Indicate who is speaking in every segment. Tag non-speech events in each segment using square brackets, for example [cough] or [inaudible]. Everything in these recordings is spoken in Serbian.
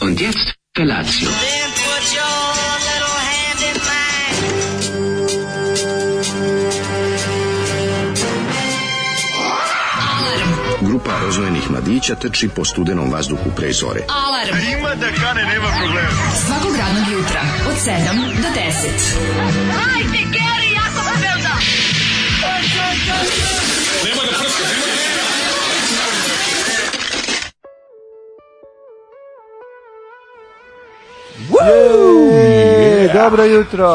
Speaker 1: Und jetzt Felatio.
Speaker 2: Then put your little hand in mine.
Speaker 3: Grupa rozvojenih mladića trči po studenom vazduhu pre zore.
Speaker 4: Alarm. Ima da kane, nema problema. Svakog radnog jutra, od 7 do 10.
Speaker 5: E, dobro jutro.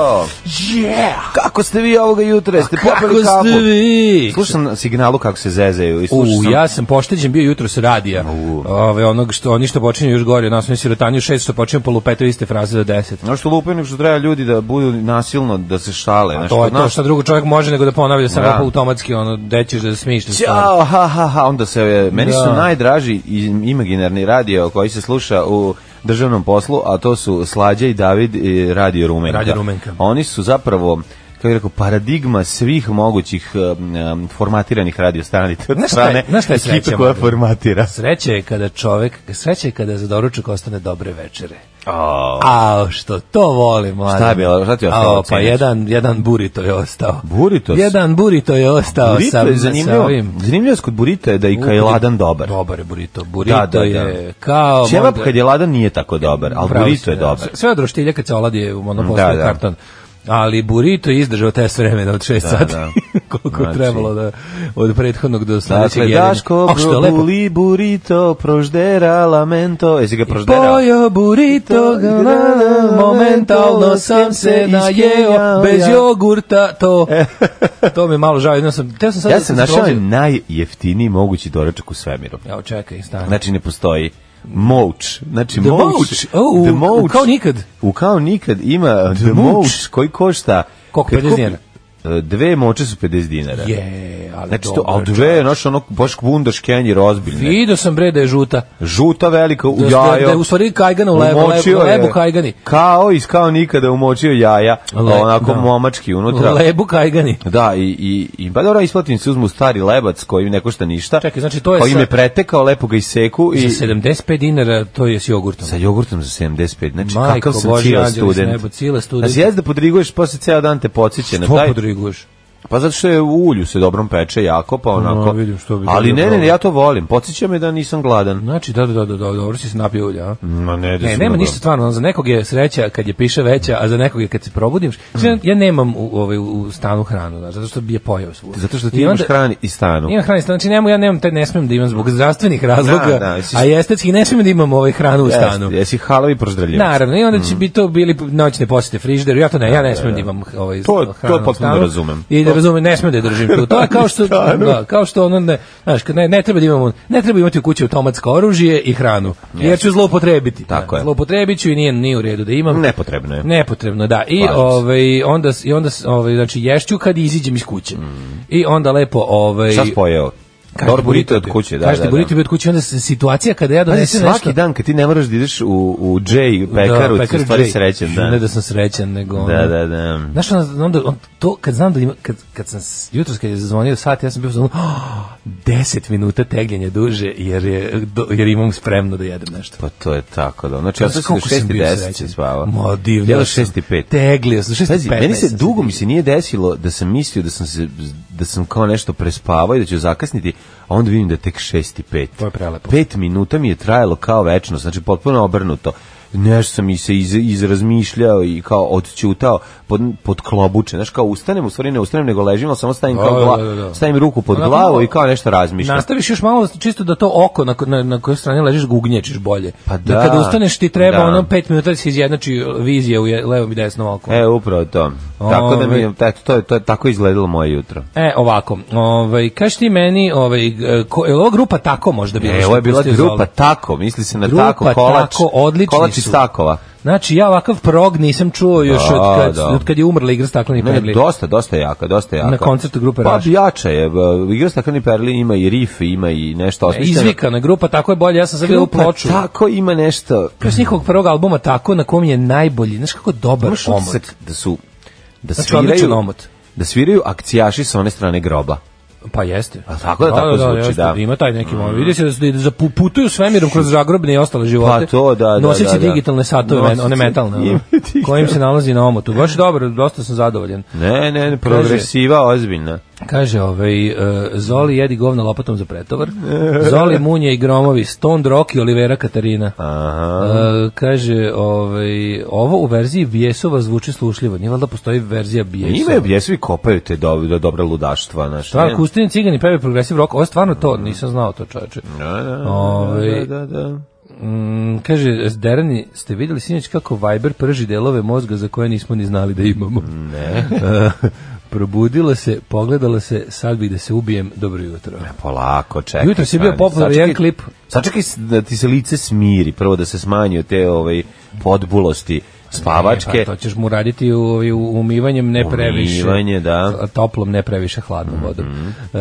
Speaker 5: Yeah. Kako ste vi ovoga jutra? Jeste popili
Speaker 6: Kako
Speaker 5: kafu?
Speaker 6: ste vi?
Speaker 5: Slušam na signalu kako se zezaju i
Speaker 6: U,
Speaker 5: slušao sam.
Speaker 6: ja sam pošteđen bio jutro s radija. Ove, onog što, oni što počinju još gore, od nas oni sirotanju šest, što počinju po lupetu iste fraze do deset.
Speaker 5: No što lupaju, nego što treba ljudi da budu nasilno, da se šale. znaš,
Speaker 6: To je
Speaker 5: kod
Speaker 6: to
Speaker 5: nas-
Speaker 6: što drugo čovjek može nego da ponavlja samo
Speaker 5: Da.
Speaker 6: pa automatski, ono, dećeš da se smiješ. na stvari.
Speaker 5: Ćao, ha, ha, ha, onda se, e, meni
Speaker 6: Da.
Speaker 5: su najdraži i- imaginarni radio koji se sluša u državnom poslu, a to su Slađa i David i Radio Rumenka.
Speaker 6: Radio Rumenka.
Speaker 5: Oni su zapravo kako bih rekao, paradigma svih mogućih em, em, formatiranih radio strani od
Speaker 6: Znaš šta je-
Speaker 5: strane
Speaker 6: znaš šta je
Speaker 5: ekipe
Speaker 6: sreća,
Speaker 5: koja
Speaker 6: mladen?
Speaker 5: formatira.
Speaker 6: Sreća je kada čovjek, sreća je kada za doručak ostane dobre večere.
Speaker 5: A,
Speaker 6: A što to volim, mladen.
Speaker 5: Šta je bilo? Šta ti je ostalo
Speaker 6: Ao,
Speaker 5: od
Speaker 6: pa
Speaker 5: sinoć?
Speaker 6: jedan, jedan burito je ostao.
Speaker 5: Burito?
Speaker 6: Jedan burito je ostao
Speaker 5: Burrito
Speaker 6: sa,
Speaker 5: je
Speaker 6: sa
Speaker 5: zanimljivo.
Speaker 6: ovim.
Speaker 5: Zanimljivost kod burita je da i kad je ladan dobar.
Speaker 6: Dobar je burito. Burito
Speaker 5: Da, da, da.
Speaker 6: je kao...
Speaker 5: Ćevap
Speaker 6: možda-
Speaker 5: kad je ladan nije tako dobar, ali
Speaker 6: Pravo si,
Speaker 5: burito je
Speaker 6: da.
Speaker 5: dobar.
Speaker 6: Sve od roštilja kad se oladi je ono
Speaker 5: Mm,
Speaker 6: postao
Speaker 5: da, da.
Speaker 6: karton. Ali burrito je izdržao test vremena od 6 sati.
Speaker 5: da.
Speaker 6: [laughs] koliko je
Speaker 5: Znači-
Speaker 6: trebalo da od prethodnog do sledećeg
Speaker 5: Dakle,
Speaker 6: jedenja.
Speaker 5: Daško,
Speaker 6: A, što je lepo.
Speaker 5: buli burito, proždera, lamento. Jesi ga prožderao?
Speaker 6: Pojo burrito,
Speaker 5: Da,
Speaker 6: ga, na, na, momentalno sam se najeo, bez jogurta, to, [laughs] to mi je malo žao, jedno sam, teo sam sad
Speaker 5: E. Ja
Speaker 6: da
Speaker 5: sam
Speaker 6: se
Speaker 5: našao
Speaker 6: prođem.
Speaker 5: najjeftiniji mogući doručak u svemiru.
Speaker 6: Evo, čekaj, stani.
Speaker 5: Znači, ne postoji. Mouch. Znači,
Speaker 6: Da. The
Speaker 5: Mouch.
Speaker 6: Mouch. O, u-
Speaker 5: The
Speaker 6: u
Speaker 5: Mouch.
Speaker 6: kao nikad.
Speaker 5: U kao nikad ima The Mouch koji košta...
Speaker 6: Koliko,
Speaker 5: kad
Speaker 6: 50
Speaker 5: kupi-
Speaker 6: dinara?
Speaker 5: E, Dve moče su 50 dinara.
Speaker 6: Je, ali
Speaker 5: Znači, to,
Speaker 6: dobro,
Speaker 5: a dve, znaš, ono, baš bundaš kenjir ozbiljne.
Speaker 6: Vidio sam bre da je žuta.
Speaker 5: Žuta velika u
Speaker 6: Da,
Speaker 5: jajo.
Speaker 6: da je u stvari kajgana u lebu,
Speaker 5: Umočio
Speaker 6: lebu,
Speaker 5: je.
Speaker 6: lebu kajgani.
Speaker 5: Kao iz kao nikada umočio jaja,
Speaker 6: Le-
Speaker 5: onako
Speaker 6: da.
Speaker 5: momački unutra.
Speaker 6: Lebu kajgani.
Speaker 5: Da, i, i, i pa dobro, isplatim se uzmu stari lebac koji ne košta ništa.
Speaker 6: Čekaj, znači, to je
Speaker 5: Koji
Speaker 6: sad-
Speaker 5: me pretekao, lepo ga iseku i...
Speaker 6: Za 75 dinara to je s jogurtom.
Speaker 5: Sa jogurtom za 75, znači
Speaker 6: Majko
Speaker 5: kakav sam
Speaker 6: Božja,
Speaker 5: cijela
Speaker 6: anđeli s
Speaker 5: student.
Speaker 6: neba, cijela student.
Speaker 5: Znači, jesi da podriguješ, posle ceo dan te podsjeća na
Speaker 6: To
Speaker 5: taj...
Speaker 6: podriguješ.
Speaker 5: Pa zato što je u ulju se dobrom peče jako, pa onako...
Speaker 6: No, vidim, što bi
Speaker 5: Ali
Speaker 6: dobro
Speaker 5: ne, ne, ne,
Speaker 6: probao.
Speaker 5: ja to volim. Podsjeća me da nisam gladan.
Speaker 6: Znači, da, da, da, da, da, dobro si se napio ulja, a?
Speaker 5: Ma ne, da
Speaker 6: Ne,
Speaker 5: sam
Speaker 6: nema
Speaker 5: dobro.
Speaker 6: ništa stvarno, ono, za nekog je sreća kad je piše veća, a za nekog je kad se probudim. Znači,
Speaker 5: Mm.
Speaker 6: ja- Ja nemam u, ovaj, u stanu hranu, znaš, zato što bi je pojao svu.
Speaker 5: Zato što ti imaš hrani i stanu.
Speaker 6: Imam hranu, znači nemo, ja nemam, te, ne smijem da imam zbog zdravstvenih razloga,
Speaker 5: Da, da, jesi-
Speaker 6: a i estetski ne smijem da imam ovaj hranu u stanu.
Speaker 5: Jesi, E, jesi halavi proždraljivac.
Speaker 6: Naravno, i onda
Speaker 5: Mhm.
Speaker 6: će bi to bili noćne posete frižideru. Ja to ne, ja ne smem da imam ovaj
Speaker 5: To- to
Speaker 6: hranu u
Speaker 5: potpuno
Speaker 6: stanu.
Speaker 5: razumem.
Speaker 6: I da razumem, ne smem da je držim tu. To je kao
Speaker 5: [laughs]
Speaker 6: što da, kao što ono ne, znaš, kad ne, ne treba da imamo, ne treba imati u kući automatsko oružje i hranu. Jer ću zloupotrebiti. Da,
Speaker 5: Tako je.
Speaker 6: Zloupotrebit ću i nije nije u redu da imam.
Speaker 5: Nepotrebno je.
Speaker 6: Nepotrebno, da. I
Speaker 5: Slažem se.
Speaker 6: ovaj onda s- i onda s- ovaj znači ješću kad iziđem iz kuće. I onda lepo ovaj
Speaker 5: Mhm. Šta spojeo?
Speaker 6: kažete
Speaker 5: Dobro burrito je od
Speaker 6: bio-
Speaker 5: kuće, da,
Speaker 6: kažete
Speaker 5: da, da.
Speaker 6: burrito je bio od kuće, onda se situacija kada ja
Speaker 5: Pazi,
Speaker 6: donesem
Speaker 5: svaki
Speaker 6: nešto-
Speaker 5: dan kad ti ne moraš da ideš u, u J pekaru, ti si u stvari
Speaker 6: Jay.
Speaker 5: srećen.
Speaker 6: Da, Ne
Speaker 5: Da.
Speaker 6: da sam srećan, nego... ono-
Speaker 5: da, da, da.
Speaker 6: Znaš, onda, onda on, to, kad znam da ima, kad, kad sam, s- jutros kad je zazvonio sat, ja sam bio zvono, oh, 10 minuta tegljenja duže, jer, je, do, jer imam spremno da jedem nešto.
Speaker 5: Pa to je tako da. Znači, ja sam se do
Speaker 6: Koliko sam
Speaker 5: 6 i
Speaker 6: bio
Speaker 5: 10
Speaker 6: srećan.
Speaker 5: se spavao.
Speaker 6: Ma, divno.
Speaker 5: Ja do
Speaker 6: sam.
Speaker 5: 6 i 5.
Speaker 6: Teglio sam, 6
Speaker 5: Pazi,
Speaker 6: i 15.
Speaker 5: meni se dugo mi se nije desilo da sam mislio da sam se da sam kao nešto prespavao i da ću zakasniti, a onda vidim da je tek 6 i 5.
Speaker 6: To je prelepo.
Speaker 5: 5 minuta mi je trajalo kao večnost, znači potpuno obrnuto. Nešto sam mi se iz, izrazmišljao i kao odćutao pod, pod klobuče. Znaš, kao ustanem, u stvari ne ustanem, nego ležim, ali samo stavim,
Speaker 6: Da,
Speaker 5: kao
Speaker 6: da,
Speaker 5: gla,
Speaker 6: da, da.
Speaker 5: stavim ruku pod
Speaker 6: Onako
Speaker 5: glavu
Speaker 6: malo-
Speaker 5: i kao nešto razmišljam.
Speaker 6: Nastaviš još malo čisto da to oko na, ko- na, na kojoj strani ležiš gugnječiš bolje.
Speaker 5: Pa da.
Speaker 6: da kada ustaneš ti treba
Speaker 5: Da.
Speaker 6: ono 5 minuta da se izjednači vizija u je- levom i desnom oku.
Speaker 5: E, upravo to. Tako da mi je,
Speaker 6: Ove.
Speaker 5: eto, to je, to je tako izgledalo moje jutro.
Speaker 6: E, ovako, ovaj, kaži ti meni, ovaj, e, ko, je li ova grupa tako možda bila?
Speaker 5: E,
Speaker 6: što
Speaker 5: ovo je bila
Speaker 6: pustio za
Speaker 5: grupa
Speaker 6: ovo?
Speaker 5: tako, misli se na
Speaker 6: Grupa
Speaker 5: tako, kolač,
Speaker 6: Tako, odlični
Speaker 5: kolač iz
Speaker 6: su.
Speaker 5: takova.
Speaker 6: Znači, ja ovakav prog nisam čuo još
Speaker 5: Da,
Speaker 6: od, kad,
Speaker 5: da.
Speaker 6: od kad je umrla igra Stakleni
Speaker 5: Ne,
Speaker 6: Perli.
Speaker 5: dosta, dosta jaka, dosta jaka.
Speaker 6: Na koncertu grupe
Speaker 5: Pa
Speaker 6: Rush.
Speaker 5: jača je, b- igra Stakleni Perli ima i riff, ima i nešto
Speaker 6: E,
Speaker 5: osmišljeno.
Speaker 6: Izvikana grupa, tako je bolje, ja sam sad gledao
Speaker 5: da, Grupa
Speaker 6: ploču.
Speaker 5: tako ima nešto.
Speaker 6: Kao s njihovog prvog albuma tako, na kom je najbolji, znaš kako dobar
Speaker 5: Imaš
Speaker 6: omot.
Speaker 5: utisak da su, da
Speaker 6: Znači,
Speaker 5: sviraju,
Speaker 6: odličan omot.
Speaker 5: da sviraju akcijaši sa one strane groba.
Speaker 6: Pa jeste.
Speaker 5: A tako da tako zvuči,
Speaker 6: jeste,
Speaker 5: da.
Speaker 6: Ima taj neki, mm. vidi se da, su- da za pu- putuju svemirom kroz zagrobne i ostale živote.
Speaker 5: Pa to, da, da,
Speaker 6: Noseći
Speaker 5: da, da.
Speaker 6: digitalne satove,
Speaker 5: Noseći-
Speaker 6: one metalne, ono,
Speaker 5: Ima digitalne.
Speaker 6: kojim se nalazi na omotu. Baš dobro, dosta sam zadovoljan.
Speaker 5: Ne, ne, ne, progresiva, ozbiljna.
Speaker 6: Kaže, ovaj, e, Zoli jedi govna lopatom za pretovar, Zoli munje i gromovi, Stone Rock i Olivera Katarina.
Speaker 5: Aha.
Speaker 6: E, kaže, ovaj, ovo u verziji Bijesova zvuči slušljivo, nije valjda da postoji verzija Bijesova.
Speaker 5: Ima je bjesovi kopaju te do, do dobra ludaštva, znaš.
Speaker 6: Stvar,
Speaker 5: ne?
Speaker 6: Kustin Cigani peve progresiv rock, ovo je stvarno to, nisam znao to čoveče.
Speaker 5: Da, da,
Speaker 6: Ovaj-
Speaker 5: da, da, da.
Speaker 6: Mm, kaže, Derani, ste videli sinoć kako Viber prži delove mozga za koje nismo ni znali da imamo? Ne. [laughs] probudila se, pogledala se, sad bih da se ubijem, dobro jutro.
Speaker 5: Polako, čekaj.
Speaker 6: Jutros je bio
Speaker 5: stani,
Speaker 6: popularan
Speaker 5: sačekaj-
Speaker 6: jedan klip.
Speaker 5: Sačekaj s- da ti se lice smiri, prvo da se smanji od te ovaj, podbulosti spavačke.
Speaker 6: E, pa, to ćeš mu raditi u, u umivanjem ne previše.
Speaker 5: Umivanje, da. Mhm.
Speaker 6: Toplom, ne previše hladnom vodom. E,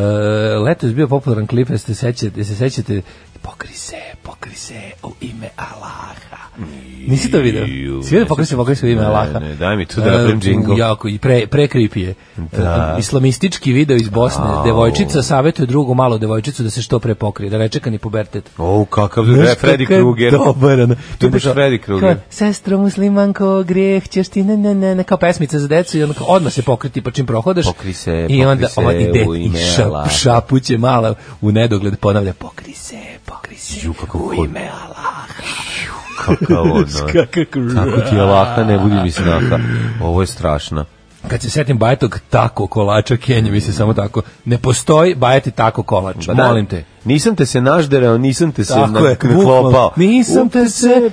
Speaker 6: letos je bio popularan klip, jeste se sećate, se sećate, pokri se, pokri se u ime Allaha. Nisi to video?
Speaker 5: Ju,
Speaker 6: Si vidio
Speaker 5: ne
Speaker 6: pokri se, pokri se u ime
Speaker 5: Ne,
Speaker 6: Allaha?
Speaker 5: ne, daj mi tu da napravim
Speaker 6: E,
Speaker 5: džingl. Da.
Speaker 6: Jako, i pre, pre creepy je. E, Islamistički video iz Bosne.
Speaker 5: Au.
Speaker 6: Devojčica savetuje drugu malu devojčicu da se što pre pokrije, da ne čeka ni pubertet.
Speaker 5: O, kakav
Speaker 6: Znaš
Speaker 5: je Freddy
Speaker 6: kakav je
Speaker 5: Krueger.
Speaker 6: Dobar, ono.
Speaker 5: To je baš
Speaker 6: Kao,
Speaker 5: Freddy Krueger.
Speaker 6: kao, Sestro muslimanko, grijeh ćeš ti, ne, ne, ne, ne, kao pesmica za decu i onda kao odmah se pokriti pa čim prohodaš.
Speaker 5: Pokri se,
Speaker 6: I onda
Speaker 5: pokri
Speaker 6: ova
Speaker 5: se
Speaker 6: ide
Speaker 5: u
Speaker 6: i
Speaker 5: ime
Speaker 6: šap,
Speaker 5: Allaha.
Speaker 6: šapuće mala u nedogled ponavlja pokri se, pokri se u
Speaker 5: hod-
Speaker 6: ime Allaha.
Speaker 5: Kakav Pa ono. Tako ti je laka, ne budi mi snaha. Ovo je strašno.
Speaker 6: Kad se setim bajetog tako kolača, Kenje mi se samo tako, ne postoji bajeti tako kolač,
Speaker 5: Pa da,
Speaker 6: molim te.
Speaker 5: Nisam te se našderao, nisam te se
Speaker 6: Tako
Speaker 5: na,
Speaker 6: je, bukvalno.
Speaker 5: naklopao.
Speaker 6: Nisam te se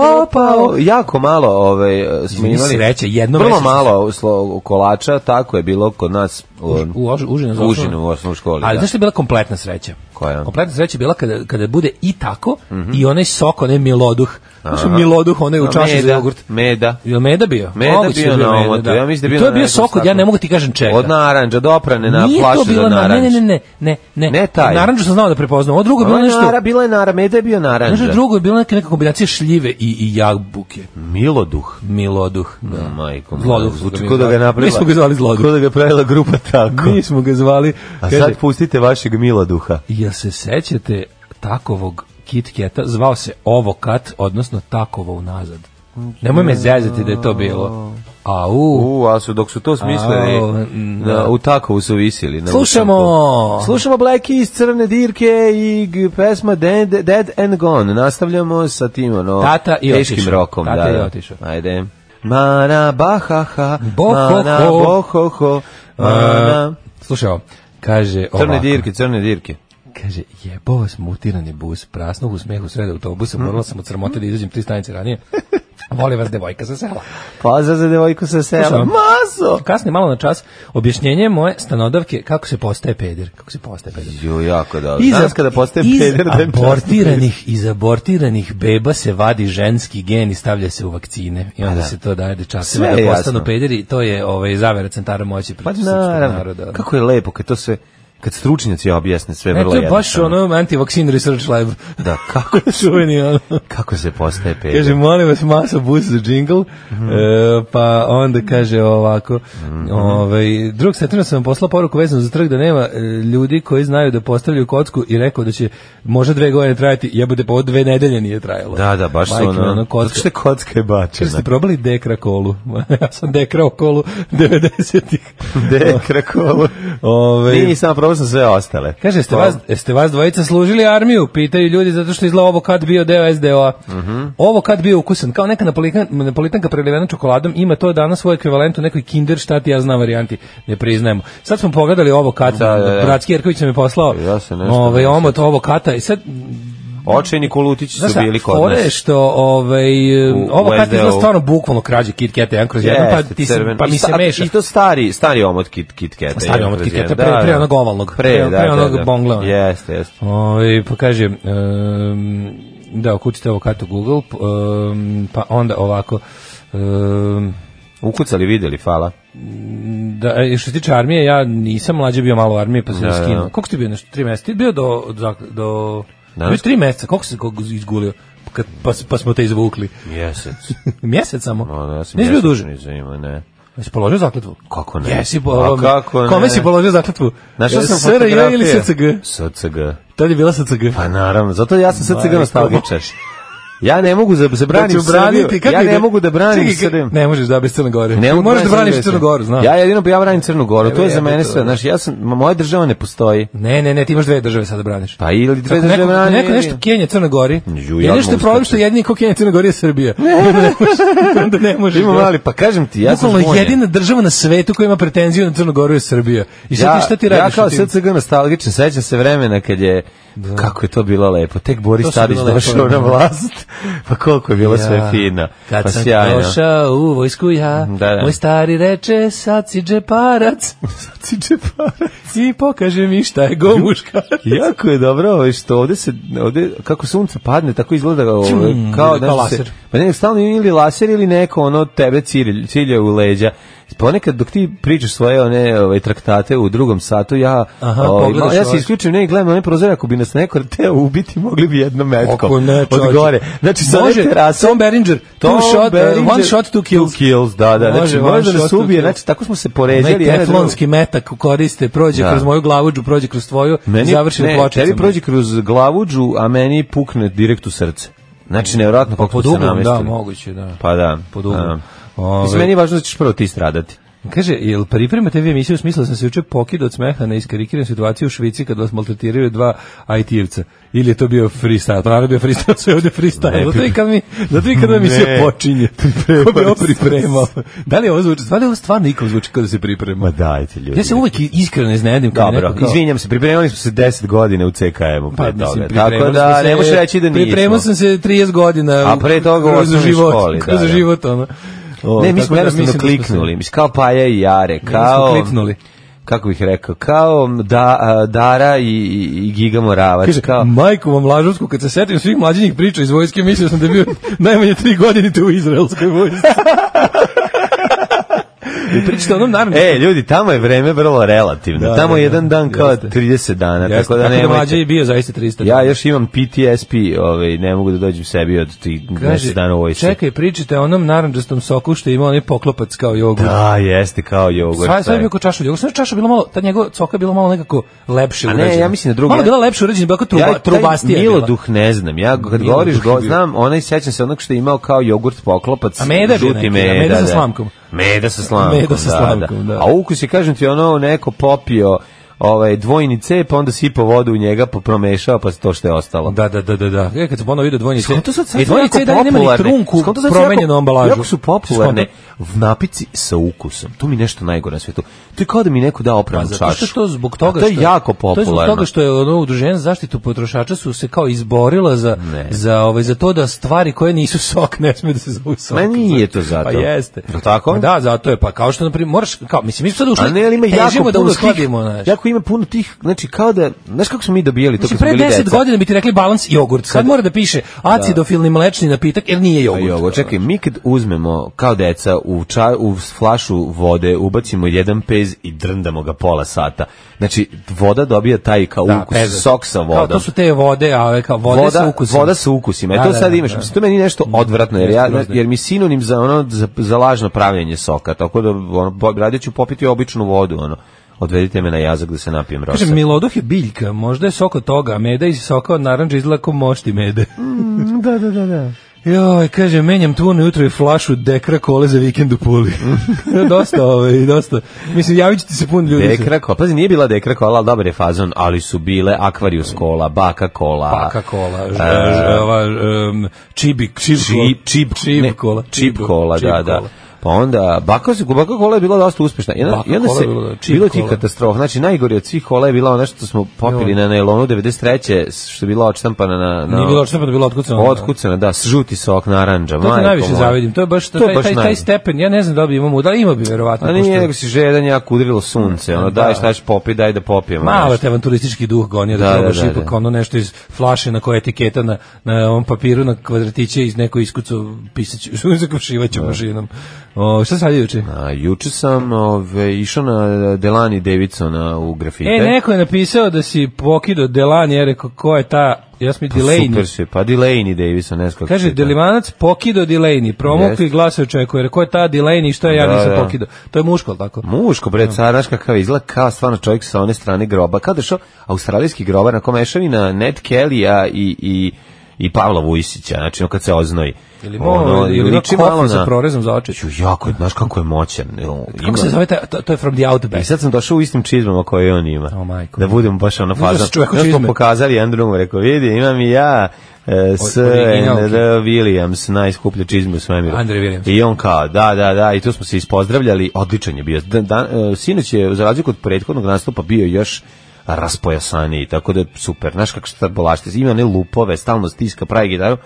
Speaker 6: naklopao.
Speaker 5: Jako malo ove, smo
Speaker 6: Izvini,
Speaker 5: imali.
Speaker 6: sreće, jedno
Speaker 5: Vrlo
Speaker 6: mesečno
Speaker 5: malo slo, kolača, tako je bilo kod nas u,
Speaker 6: u ož- užinu za
Speaker 5: u
Speaker 6: osnovnu.
Speaker 5: užinu u osnovnoj školi.
Speaker 6: Ali
Speaker 5: da.
Speaker 6: znaš što je bila kompletna sreća?
Speaker 5: Koja? Mhm.
Speaker 6: Kompletna sreća je bila kada, kada bude i tako i onaj sok, onaj miloduh. Znaš miloduh, onaj u
Speaker 5: A,
Speaker 6: čaši za
Speaker 5: meda,
Speaker 6: jogurt.
Speaker 5: Meda.
Speaker 6: Jel meda bio?
Speaker 5: Meda
Speaker 6: Moguće
Speaker 5: bio
Speaker 6: je
Speaker 5: na
Speaker 6: meda,
Speaker 5: omotu, ja mislim da je bio
Speaker 6: I to je
Speaker 5: na
Speaker 6: bio
Speaker 5: nekom
Speaker 6: sok od, ja
Speaker 5: staklu.
Speaker 6: ne mogu ti kažem čega.
Speaker 5: Od naranđa, doprane na
Speaker 6: Nije to
Speaker 5: flaše za
Speaker 6: bila, na, ne,
Speaker 5: naranđ.
Speaker 6: ne, ne, ne, ne, ne,
Speaker 5: Ne taj.
Speaker 6: Naranđu sam znao da prepoznam, ovo drugo je
Speaker 5: Ovo
Speaker 6: bilo
Speaker 5: je
Speaker 6: nešto,
Speaker 5: nara, bila je nara, meda je bio naranđa.
Speaker 6: znaš drugo je bila neka, neka kombinacija šljive i, i jabuke.
Speaker 5: Miloduh.
Speaker 6: Miloduh, da.
Speaker 5: Majko,
Speaker 6: Zloduh su
Speaker 5: zvuči
Speaker 6: mi
Speaker 5: ko da ga
Speaker 6: zvali.
Speaker 5: napravila.
Speaker 6: Mi smo ga zvali Zloduh.
Speaker 5: Ko da ga pravila grupa tako.
Speaker 6: Mi smo ga zvali,
Speaker 5: A
Speaker 6: kaže,
Speaker 5: sad pustite vašeg Miloduha.
Speaker 6: Jel se sećate takovog Kit Keta? Zvao se Ovokat, odnosno takovo unazad. Nemoj me zezati da je to bilo. Au.
Speaker 5: U, a su dok su to smislili,
Speaker 6: Au, mm,
Speaker 5: na,
Speaker 6: da.
Speaker 5: u takovu su visili. Na
Speaker 6: Slušamo!
Speaker 5: ušanku. Slušamo Black iz Crne dirke i g- pesma Dead, Dead and Gone. Nastavljamo sa tim, ono,
Speaker 6: Tata i
Speaker 5: teškim
Speaker 6: otišao.
Speaker 5: rokom.
Speaker 6: Tata
Speaker 5: da,
Speaker 6: i
Speaker 5: da.
Speaker 6: otišao.
Speaker 5: Ajde. Mana bahaha,
Speaker 6: Bohoho.
Speaker 5: mana bohoho, mana...
Speaker 6: E, Slušaj ovo. Kaže
Speaker 5: da. Crne
Speaker 6: ovako.
Speaker 5: dirke, crne dirke.
Speaker 6: Kaže, jebo vas mutirani bus, prasnuh u smehu sreda
Speaker 5: Mm.
Speaker 6: autobusa, morala sam od sramote da izađem tri
Speaker 5: [laughs]
Speaker 6: stanice ranije. Voli vas devojka sa sela.
Speaker 5: Paza za devojku sa sela.
Speaker 6: Slušam.
Speaker 5: Maso!
Speaker 6: Kasne malo na čas, objašnjenje moje stanodavke kako se postaje peder. Kako se postaje peder.
Speaker 5: Jo, jako da.
Speaker 6: Iz-
Speaker 5: Danas kada postaje
Speaker 6: iz
Speaker 5: peder da je
Speaker 6: abortiranih, iz abortiranih beba se vadi ženski gen i stavlja se u vakcine. I onda
Speaker 5: da.
Speaker 6: se to daje
Speaker 5: Sve
Speaker 6: dečacima
Speaker 5: je
Speaker 6: da
Speaker 5: jasno.
Speaker 6: postanu pederi. To je ovaj, zavera centara moći
Speaker 5: Pa
Speaker 6: protiv srpskog naroda.
Speaker 5: naravno, kako je lepo kad to sve, kad stručnjaci objasne sve
Speaker 6: E,
Speaker 5: vrlo
Speaker 6: to je
Speaker 5: jednostavno.
Speaker 6: baš ono anti-vaccine research lab. [laughs]
Speaker 5: Da, kako,
Speaker 6: Čuveni, ono.
Speaker 5: kako se postaje peder.
Speaker 6: Kaže, molim vas, masa bus za džingl. E, pa onda kaže ovako, ovaj, drug setina sam vam poslao poruku vezanu za trg da nema e, ljudi koji znaju da postavljaju kocku i rekao da će možda dve godine trajati, jebate, pa ovo dve nedelje nije trajalo.
Speaker 5: da, da, baš su
Speaker 6: Majke mi,
Speaker 5: ono,
Speaker 6: ono,
Speaker 5: zato
Speaker 6: kocka.
Speaker 5: što je kocka je
Speaker 6: Jer
Speaker 5: bačena.
Speaker 6: ste probali dekra kolu. [laughs] ja sam dekrao kolu 90-ih.
Speaker 5: Dekra kolo.
Speaker 6: Ove,
Speaker 5: Nisam, probao sam sve ostale.
Speaker 6: Kaže, ste vas, ste vas dvojica služili armiju? Pitaju ljudi zato što je izgleda ovo kad bio deo SDO-a.
Speaker 5: Mhm.
Speaker 6: Ovo kad bio ukusan, kao neka napolitan, napolitanka prelivena čokoladom, ima to danas svoj ekvivalent u nekoj kinder šta ti ja znam varijanti, ne priznajemo. Sad smo pogledali ovo kad,
Speaker 5: Da, da, da.
Speaker 6: Bratski Jerković nam je poslao
Speaker 5: Ja se nešto
Speaker 6: ovaj,
Speaker 5: ne
Speaker 6: omot ovo kata i sad
Speaker 5: Očajni kolutići su
Speaker 6: Znaš šta,
Speaker 5: bili kod
Speaker 6: fora je
Speaker 5: nas.
Speaker 6: što ovaj,
Speaker 5: U-
Speaker 6: ovo
Speaker 5: u
Speaker 6: kad izgleda
Speaker 5: SDO.
Speaker 6: stvarno bukvalno krađe Kit Kata jedan kroz jedan, pa,
Speaker 5: Jeste,
Speaker 6: ti se,
Speaker 5: crven.
Speaker 6: pa mi
Speaker 5: I
Speaker 6: se
Speaker 5: sta-
Speaker 6: meša. Pa
Speaker 5: I to stari, stari omot kit, kit keta.
Speaker 6: Stari
Speaker 5: je
Speaker 6: omot Kit
Speaker 5: prezident.
Speaker 6: Kata, pre-
Speaker 5: Da,
Speaker 6: pre
Speaker 5: da.
Speaker 6: onog ovalnog,
Speaker 5: Pre,
Speaker 6: pre-
Speaker 5: da,
Speaker 6: pre
Speaker 5: da,
Speaker 6: onog
Speaker 5: da.
Speaker 6: bongle, ono.
Speaker 5: Jeste, jeste.
Speaker 6: Ovaj pa kaže, um, da, ukucite ovo kartu Google, p- em, pa onda ovako, em,
Speaker 5: Ukucali, videli, fala.
Speaker 6: da, e, što se tiče armije, ja nisam mlađe bio malo u armiji, pa sam
Speaker 5: Da,
Speaker 6: da,
Speaker 5: da.
Speaker 6: skinuo. Koliko ste bio nešto? Tri meseca? Ti bio do... do, do
Speaker 5: Danas?
Speaker 6: bio tri meseca, koliko se koliko izgulio? Pa Kad, pa, s- pa smo te izvukli. [laughs]
Speaker 5: Mjesec.
Speaker 6: Mjesec samo?
Speaker 5: Ono, ja sam
Speaker 6: Nisi bio
Speaker 5: mjesec
Speaker 6: duže?
Speaker 5: nisam imao, ne.
Speaker 6: Jesi položio zakletvu?
Speaker 5: Kako ne?
Speaker 6: Jesi
Speaker 5: Pa
Speaker 6: položio.
Speaker 5: kako ne?
Speaker 6: Kome si položio zakletvu?
Speaker 5: Našao sam
Speaker 6: SRJ
Speaker 5: fotografije.
Speaker 6: ili SCG?
Speaker 5: SCG.
Speaker 6: Tad je bila SCG.
Speaker 5: Pa naravno, zato ja sam SCG
Speaker 6: Majko.
Speaker 5: nostalgičar. Ja ne mogu da se branim
Speaker 6: Hoću braniti,
Speaker 5: Srbiju.
Speaker 6: kako
Speaker 5: Ja
Speaker 6: je
Speaker 5: ne
Speaker 6: da-
Speaker 5: mogu da branim
Speaker 6: Čekaj,
Speaker 5: Srbiju.
Speaker 6: Ne možeš da bez Crne Gore.
Speaker 5: Ne
Speaker 6: Ne
Speaker 5: mogu
Speaker 6: možeš da
Speaker 5: branim
Speaker 6: braniš
Speaker 5: Srbiju.
Speaker 6: Crnu Goru, znam.
Speaker 5: Ja jedino bi ja branim Crnu Goru, to je za
Speaker 6: jebote,
Speaker 5: mene sve,
Speaker 6: ono.
Speaker 5: znaš, ja sam ma, moja država ne postoji.
Speaker 6: Ne, ne, ne, ti imaš dve države sada braniš.
Speaker 5: Pa ili dve
Speaker 6: Ako
Speaker 5: države
Speaker 6: neko, ako
Speaker 5: brani.
Speaker 6: neko nešto Kenja Crna Gori.
Speaker 5: Ju,
Speaker 6: je
Speaker 5: ja
Speaker 6: nešto
Speaker 5: mogu
Speaker 6: problem
Speaker 5: skočiti.
Speaker 6: što jedini ko Kenja Crna Gori je Srbija. Onda ne možeš. Onda ne možeš.
Speaker 5: Ima
Speaker 6: da-
Speaker 5: mali, pa kažem ti, ja sam
Speaker 6: Bukvalno
Speaker 5: zbunjen.
Speaker 6: jedina država na svetu koja ima pretenziju na Crnu Goru je Srbija. I sad
Speaker 5: Ja,
Speaker 6: ti šta ti
Speaker 5: ja
Speaker 6: radiš?
Speaker 5: kao
Speaker 6: u tim- Da.
Speaker 5: SCG nostalgičan, sećam se vremena kad je, kako je to bilo lepo, tek
Speaker 6: To
Speaker 5: Boris
Speaker 6: su
Speaker 5: Tadić
Speaker 6: bila lepa
Speaker 5: došao na
Speaker 6: vremena.
Speaker 5: vlast, [laughs] pa koliko je bilo sve fino,
Speaker 6: Kad
Speaker 5: pa
Speaker 6: sam
Speaker 5: sjajno.
Speaker 6: došao u vojsku ja,
Speaker 5: Da, da.
Speaker 6: moj stari reče, sad
Speaker 5: [laughs]
Speaker 6: si džeparac. sad si džeparac. I pokaže mi šta je go muškarac. [laughs]
Speaker 5: Jako je dobro ovaj, što ovde se ovde kako sunce padne tako izgleda ovaj,
Speaker 6: Ćum,
Speaker 5: kao
Speaker 6: ide
Speaker 5: da
Speaker 6: kao
Speaker 5: se
Speaker 6: laser.
Speaker 5: pa ne stalno ili laser ili neko ono tebe cilj cilja u leđa. Ponekad dok ti pričaš svoje one ovaj traktate u drugom satu ja
Speaker 6: Aha,
Speaker 5: ovaj,
Speaker 6: pogledaš
Speaker 5: ma- ja se
Speaker 6: ovaj.
Speaker 5: isključim ne i gledam one prozore ako bi nas neko teo ubiti mogli bi jednom metkom
Speaker 6: Ako ne, čovječe.
Speaker 5: od gore. Znači sa one
Speaker 6: Može,
Speaker 5: terase
Speaker 6: Tom Berenger, two shot, uh, one shot, two kills.
Speaker 5: Two kills, da, da.
Speaker 6: Može,
Speaker 5: Znači
Speaker 6: one
Speaker 5: može da
Speaker 6: shot,
Speaker 5: nas
Speaker 6: two
Speaker 5: ubije,
Speaker 6: kills.
Speaker 5: znači tako smo se
Speaker 6: Onaj
Speaker 5: poređali. jedan na drugog.
Speaker 6: teflonski metak koriste, prođe
Speaker 5: Da.
Speaker 6: kroz moju glavuđu, prođe kroz tvoju i
Speaker 5: Meni,
Speaker 6: završi na
Speaker 5: ne,
Speaker 6: pločicama.
Speaker 5: Tebi prođe kroz glavuđu, a meni pukne direkt u srce. Znači, nevjerojatno kako
Speaker 6: pod
Speaker 5: su se
Speaker 6: uglom, da,
Speaker 5: namestili.
Speaker 6: moguće, da.
Speaker 5: Pa da.
Speaker 6: Pod uglom.
Speaker 5: da.
Speaker 6: Ove-
Speaker 5: Mislim, meni je važno da ćeš prvo ti stradati.
Speaker 6: Kaže, jel pripremate vi emisiju, smislila da sam se juče pokida od smeha na iskarikiran situaciju u Švici kad vas maltretiraju dva IT-evca. Ili je to bio freestyle? Pa naravno je bio freestyle, [laughs] sve je ovdje freestyle. Zato i kad mi, zato i kad mi se
Speaker 5: Ne. [laughs]
Speaker 6: počinje. Ko bi ovo pripremao? Da li ovo zvuči? Stvarno, ovo stvarno nikom zvuči kao da se priprema.
Speaker 5: dajte ljudi.
Speaker 6: Ja se uvek iskreno iznenadim kad mi
Speaker 5: Dobro,
Speaker 6: neko kao... Pa,
Speaker 5: izvinjam se, pripremali smo se 10 godine u CKM-u pre toga. E, Tako
Speaker 6: pripremao sam
Speaker 5: da,
Speaker 6: se-
Speaker 5: ne možeš reći da nismo.
Speaker 6: Pripremao sam se 30 godina.
Speaker 5: A pre toga u
Speaker 6: kroz
Speaker 5: osnovnoj
Speaker 6: život,
Speaker 5: školi, da,
Speaker 6: Kroz
Speaker 5: da.
Speaker 6: život, ono. O,
Speaker 5: Ne, mi
Speaker 6: tako
Speaker 5: smo
Speaker 6: da
Speaker 5: jednostavno
Speaker 6: mislim da smo se-
Speaker 5: kliknuli. Mislim, kao Paja i Jare,
Speaker 6: Mi
Speaker 5: kao...
Speaker 6: smo kliknuli.
Speaker 5: Kako bih rekao, kao da, a, Dara i, i- i Giga Moravac,
Speaker 6: Kaže,
Speaker 5: pa kao...
Speaker 6: majku vam lažovsku, kad se setim svih mlađenjih priča iz vojske, mislio sam da je bio [laughs] najmanje tri godine te u izraelskoj vojsci. [laughs] I pričate o onom naravno.
Speaker 5: E, ljudi, tamo je vreme vrlo relativno.
Speaker 6: Da,
Speaker 5: tamo je
Speaker 6: da, da.
Speaker 5: jedan dan kao
Speaker 6: Jeste.
Speaker 5: 30 dana,
Speaker 6: Jeste,
Speaker 5: tako da
Speaker 6: mlađe
Speaker 5: nemojte.
Speaker 6: je bio zaista 300.
Speaker 5: Ja još imam PTSP, ovaj, ne mogu da dođem sebi od tih mesec dana u vojci.
Speaker 6: čekaj, pričate o onom naranđastom soku što ima onaj poklopac kao jogurt.
Speaker 5: Da, jeste kao jogurt.
Speaker 6: Sva sve
Speaker 5: taj.
Speaker 6: bio kao čaša jogurta. Sve čaša bila malo, ta njegova coka je bila malo nekako lepše
Speaker 5: A ne,
Speaker 6: urađena.
Speaker 5: ja mislim da druga-
Speaker 6: Malo je bila lepše urađena, bila kao truba,
Speaker 5: ja,
Speaker 6: trubastija.
Speaker 5: taj
Speaker 6: je bila.
Speaker 5: Miloduh ne znam. Ja kad
Speaker 6: Miloduh
Speaker 5: govoriš,
Speaker 6: je
Speaker 5: go,
Speaker 6: bio.
Speaker 5: znam, onaj sećam se onog što je imao kao jogurt poklopac,
Speaker 6: A meda je bio
Speaker 5: žuti
Speaker 6: neki, da,
Speaker 5: meda,
Speaker 6: meda sa
Speaker 5: da.
Speaker 6: slamkom.
Speaker 5: Meda sa slamkom,
Speaker 6: Meda sa
Speaker 5: da,
Speaker 6: slamkom, da.
Speaker 5: A ukus je, kažem ti, ono neko popio ovaj dvojni cep, onda sipao vodu u njega, pa promešao, pa to što je ostalo.
Speaker 6: Da, da, da, da, da. E, kad sam ono vidio dvojni C.
Speaker 5: Skonto to sad, sad
Speaker 6: e, dvojni C da nema ni trunku promenjenu ambalažu.
Speaker 5: Jako su popularne v napici sa ukusom. To mi je nešto najgore na svetu. To je kao da mi neko da opranu čašu.
Speaker 6: Pa
Speaker 5: Pa
Speaker 6: Zato što je to zbog toga
Speaker 5: To
Speaker 6: što
Speaker 5: je jako
Speaker 6: To je zbog
Speaker 5: popularno.
Speaker 6: toga što je ono udruženje za zaštitu potrošača su se kao izborila za
Speaker 5: Ne.
Speaker 6: za ovaj za to da stvari koje nisu sok ne sme da se zovu sok.
Speaker 5: Ma nije to zato.
Speaker 6: Pa jeste.
Speaker 5: Jel tako?
Speaker 6: Pa Da, zato je pa kao što na primjer moraš kao mislim mi smo sad ušli.
Speaker 5: A ne, ali ima jako
Speaker 6: težimo da
Speaker 5: puno
Speaker 6: uskladimo,
Speaker 5: tih,
Speaker 6: znaš.
Speaker 5: jako ima puno tih, znači kao da, znaš kako smo mi dobijali to
Speaker 6: Mislim,
Speaker 5: kad smo
Speaker 6: Znači, pre
Speaker 5: bili deca? Da.
Speaker 6: 10 godina bi ti rekli balans jogurt. Sad mora da piše acidofilni mlečni napitak, jer nije
Speaker 5: Pa
Speaker 6: jogurt.
Speaker 5: i ovo, čekaj, mi kad uzmemo kao deca u, ča, u flašu vode, ubacimo jedan pez i drndamo ga pola sata. Znači, voda dobija taj kao
Speaker 6: Da,
Speaker 5: ukus,
Speaker 6: pezat.
Speaker 5: sok sa
Speaker 6: Kao,
Speaker 5: vodom.
Speaker 6: to su te vode, a ove kao vode
Speaker 5: voda,
Speaker 6: sa ukusom.
Speaker 5: voda sa ukusima. E
Speaker 6: Da,
Speaker 5: to
Speaker 6: da,
Speaker 5: sad
Speaker 6: da,
Speaker 5: imaš.
Speaker 6: da.
Speaker 5: Mislim, to je meni nešto odvratno, jer, ja,
Speaker 6: Jeste grozno.
Speaker 5: jer mi sinonim za, ono, za, za lažno pravljenje soka. Tako da, ono, po- radije ću popiti običnu vodu, ono. Odvedite me na jazak da se napijem rosa.
Speaker 6: Kaže, miloduh je biljka, možda je sok od toga, a meda iz soka od naranđa izgleda kao
Speaker 5: [laughs]
Speaker 6: mošti mede.
Speaker 5: da, da, da, da.
Speaker 6: Joj, kaže, menjam tu ujutro i flašu dekra kole za vikend u
Speaker 5: [laughs]
Speaker 6: Puli. dosta, ovaj, dosta. Mislim, javit će ti se pun ljudi.
Speaker 5: Dekra kola, pazi, nije bila dekra kola, ali dobar je fazon, ali su bile akvarijus kola, baka kola.
Speaker 6: Paka
Speaker 5: E.
Speaker 6: kola, ž, ž, ova, um, čibi, čib,
Speaker 5: Čip, čip,
Speaker 6: čib
Speaker 5: ne,
Speaker 6: kola.
Speaker 5: Čip kola,
Speaker 6: čib
Speaker 5: da, da. Pa onda, baka, se- baka kola je bila dosta uspešna. I onda,
Speaker 6: Baka
Speaker 5: i onda
Speaker 6: kola
Speaker 5: se,
Speaker 6: je bila,
Speaker 5: bilo,
Speaker 6: da, čip
Speaker 5: ti
Speaker 6: kola.
Speaker 5: katastrofa. Znači, najgore od svih kola je bila ona što smo popili na nailonu 93. što je bila odštampana na... na
Speaker 6: Nije bilo odštampano, bilo otkucano.
Speaker 5: Otkucana, da, s žuti sok, naranđa,
Speaker 6: To
Speaker 5: majko.
Speaker 6: ti najviše
Speaker 5: moja.
Speaker 6: zavidim, to je baš
Speaker 5: To je
Speaker 6: taj,
Speaker 5: baš
Speaker 6: taj, taj
Speaker 5: naj-
Speaker 6: stepen, ja ne znam da li bi imao muda, ali ima bi verovatno.
Speaker 5: A
Speaker 6: pošto-
Speaker 5: nije, nego si žedan, jako udrilo sunce, ono,
Speaker 6: Da.
Speaker 5: daj šta ćeš popi, daj da popijemo.
Speaker 6: Malo
Speaker 5: nešto.
Speaker 6: te avanturistički duh gonio da,
Speaker 5: Da, da,
Speaker 6: probaš
Speaker 5: da,
Speaker 6: ipak
Speaker 5: da.
Speaker 6: ono nešto iz flaše na koje je etiketa na, [laughs]
Speaker 5: Da.
Speaker 6: na ovom papiru na kvadratiće iz neko iskucu pisaću, zakušivaću mašinom. O, šta sam radio juče?
Speaker 5: A, juče sam ove, išao na Delani Davidsona u grafite.
Speaker 6: E, neko je napisao da si pokido Delani, ja rekao, ko je ta, ja sam i
Speaker 5: Pa Super
Speaker 6: Delaney.
Speaker 5: se, pa Delaney Davison, ne znam kako
Speaker 6: Kaže,
Speaker 5: se čita.
Speaker 6: Delimanac pokido Delaney, promokli
Speaker 5: Jeste.
Speaker 6: glase očekuje, rekao je ta Delaney, što ja
Speaker 5: Da,
Speaker 6: nisam
Speaker 5: da.
Speaker 6: pokido. To je muško, ali tako?
Speaker 5: Muško,
Speaker 6: Da.
Speaker 5: bre, caraš kakav izgleda, kao stvarno čovjek sa one strane groba. Kao da je šo australijski grobar na kome mešavina Ned Kelly-a i, i, i Pavla Vujsića, znači on kad se oznoji.
Speaker 6: Ili ima, ili ima
Speaker 5: liči
Speaker 6: kofan sa prorezom za oči.
Speaker 5: Ću, jako, je, znaš kako je moćan. Evo,
Speaker 6: Kako se
Speaker 5: ima-
Speaker 6: zove, ta, to, to je From the
Speaker 5: I
Speaker 6: Outback.
Speaker 5: sad sam došao u istim čizmama koje on ima.
Speaker 6: O, majko.
Speaker 5: Da budemo baš ono
Speaker 6: Znaš da
Speaker 5: fazan.
Speaker 6: si čovjek u
Speaker 5: Znaš smo
Speaker 6: čizme?
Speaker 5: pokazali jedan drugom, rekao, vidi, imam i ja e, S.
Speaker 6: originalke.
Speaker 5: N. R. Williams, najskuplje čizme u svemiru.
Speaker 6: Andre Williams.
Speaker 5: I on kao, da, da, da, i tu smo se ispozdravljali, odličan je bio. Da, da, e, sinoć je, za razliku od prethodnog nastupa, bio još raspojasaniji, tako da super. Znaš kako šta bolašte, ima one lupove, stalno stiska, pravi gitaru,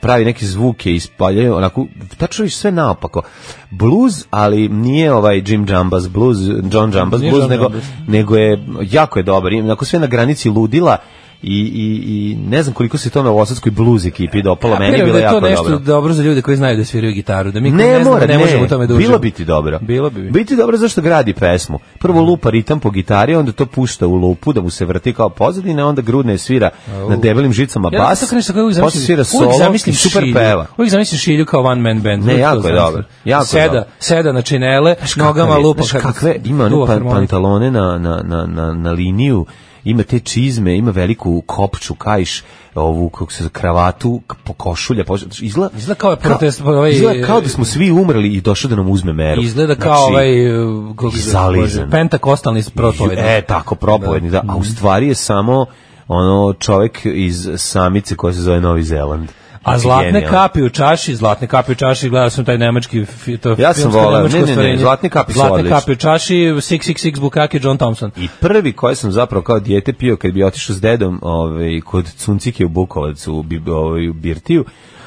Speaker 5: pravi neke zvuke ispaljaju, onako, tačno je sve naopako. Blues, ali nije ovaj Jim Jambas blues, John Jambas
Speaker 6: Nije
Speaker 5: blues,
Speaker 6: John
Speaker 5: nego,
Speaker 6: Jambas.
Speaker 5: nego je, jako je dobar, ima onako sve na granici ludila, I, i, i ne znam koliko se to na Osadskoj blues ekipi dopalo,
Speaker 6: Ja
Speaker 5: meni je bilo
Speaker 6: vjerujem da je
Speaker 5: jako
Speaker 6: to nešto
Speaker 5: dobro.
Speaker 6: dobro za ljude koji znaju da sviraju gitaru, da mi koji
Speaker 5: Ne,
Speaker 6: ne, znamo,
Speaker 5: mora,
Speaker 6: ne možemo u tome da uživamo.
Speaker 5: Bilo bi ti dobro.
Speaker 6: Bilo bi. Da.
Speaker 5: Biti dobro zašto gradi pesmu. Prvo lupa ritam po gitari, onda to pušta u lupu da mu se vrti kao pozadina, onda grudne svira na debelim žicama
Speaker 6: Ja
Speaker 5: bas.
Speaker 6: tako nešto kako uvijek
Speaker 5: posle
Speaker 6: zamislim.
Speaker 5: svira solo
Speaker 6: uvijek zamislim
Speaker 5: i super
Speaker 6: šilju.
Speaker 5: peva.
Speaker 6: Uvijek zamislim šilju kao one man band.
Speaker 5: Ne,
Speaker 6: Uvijek
Speaker 5: jako
Speaker 6: to
Speaker 5: je
Speaker 6: zamislim.
Speaker 5: dobar, jako je
Speaker 6: seda,
Speaker 5: dobar.
Speaker 6: seda na činele, nogama
Speaker 5: Kakav je,
Speaker 6: lupa.
Speaker 5: znaš kakve ima one pan, pantalone na, na, na, na, na liniju, ima te čizme, ima veliku kopču, kajš, ovu kako se zove, kravatu, k- po košulja, po, izgleda,
Speaker 6: Izgleda kao je protest,
Speaker 5: kao,
Speaker 6: ovaj,
Speaker 5: izgleda kao da smo svi umrli i došao da nam uzme meru.
Speaker 6: Izgleda kao
Speaker 5: Znači,
Speaker 6: ovaj uh, kako se zove,
Speaker 5: zalizan.
Speaker 6: Bože, pentakostalni propoved.
Speaker 5: E, tako, propovedni, da. A
Speaker 6: Mhm.
Speaker 5: u stvari je samo ono čovjek iz samice koja se zove Novi Zeland.
Speaker 6: A
Speaker 5: Znači,
Speaker 6: zlatne
Speaker 5: genijalno.
Speaker 6: kapi u čaši, zlatne kapi u čaši, gledao sam taj nemački fi- to
Speaker 5: Ja sam
Speaker 6: filmsko
Speaker 5: voleo,
Speaker 6: nemačko
Speaker 5: ne, ne, ne,
Speaker 6: ostvarenje.
Speaker 5: zlatne kapi su
Speaker 6: Zlatne
Speaker 5: odlične.
Speaker 6: kapi u čaši, 666 Bukake, John Thompson.
Speaker 5: I prvi koji sam zapravo kao dijete pio kad bi otišao s dedom ovaj, kod Cuncike u Bukovac u, Bi- ovaj, u Birtiju,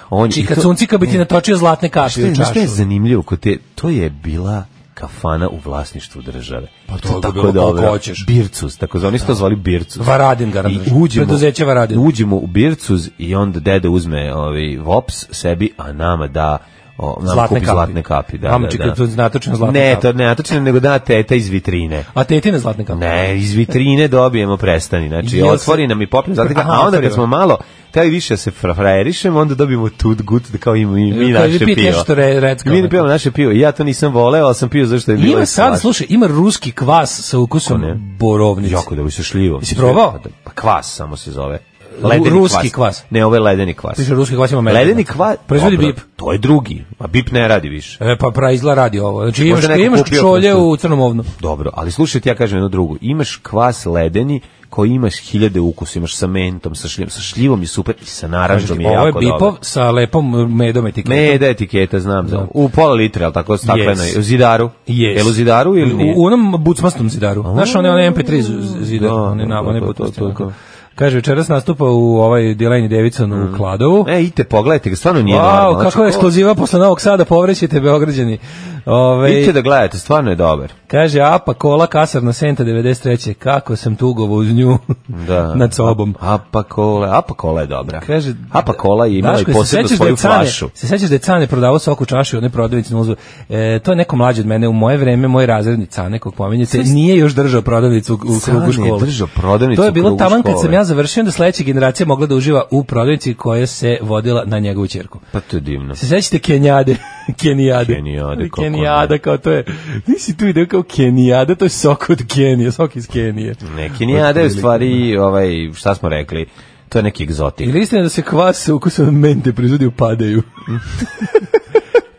Speaker 5: on i
Speaker 6: Čika
Speaker 5: to-
Speaker 6: Cuncika bi ti natočio zlatne
Speaker 5: Šta
Speaker 6: kapi
Speaker 5: je,
Speaker 6: u
Speaker 5: znaš šta je
Speaker 6: čašu.
Speaker 5: zanimljivo kod te, to je bila kafana u vlasništvu države. Pa
Speaker 6: to je bilo koliko hoćeš. Da.
Speaker 5: Bircus, tako zvani su to zvali Bircus.
Speaker 6: Varadin garant.
Speaker 5: I uđemo,
Speaker 6: Preduzeće Varadin.
Speaker 5: Uđemo u Bircuz i onda dede uzme ovaj vops sebi, a nama da o, nama zlatne
Speaker 6: Zlatne
Speaker 5: kupi
Speaker 6: kapi.
Speaker 5: zlatne kapi. Da,
Speaker 6: Vama
Speaker 5: da,
Speaker 6: čeka
Speaker 5: da.
Speaker 6: to natočene zlatne
Speaker 5: ne,
Speaker 6: kapi.
Speaker 5: to ne natočene, nego da teta iz vitrine.
Speaker 6: A tetine zlatne kapi.
Speaker 5: Ne, iz vitrine dobijemo prestani. Znači,
Speaker 6: Jel se-
Speaker 5: otvori nam i popne zlatne kapi,
Speaker 6: Aha,
Speaker 5: a onda
Speaker 6: otvori
Speaker 5: kad smo malo teli više da se fra- frajerišemo, onda dobijemo tut gut da kao imamo i mi
Speaker 6: Kao vi
Speaker 5: naše
Speaker 6: pijete
Speaker 5: pivo.
Speaker 6: nešto re- recka,
Speaker 5: mi ne
Speaker 6: onako.
Speaker 5: pijemo naše pivo. I Ja to nisam voleo, ali sam pio zašto je bilo.
Speaker 6: Ima sad,
Speaker 5: slatko.
Speaker 6: slušaj, ima ruski kvas sa ukusom
Speaker 5: Kako ne?
Speaker 6: borovnice.
Speaker 5: Jako dobro sa šljivom.
Speaker 6: Jesi probao?
Speaker 5: Pa kvas samo se zove.
Speaker 6: Ru- ruski kvas.
Speaker 5: Ne, ovo je ledeni kvas.
Speaker 6: Piše ruski kvas, ima metalni.
Speaker 5: Ledeni kvas.
Speaker 6: Proizvodi
Speaker 5: Dobro,
Speaker 6: BIP.
Speaker 5: To je drugi. A BIP ne radi više.
Speaker 6: E, pa praizla radi ovo. Znači imaš,
Speaker 5: Možda neko
Speaker 6: imaš
Speaker 5: kupio pa
Speaker 6: čolje
Speaker 5: pošto-
Speaker 6: u crnom ovnu.
Speaker 5: Dobro, ali slušaj ti ja kažem jednu drugu. Imaš kvas ledeni koji imaš hiljade ukusa, imaš sa mentom, sa šljivom, sa šljivom je super i sa naranđom je
Speaker 6: Ovo je
Speaker 5: jako
Speaker 6: bipov
Speaker 5: dobro.
Speaker 6: sa lepom medom etiketom.
Speaker 5: Meda etiketa, znam
Speaker 6: Da.
Speaker 5: za U pola litra, ali tako stakleno
Speaker 6: Yes.
Speaker 5: je. U zidaru?
Speaker 6: Yes.
Speaker 5: Jel u zidaru ili nije?
Speaker 6: U, u onom bucmastom zidaru. Znaš, one, one MP3 z- z- zidar,
Speaker 5: Da,
Speaker 6: one,
Speaker 5: da,
Speaker 6: na, one
Speaker 5: da,
Speaker 6: bucmaste,
Speaker 5: da, da,
Speaker 6: onako.
Speaker 5: da.
Speaker 6: Kaže, večeras nastupa u ovaj Delaney Davidson u Kladovu.
Speaker 5: E, idite, pogledajte ga, stvarno nije normalno.
Speaker 6: Wow,
Speaker 5: Znači,
Speaker 6: kako je
Speaker 5: ko-
Speaker 6: ekskluziva posle Novog Sada, povrećite Beograđani. Ove,
Speaker 5: Idite da gledate, stvarno je dobar.
Speaker 6: Kaže, apa, kola, kasarna, senta, 93. Kako sam tugovo uz nju
Speaker 5: Da.
Speaker 6: [laughs] nad sobom.
Speaker 5: Apa kola, apa kola je dobra.
Speaker 6: Kaže,
Speaker 5: apa cola je imala
Speaker 6: Daško,
Speaker 5: i
Speaker 6: se
Speaker 5: posebno
Speaker 6: sećaš da
Speaker 5: svoju
Speaker 6: je Cane-
Speaker 5: flašu.
Speaker 6: Se sećaš da je Cane prodavao sok u čaši u onoj prodavnici na uzor? E, to je neko mlađe od mene. U moje vreme, moj razredni Cane, kog pominjete, nije još držao prodavnicu u, u
Speaker 5: Cane
Speaker 6: krugu
Speaker 5: je
Speaker 6: škole.
Speaker 5: držao prodavnicu
Speaker 6: To je
Speaker 5: u
Speaker 6: bilo
Speaker 5: krugu
Speaker 6: taman kad
Speaker 5: škole.
Speaker 6: sam ja završio, da sledeća generacija mogla da uživa u prodavnici koja se vodila na njegovu čerku.
Speaker 5: Pa to je divno.
Speaker 6: Se sećate Kenijade? [laughs] Kenijade.
Speaker 5: Kenijade, kako
Speaker 6: Kenijada,
Speaker 5: ne.
Speaker 6: kao to je. Nisi tu ideo kao Kenijada, to je sok od Kenije, sok iz Kenije.
Speaker 5: Neki
Speaker 6: Pa
Speaker 5: nije, a da je u stvari, ovaj, šta smo rekli, to je neki egzotik.
Speaker 6: Ili istina da se kvas sa ukusom mente proizvodi u
Speaker 5: [laughs]
Speaker 6: padeju.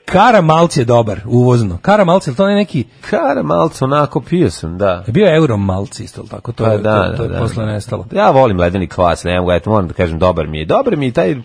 Speaker 6: Karamalc je dobar, uvozno. Karamalc, je li to ne neki...
Speaker 5: Kara malce onako pio sam, da.
Speaker 6: Bio je Euromalc isto, ali tako? To,
Speaker 5: Pa
Speaker 6: je,
Speaker 5: da,
Speaker 6: to, to je
Speaker 5: da, da.
Speaker 6: posle nestalo.
Speaker 5: Ja volim ledeni kvas, ne mogu, eto, moram da kažem, dobar mi je. Dobar mi je i taj,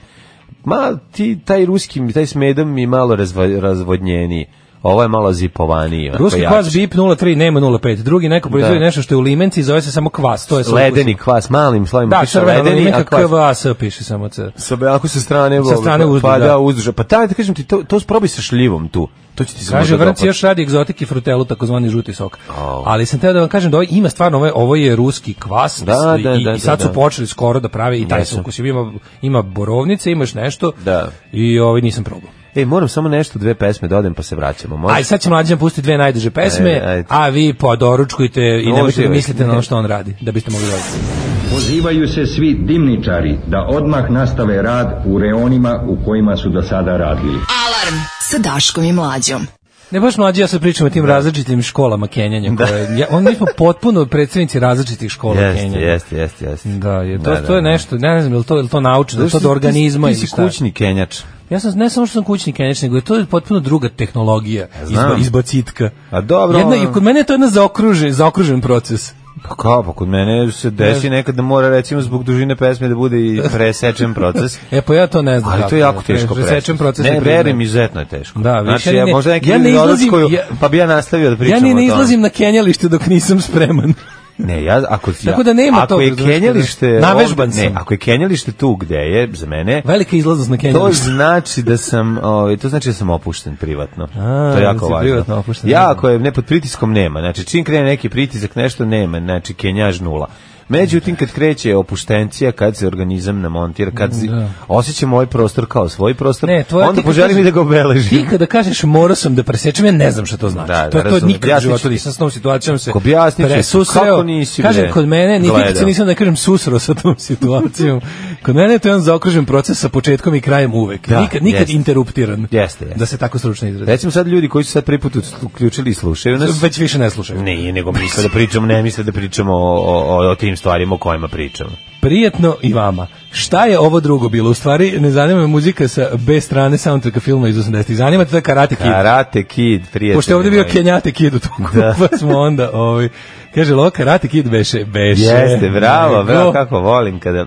Speaker 5: ma, ti, taj ruski, mi- taj s medom mi je malo razvo, razvodnjeniji. Ovo je malo zipovaniji. onako
Speaker 6: Ruski
Speaker 5: jači.
Speaker 6: kvas BIP 03, nema 05. Drugi neko proizvodi
Speaker 5: Da.
Speaker 6: nešto što je u limenci i zove se samo kvas. To je sa
Speaker 5: Ledeni
Speaker 6: ukusom.
Speaker 5: kvas, malim slovima
Speaker 6: Da,
Speaker 5: piše
Speaker 6: crvena
Speaker 5: ledeni,
Speaker 6: limenka
Speaker 5: a kvas
Speaker 6: kvas piše samo C.
Speaker 5: sa ako sa strane
Speaker 6: Sa strane
Speaker 5: pa,
Speaker 6: uzduž,
Speaker 5: pa
Speaker 6: da.
Speaker 5: da uzduž pa taj da kažem ti to to probaj sa šljivom tu to će ti se
Speaker 6: Kaže
Speaker 5: možda
Speaker 6: Vrnci
Speaker 5: dopasti.
Speaker 6: još radi egzotiki frutelu takozvani žuti sok.
Speaker 5: da Au.
Speaker 6: Ali sam teo da vam kažem da ovo ima stvarno ovo je, ovo je ruski kvas
Speaker 5: Da,
Speaker 6: i,
Speaker 5: da,
Speaker 6: i-
Speaker 5: da,
Speaker 6: i sad
Speaker 5: da,
Speaker 6: su
Speaker 5: da.
Speaker 6: počeli skoro da prave i taj
Speaker 5: Jesu.
Speaker 6: se ukus ima ima borovnice, imaš nešto.
Speaker 5: Da.
Speaker 6: I ovaj nisam probao.
Speaker 5: Ej, moram samo nešto, dve pesme da odem pa se vraćamo. Može? E,
Speaker 6: Aj, sad će mlađan pustiti dve najduže pesme,
Speaker 5: Ajde, ajde.
Speaker 6: a vi podoručkujte i nemojte da
Speaker 5: Uživajte.
Speaker 6: mislite na ono što on radi, da biste mogli raditi.
Speaker 1: Pozivaju se svi dimničari da odmah nastave rad u reonima u kojima su do sada radili.
Speaker 4: Alarm sa Daškom i Mlađom.
Speaker 6: Ne baš mlađi, ja sad pričam o
Speaker 5: Da.
Speaker 6: tim različitim školama Kenjanja. Koje, ja, on, mi smo potpuno predsednici različitih škola
Speaker 5: Jeste,
Speaker 6: Kenjanja.
Speaker 5: jeste, jeste, jeste.
Speaker 6: Da, je, to, to je nešto, ne znam, je li to, je li to naučno, je li to do organizma
Speaker 5: Ti,
Speaker 6: ili
Speaker 5: ti si
Speaker 6: šta?
Speaker 5: kućni kenjač.
Speaker 6: Ja sam, ne samo što sam kućni kenjač, nego je to potpuno druga tehnologija, izba,
Speaker 5: E, znam.
Speaker 6: izbacitka.
Speaker 5: A dobro,
Speaker 6: Jedna,
Speaker 5: ono-
Speaker 6: I kod mene je to jedna zaokružen, zaokružen proces.
Speaker 5: Pa kao, pa kod mene se desi nekad da mora recimo zbog dužine pesme da bude
Speaker 6: [laughs]
Speaker 5: i presečen proces.
Speaker 6: E pa ja to ne znam.
Speaker 5: Ali
Speaker 6: kako
Speaker 5: to je jako
Speaker 6: pre-
Speaker 5: teško
Speaker 6: presečem proces.
Speaker 5: Ne,
Speaker 6: priznajem.
Speaker 5: verujem, izuzetno je teško.
Speaker 6: Da, više
Speaker 5: znači, ja,
Speaker 6: ne-
Speaker 5: možda neki
Speaker 6: ja
Speaker 5: ja ne
Speaker 6: ne izlazim-
Speaker 5: izlazim,
Speaker 6: ja-
Speaker 5: pa bi ja nastavio da pričam
Speaker 6: Ja ni
Speaker 5: o
Speaker 6: ne
Speaker 5: tome.
Speaker 6: izlazim na kenjalište dok nisam spreman.
Speaker 5: Ne, ja, ako, ja,
Speaker 6: Tako da nema
Speaker 5: ako
Speaker 6: tog,
Speaker 5: je
Speaker 6: razumeš,
Speaker 5: kenjalište...
Speaker 6: kada- Navežban
Speaker 5: ovde-
Speaker 6: sam.
Speaker 5: Ne, ako je kenjalište tu gde je, za mene,
Speaker 6: Velika izlaznost na
Speaker 5: To
Speaker 6: kenjalište.
Speaker 5: znači da sam, ovaj to znači da sam opušten privatno.
Speaker 6: A,
Speaker 5: to je
Speaker 6: da
Speaker 5: jako
Speaker 6: si
Speaker 5: važno.
Speaker 6: privatno opušten. da.
Speaker 5: Ja ako je ne pod pritiskom nema, znači čim krene neki pritisak nešto nema, znači kenjaž nula. Međutim, kad kreće opuštencija, kad se organizam namontira, kad si,
Speaker 6: Da.
Speaker 5: osjećam ovaj prostor kao svoj prostor,
Speaker 6: Ne, tvoja- ti
Speaker 5: onda
Speaker 6: kad
Speaker 5: poželim
Speaker 6: kažeš-
Speaker 5: i da ga obeležim.
Speaker 6: Ti kada kažeš morao sam da presečem, ja ne znam šta to znači.
Speaker 5: Da, da,
Speaker 6: to, to
Speaker 5: razumem.
Speaker 6: nikad u
Speaker 5: Objasnit ću
Speaker 6: životu
Speaker 5: ti.
Speaker 6: nisam s tom situacijom se
Speaker 5: Objasnit ću ti.
Speaker 6: presusreo.
Speaker 5: Kako nisi, bre,
Speaker 6: Kažem, kod mene, nikad se
Speaker 5: gledao?
Speaker 6: nisam da kažem susro sa tom situacijom. kod mene je to jedan zaokružen proces sa početkom i krajem uvek.
Speaker 5: Da,
Speaker 6: nikad nikad
Speaker 5: jeste.
Speaker 6: interruptiran.
Speaker 5: Jeste, jeste.
Speaker 6: Da se tako stručno izrazi.
Speaker 5: Recimo sad ljudi koji su sad prvi put uključili i slušaju nas,
Speaker 6: Već više ne slušaju.
Speaker 5: ne, nego misle da pričamo, ne misle da pričamo o, o, o tim stvarima o kojima pričamo.
Speaker 6: Prijetno i vama. Šta je ovo drugo bilo? U stvari, ne zanima me muzika sa B strane soundtracka filma iz 80-ih. Zanima te to je Karate Kid.
Speaker 5: Karate Kid, prijatelji
Speaker 6: Pošto je ovde bio
Speaker 5: moji.
Speaker 6: Kenjate Kid u toku, da. pa smo onda, ovaj, kaže, lo, Karate Kid beše, beše.
Speaker 5: Jeste, bravo,
Speaker 6: Nego-
Speaker 5: bravo, kako volim kada...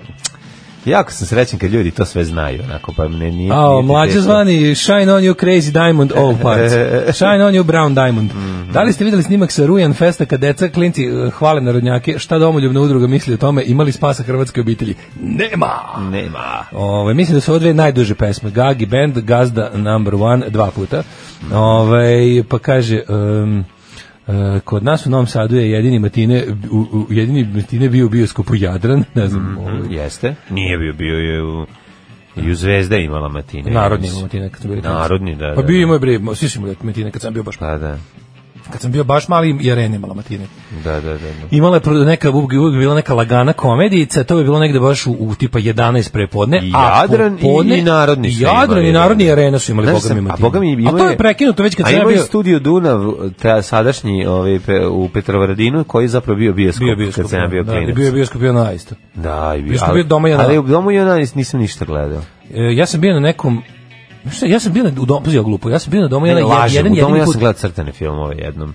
Speaker 5: Jako sam srećen kad ljudi to sve znaju, onako, pa ne nije...
Speaker 6: A,
Speaker 5: nije ti
Speaker 6: mlađe
Speaker 5: teško.
Speaker 6: zvani Shine on you crazy diamond all
Speaker 5: [laughs]
Speaker 6: parts. Shine on you brown diamond.
Speaker 5: Mhm.
Speaker 6: Da li ste videli snimak sa Rujan Festa kad deca klinci eh, hvale narodnjake? Šta domoljubna udruga misli o tome? Imali spasa hrvatske obitelji? Nema!
Speaker 5: Nema.
Speaker 6: Ove, mislim da su ovo dve najduže pesme. Gagi Band, Gazda Number One, dva puta. Ove, pa kaže... Um, e, kod nas u Novom Sadu je jedini matine u, u, jedini matine bio u bioskopu Jadran, ne znam,
Speaker 5: Mm-hmm.
Speaker 6: ovaj,
Speaker 5: Jeste? Nije bio, bio je u... I u Zvezda je imala Matine.
Speaker 6: narodni
Speaker 5: Ja mislim.
Speaker 6: matine kad sam bio klinac.
Speaker 5: Narodni, da,
Speaker 6: Pa
Speaker 5: da,
Speaker 6: bio
Speaker 5: da.
Speaker 6: i moj bre, mo- svi su imali matine kad sam bio baš
Speaker 5: Pa da,
Speaker 6: kad sam bio baš mali i arena imala matine.
Speaker 5: da, da, da. da.
Speaker 6: Imala je pro- neka uvijek uvijek bila neka lagana komedijica, to je bilo negde baš u, u tipa 11 prepodne,
Speaker 5: I
Speaker 6: a
Speaker 5: Jadran i-
Speaker 6: popodne-
Speaker 5: i Narodni su
Speaker 6: Jadran i
Speaker 5: imali,
Speaker 6: Narodni i
Speaker 5: da.
Speaker 6: Arena su imali
Speaker 5: Znaš
Speaker 6: boga mi
Speaker 5: sam,
Speaker 6: matine.
Speaker 5: a boga mi imao
Speaker 6: a to je prekinuto već kad sam ja bio.
Speaker 5: A imao je studio Dunav, ta sadašnji ovaj, pe, u Petrovaradinu, koji je zapravo bio bioskop,
Speaker 6: bio bioskop,
Speaker 5: kad sam ja bio
Speaker 6: da,
Speaker 5: klinac.
Speaker 6: bio je bioskop bio na isto.
Speaker 5: Da, i bio,
Speaker 6: Bioskop bio Doma i Ana.
Speaker 5: Ali u domu i ona nisam ništa gledao.
Speaker 6: E, ja sam bio na nekom Znaš Šta, ja sam bio na, u domu, pazi, ja glupo, ja sam bio na domu jedan,
Speaker 5: Ne, lažem,
Speaker 6: jedan
Speaker 5: u domu
Speaker 6: jedini
Speaker 5: ja
Speaker 6: put. E.
Speaker 5: sam gledao crtane filmove jednom.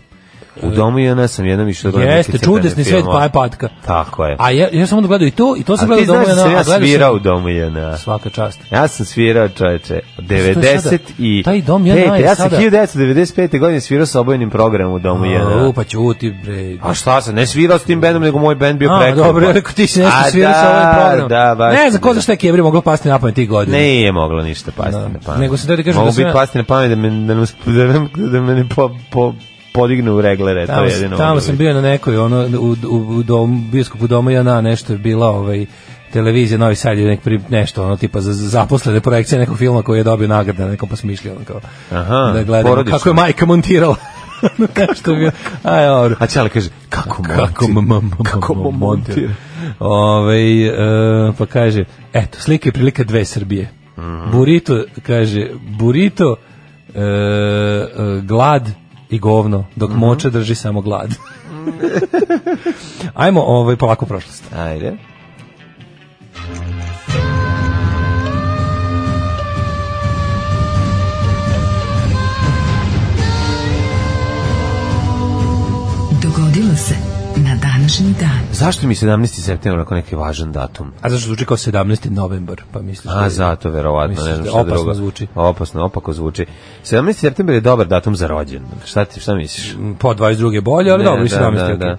Speaker 5: U domu i ona sam jednom išao da gledam
Speaker 6: Jeste,
Speaker 5: neke crtane
Speaker 6: čudesni svet
Speaker 5: filmove.
Speaker 6: Paje Patka.
Speaker 5: Tako je.
Speaker 6: pa- A ja, ja sam onda gledao i to, i to sam
Speaker 5: A
Speaker 6: gledao
Speaker 5: ti
Speaker 6: u domu
Speaker 5: znaš da
Speaker 6: jedan,
Speaker 5: sam
Speaker 6: a
Speaker 5: ja
Speaker 6: gledao sam-
Speaker 5: svirao u domu jedna.
Speaker 6: Svaka čast.
Speaker 5: Ja sam svirao čoveče od
Speaker 6: je sada?
Speaker 5: 90 i
Speaker 6: Taj Dom JNA je
Speaker 5: pete. ja sam
Speaker 6: sada-
Speaker 5: 1995. godine svirao sa obojenim programom u domu
Speaker 6: U,
Speaker 5: jedna.
Speaker 6: pa ćuti, bre.
Speaker 5: A šta sam, ne svirao s tim bendom, nego moj bend bio
Speaker 6: A,
Speaker 5: preko.
Speaker 6: dobro, ja rekao ti si nešto
Speaker 5: A
Speaker 6: svirao sa
Speaker 5: da,
Speaker 6: ovim programom.
Speaker 5: Da, baš.
Speaker 6: ne znam ko za šta je kebri moglo pasti na pamet tih godina.
Speaker 5: Ne je moglo ništa pasti
Speaker 6: Da.
Speaker 5: na pamet.
Speaker 6: Nego sam teo da kažem da
Speaker 5: Mogu
Speaker 6: sam
Speaker 5: biti
Speaker 6: ja-
Speaker 5: pasti na pamet da me, da nam- da nam- da me ne po, po, podigne u reglere. to
Speaker 6: Tamo,
Speaker 5: je
Speaker 6: sam-
Speaker 5: jedino da
Speaker 6: tamo
Speaker 5: moglo
Speaker 6: sam
Speaker 5: biti.
Speaker 6: bio na nekoj, ono, u, u, u dom, biskupu domu Jana, nešto je bila, ovaj, televizija Novi Sad je nek pri, nešto ono tipa za za zaposlene projekcije nekog filma koji je dobio nagrade na nekom pa smo išli ono kao
Speaker 5: Aha,
Speaker 6: da gledamo
Speaker 5: porodično.
Speaker 6: kako je majka montirala [laughs] nešto je bio aj dobro
Speaker 5: A Ćale kaže, kako montir?
Speaker 6: kako mo- mo- mo-
Speaker 5: Kako
Speaker 6: mo-
Speaker 5: mo-
Speaker 6: montira.
Speaker 5: montira.
Speaker 6: Ovaj e, pa kaže, eto, slike i prilika dve Srbije. Burito, kaže, burito, e, e, glad i govno, dok
Speaker 5: Mhm.
Speaker 6: moča drži samo glad. Ajmo ovaj, polako u prošlost.
Speaker 5: Ajde.
Speaker 4: Dogodilo se na današnji dan.
Speaker 5: Zašto mi 17. septembar onako neki važan datum?
Speaker 6: A zašto zvuči kao 17. novembar? Pa misliš da
Speaker 5: A
Speaker 6: je-
Speaker 5: zato verovatno,
Speaker 6: Misliš
Speaker 5: ne znam
Speaker 6: da
Speaker 5: šta
Speaker 6: opasno
Speaker 5: drugo.
Speaker 6: zvuči?
Speaker 5: Opasno, opako zvuči. 17. septembar je dobar datum za rođendan. Šta ti, šta misliš?
Speaker 6: po 22. je bolje, ali
Speaker 5: Ne,
Speaker 6: dobro, mislim da,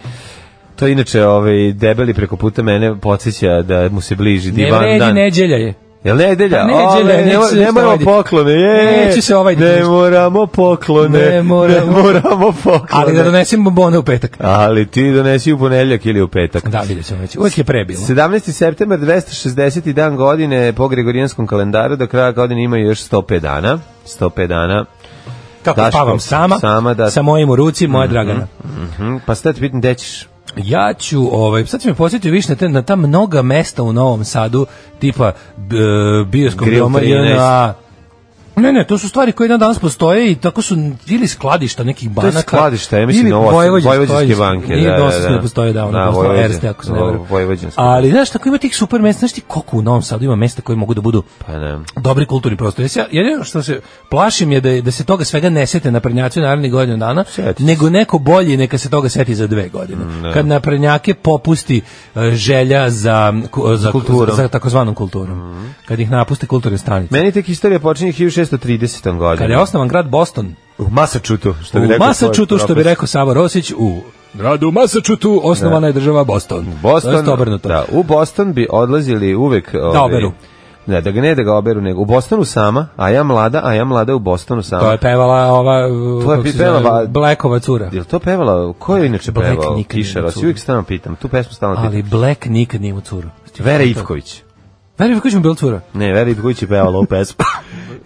Speaker 5: To je inače ovaj debeli preko puta mene podsjeća da mu se bliži
Speaker 6: Ne
Speaker 5: divan
Speaker 6: vredi,
Speaker 5: dan.
Speaker 6: neđelja je.
Speaker 5: Jel nedelja?
Speaker 6: Pa nedelja,
Speaker 5: Ole, ne,
Speaker 6: neće se
Speaker 5: ne moramo
Speaker 6: ovaj-
Speaker 5: poklone. Je,
Speaker 6: Neće se ovaj
Speaker 5: Ne
Speaker 6: ništa.
Speaker 5: moramo poklone.
Speaker 6: Ne moramo-
Speaker 5: ne moramo poklone.
Speaker 6: Ali da donesem bombone u petak.
Speaker 5: Ali ti donesi u ponedeljak ili u petak.
Speaker 6: Da, vidjet ćemo već. Uvijek je prebilo.
Speaker 5: 17. september 260. dan godine po Gregorijanskom kalendaru do kraja godine ima još 105 dana. 105 dana.
Speaker 6: Kako
Speaker 5: Daško,
Speaker 6: pavam sama,
Speaker 5: sama, da.
Speaker 6: sa mojim u ruci, moja Dragana.
Speaker 5: Mhm, Pa sad te pitam, gde ćeš?
Speaker 6: Ja ću, ovaj, sad ću me posjetiti više na, te, na ta mnoga mesta u Novom Sadu, tipa b, bioskop
Speaker 5: Grill
Speaker 6: doma
Speaker 5: 13.
Speaker 6: JNA. Ne, ne, to su stvari koje jedan danas postoje i tako su ili skladišta nekih banaka.
Speaker 5: skladišta, ja mislim,
Speaker 6: Pa ili
Speaker 5: na ovo-
Speaker 6: Vojvođansko-
Speaker 5: Vojvođanske banke, da,
Speaker 6: Nije da,
Speaker 5: da, da.
Speaker 6: ne postoje, da, ono
Speaker 5: Da,
Speaker 6: da, postoje
Speaker 5: Vojvođan-
Speaker 6: Erste, ako se ne varam.
Speaker 5: Vojvođansko.
Speaker 6: Ali, znaš, tako ima tih super mesta, znaš ti koliko u Novom Sadu ima mesta koje mogu da budu
Speaker 5: Pa ne.
Speaker 6: dobri kulturni prostor. Ja se- Ja, jedino što se plašim je da, je- da se toga svega ne sete na prnjaci u narednih godinu dana,
Speaker 5: Sjeti se. Mm, da.
Speaker 6: nego neko bolji neka se toga seti za dve godine. Kad na prnjake popusti e, želja za, ku- za,
Speaker 5: Kulturom. Mm-hmm.
Speaker 6: za, za takozvanom kulturom. Kad ih napuste kulturne stranice.
Speaker 5: Meni tek istorija počinje 1630. godine.
Speaker 6: Kad je osnovan grad Boston,
Speaker 5: U Masačutu, što bi
Speaker 6: u
Speaker 5: rekao. tvoj
Speaker 6: Masačutu, što bi
Speaker 5: profesor.
Speaker 6: rekao Savo Rosić, u gradu Masačutu osnovana je država Boston.
Speaker 5: Boston,
Speaker 6: To je obrnuto. Da
Speaker 5: Da, u Boston bi odlazili uvek... ovaj,
Speaker 6: oberu.
Speaker 5: Ne, da ga ne da ga oberu, nego u Bostonu sama, a ja mlada, a ja mlada u Bostonu sama.
Speaker 6: To je pevala ova
Speaker 5: To je
Speaker 6: kako se
Speaker 5: pevala-
Speaker 6: zove, Blackova cura.
Speaker 5: Jel to pevala? Ko je inače
Speaker 6: Black
Speaker 5: pevao?
Speaker 6: nikad nije
Speaker 5: Kišara,
Speaker 6: curio.
Speaker 5: uvijek stalno pitam. Tu pesmu stalno pitam.
Speaker 6: Ali Black nikad nije u curu.
Speaker 5: Vera Ivković.
Speaker 6: Veri, kako ćemo bilo cura?
Speaker 5: Ne, Vera Ivković je pevala ovu
Speaker 6: [laughs]
Speaker 5: pesmu.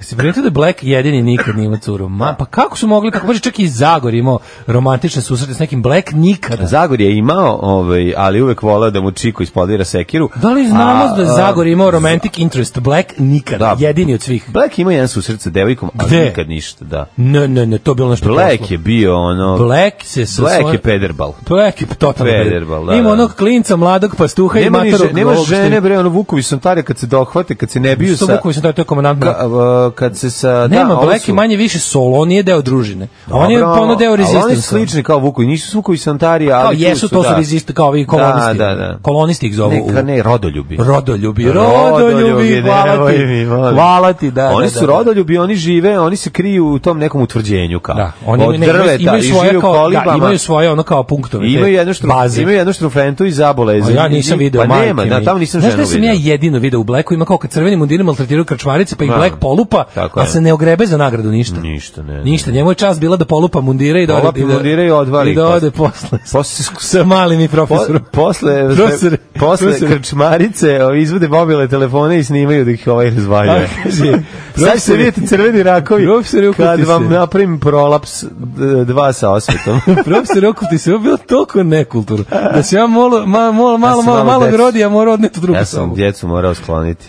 Speaker 6: Si primetio da je Black jedini nikad nije imao curu? Ma, pa kako su mogli, kako može čak i Zagor imao romantične susrete s nekim Black nikada.
Speaker 5: Zagor je imao, ovaj, ali uvek volao da mu Čiko isplodira sekiru.
Speaker 6: Da li znamo
Speaker 5: A,
Speaker 6: da je
Speaker 5: a,
Speaker 6: Zagor imao romantic interest? Black nikada,
Speaker 5: Da.
Speaker 6: jedini od svih.
Speaker 5: Black ima jedan susret sa devojkom, ali
Speaker 6: Gde?
Speaker 5: nikad ništa, da.
Speaker 6: Ne, ne, ne, to je bilo nešto
Speaker 5: Black
Speaker 6: poslo.
Speaker 5: je bio ono...
Speaker 6: Black se sa
Speaker 5: Black
Speaker 6: svojom-
Speaker 5: je pederbal.
Speaker 6: Black je totalno
Speaker 5: Pederbal, da,
Speaker 6: Ima
Speaker 5: da.
Speaker 6: onog klinca, mladog pastuha i
Speaker 5: Nema, ni
Speaker 6: matarog.
Speaker 5: že, nema
Speaker 6: ovog što je-
Speaker 5: žene, bre, ono Vukovi su tare kad se dohvate, kad se ne biju
Speaker 6: Što
Speaker 5: sa...
Speaker 6: Vuković sam taj, to je komandant.
Speaker 5: Ka, v- kad se sa...
Speaker 6: Nema,
Speaker 5: da, ovo
Speaker 6: Black
Speaker 5: su-
Speaker 6: je manje više solo, on nije deo družine. A on je
Speaker 5: Dobro,
Speaker 6: ono deo
Speaker 5: ali
Speaker 6: rezistence.
Speaker 5: Oni su slični kao Vukovi, nisu Vukovi Santari, ali
Speaker 6: Kao
Speaker 5: tu
Speaker 6: jesu, to su
Speaker 5: da.
Speaker 6: rezist, kao ovi kolonisti.
Speaker 5: Da, da, da.
Speaker 6: Kolonisti ih zovu.
Speaker 5: Ne, ka-
Speaker 6: u-
Speaker 5: ne, rodoljubi.
Speaker 6: Rodoljubi,
Speaker 5: Rodoljubi,
Speaker 6: rodoljubi, hvala
Speaker 5: nemoj
Speaker 6: ti.
Speaker 5: mi, molim.
Speaker 6: Hvala ti, da.
Speaker 5: oni
Speaker 6: da,
Speaker 5: su
Speaker 6: da, da.
Speaker 5: rodoljubi, oni žive, oni se kriju u tom nekom utvrđenju kao.
Speaker 6: Da, oni
Speaker 5: Od
Speaker 6: imaju, ne, imaju-
Speaker 5: drveta
Speaker 6: imaju
Speaker 5: i žive
Speaker 6: svoje
Speaker 5: u
Speaker 6: kao, da,
Speaker 5: kolibama.
Speaker 6: imaju svoje ono kao punktove.
Speaker 5: I
Speaker 6: te
Speaker 5: imaju jednu
Speaker 6: baze.
Speaker 5: štru, imaju jednu štrumfentu i zabole.
Speaker 6: A ja nisam video,
Speaker 5: Pa
Speaker 6: majke
Speaker 5: nema, da,
Speaker 6: mi.
Speaker 5: tamo nisam
Speaker 6: Znaš
Speaker 5: ženu
Speaker 6: gde sam
Speaker 5: video.
Speaker 6: ja jedino video u Blacku, ima kao kad crveni mundiri maltretiraju krčmarice, pa ih
Speaker 5: Da.
Speaker 6: Black polupa,
Speaker 5: Tako
Speaker 6: a
Speaker 5: je. Mm.
Speaker 6: se ne ogrebe za nagradu ništa.
Speaker 5: Ništa, ne.
Speaker 6: Ništa, njemu je čast bila da polupa mundire i da
Speaker 5: Polupi
Speaker 6: ode, da-
Speaker 5: mundire i odvali
Speaker 6: I da
Speaker 5: ih
Speaker 6: ode posle. [laughs]
Speaker 5: Posle s-
Speaker 6: Sa malim i
Speaker 5: Po, [laughs]
Speaker 6: profesorom.
Speaker 5: posle
Speaker 6: Profesore,
Speaker 5: posle
Speaker 6: profesore.
Speaker 5: krčmarice ovi izvode mobile telefone i snimaju da ih ovaj
Speaker 6: A,
Speaker 5: razvaljuje.
Speaker 6: kaže,
Speaker 5: [laughs] Sad se
Speaker 6: profesore-
Speaker 5: vidite crveni rakovi.
Speaker 6: Profesore, ukuti
Speaker 5: Kad vam da-
Speaker 6: se.
Speaker 5: napravim prolaps d- dva sa
Speaker 6: [laughs]
Speaker 5: osvetom.
Speaker 6: Profesor Okuti se, ovo je bilo toliko nekulturno. Da se ja malo, malo, malo, malo,
Speaker 5: sam malo
Speaker 6: malo, malo
Speaker 5: decu.
Speaker 6: grodi, ja morao odneti u drugu
Speaker 5: ja sam Mhm.
Speaker 6: sobu.
Speaker 5: djecu morao skloniti.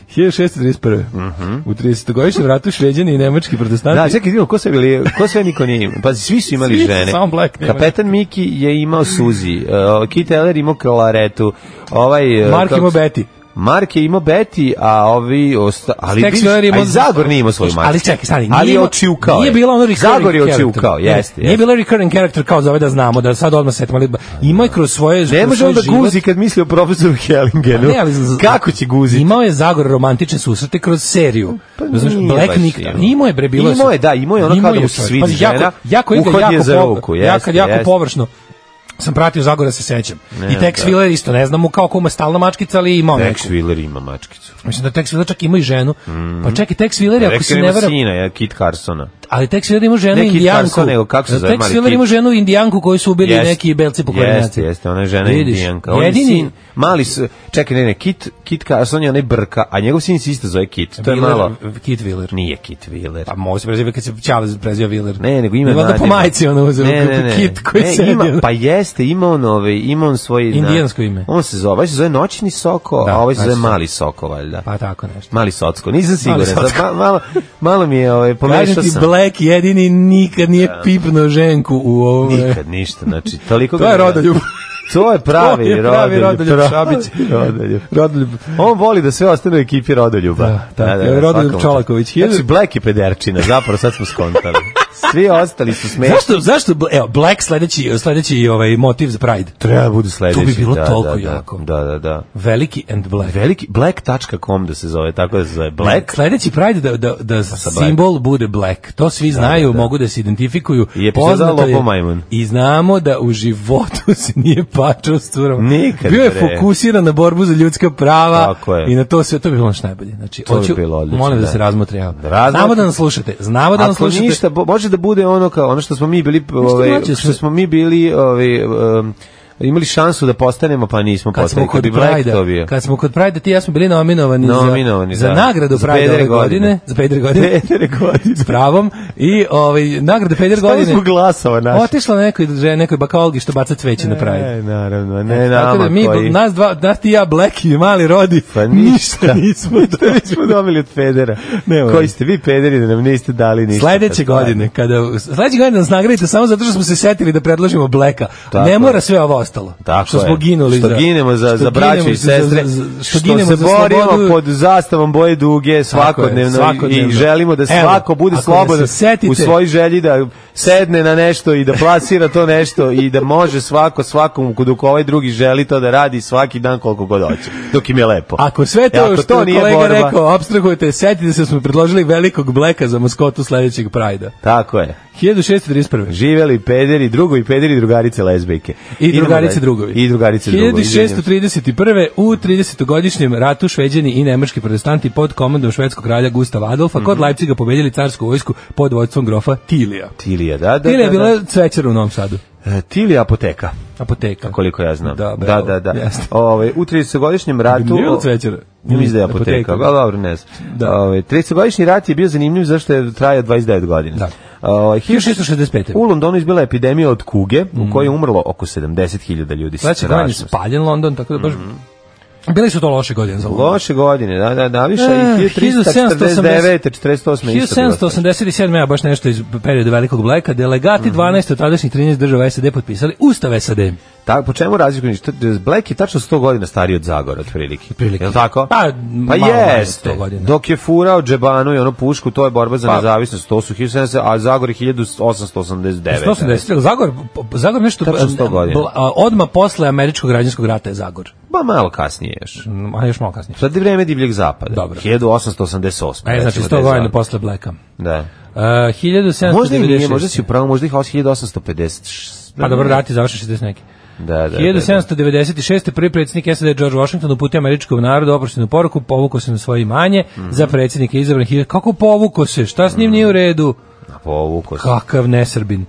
Speaker 6: 1631. U 30-godišnjem ratu šveđani i nemački
Speaker 5: Da,
Speaker 6: protestanti
Speaker 5: čekaj, vidimo, ko sve, bili, ko sve niko nije imao. Pazi, svi su imali
Speaker 6: Svi su,
Speaker 5: žene.
Speaker 6: samo Black nema.
Speaker 5: Kapetan Miki je imao Suzi, uh, Keith Eller imao Klaretu, ovaj... uh,
Speaker 6: Mark
Speaker 5: kako
Speaker 6: ima
Speaker 5: se-
Speaker 6: Beti.
Speaker 5: Mark je imao Beti, a ovi osta, ali
Speaker 6: Tex
Speaker 5: vidiš,
Speaker 6: Miller imao-
Speaker 5: a i Zagor nije imao svoju Marku.
Speaker 6: Ali čekaj, stani. nije
Speaker 5: ali je
Speaker 6: imao-
Speaker 5: očiukao.
Speaker 6: Nije
Speaker 5: je.
Speaker 6: bilo ono recurring
Speaker 5: Zagor je
Speaker 6: character.
Speaker 5: očiukao,
Speaker 6: Ne,
Speaker 5: jeste.
Speaker 6: Nije
Speaker 5: jeste.
Speaker 6: bilo recurring character kao za ove da znamo, da sad odmah setimo. Ali imao je kroz svoje
Speaker 5: Ne
Speaker 6: kroz
Speaker 5: može
Speaker 6: svoj
Speaker 5: onda
Speaker 6: život-
Speaker 5: guzi kad misli o profesoru Hellingenu.
Speaker 6: Pa ne, ali z-
Speaker 5: Kako će guzi?
Speaker 6: Imao je Zagor romantične susrete kroz seriju.
Speaker 5: Pa
Speaker 6: Razumeš,
Speaker 5: nije
Speaker 6: Black
Speaker 5: baš
Speaker 6: nikad.
Speaker 5: imao.
Speaker 6: Imao je bre bilo. je
Speaker 5: Imao je,
Speaker 6: sve.
Speaker 5: da, imao je ono kao da mu se
Speaker 6: čovjek.
Speaker 5: svidi
Speaker 6: Pazi, jako,
Speaker 5: žena,
Speaker 6: jako igra,
Speaker 5: uhodi je
Speaker 6: jako
Speaker 5: za
Speaker 6: pov-
Speaker 5: ruku,
Speaker 6: ja
Speaker 5: jeste,
Speaker 6: kad jako
Speaker 5: jeste.
Speaker 6: površno sam pratio Zagora se sećam.
Speaker 5: Ne,
Speaker 6: I Tex
Speaker 5: da.
Speaker 6: Wheeler isto, ne znamo kao kome stalna mačkica, ali imao neku.
Speaker 5: Max Wheeler ima mačkicu.
Speaker 6: Mislim da Tex Wheeler čak ima i ženu. Pa čak i Tex Wheeler, ako
Speaker 5: Rektor
Speaker 6: se
Speaker 5: Mm. ima
Speaker 6: ne varam,
Speaker 5: sina, ja, Kit Carsona.
Speaker 6: ali Tex Wheeler ima ženu
Speaker 5: Ne Kit
Speaker 6: indijanku.
Speaker 5: Carson, nego kako se zove,
Speaker 6: Tex
Speaker 5: mali
Speaker 6: Wheeler
Speaker 5: Kit?
Speaker 6: ima ženu indijanku koju su ubili
Speaker 5: Jeste.
Speaker 6: neki belci po
Speaker 5: Jeste, jeste, ona je žena
Speaker 6: Vidiš,
Speaker 5: indijanka. On
Speaker 6: jedini-
Speaker 5: je sin, mali su, čekaj, ne, ne, Kit, Kit Carson je onaj brka, a njegov sin se isto zove Kit. To je malo,
Speaker 6: Kit Wheeler.
Speaker 5: nije Kit Wheeler.
Speaker 6: Pa može se preziva kad se Čavez preziva Wheeler.
Speaker 5: Ne, nego ima
Speaker 6: Valjda po
Speaker 5: nadimak.
Speaker 6: majici ono uzeo,
Speaker 5: Ne, ne, ne.
Speaker 6: kit koji
Speaker 5: Ne,
Speaker 6: se
Speaker 5: ima, pa jeste, ima on ovaj, ima on svoj na-
Speaker 6: Indijansko ime.
Speaker 5: On se zove, ovaj se zove noćni soko,
Speaker 6: Da,
Speaker 5: a ovaj se
Speaker 6: znači.
Speaker 5: zove mali soko valjda.
Speaker 6: Pa tako nešto.
Speaker 5: Mali socko, nisam siguran.
Speaker 6: Mali socko.
Speaker 5: Sad ma- malo, malo mi je ovaj, pomešao
Speaker 6: Kažem ti,
Speaker 5: sam. Da.
Speaker 6: Black jedini nikad nije pipnuo ženku u ovome.
Speaker 5: Nikad ništa, znači, toliko...
Speaker 6: To
Speaker 5: ga
Speaker 6: je
Speaker 5: ne-
Speaker 6: rodoljub.
Speaker 5: To je pravi,
Speaker 6: [laughs] To je pravi rodoljub, Šabić.
Speaker 5: [laughs] rodoljub.
Speaker 6: Rodoljub.
Speaker 5: On voli da sve ostane u ekipi Rodoljuba.
Speaker 6: Da, tako je, Rodoljub
Speaker 5: svaka mu
Speaker 6: Čolaković.
Speaker 5: čast. Znači, Black je pederčina, zapravo sad smo skontali. Svi ostali su smešni.
Speaker 6: Zašto, zašto, bl- evo, Black sledeći, sledeći ovaj motiv za Pride.
Speaker 5: Treba budu sledeći.
Speaker 6: To bi bilo
Speaker 5: da,
Speaker 6: toliko
Speaker 5: da, da,
Speaker 6: jako.
Speaker 5: Da, da, da.
Speaker 6: Veliki and Black.
Speaker 5: Veliki, black.com da se zove, tako da se zove Black.
Speaker 6: Sledeći Pride da, da, da
Speaker 5: Black.
Speaker 6: simbol bude Black. To svi znaju,
Speaker 5: da, da.
Speaker 6: mogu da se identifikuju.
Speaker 5: I epizoda
Speaker 6: Poznato
Speaker 5: Lopo Majmun.
Speaker 6: I znamo da u životu se nije pačao s curama.
Speaker 5: Nikad,
Speaker 6: Bio je
Speaker 5: bre.
Speaker 6: fokusiran na borbu za ljudska prava
Speaker 5: Tako je.
Speaker 6: i na to sve. To bi bilo naš najbolje. Znači,
Speaker 5: To bi
Speaker 6: hoću-
Speaker 5: bilo odlično,
Speaker 6: molim da,
Speaker 5: da.
Speaker 6: se razmotri. evo.
Speaker 5: Razmotri.
Speaker 6: Znamo da nas slušate. Znamo da nas
Speaker 5: Ako
Speaker 6: slušate.
Speaker 5: ništa, bo- može da bude ono kao ono što smo mi bili, ovaj,
Speaker 6: mlađe
Speaker 5: što
Speaker 6: smo.
Speaker 5: smo mi bili ovaj, um, imali šansu da postanemo, pa nismo
Speaker 6: kad smo
Speaker 5: postali. Kad
Speaker 6: kod
Speaker 5: bi Black to bio.
Speaker 6: Prajda, kad smo kod Prajda, ti i ja smo bili nominovani,
Speaker 5: Nominovani,
Speaker 6: za,
Speaker 5: da.
Speaker 6: za nagradu
Speaker 5: Za
Speaker 6: Prajda
Speaker 5: pedere
Speaker 6: ove godine,
Speaker 5: godine.
Speaker 6: za Peder godine,
Speaker 5: [laughs] Petere godine.
Speaker 6: s pravom, i ovaj, nagradu Peder
Speaker 5: Stavili
Speaker 6: godine,
Speaker 5: smo Pa glasova naša.
Speaker 6: otišla nekoj, žene- nekoj bakaolgi što baca cveće na Prajda.
Speaker 5: E, naravno, ne
Speaker 6: Tako
Speaker 5: nama
Speaker 6: da mi,
Speaker 5: koji...
Speaker 6: nas dva, nas ti i ja, Black i mali rodi, [laughs]
Speaker 5: Pa [laughs] ništa, nismo, nismo dobili od Federa.
Speaker 6: Nema.
Speaker 5: Koji ste vi, Federi, da nam niste dali ništa. pa
Speaker 6: Sledeće godine, kada sledeće godine nas nagradite samo zato što smo se setili da predložimo Bleka.
Speaker 5: Tako
Speaker 6: ne
Speaker 5: je.
Speaker 6: mora sve ovo ostalo.
Speaker 5: Tako
Speaker 6: što
Speaker 5: je.
Speaker 6: smo ginuli
Speaker 5: što
Speaker 6: za
Speaker 5: ginemo za,
Speaker 6: što
Speaker 5: za braću
Speaker 6: ginemo
Speaker 5: i
Speaker 6: za-
Speaker 5: sestre,
Speaker 6: za- za-
Speaker 5: što,
Speaker 6: ginemo
Speaker 5: se
Speaker 6: za
Speaker 5: borimo
Speaker 6: slobodu.
Speaker 5: pod zastavom boje duge svakodnevno,
Speaker 6: svakodnevno.
Speaker 5: i želimo da
Speaker 6: Evo,
Speaker 5: svako bude
Speaker 6: ako
Speaker 5: slobodan
Speaker 6: da se setite-
Speaker 5: u svojoj želji da sedne na nešto i da plasira to nešto i da može svako svakom dok ovaj drugi želi to da radi svaki dan koliko god hoće, dok im je lepo.
Speaker 6: Ako sve
Speaker 5: E,
Speaker 6: to
Speaker 5: ako
Speaker 6: što to
Speaker 5: nije
Speaker 6: kolega
Speaker 5: borba,
Speaker 6: rekao, abstrahujete, setite se da smo predložili velikog Bleka za maskotu sledećeg Prajda.
Speaker 5: Tako je.
Speaker 6: 1631.
Speaker 5: Živeli pederi, drugovi pederi, drugarice lezbejke.
Speaker 6: I
Speaker 5: Idemo
Speaker 6: drugarice
Speaker 5: dalje.
Speaker 6: drugovi.
Speaker 5: I drugarice drugovi. izvinjam se.
Speaker 6: 1631. u 30-godišnjem ratu šveđani i nemački protestanti pod komandom švedskog kralja Gustava Adolfa kod Leipciga pobedili carsku vojsku pod vodstvom grofa Tilija.
Speaker 5: Tilija, Mhm. da, da.
Speaker 6: Tilija je
Speaker 5: da, da.
Speaker 6: bila cvećara u Novom Sadu.
Speaker 5: E, Tilija apoteka.
Speaker 6: Apoteka.
Speaker 5: koliko ja znam.
Speaker 6: Da,
Speaker 5: Da,
Speaker 6: bre,
Speaker 5: da, da. da.
Speaker 6: jeste.
Speaker 5: Ove, u 30-godišnjem ratu...
Speaker 6: Nije bilo cvećara?
Speaker 5: Ne mislim da je apoteka, ali dobro, ne znam.
Speaker 6: Da.
Speaker 5: Ove, 30-godišnji rat je bio zanimljiv zašto je trajao 29 godina.
Speaker 6: Da.
Speaker 5: Ove,
Speaker 6: 1665.
Speaker 5: U Londonu izbila je epidemija od kuge, u
Speaker 6: Mm.
Speaker 5: kojoj je umrlo oko 70.000 ljudi.
Speaker 6: Sledeće godine je
Speaker 5: Strašno. Mhm.
Speaker 6: spaljen London, tako da baš... Bili su to loše godine za London.
Speaker 5: Loše godine, da, da, da, više.
Speaker 6: Eh,
Speaker 5: I 1349, 48. isto Pa bilo.
Speaker 6: 1787. ja baš nešto iz perioda Velikog Bleka, delegati
Speaker 5: Mhm.
Speaker 6: 12 od tadašnjih 13 država SAD potpisali Ustav SAD.
Speaker 5: E, Ta, po čemu razlikujem? Što- Black je tačno 100 godina stariji od Zagora, otprilike.
Speaker 6: Otprilike.
Speaker 5: Je li tako?
Speaker 6: Pa,
Speaker 5: pa
Speaker 6: malo manje od
Speaker 5: jeste.
Speaker 6: 100 godina. Pa.
Speaker 5: Dok je furao džebanu i onu pušku, to je borba za nezavisnost. To su 1770, a Zagor je 1889.
Speaker 6: 180, Zagor, Zagor nešto...
Speaker 5: Tačno 100 godina.
Speaker 6: bla- a, Odmah posle američkog građanskog rata je Zagor.
Speaker 5: Ba, malo kasnije još.
Speaker 6: Mm, A još malo kasnije.
Speaker 5: Sad je vreme divljeg zapada.
Speaker 6: Dobro.
Speaker 5: 1888.
Speaker 6: E, znači
Speaker 5: recimo
Speaker 6: 100
Speaker 5: da je
Speaker 6: godina
Speaker 5: Zagor.
Speaker 6: posle Bleka.
Speaker 5: Da.
Speaker 6: Uh, 1796.
Speaker 5: Možda i nije, možda si upravo, možda ih 1850.
Speaker 6: Pa dobro, rat je završen 60 neki.
Speaker 5: Da, da, da, da.
Speaker 6: 1796. prvi predsjednik SAD George Washington uputio američkom narodu oproštenu poruku, povukao se na svoje imanje,
Speaker 5: Mhm.
Speaker 6: za predsjednika je izabran. hilj- Kako povukao se? Šta s njim nije u redu?
Speaker 5: Povuko se.
Speaker 6: Kakav nesrbin.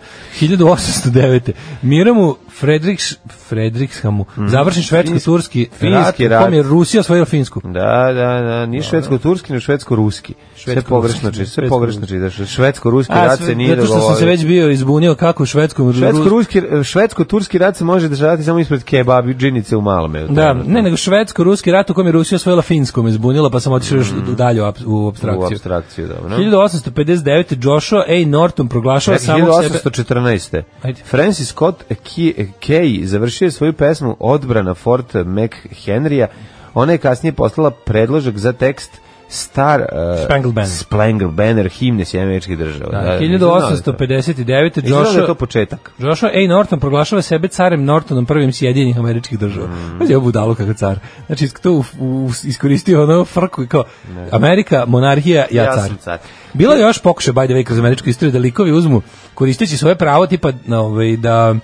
Speaker 6: 1809. Miramu Fredriks, Fredrikshamu završen švedsko-turski rat,
Speaker 5: Mhm. finski
Speaker 6: u kom
Speaker 5: rat.
Speaker 6: je Rusija osvojila Finsku.
Speaker 5: Da, da, da, ni švedsko-turski, ni švedsko-ruski. Sve
Speaker 6: Švedsko-ruski,
Speaker 5: pogrešno čitaš, sve
Speaker 6: švedsko-ruski.
Speaker 5: pogrešno čitaš. Švedsko-ruski
Speaker 6: A,
Speaker 5: rat
Speaker 6: sve-
Speaker 5: se nije
Speaker 6: zato što sam se
Speaker 5: dogovorio.
Speaker 6: već bio izbunio kako u švedskom...
Speaker 5: Švedsko-ruski, e, švedsko-turski rat se može dešavati samo ispred kebabi džinice u malome.
Speaker 6: Da, ne, nego švedsko-ruski rat u kojem je Rusija osvojila Finsku me zbunila, pa sam otišao još dalje u, ap- u
Speaker 5: Mhm. u
Speaker 6: abstrakciju.
Speaker 5: abstrakciju, dobro.
Speaker 6: 1859. Joshua A. Norton proglašava samog sebe...
Speaker 5: 1814.
Speaker 6: Ajde.
Speaker 5: Francis Scott Key- e, Key završio je svoju pesmu Odbrana Fort McHenrya. Ona je kasnije poslala predložak za tekst Star uh,
Speaker 6: Spangled Banner.
Speaker 5: Spangled Banner himne Sjemeničkih država.
Speaker 6: Da,
Speaker 5: Izgleda
Speaker 6: 1859.
Speaker 5: da je to
Speaker 6: Joshua,
Speaker 5: početak.
Speaker 6: Joshua A. Norton proglašava sebe carem Nortonom prvim sjedinjenih američkih država. Mm. Pazi, ovo budalo kakav car. Znači, isk- to u, u, iskoristio ono frku i kao Amerika, monarhija, ja,
Speaker 5: Ja
Speaker 6: car.
Speaker 5: sam car.
Speaker 6: Bilo je još pokušaj, by the way, kroz američku istoriju da likovi uzmu, koristeći svoje pravo, tipa na, ovaj, da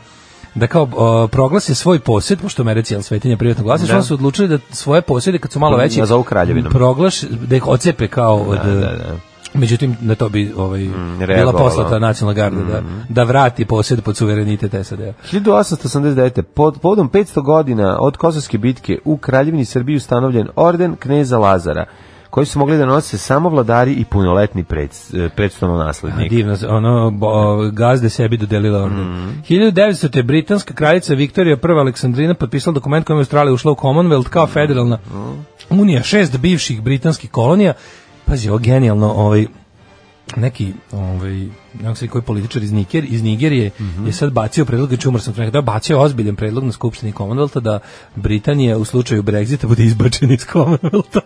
Speaker 6: da kao o, proglase svoj posjed, pošto Americi je svetinja privatno glasiš,
Speaker 5: Da. Pa,
Speaker 6: onda su odlučili da svoje posjede, kad su malo veći,
Speaker 5: Nazovu kraljevinom.
Speaker 6: proglaš, da ih ocepe kao od...
Speaker 5: da, da. Mm,
Speaker 6: Međutim, na to bi ovaj, bila
Speaker 5: reagovala.
Speaker 6: poslata nacionalna garda da,
Speaker 5: Mm.
Speaker 6: da vrati posjed pod suverenitet D-a. SAD-a.
Speaker 5: 1889. Pod podom 500 godina od Kosovske bitke u Kraljevini Srbiji ustanovljen orden kneza Lazara, koji su mogli da nose samo vladari i punoletni pred, e, predstavno naslednik.
Speaker 6: Divno, ono, bo, gazde sebi dodelila orden. 1900. je britanska kraljica Viktorija I. Aleksandrina potpisala dokument kojim je Australija ušla u Commonwealth kao federalna unija šest bivših britanskih kolonija. Pazi, ovo genijalno, ovaj, neki ovaj kako se koji političar iz Niger iz Nigerije je sad bacio predlog znači umr sam to da bacio je ozbiljan predlog na skupštini Commonwealtha da Britanija u slučaju Brexita bude izbačena iz Commonwealtha.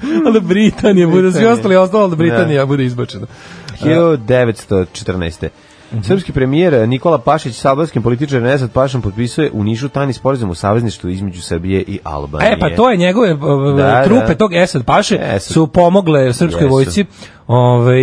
Speaker 6: [laughs] Ali da Britanija bude svi
Speaker 5: Britanija.
Speaker 6: ostali ostalo da Britanija bude izbačena.
Speaker 5: 1914. Srpski premijer Nikola Pašić s albanskim političarem Esad Pašom potpisuje u Nišu tajni sporazum u savezništvu između Srbije i Albanije.
Speaker 6: E, pa to je njegove uh,
Speaker 5: Da,
Speaker 6: trupe
Speaker 5: da.
Speaker 6: tog Esad Paše
Speaker 5: Esad.
Speaker 6: su pomogle srpskoj
Speaker 5: Jesu.
Speaker 6: vojsci ovaj,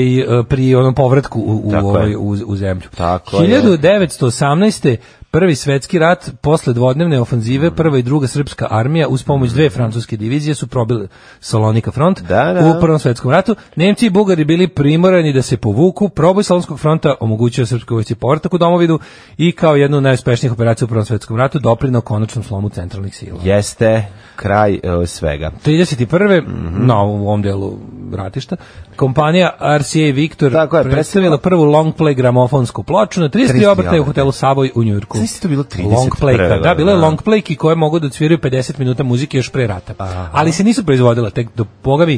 Speaker 6: pri onom povratku u, u,
Speaker 5: Tako je.
Speaker 6: ovaj, u, u zemlju.
Speaker 5: Tako je.
Speaker 6: 1918. Prvi svetski rat, posle dvodnevne
Speaker 5: Mm.
Speaker 6: ofanzive, prva i druga srpska armija uz pomoć dve francuske divizije su probile Salonika front
Speaker 5: Da, da.
Speaker 6: u prvom svetskom ratu. Nemci i Bugari bili primorani da se povuku. Proboj Salonskog fronta omogućio srpskoj vojsci povratak u domovidu i kao jednu od najuspešnijih operacija u prvom svetskom ratu doprinao konačnom slomu centralnih sila.
Speaker 5: Jeste kraj e, svega.
Speaker 6: 31. na ovom ovom delu ratišta, kompanija RCA Victor
Speaker 5: Tako je, predstavila-
Speaker 6: predstavila prvu long play gramofonsku ploču na 30.
Speaker 5: 30.
Speaker 6: obrtaje u hotelu Savoy u Njujorku.
Speaker 5: Znaš si to bilo 31.
Speaker 6: Long play, da, bilo je
Speaker 5: da.
Speaker 6: long playki koje mogu da odsviraju 50 minuta muzike još pre rata. Ali se nisu proizvodila, tek do boga mi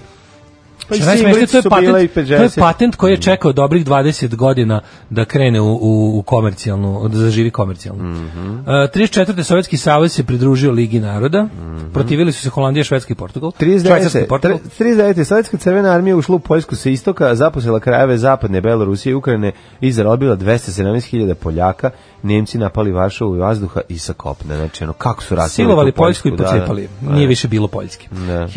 Speaker 5: Pa i
Speaker 6: Šta je
Speaker 5: singlice
Speaker 6: najsmešnije, to je
Speaker 5: su bile i
Speaker 6: patent, to je
Speaker 5: 50.
Speaker 6: patent koji je čekao dobrih 20 godina da krene u, u, u komercijalnu, da zaživi komercijalno. Mm
Speaker 5: Mhm.
Speaker 6: 34. Sovjetski savez se pridružio Ligi naroda,
Speaker 5: Mhm.
Speaker 6: protivili su se Holandija, Švedska i Portugal. Švajcarska i
Speaker 5: 39.
Speaker 6: Portugal.
Speaker 5: tre- 39. Sovjetska crvena armija ušla u Poljsku sa istoka, zaposela krajeve zapadne Belorusije i Ukrajine i zarobila 217.000 Poljaka. Nemci napali Varšavu i vazduha i sa kopna. Znači, ono, kako su rasili
Speaker 6: Silovali Poljsku i pocepali.
Speaker 5: Pa,
Speaker 6: Nije više bilo Poljske.
Speaker 5: Da.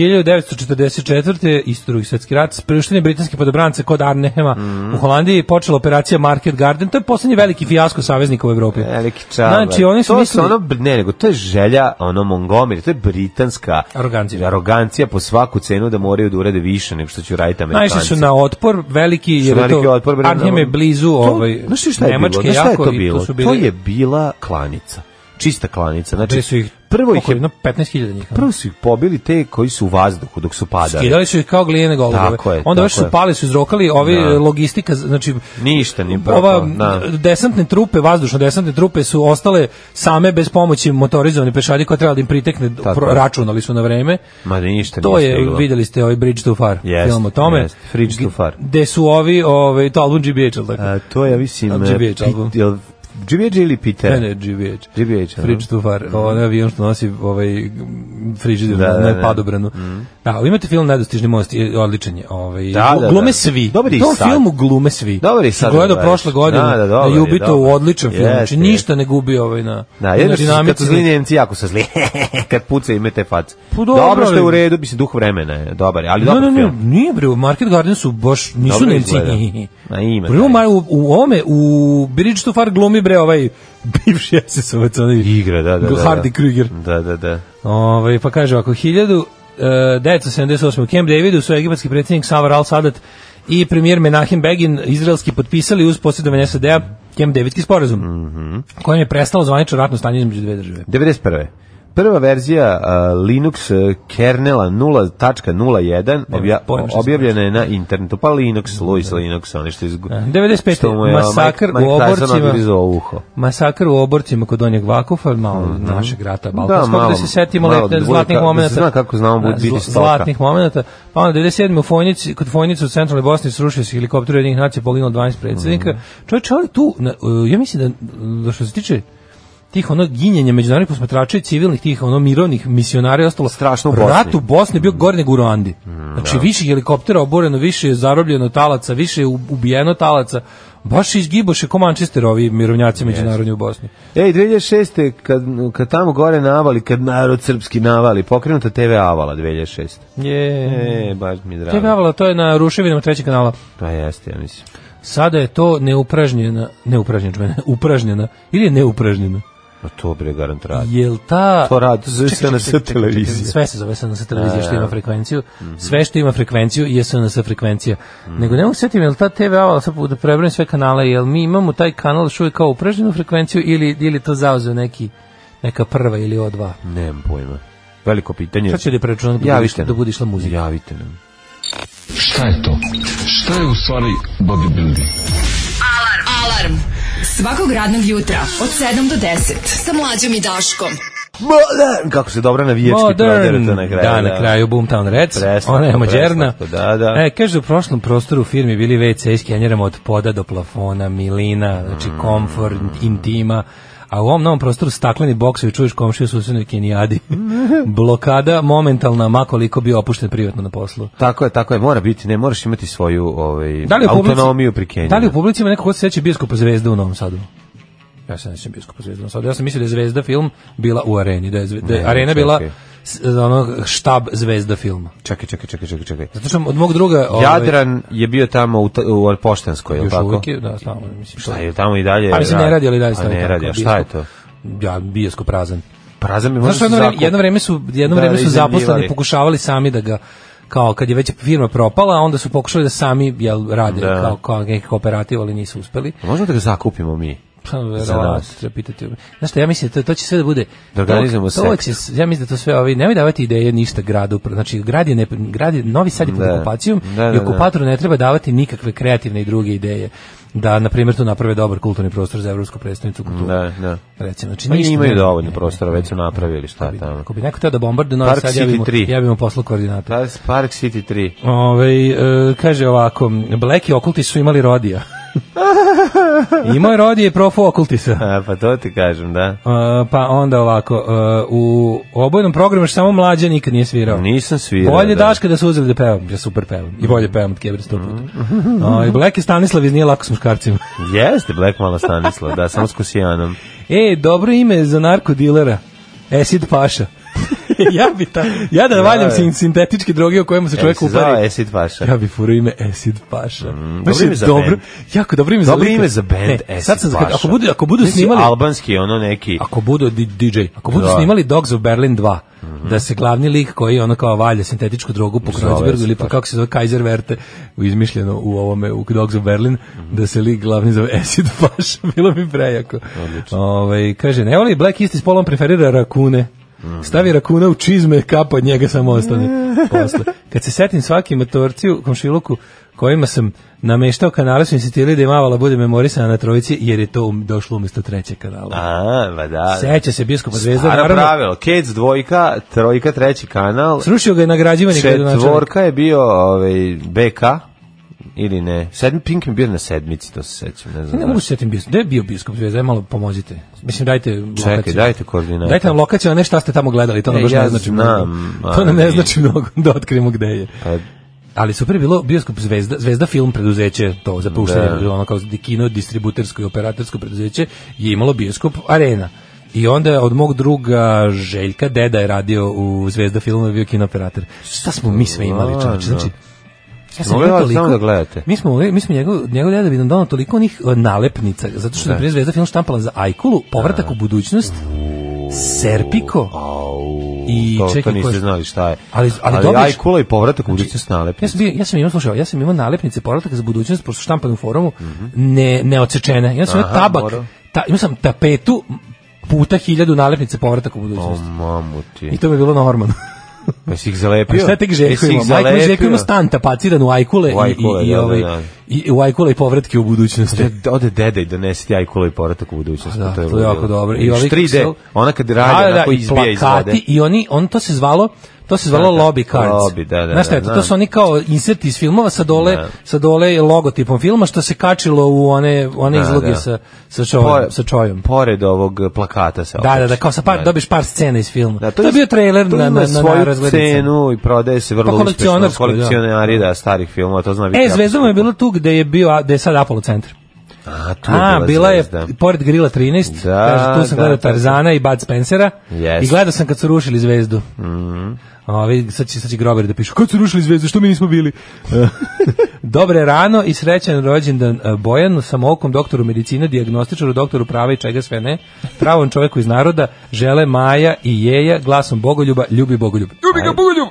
Speaker 6: 1944. isto drugi svetski rat, sprištine britanske podobrance kod Arnehema
Speaker 5: Mhm.
Speaker 6: u Holandiji počela operacija Market Garden. To je poslednji veliki fijasko saveznika u Evropi.
Speaker 5: Veliki čabar.
Speaker 6: Znači, oni su
Speaker 5: to
Speaker 6: mislili-
Speaker 5: Ono, ne, nego to je želja ono Montgomery, to je britanska
Speaker 6: Arogancija.
Speaker 5: arogancija po svaku cenu da moraju da urade više nego što će uraditi Amerikanci.
Speaker 6: Najviše su na otpor, veliki, jer je
Speaker 5: Veliki
Speaker 6: to
Speaker 5: otpor, bre,
Speaker 6: Arnhem je
Speaker 5: ono-
Speaker 6: blizu
Speaker 5: To-
Speaker 6: ovaj,
Speaker 5: znaš ti šta je
Speaker 6: Nemačke
Speaker 5: bilo? Znaš šta je
Speaker 6: jako
Speaker 5: to
Speaker 6: i
Speaker 5: bilo?
Speaker 6: to su
Speaker 5: To,
Speaker 6: bili...
Speaker 5: je bila klanica. Čista klanica. Znači,
Speaker 6: Znači, su ih
Speaker 5: prvo ih je
Speaker 6: oko, jedno 15.000 njih.
Speaker 5: Prvo su ih pobili te koji su u vazduhu dok su padali.
Speaker 6: Skidali su ih kao glijene golubove.
Speaker 5: Tako je,
Speaker 6: Onda
Speaker 5: tako
Speaker 6: baš su
Speaker 5: je.
Speaker 6: pali, su izrokali, ovi
Speaker 5: Da.
Speaker 6: logistika, znači
Speaker 5: Ništa nije
Speaker 6: ova
Speaker 5: propalo, da.
Speaker 6: desantne trupe, vazdušno desantne trupe su ostale same bez pomoći motorizovane pešadije koja treba da im pritekne,
Speaker 5: Tako
Speaker 6: pro-
Speaker 5: je.
Speaker 6: računali su na vreme.
Speaker 5: Ma ništa
Speaker 6: To
Speaker 5: nije
Speaker 6: je,
Speaker 5: stiglo.
Speaker 6: videli ste ovaj Bridge Too Far
Speaker 5: Jest,
Speaker 6: film o tome.
Speaker 5: jest, Bridge Too Far.
Speaker 6: Gde su ovi, ovaj, to album GBH, ali tako?
Speaker 5: A, to je, ja mislim...
Speaker 6: Al' GBH album.
Speaker 5: GBH ili Peter?
Speaker 6: Ne, ne, GBH.
Speaker 5: GBH, aha.
Speaker 6: Fridge to far. Onaj avion što nosi ovaj frižider
Speaker 5: Mhm. Da,
Speaker 6: da,
Speaker 5: da,
Speaker 6: na
Speaker 5: da.
Speaker 6: padobranu. Da, vi imate film Nedostižni most, je odličan je. Ovaj,
Speaker 5: Da, da,
Speaker 6: glume
Speaker 5: da.
Speaker 6: svi.
Speaker 5: Dobar je i
Speaker 6: U tom
Speaker 5: sad.
Speaker 6: filmu glume svi.
Speaker 5: Dobar je i sad da
Speaker 6: Gledao
Speaker 5: gledaš.
Speaker 6: prošle godine
Speaker 5: Da, da, dobar
Speaker 6: na
Speaker 5: je,
Speaker 6: Jubitovu,
Speaker 5: dobar.
Speaker 6: odličan film. Znači,
Speaker 5: Jeste,
Speaker 6: ništa ne gubi ovaj na,
Speaker 5: Da,
Speaker 6: na
Speaker 5: jedno što su- kad
Speaker 6: dinamici.
Speaker 5: su zli Nemci jako su zli. [laughs] kad puca ime te face.
Speaker 6: Pa dobro,
Speaker 5: što je u
Speaker 6: ali-
Speaker 5: redu, bi se duh vremena je dobar, je, ali
Speaker 6: Ne,
Speaker 5: dobar
Speaker 6: ne, ne,
Speaker 5: film.
Speaker 6: nije bre, u Market Garden su baš, nisu
Speaker 5: Dobro
Speaker 6: Nemci.
Speaker 5: izgleda. Na ime,
Speaker 6: Bre, u,
Speaker 5: da.
Speaker 6: Maj- u, u ome, u Bridge to Far glumi bre ovaj bivši SS-ovac, onaj
Speaker 5: Igra, da, da, da. da.
Speaker 6: Hardy Krüger.
Speaker 5: Da, da, da.
Speaker 6: Ovaj pa kaže ovako e, 1000 1978. u Camp Davidu su egipatski predsjednik Savar al-Sadat i premijer Menahem Begin izraelski potpisali uz posjedovanje SAD-a Camp Davidski sporazum,
Speaker 5: Mhm.
Speaker 6: kojim je prestalo zvanično ratno stanje između dve države.
Speaker 5: 91. Prva verzija a, Linux e, kernela 0.01 obja,
Speaker 6: pojma šta se
Speaker 5: objavljena je na internetu. Pa Linux, Louis Linux, oni što, izgu,
Speaker 6: 95.
Speaker 5: što mu je a,
Speaker 6: Da, masakr
Speaker 5: Mike,
Speaker 6: u
Speaker 5: Mike Tyson
Speaker 6: oborcima.
Speaker 5: odgrizao uho.
Speaker 6: Masakr u oborcima kod Donjeg Vakufa, malo našeg rata Balkanskog, da,
Speaker 5: Mhm. malo,
Speaker 6: se setimo
Speaker 5: malo
Speaker 6: lepe-
Speaker 5: da bude
Speaker 6: zlatnih
Speaker 5: ka- da
Speaker 6: momenata.
Speaker 5: se zna kako znamo
Speaker 6: Da,
Speaker 5: bude biti
Speaker 6: zla-
Speaker 5: stoka.
Speaker 6: Zlatnih momenata. Pa onda 97. u Fojnici, kod Fojnice u centralnoj Bosni srušio se helikopter jednih nacija, poginulo 12
Speaker 5: Mhm.
Speaker 6: predsjednika. Mm -hmm. Čovječe, ali tu, na, uh, ja mislim da, da što se tiče tih ono ginjenja međunarodnih posmatrača i civilnih tih ono mirovnih misionara i ostalo
Speaker 5: Strašno u Bosni. Mm, da.
Speaker 6: rat u Bosni je bio gore nego u Ruandi znači više helikoptera oboreno više je zarobljeno talaca više je u- ubijeno talaca baš izgiboše ko Manchester ovi mirovnjaci međunarodni u Bosni
Speaker 5: Ej, 2006. Kad, kad tamo gore navali, kad narod srpski navali, pokrenuta TV Avala 2006.
Speaker 6: je
Speaker 5: E, baš mi je drago.
Speaker 6: TV Avala, to je na ruševinama trećeg kanala.
Speaker 5: Pa jeste, ja mislim.
Speaker 6: Sada je to neupražnjena, neupražnjena, čmene, upražnjena, ili je neupražnjena?
Speaker 5: No to bre garant radi.
Speaker 6: Jel ta...
Speaker 5: To radi, to zove
Speaker 6: Čekaj, čekaj,
Speaker 5: SNS
Speaker 6: čekaj, čekaj,
Speaker 5: televizija. Da. Mhm.
Speaker 6: čekaj, Sve se zove SNS televizija što ima frekvenciju. Sve što ima frekvenciju je SNS frekvencija. Nego ne mogu sjetiti, jel ta TV Avala, sad da prebrojim sve kanale, jel mi imamo taj kanal što je kao upražnjenu frekvenciju ili, ili to zauzeo neki neka prva ili o dva.
Speaker 5: Nemam pojma. Veliko pitanje.
Speaker 6: Sad ću da preračunam da, budiš-
Speaker 5: Javite nam.
Speaker 6: da budiš la muzika.
Speaker 5: Javite nam.
Speaker 7: Šta je to? Šta je u stvari bodybuilding?
Speaker 4: Alarm. Alarm. Svakog radnog jutra od 7 do 10 sa mlađom i Daškom.
Speaker 5: Modern! Kako se dobra navijački prodere to na kraju.
Speaker 6: da, na kraju Boomtown Reds,
Speaker 5: Preslatko,
Speaker 6: ona je mađerna.
Speaker 5: preslatko, da, da.
Speaker 6: E, kaže, u prošlom prostoru u firmi bili WC s kenjerama od poda do plafona, milina, znači
Speaker 5: Mm.
Speaker 6: komfort, intima, a u ovom novom prostoru stakleni boksovi čuješ komšiju susjednoj
Speaker 5: [laughs]
Speaker 6: Kenijadi. Blokada momentalna, makoliko bio opušten privatno na poslu.
Speaker 5: Tako je, tako je, mora biti, ne, moraš imati svoju ovaj,
Speaker 6: Da li u publici-
Speaker 5: autonomiju pri Keniji.
Speaker 6: Da li u publici ima neko ko se seća Bioskopa zvezda u Novom Sadu? Ja se ne sećam Bioskopa zvezda u Novom Sadu. Ja sam mislio da je zvezda film bila u areni, da je, zve- da je
Speaker 5: Ne,
Speaker 6: arena bila
Speaker 5: čekaj.
Speaker 6: s- ono štab zvezda filma.
Speaker 5: Čekaj, čekaj, čekaj, čekaj, čekaj.
Speaker 6: Zato što od mog druga... ovaj,
Speaker 5: Jadran je bio tamo u, ta- u Poštanskoj, je li
Speaker 6: Još
Speaker 5: tako?
Speaker 6: uvijek je, da, stalno je, mislim.
Speaker 5: Šta je tamo i dalje?
Speaker 6: A mislim, ne radi, ali dalje
Speaker 5: A
Speaker 6: stavi
Speaker 5: ne
Speaker 6: tako,
Speaker 5: radi, a
Speaker 6: biskup.
Speaker 5: šta je to?
Speaker 6: ja, bioskop prazan.
Speaker 5: Prazan mi
Speaker 6: Znaš,
Speaker 5: možda
Speaker 6: jedno
Speaker 5: se
Speaker 6: vreme,
Speaker 5: zakup-
Speaker 6: jedno vreme su, jedno
Speaker 5: Da,
Speaker 6: vreme su
Speaker 5: iznajmljivali.
Speaker 6: zaposleni pokušavali sami da ga kao kad je već firma propala, onda su pokušali da sami jel, rade
Speaker 5: Da.
Speaker 6: kao, kao neki kooperativ, ali nisu uspeli.
Speaker 5: Možemo da ga zakupimo mi.
Speaker 6: Pa
Speaker 5: Za
Speaker 6: verovatno
Speaker 5: nas.
Speaker 6: se treba pitati. Znaš šta, ja mislim da to, to će sve da bude...
Speaker 5: Da organizujemo
Speaker 6: to, to
Speaker 5: sektu.
Speaker 6: će, s- ja mislim da to sve ovi... Nemoj davati ideje ništa gradu. Znači, grad je, ne, grad je novi sad je pod
Speaker 5: Da.
Speaker 6: okupacijom
Speaker 5: Da, da,
Speaker 6: i
Speaker 5: da.
Speaker 6: okupatoru ne treba davati nikakve kreativne i druge ideje da, na primjer, tu naprave dobar kulturni prostor za Evropsku predstavnicu kulturu.
Speaker 5: Da, da.
Speaker 6: Recimo, znači,
Speaker 5: Pa
Speaker 6: ništa
Speaker 5: imaju
Speaker 6: ne-
Speaker 5: dovoljno
Speaker 6: ne,
Speaker 5: prostora, već su napravili šta
Speaker 6: ne, ne.
Speaker 5: tamo.
Speaker 6: Ako bi neko teo da bombarde Novi
Speaker 5: Park
Speaker 6: Sad, ja bi mu,
Speaker 5: City Da. 3.
Speaker 6: ja bi mu poslao koordinate.
Speaker 5: Ta Park City 3.
Speaker 6: Ove, e, kaže ovako, bleki okulti su imali
Speaker 5: [laughs]
Speaker 6: rodija. Imao je rodije i
Speaker 5: [laughs]
Speaker 6: profu okultisa.
Speaker 5: [laughs] A, pa to ti kažem, da.
Speaker 6: Uh, pa onda ovako, uh, u obojnom programu još samo mlađa nikad nije svirao.
Speaker 5: Nisam svirao.
Speaker 6: Bolje
Speaker 5: da. Mhm.
Speaker 6: Daška da su uzeli da pevam, ja super pevam. I bolje pevam od Kebra sto puta. [laughs] Uh, I Black je Stanislav iz Nije lako s muškarcima.
Speaker 5: Jeste Black Mala Stanislav, da, samo s Kusijanom.
Speaker 6: e, dobro ime za narkodilera. Esid
Speaker 5: [laughs]
Speaker 6: Paša. ja bi ta, [laughs] ja da valjam
Speaker 5: je.
Speaker 6: sin, sintetičke droge o kojima se [laughs] čovjek
Speaker 5: se zvao
Speaker 6: upari.
Speaker 5: Acid Paša. Mhm.
Speaker 6: Ja bi furao ime Acid Paša. Mm,
Speaker 5: dobro ime za bend.
Speaker 6: Jako dobro ime za
Speaker 5: Dobro
Speaker 6: lika.
Speaker 5: ime za bend
Speaker 6: E,
Speaker 5: Acid
Speaker 6: sad sam,
Speaker 5: Paša.
Speaker 6: ako budu, ako budu
Speaker 5: Mislim,
Speaker 6: snimali...
Speaker 5: Albanski, ono neki...
Speaker 6: ako budu di- DJ, ako budu
Speaker 5: Da.
Speaker 6: snimali Dogs of Berlin 2, da se glavni lik koji ono kao valja sintetičku drogu po
Speaker 5: Zove
Speaker 6: Kreuzbergu
Speaker 5: se
Speaker 6: ili po
Speaker 5: tako.
Speaker 6: kako se zove Kaiser Werte, izmišljeno u ovome u Dogs of Berlin, da se lik glavni zove Acid Faš, [laughs] bilo bi prejako. Ovaj kaže, ne voli Black East s polom preferira rakune. Stavi rakuna u čizme, kapa od njega samo
Speaker 5: [laughs]
Speaker 6: ostane posle. Kad se setim svaki motorciju, komšiluku, kojima sam nameštao kanale, su insistirali da je Mavala bude memorisana na trojici, jer je to um- došlo umjesto trećeg kanala.
Speaker 5: A, ba da.
Speaker 6: Seća se biskupa Zvezda,
Speaker 5: Staro
Speaker 6: naravno.
Speaker 5: pravilo, Kec dvojka, trojka, treći kanal,
Speaker 6: Srušio ga je nagrađivanje gradonačelnik.
Speaker 5: četvorka je bio ovaj, BK, ili ne, sedmi Pink je bio na sedmici, to se sećam, ne znam.
Speaker 6: Ne mogu se setim biskup. Gde je bio biskup Zvezda? Aj malo pomozite. Mislim, dajte lokaciju.
Speaker 5: Čekaj, dajte koordinate.
Speaker 6: Dajte nam lokaciju, a ne šta ste tamo gledali. To nam
Speaker 5: E,
Speaker 6: baš
Speaker 5: ja
Speaker 6: ne znači
Speaker 5: znam,
Speaker 6: mnogo. [laughs] To nam ne
Speaker 5: ali-
Speaker 6: znači mnogo da otkrimo gde je.
Speaker 5: Pa,
Speaker 6: Ali super je bilo bioskop Zvezda, Zvezda film preduzeće, to za puštanje,
Speaker 5: Da.
Speaker 6: bilo ono kao kino, distributersko i operatorsko preduzeće, je imalo bioskop Arena. I onda od mog druga Željka, deda je radio u Zvezda filmu, je bio kinooperator. Šta smo mi sve imali, čovječe? Znači, ja
Speaker 5: Da,
Speaker 6: sam
Speaker 5: Mogli
Speaker 6: imao
Speaker 5: vas samo da gledate.
Speaker 6: Mi smo, mi smo njegov, njegov deda bi nam donao toliko onih e, nalepnica, zato
Speaker 5: Da.
Speaker 6: što je prije Zvezda film štampala za Ajkulu, povratak u budućnost, Serpiko,
Speaker 5: Au,
Speaker 6: I
Speaker 5: I to,
Speaker 6: čekaj,
Speaker 5: to
Speaker 6: ko
Speaker 5: niste
Speaker 6: je-
Speaker 5: znali šta je.
Speaker 6: Ali-
Speaker 5: ali
Speaker 6: ali dobiješ-
Speaker 5: aj
Speaker 6: Znači,
Speaker 5: kula i povratak u ulicu s
Speaker 6: Ja
Speaker 5: nalepnicom.
Speaker 6: sam, bio, ja sam imao, slušao, ja sam imao nalepnice povratak za budućnost, pošto štampane u forumu, ne, neodsečene. Ja sam imao
Speaker 5: Mhm. Aha,
Speaker 6: tabak,
Speaker 5: morao.
Speaker 6: ta, imao sam tapetu puta hiljadu nalepnice povratak u
Speaker 5: O,
Speaker 6: budućnost.
Speaker 5: mamu ti.
Speaker 6: I to mi je bilo
Speaker 5: [laughs]
Speaker 6: normalno.
Speaker 5: Pa si ih zalepio?
Speaker 6: Pa šta tek Željko
Speaker 5: Jesi ih
Speaker 6: ima? Majko mi Željko ima
Speaker 5: zalepio?
Speaker 6: stan tapaciran u Ajkule,
Speaker 5: U Ajkule,
Speaker 6: i, i, i,
Speaker 5: da, da,
Speaker 6: ovaj,
Speaker 5: da.
Speaker 6: i, u Ajkule i povratke u budućnost.
Speaker 5: Ode- ode deda i donese ti ajkulu i povratak u budućnost.
Speaker 6: Da,
Speaker 5: pa
Speaker 6: to je
Speaker 5: ludilo.
Speaker 6: jako dobro.
Speaker 5: I
Speaker 6: ovi
Speaker 5: 3D,
Speaker 6: kako se-
Speaker 5: ona kad
Speaker 6: da,
Speaker 5: radi, onako izbija iz vode.
Speaker 6: I oni, on to se zvalo to se zvalo
Speaker 5: Da, da,
Speaker 6: lobby cards.
Speaker 5: lobby, da, da,
Speaker 6: Znaš šta je
Speaker 5: da,
Speaker 6: to? To
Speaker 5: znam.
Speaker 6: su oni kao inserti iz filmova sa dole,
Speaker 5: Da.
Speaker 6: sa dole logotipom filma što se kačilo u one, one
Speaker 5: Da,
Speaker 6: izloge
Speaker 5: da. Pa,
Speaker 6: sa, sa, čovjom,
Speaker 5: Pore-
Speaker 6: sa čojom.
Speaker 5: Pored ovog e, plakata se
Speaker 6: Da, da,
Speaker 5: okači.
Speaker 6: da, kao sa par, dobiš par scena iz filma.
Speaker 5: Da,
Speaker 6: to, je bio trailer
Speaker 5: to
Speaker 6: na,
Speaker 5: ima
Speaker 6: na, na, na
Speaker 5: svoju
Speaker 6: razglednicama.
Speaker 5: cenu i prodaje se vrlo
Speaker 6: Pa
Speaker 5: uspešno.
Speaker 6: kolekcionarsku, da.
Speaker 5: Kolekcionari, da, starih filmova, to zna biti.
Speaker 6: E,
Speaker 5: jako
Speaker 6: Zvezdom je
Speaker 5: skupo.
Speaker 6: bilo tu gde je bio, a- gde je sad Apollo centar.
Speaker 5: A, tu je
Speaker 6: A,
Speaker 5: bila,
Speaker 6: bila je
Speaker 5: Zvezda.
Speaker 6: pored Grila 13,
Speaker 5: Da,
Speaker 6: kaže, tu sam
Speaker 5: da,
Speaker 6: gledao
Speaker 5: da, da.
Speaker 6: Tarzana i Bud Spencera
Speaker 5: Jeste. Mhm.
Speaker 6: i gledao sam kad su rušili zvezdu. A ovi, sad će, sad će grobari da pišu, kad su rušili zvezdu, što mi nismo bili?
Speaker 5: [laughs]
Speaker 6: Dobre rano i srećan rođendan e, Bojanu, samoukom doktoru medicine, diagnostičaru, doktoru prava i čega sve ne, pravom čoveku iz naroda, žele Maja i Jeja, glasom Bogoljuba, ljubi Bogoljub. Ljubi ga Bogoljub!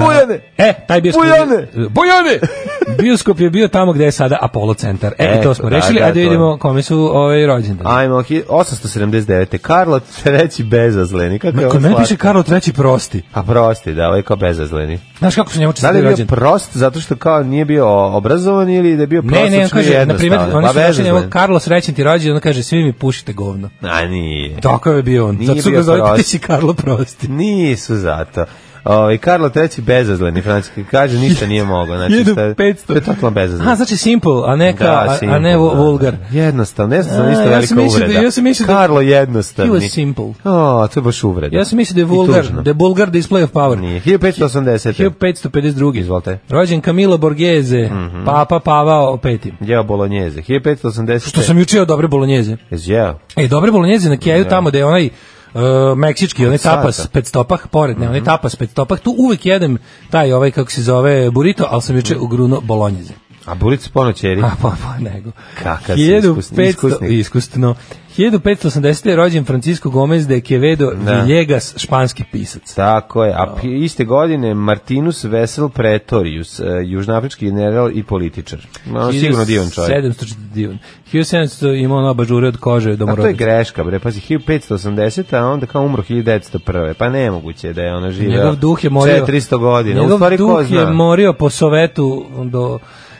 Speaker 5: Bojane!
Speaker 6: E, taj bioskop...
Speaker 5: Bojane!
Speaker 6: Bojane!
Speaker 5: [laughs]
Speaker 6: Bioskop je bio tamo gde je sada Apollo centar. E, i to
Speaker 5: Eto,
Speaker 6: smo
Speaker 5: da,
Speaker 6: rešili,
Speaker 5: da,
Speaker 6: ajde
Speaker 5: to je.
Speaker 6: vidimo kome su ovaj rođendan.
Speaker 5: Ajmo, hi- 879. Karlo III. bezazleni. Kako je
Speaker 6: Kod
Speaker 5: ovo
Speaker 6: mene
Speaker 5: slatko?
Speaker 6: piše Karlo III prosti.
Speaker 5: A prosti, da, ovo je kao bezazleni.
Speaker 6: Znaš kako su njemu
Speaker 5: Da li
Speaker 6: čestili
Speaker 5: je bio
Speaker 6: rođendan?
Speaker 5: prost zato što kao nije bio obrazovan ili da je bio
Speaker 6: Ne,
Speaker 5: prostočno
Speaker 6: ne, on kaže, na primjer,
Speaker 5: jednostavan?
Speaker 6: oni
Speaker 5: Pa
Speaker 6: su našli njemu
Speaker 5: bezazlen.
Speaker 6: Karlo srećen ti rođendan, on kaže, svi mi pušite govno.
Speaker 5: A nije.
Speaker 6: Tako je bio on.
Speaker 5: Nije
Speaker 6: Zato su ga
Speaker 5: bio
Speaker 6: zove, ti
Speaker 5: prost.
Speaker 6: si Karlo prosti.
Speaker 5: Nisu zato. Ovaj Karlo III bezazleni francuski kaže ništa nije mogao, znači
Speaker 6: Jedu
Speaker 5: šta je-
Speaker 6: 500.
Speaker 5: To je totalno bezazleni.
Speaker 6: A, znači simple, a ne, ka,
Speaker 5: Da,
Speaker 6: a, a
Speaker 5: simple,
Speaker 6: ne vu-
Speaker 5: da.
Speaker 6: vulgar.
Speaker 5: Jednostavno, ne znam,
Speaker 6: A,
Speaker 5: sam isto
Speaker 6: ja
Speaker 5: velika
Speaker 6: sam mislio da-
Speaker 5: uvreda.
Speaker 6: ja sam mislio da-
Speaker 5: Karlo jednostavni.
Speaker 6: He was simple.
Speaker 5: O, to je baš uvreda.
Speaker 6: Ja sam mislio da je
Speaker 5: I
Speaker 6: vulgar,
Speaker 5: tužno.
Speaker 6: da je vulgar display of power.
Speaker 5: Nije. 1580.
Speaker 6: 1552.
Speaker 5: Izvolite.
Speaker 6: Rođen Camilo Borghese,
Speaker 5: Mhm.
Speaker 6: Papa Pavao V.
Speaker 5: Jeo bolognese. 1580.
Speaker 6: Što sam jučio dobre bolonjeze.
Speaker 5: Jeo.
Speaker 6: E, dobre bolonjeze na Keju tamo da je onaj Uh, meksički, onaj
Speaker 5: Sata.
Speaker 6: tapas pet stopah, pored, ne,
Speaker 5: Mhm.
Speaker 6: onaj tapas pet stopah, tu uvek jedem taj, ovaj, kako se zove, burrito, ali sam juče ugruno bolonjeze.
Speaker 5: A Burica ponoćeri.
Speaker 6: A pa pa nego.
Speaker 5: Kakav si
Speaker 6: 1500
Speaker 5: iskusni-
Speaker 6: iskusno. 1580 je rođen Francisco Gomez de Quevedo da. Villegas, španski pisac.
Speaker 5: Tako je.
Speaker 6: Da.
Speaker 5: A pi- iste godine Martinus Vesel Pretorius, e, južnoafrički general i političar. Ono sigurno divan čovjek.
Speaker 6: 700 divan. 1700 ima ono bažure od kože do
Speaker 5: A to je
Speaker 6: morovice.
Speaker 5: greška, bre, pazi, 1580, a onda kao umro 1901. Pa nemoguće da je ona živeo
Speaker 6: Njegov duh je morio
Speaker 5: 400 godina. U
Speaker 6: Njegov
Speaker 5: stvari
Speaker 6: duh
Speaker 5: ko zna?
Speaker 6: je morio po Sovetu do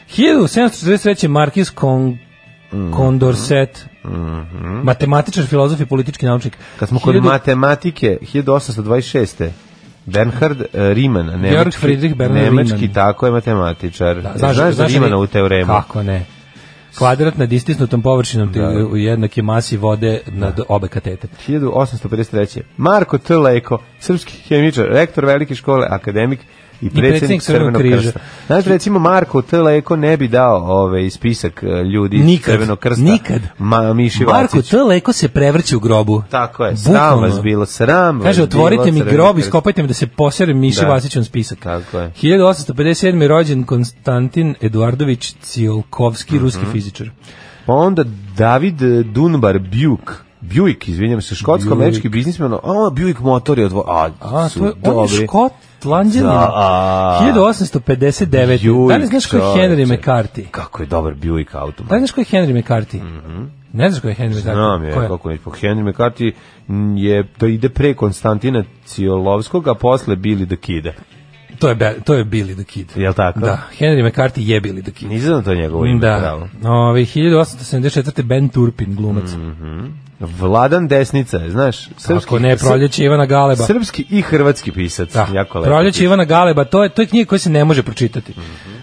Speaker 6: 1743 Markis Kon
Speaker 5: Mhm.
Speaker 6: Condorcet. Matematičar, filozof i politički naučnik.
Speaker 5: Kad smo kod
Speaker 6: 1000
Speaker 5: matematike, 1826. Bernhard e, Riemann, nemački,
Speaker 6: Friedrich Bernhard
Speaker 5: nemački
Speaker 6: Riemann.
Speaker 5: tako je matematičar. E,
Speaker 6: Da,
Speaker 5: znaš, znaš,
Speaker 6: znaš
Speaker 5: Riemana
Speaker 6: oni-
Speaker 5: u teoremu? Da.
Speaker 6: Kako ne? Kvadrat nad istisnutom površinom te, u jednake masi vode nad obe katete.
Speaker 5: 1853. Marko T. Leko, srpski hemičar, rektor velike škole, akademik i predsjednik,
Speaker 6: predsjednik Crvenog
Speaker 5: Crvenog
Speaker 6: križa.
Speaker 5: krsta. Znaš, da recimo, Marko T. Leko ne bi dao ovaj spisak e, ljudi iz
Speaker 6: Nikad,
Speaker 5: Crvenog krsta.
Speaker 6: nikad.
Speaker 5: Ma, Miši
Speaker 6: Marko,
Speaker 5: Vacić.
Speaker 6: to leko se prevrće u grobu.
Speaker 5: Tako je, sram vas
Speaker 6: Bukvalno.
Speaker 5: bilo, sram vas
Speaker 6: Kaže,
Speaker 5: bilo,
Speaker 6: otvorite mi
Speaker 5: Crveni
Speaker 6: grob,
Speaker 5: krst.
Speaker 6: iskopajte mi da se poserem Miši
Speaker 5: Da.
Speaker 6: Vasićom spisak.
Speaker 5: Tako je.
Speaker 6: 1857. rođen Konstantin Eduardović Ciolkovski,
Speaker 5: Mhm.
Speaker 6: ruski fizičar.
Speaker 5: Pa onda David eh, Dunbar Buick, Buick, izvinjam se, škotsko-američki biznismen, a Buick motor je odvo... A,
Speaker 6: A,
Speaker 5: su
Speaker 6: to je, on je
Speaker 5: dobri.
Speaker 6: škotlanđanin.
Speaker 5: Da, a-
Speaker 6: 1859. da li
Speaker 5: Buick,
Speaker 6: znaš ko je Henry
Speaker 5: čoveče.
Speaker 6: McCarthy?
Speaker 5: Kako je dobar Buick auto.
Speaker 6: Da li znaš ko je Henry McCarthy? Ne znaš ko je Henry
Speaker 5: Mhm.
Speaker 6: McCarthy?
Speaker 5: Znam je,
Speaker 6: Ko je?
Speaker 5: kako ne, po Henry McCarthy m, je, to ide pre Konstantina Ciolovskog, a posle Billy the Kid.
Speaker 6: To je, Be- to je Billy the Kid.
Speaker 5: Jel tako?
Speaker 6: Da, Henry McCarthy je Billy the Kid.
Speaker 5: Nisam to njegovo ime,
Speaker 6: Da,
Speaker 5: pravo.
Speaker 6: Ove, 1874. Ben Turpin, glumac.
Speaker 5: Vladan Desnica, je, znaš, Mhm. srpski...
Speaker 6: Ako ne, proljeće Ivana Galeba.
Speaker 5: Srpski i hrvatski pisac.
Speaker 6: Da,
Speaker 5: Jako lepo. Mhm.
Speaker 6: proljeće Ivana Galeba, to je, to je knjiga koja se ne može pročitati.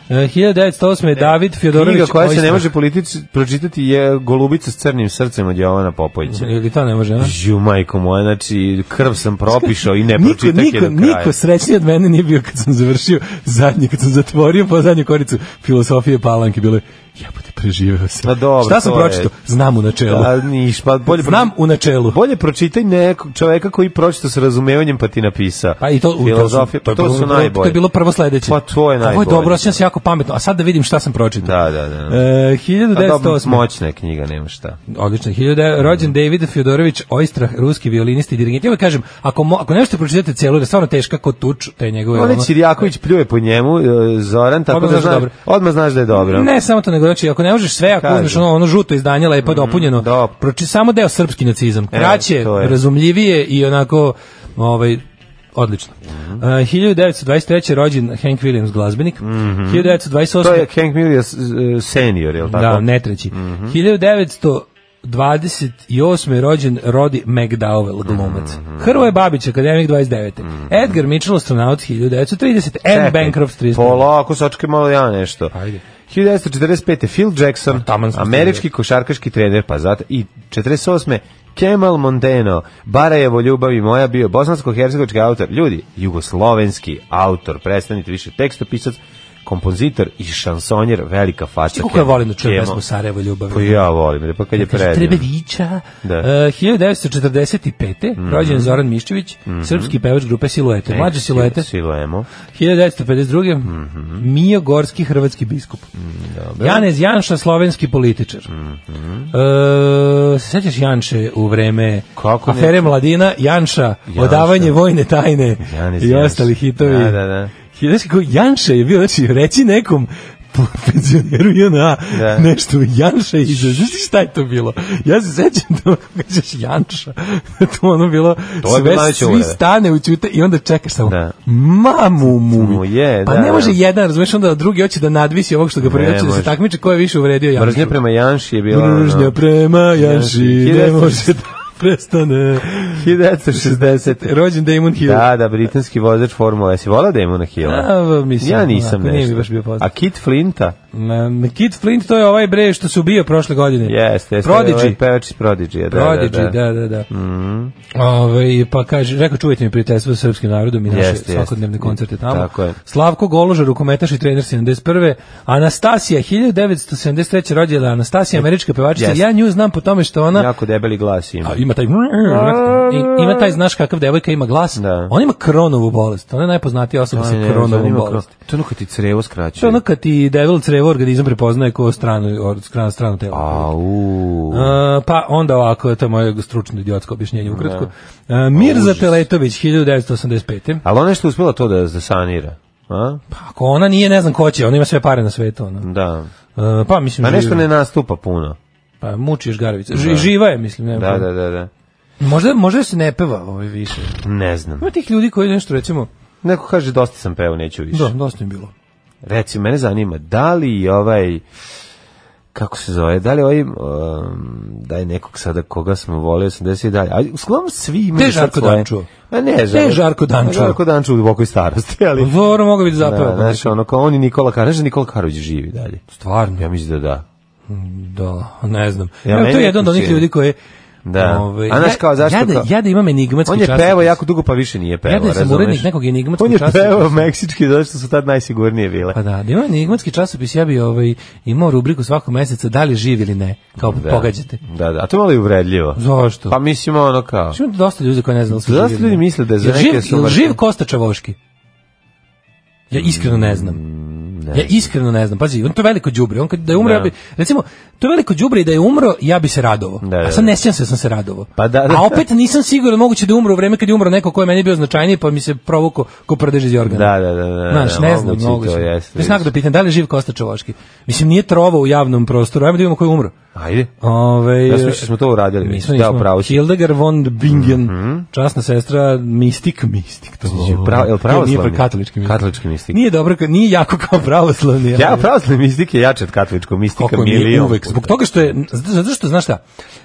Speaker 6: E, 1908. je David Fjodorović
Speaker 5: Knjiga koja se ne
Speaker 6: Oistrakh.
Speaker 5: može politici, pročitati je Golubica s crnim srcem od Jovana Popovića.
Speaker 6: Ili to ne može, a?
Speaker 5: Žu, majko moja, znači, krv sam propišao i ne
Speaker 6: Niko,
Speaker 5: pročitak je
Speaker 6: niko,
Speaker 5: do kraja.
Speaker 6: niko srećniji od mene nije bio kad sam završio zadnje, kad sam zatvorio po zadnju koricu filosofije palanke, bilo je, jebote, preživeo sam.
Speaker 5: Pa dobro,
Speaker 6: Šta sam
Speaker 5: to je-
Speaker 6: pročito? Znam u načelu.
Speaker 5: Da, niš, pa bolje
Speaker 6: Znam u načelu.
Speaker 5: Bolje pročitaj nekog čoveka koji pročita sa razumevanjem pa ti napisao.
Speaker 6: Pa i to u-
Speaker 5: filozofija,
Speaker 6: to,
Speaker 5: pa
Speaker 6: je
Speaker 5: to
Speaker 6: bilo
Speaker 5: su
Speaker 6: prvo-
Speaker 5: najbolje.
Speaker 6: To je bilo prvo sledeće.
Speaker 5: Pa to je
Speaker 6: Ovo je
Speaker 5: najbolje.
Speaker 6: dobro, osjećam se jako pametno. A sad da vidim šta sam
Speaker 5: Da,
Speaker 6: pročitao.
Speaker 5: da, da.
Speaker 6: E,
Speaker 5: Pa dobro,
Speaker 6: 1908.
Speaker 5: moćna je knjiga, nema šta.
Speaker 6: Odlično.
Speaker 5: Da,
Speaker 6: 1900 rođen David Fjodorović Oistrah, ruski violinist i dirigent. Ja vam kažem, ako mo, ako nešto pročitate celo, da je stvarno teška kod tuč, te njegove.
Speaker 5: Onaj
Speaker 6: ono-
Speaker 5: Čirjaković pljuje po njemu, e, Zoran, tako
Speaker 6: Odmah
Speaker 5: da
Speaker 6: znaš da je
Speaker 5: znaš,
Speaker 6: dobro.
Speaker 5: odmah znaš da je dobro.
Speaker 6: Ne, samo to nego znači ako ne možeš sve, ako
Speaker 5: Kažem.
Speaker 6: uzmeš ono, ono žuto izdanje lepo dopunjeno,
Speaker 5: dobro.
Speaker 6: proči samo deo srpski nacizam. Kraće,
Speaker 5: Mhm, da. E, to je.
Speaker 6: razumljivije i onako ovaj odlično.
Speaker 5: Mhm.
Speaker 6: Uh, 1923. rođen Hank Williams glazbenik. 1928.
Speaker 5: Mhm. To je Hank Miller e, senior, je li tako? Mhm.
Speaker 6: Da, ne treći. 1928. je rođen Rodi McDowell, glumac.
Speaker 5: Mhm.
Speaker 6: Hrvoje Babić, akademik 29. Edgar Mitchell, astronaut 1930. Anne
Speaker 5: Čekaj,
Speaker 6: Bancroft 30.
Speaker 5: Polako, sačekaj malo ja nešto.
Speaker 6: Ajde. Pa
Speaker 5: 1945. Phil Jackson,
Speaker 6: taman smo
Speaker 5: američki košarkaški trener, pa zato i 48. Kemal Monteno, Barajevo ljubav i moja bio bosansko-hercegovički autor, ljudi, jugoslovenski autor, predstavnite više tekstopisac, kompozitor i šansonjer, velika faca.
Speaker 6: Kako ja volim da čujem
Speaker 5: Kemo.
Speaker 6: pesmu Sarajevo ljubavi.
Speaker 5: Pa ja volim, re, pa kad je
Speaker 6: Kaže,
Speaker 5: predivno.
Speaker 6: Trebevića.
Speaker 5: Da. Mhm.
Speaker 6: E, 1945. rođen Zoran Miščević, srpski pevač grupe Siluete. Mlađe Siluete.
Speaker 5: Siluemo.
Speaker 6: 1952. Mio Gorski, hrvatski biskup. Janez Janša, slovenski političar.
Speaker 5: Mhm.
Speaker 6: E, se sećaš Janše u vreme
Speaker 5: Kako ne?
Speaker 6: afere Mladina, Janša,
Speaker 5: Janša.
Speaker 6: odavanje vojne tajne
Speaker 5: Janez
Speaker 6: i
Speaker 5: Janša.
Speaker 6: ostali hitovi.
Speaker 5: Da, da, da.
Speaker 6: I znaš kako Janša je bio, znači, reći nekom po penzioneru JNA
Speaker 5: Da.
Speaker 6: nešto Janša i znaš ti šta je to bilo? Ja se sećam da kako kažeš Janša, [laughs] to ono bilo
Speaker 5: To je bilo
Speaker 6: sve,
Speaker 5: najveće
Speaker 6: svi
Speaker 5: uvrede.
Speaker 6: stane u ćute i onda čekaš samo
Speaker 5: Da.
Speaker 6: mamu mu.
Speaker 5: Mu je,
Speaker 6: pa
Speaker 5: da,
Speaker 6: ne može
Speaker 5: da.
Speaker 6: jedan, razumeš, onda drugi hoće da nadvisi ovog što ga prvi
Speaker 5: Ne
Speaker 6: hoće da se
Speaker 5: može.
Speaker 6: takmiče ko je više uvredio Janšu.
Speaker 5: Mržnja prema da, Janši je bila... ono,
Speaker 6: Mržnja prema Janši, ne
Speaker 5: 1960.
Speaker 6: može da prestane.
Speaker 5: 1960.
Speaker 6: Rođen Damon Hill.
Speaker 5: Da, da, britanski vozač Formula S. da Volao Damona Hilla?
Speaker 6: A, mislim,
Speaker 5: ja nisam
Speaker 6: onako,
Speaker 5: nešto.
Speaker 6: nije mi baš bio poznat.
Speaker 5: A Kit Flinta?
Speaker 6: Um, Kid Flint to je ovaj bre što su bio prošle godine.
Speaker 5: Jeste, jeste.
Speaker 6: Prodigy.
Speaker 5: Ovaj pevač iz Prodigy. Da,
Speaker 6: Prodigy,
Speaker 5: da, da.
Speaker 6: da, da, da. Ovaj, pa kaže, rekao, čuvajte mi prijateljstvo sa srpskim narodom i naše
Speaker 5: Jeste,
Speaker 6: svakodnevne
Speaker 5: jeste.
Speaker 6: koncerte tamo.
Speaker 5: Tako je.
Speaker 6: Slavko Goloža, rukometaš i trener 71. Anastasija, 1973. rođena Anastasija, američka pevačica.
Speaker 5: Jeste.
Speaker 6: Ja nju znam po tome što ona...
Speaker 5: Jako debeli glas ima.
Speaker 6: da. A, ima taj i- ima taj znaš kakav devojka ima glas
Speaker 5: Da.
Speaker 6: ona ima kronovu bolest ona je najpoznatija osoba sa
Speaker 5: Ne, ne,
Speaker 6: kronovom
Speaker 5: zanima
Speaker 6: bolesti
Speaker 5: kro- To je ono kad ti crevo
Speaker 6: to
Speaker 5: skraćuje.
Speaker 6: je ono kad ti devil crevo njegov organizam prepoznaje ko stranu, or- strano, strano telo.
Speaker 5: Au.
Speaker 6: E, pa onda ovako, to je moje stručno idiotsko objašnjenje ukratko.
Speaker 5: Da.
Speaker 6: E, Mirza Teletović, 1985.
Speaker 5: Ali ona je što uspjela to da, da sanira. A?
Speaker 6: Pa ako ona nije, ne znam ko će, ona ima sve pare na svetu. Ona.
Speaker 5: Da.
Speaker 6: E, pa mislim,
Speaker 5: Pa nešto
Speaker 6: živa-
Speaker 5: ne nastupa puno.
Speaker 6: pa muči još Garovica. Ži- Živa je, mislim. Ne,
Speaker 5: Da, da, da, da.
Speaker 6: Možda, možda se ne peva ovaj više.
Speaker 5: Ne znam.
Speaker 6: Ima tih ljudi koji nešto, recimo,
Speaker 5: Neko kaže dosta sam peo, neću više.
Speaker 6: da, dosta im bilo.
Speaker 5: Reci, mene zanima, da li i ovaj kako se zove, da li ovaj um, daj nekog sada koga smo volio 80 i dalje, ali uglavnom svi imaju
Speaker 6: Te
Speaker 5: sad
Speaker 6: Žarko
Speaker 5: svoje-
Speaker 6: Danču.
Speaker 5: Ma ne,
Speaker 6: Te Žarko Danču.
Speaker 5: Žarko Danču u dubokoj starosti, ali
Speaker 6: Pa Dobro, mogu biti zapravo.
Speaker 5: da, znaš, ono, kao on i Nikola Karadžić, znaš da Nikola Karadžić živi dalje.
Speaker 6: Stvarno.
Speaker 5: Ja mislim da da.
Speaker 6: Da, ne znam.
Speaker 5: Ja,
Speaker 6: Ja,
Speaker 5: meni
Speaker 6: to je
Speaker 5: je
Speaker 6: jedan od onih
Speaker 5: kuće.
Speaker 6: ljudi koji
Speaker 5: Da.
Speaker 6: Ovaj,
Speaker 5: A znaš
Speaker 6: ja-
Speaker 5: kao, zašto
Speaker 6: ja da,
Speaker 5: kao-
Speaker 6: ja da imam enigmatski
Speaker 5: On je
Speaker 6: časopis.
Speaker 5: pevao jako dugo, pa više nije pevao,
Speaker 6: Ja da sam
Speaker 5: razumeš?
Speaker 6: urednik nekog enigmatskog
Speaker 5: On je
Speaker 6: časopisa.
Speaker 5: pevao meksički, zato što su tad najsigurnije bile.
Speaker 6: Pa da, da imam enigmatski časopis, ja bi ovaj, imao rubriku svakog meseca da li živi ili ne, kao
Speaker 5: Da.
Speaker 6: pogađate.
Speaker 5: Da, da, a to je malo i uvredljivo.
Speaker 6: Zašto?
Speaker 5: Pa mislim ono kao...
Speaker 6: Što ima dosta ljudi koji ne znaju da li su
Speaker 5: Dosta
Speaker 6: živi ili
Speaker 5: ljudi
Speaker 6: ne.
Speaker 5: misle da je za
Speaker 6: Jel
Speaker 5: neke
Speaker 6: živ, jel
Speaker 5: sumarke.
Speaker 6: živ Kosta Čavoški? Ja iskreno ne znam. Ja iskreno ne znam. Pazi, on to je veliko đubre. On kad da je umro,
Speaker 5: Mm, Da.
Speaker 6: ja bi recimo, to je veliko đubre i da je umro, ja bi se radovao.
Speaker 5: Da, da,
Speaker 6: A sad
Speaker 5: da.
Speaker 6: ne sjećam se da sam se radovao.
Speaker 5: Pa da, da.
Speaker 6: A opet nisam siguran moguće da je umro u vreme kad je umro neko ko je meni bio značajniji, pa mi se provukao ko prdež iz organa.
Speaker 5: Da, da, da, da,
Speaker 6: Znaš,
Speaker 5: da,
Speaker 6: ne znam,
Speaker 5: moguće i
Speaker 6: moguće.
Speaker 5: to jeste,
Speaker 6: Ja sam jako da pitam da li je živ Kosta Čavoški. Mislim nije trovao u javnom prostoru. Ajmo da vidimo ko je umro.
Speaker 5: Ajde.
Speaker 6: Ove,
Speaker 5: Ja sam mislio da smo to uradili.
Speaker 6: Nismo,
Speaker 5: Da,
Speaker 6: nismo.
Speaker 5: pravo si. Mhm.
Speaker 6: Hildegard von Bingen, časna sestra, mistik, mistik. To
Speaker 5: Je pra- je li pravoslavni?
Speaker 6: Nije, nije, katolički mistik.
Speaker 5: Katolički mistik.
Speaker 6: Nije dobro, ka- nije jako kao pravoslavni. ali-
Speaker 5: Ja, pravoslavni mistik je jače od katoličkog mistika
Speaker 6: Kako mi je
Speaker 5: milion.
Speaker 6: uvek.
Speaker 5: puta.
Speaker 6: Zbog toga što je, zato što, znaš šta,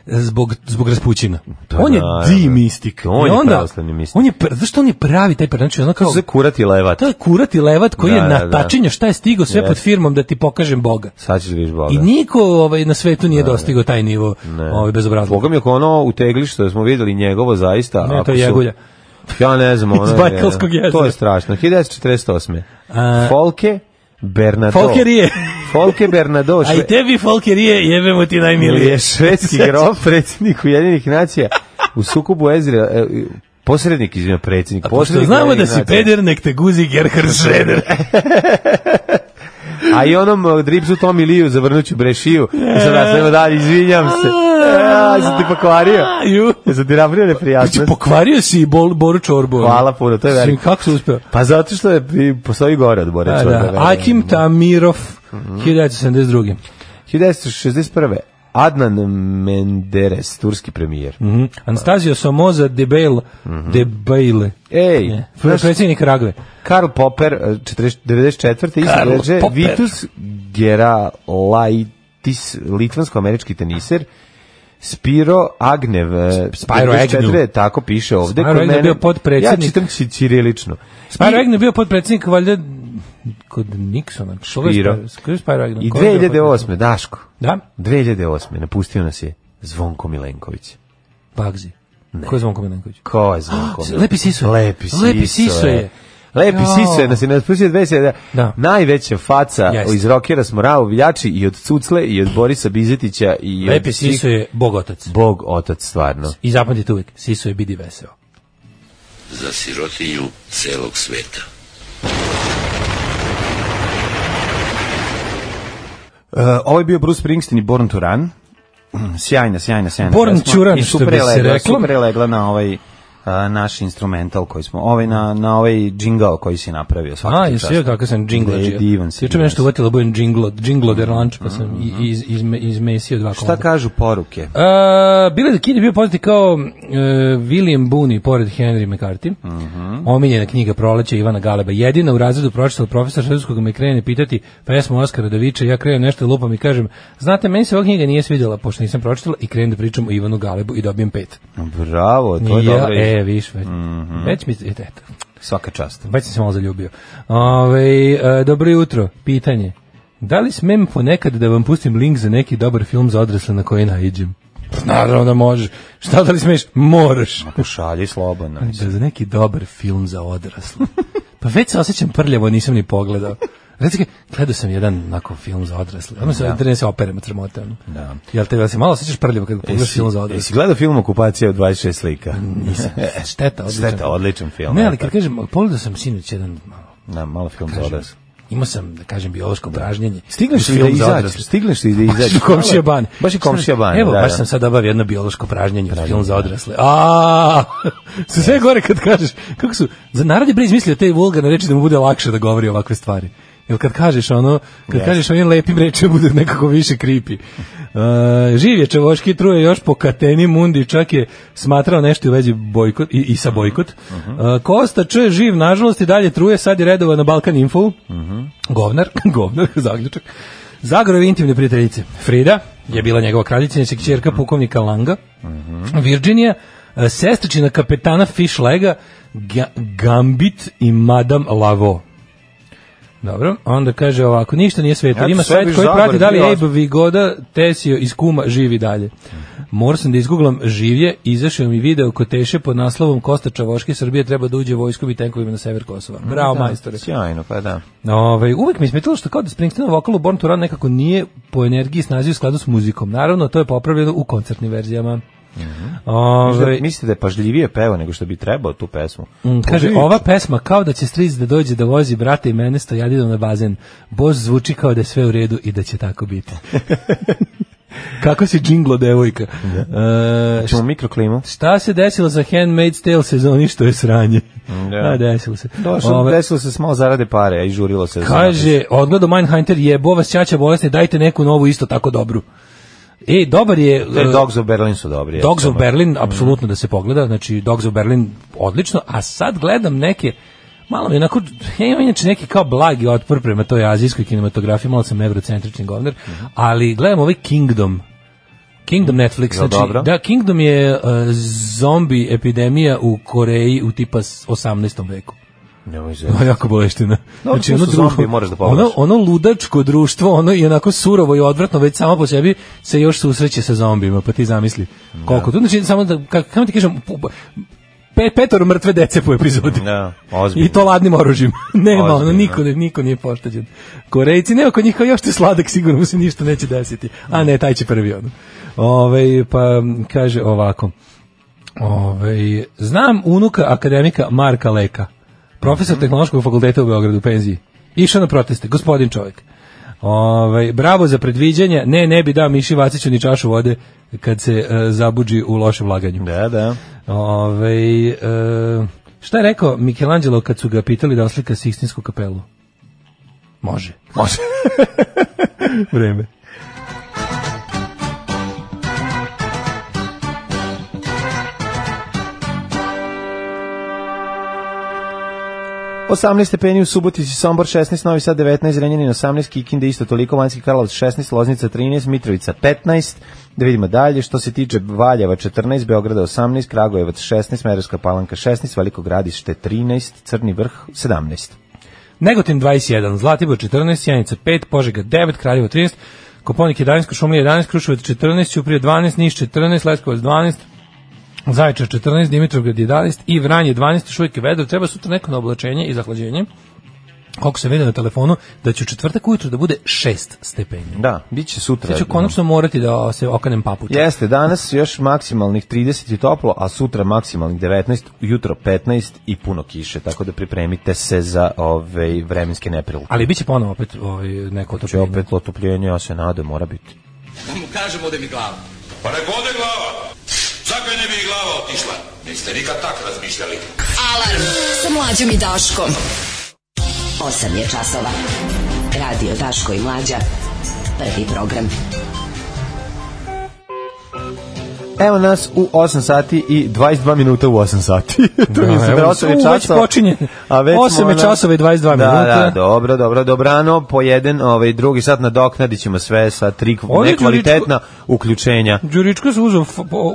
Speaker 6: zbog, zbog raspućina.
Speaker 5: Pa
Speaker 6: on je
Speaker 5: naravno.
Speaker 6: di mistik.
Speaker 5: On
Speaker 6: I
Speaker 5: je
Speaker 6: onda-
Speaker 5: pravoslavni mistik.
Speaker 6: On je, pr- zašto on je pravi taj pravi? Znači, ono kao,
Speaker 5: Kako se zove kurat i levat?
Speaker 6: to je kurat i levat koji
Speaker 5: Da,
Speaker 6: je
Speaker 5: da, da.
Speaker 6: natačinja šta je stigo sve
Speaker 5: Jeste.
Speaker 6: pod firmom da ti pokažem Boga.
Speaker 5: Sad ćeš da vidiš Boga.
Speaker 6: I niko ovaj, na svetu nije dostigao taj nivo ovaj, bezobrazluka.
Speaker 5: Boga mi ako ono u teglištu da smo videli njegovo zaista.
Speaker 6: Ne,
Speaker 5: ako
Speaker 6: to je
Speaker 5: su-
Speaker 6: jegulja.
Speaker 5: Ja ne
Speaker 6: [laughs]
Speaker 5: znam. ono
Speaker 6: Iz
Speaker 5: je-
Speaker 6: Bajkalskog jezera.
Speaker 5: To je strašno. 1948.
Speaker 6: A-
Speaker 5: Folke Bernardo.
Speaker 6: Folker
Speaker 5: [laughs]
Speaker 6: je.
Speaker 5: Folke Bernardo.
Speaker 6: [laughs] A i tebi folkerije jebemo ti najmilije.
Speaker 5: je švedski grof, predsjednik Ujedinjenih nacija u sukobu Ezra, e, posrednik, izvinjam, predsjednik,
Speaker 6: Pošto
Speaker 5: posrednik
Speaker 6: znamo da
Speaker 5: Ujedinjenih
Speaker 6: si
Speaker 5: nacija.
Speaker 6: peder, nek te guzi
Speaker 5: [laughs]
Speaker 6: Gerhard Schroeder.
Speaker 5: A i onom e, dripsu Tom Iliju zavrnuću brešiju. I sad nastavimo dalje, izvinjam se. Ja sam ti pokvario.
Speaker 6: Ju.
Speaker 5: Ja sam ti napravio
Speaker 6: Znači,
Speaker 5: neprijatnost.
Speaker 6: pokvario si i bol, Boru Čorbu.
Speaker 5: Hvala puno, to je
Speaker 6: Mislim,
Speaker 5: veliko.
Speaker 6: Kako se uspeo?
Speaker 5: Pa zato što je i postoji gore od Bore
Speaker 6: Da,
Speaker 5: Čorba, Mhm.
Speaker 6: da.
Speaker 5: verujem.
Speaker 6: Akim Tamirov, 1972.
Speaker 5: 1961. Adnan Menderes, turski premijer.
Speaker 6: Mhm. Anastasio Somoza Debel,
Speaker 5: Mhm.
Speaker 6: Debele.
Speaker 5: Ej,
Speaker 6: Je. Predsjednik Ragve.
Speaker 5: Karl Popper, eh, 40 94. isto
Speaker 6: Karl
Speaker 5: reče,
Speaker 6: Popper.
Speaker 5: Vitus Geralaitis, litvansko-američki teniser, Spiro Agnev, eh,
Speaker 6: Spiro
Speaker 5: 94,
Speaker 6: Agnew.
Speaker 5: tako piše ovde.
Speaker 6: Spiro
Speaker 5: kod
Speaker 6: Agnew
Speaker 5: mene.
Speaker 6: bio potpredsjednik.
Speaker 5: Ja čitam či- ćirilično.
Speaker 6: Spyro Agnew je bio podpredsjednik, valjda, kod Nixona. Koga je
Speaker 5: Spiro.
Speaker 6: Spyro- koga je Spyro Agnew?
Speaker 5: I
Speaker 6: Ko je bio
Speaker 5: 2008. Daško,
Speaker 6: Da,
Speaker 5: 2008. napustio nas je Zvonko Milenković.
Speaker 6: Bagzi. Ko je Zvonko Milenković?
Speaker 5: Ko je Zvonko? Milenković?
Speaker 6: Ah, Lepi Siso je.
Speaker 5: Lepi Siso,
Speaker 6: Lepi Siso je.
Speaker 5: Lepi
Speaker 6: Ja.
Speaker 5: Siso je, nas je naspustio 2007.
Speaker 6: Da.
Speaker 5: Najveća faca
Speaker 6: Jeste.
Speaker 5: iz rokera smo Rao Viljači i od Cucle i od Borisa Bizetića i
Speaker 6: Lepi
Speaker 5: od svih-
Speaker 6: Siso je bog otac.
Speaker 5: Bog otac stvarno.
Speaker 6: I zapamtite uvijek, Siso je bidi veseo.
Speaker 8: za sirotinju celog sveta.
Speaker 5: Uh, ovo je bio Bruce Springsteen i Born to Run. [clears throat] Mm, Sjajna, sjajna, sjajna.
Speaker 6: Born
Speaker 5: pesma.
Speaker 6: to Run,
Speaker 5: I
Speaker 6: što
Speaker 5: super
Speaker 6: bi
Speaker 5: je
Speaker 6: se
Speaker 5: legla-
Speaker 6: reklo.
Speaker 5: Super je legla na ovaj a, naš instrumental koji smo, ovaj na, na ovaj džingao koji si napravio. svaka
Speaker 6: A,
Speaker 5: ti
Speaker 6: Pa, jesi
Speaker 5: čast.
Speaker 6: joj kakav sam
Speaker 5: Da je
Speaker 6: džinglađija.
Speaker 5: Divan si.
Speaker 6: Juče me
Speaker 5: divan
Speaker 6: nešto
Speaker 5: si.
Speaker 6: uvatila, budem džinglo, džinglo der lunch, pa sam i- iz, iz, izmesio dva komada.
Speaker 5: Šta kažu poruke?
Speaker 6: Uh, Billy the Kid je bio poznat i kao e, William Boone pored Henry McCarthy.
Speaker 5: Mhm.
Speaker 6: Omiljena knjiga Proleće Ivana Galeba. Jedina u razredu pročitala profesor Švedskog me krene pitati pesmu Oskara Davića, ja krenem nešto lupam i kažem, znate, meni se ova knjiga nije svidjela pošto nisam pročitala i krenem da pričam o Ivanu Galebu i dobijem pet.
Speaker 5: Bravo, to je
Speaker 6: I ja,
Speaker 5: dobro. Mhm.
Speaker 6: E, viš, već, već mi, eto,
Speaker 5: Svaka čast.
Speaker 6: Već sam se malo zaljubio. Ove, e, dobro jutro, pitanje. Da li smem ponekad da vam pustim link za neki dobar film za odrasle na koji naiđem? Naravno da možeš. Šta da li smeš? Moraš.
Speaker 5: Pošalji slobodno.
Speaker 6: Da za neki dobar film za odrasle. Pa već se osjećam prljavo, nisam ni pogledao. Recite, gledao sam jedan onako film za odrasle. Ono se da. se operem od sramote. ono.
Speaker 5: Da.
Speaker 6: Jel te da E, se malo osjećaš prljavo kad pogledaš film za odrasle?
Speaker 5: Jesi gledao film Okupacija od 26 slika?
Speaker 6: Nisam. e, Šteta, Mm, odličan.
Speaker 5: Šteta, odličan film.
Speaker 6: Ne,
Speaker 5: eto.
Speaker 6: ali kad kažem, pogledao sam sinoć jedan malo
Speaker 5: Na, malo Da, film za odrasle.
Speaker 6: imao sam, da kažem, biološko pražnjenje.
Speaker 5: Stigneš
Speaker 6: Uz
Speaker 5: li da
Speaker 6: film za
Speaker 5: izađeš?
Speaker 6: odrasle.
Speaker 5: Stigneš li da
Speaker 6: Baš
Speaker 5: izađeš?
Speaker 6: i komšija ban.
Speaker 5: Baš i komšija ban,
Speaker 6: Evo,
Speaker 5: da,
Speaker 6: baš
Speaker 5: da.
Speaker 6: sam sad obavio jedno biološko pražnjenje od film za odrasle. A, [laughs] su sve gore kad kažeš, kako su, za narod je bre izmislio te vulgarne reči da mu bude lakše da govori ovakve stvari. Jel kad kažeš ono, kad kažeš ovim lepim rečima bude nekako više kripi. Uh, živ je Čevoški truje još po kateni mundi, čak je smatrao nešto u vezi bojkot, i, i sa
Speaker 5: Mhm.
Speaker 6: bojkot. Uh, Kosta Č. živ, nažalost, i dalje truje, sad je redovan na Balkan Info.
Speaker 5: Mhm.
Speaker 6: Govnar, [laughs] govnar, zaključak. Zagorove intimne prijateljice. Frida je bila njegova kraljica, njena
Speaker 5: Mhm.
Speaker 6: kćerka pukovnika Langa. Virginija, e, sestričina kapetana Fishlega, Ga- Gambit i Madame Lavo. Dobro, onda kaže ovako, ništa nije sveto,
Speaker 5: Eto,
Speaker 6: ima
Speaker 5: sve
Speaker 6: svet
Speaker 5: biš
Speaker 6: koji
Speaker 5: Zagor,
Speaker 6: prati da li
Speaker 5: bio Mhm.
Speaker 6: Abe Vigoda Tesio iz Kuma živi dalje. Morao sam da izguglam živje, izašao mi video ko teše pod naslovom Kosta Čavoški Srbije treba da uđe vojskom i tenkovima na sever Kosova. Bravo, majstore.
Speaker 5: Da, Sjajno, pa da.
Speaker 6: Ove, Ovaj, uvek mi je smetilo što kao da Springsteenov vokal u Born to Run nekako nije po energiji i snazi u skladu s muzikom. Naravno, to je popravljeno u koncertnim verzijama. Ovaj, Ove,
Speaker 5: Mislite Mhm. da je pažljivije peva nego što bi trebao tu pesmu?
Speaker 6: Mm, Kaže,
Speaker 5: Ovi-
Speaker 6: ova pesma kao da će stric da dođe da vozi brata i mene stojadinom na bazen. Bož zvuči kao da je sve u redu i da će tako
Speaker 5: [laughs]
Speaker 6: biti. Kako si džinglo, devojka.
Speaker 5: Da.
Speaker 6: E,
Speaker 5: Ćemo mikroklimu?
Speaker 6: šta se desilo za Handmaid's Tale sezoni što je sranje?
Speaker 5: da.
Speaker 6: A, desilo se.
Speaker 5: Došlo,
Speaker 6: Ove,
Speaker 5: desilo se smo zarade pare, a i žurilo se. za napis.
Speaker 6: Kaže, odgledao Mindhunter je bova sjaća bolesne, dajte neku novu isto tako dobru. E, dobar je...
Speaker 5: Te
Speaker 6: e,
Speaker 5: Dogs Mm. of Berlin su dobri. ja
Speaker 6: Dogs of
Speaker 5: samo-
Speaker 6: Berlin, apsolutno da se pogleda, znači Dogs of Berlin odlično, a sad gledam neke malo mi je onako, ja imam inače neki kao blagi otpor prema toj azijskoj kinematografiji, malo sam eurocentrični govner,
Speaker 5: Mhm.
Speaker 6: ali gledam ovaj Kingdom, Kingdom Netflix, znači,
Speaker 5: dobro?
Speaker 6: da, Kingdom je uh, zombi epidemija u Koreji u tipa s- 18. veku.
Speaker 5: Nemoj
Speaker 6: [laughs]
Speaker 5: se.
Speaker 6: To je jako boleština.
Speaker 5: Dobro, to su zombi, moraš da pogledaš.
Speaker 6: ono, ono ludačko društvo, ono i onako surovo i odvratno, već samo po sebi se još susreće sa zombijima, pa ti zamisli koliko tu. Znači, samo da, kako, kako ti kažem, pu- pe, petoro mrtve dece po epizodi.
Speaker 5: Da, ozbiljno.
Speaker 6: I to ladnim oružjem. [laughs] Nema, ono,
Speaker 5: Ozbiljno.
Speaker 6: niko, ne- niko nije pošteđen. Korejci, nema kod njih kao još te sladak, sigurno mu se ništa neće desiti. A ne, taj će prvi ono. Ove, pa m, kaže ovako. Ove, znam unuka akademika Marka Leka,
Speaker 5: Mhm.
Speaker 6: profesor tehnološkog fakulteta u Beogradu, u penziji. Išao na proteste, gospodin čovjek. Ove, bravo za predviđanje, ne, ne bi dao Miši Vaciću ni čašu vode kad se e, zabuđi u lošem laganju.
Speaker 5: Da, da.
Speaker 6: Ove, e, šta je rekao Michelangelo kad su ga pitali da oslika Sistinsku kapelu? Može.
Speaker 5: Može.
Speaker 6: [laughs] Vreme.
Speaker 5: Po 18 stepeni u Subotici, Sombor 16, Novi Sad 19, Renjanin 18, Kikinda isto toliko, Vanjski Karlovac 16, Loznica 13, Mitrovica 15, da vidimo dalje, što se tiče Valjeva 14, Beograda 18, Kragujevac 16, Merovska Palanka 16, Veliko Gradište 13, Crni Vrh 17.
Speaker 6: Negotin 21, Zlatibor 14, Sjenica 5, Požega 9, Kraljevo 13, Koponik 11, Košumlija 11, Kruševac 14, Ćuprije 12, Niš 14, Leskovac 12, Zaječar 14, Dimitrovgrad 11 i Vranje 12, još uvijek je vedro, treba sutra neko na oblačenje i zahlađenje. Koliko se vidi na telefonu, da će u četvrtak ujutro da bude 6 stepeni.
Speaker 5: Da, bit će sutra.
Speaker 6: Ja ću konačno morati da se okanem papuče.
Speaker 5: Jeste, danas još maksimalnih 30 i toplo, a sutra maksimalnih 19, jutro 15 i puno kiše, tako da pripremite se za ove vremenske neprilike.
Speaker 6: Ali biće ponovo opet ovaj, neko
Speaker 5: Će
Speaker 6: to
Speaker 5: opet otopljenje, ja se nadam, mora biti.
Speaker 8: Da mu kažemo da mi glava.
Speaker 9: Pa nek ode glava. Zakaj ne bi i glava otišla? Niste nikad tak razmišljali.
Speaker 4: Alarm sa mlađom i Daškom. 8 je časova. Radio Daško i mlađa. Prvi program.
Speaker 5: Evo nas u 8 sati i 22 minuta u 8 sati. [laughs] to mi se
Speaker 6: evo
Speaker 5: da
Speaker 6: nas,
Speaker 5: 8 je
Speaker 6: u,
Speaker 5: časova.
Speaker 6: već počinje.
Speaker 5: A već
Speaker 6: 8
Speaker 5: smo
Speaker 6: je
Speaker 5: na-
Speaker 6: časova i 22
Speaker 5: da,
Speaker 6: minuta.
Speaker 5: Da, dobro, dobro, dobrano. Po jedan, ovaj, drugi sat nadoknadit ćemo sve sa tri
Speaker 6: Ovdje ću
Speaker 5: nekvalitetna uključenja.
Speaker 6: Đuričko se uzo,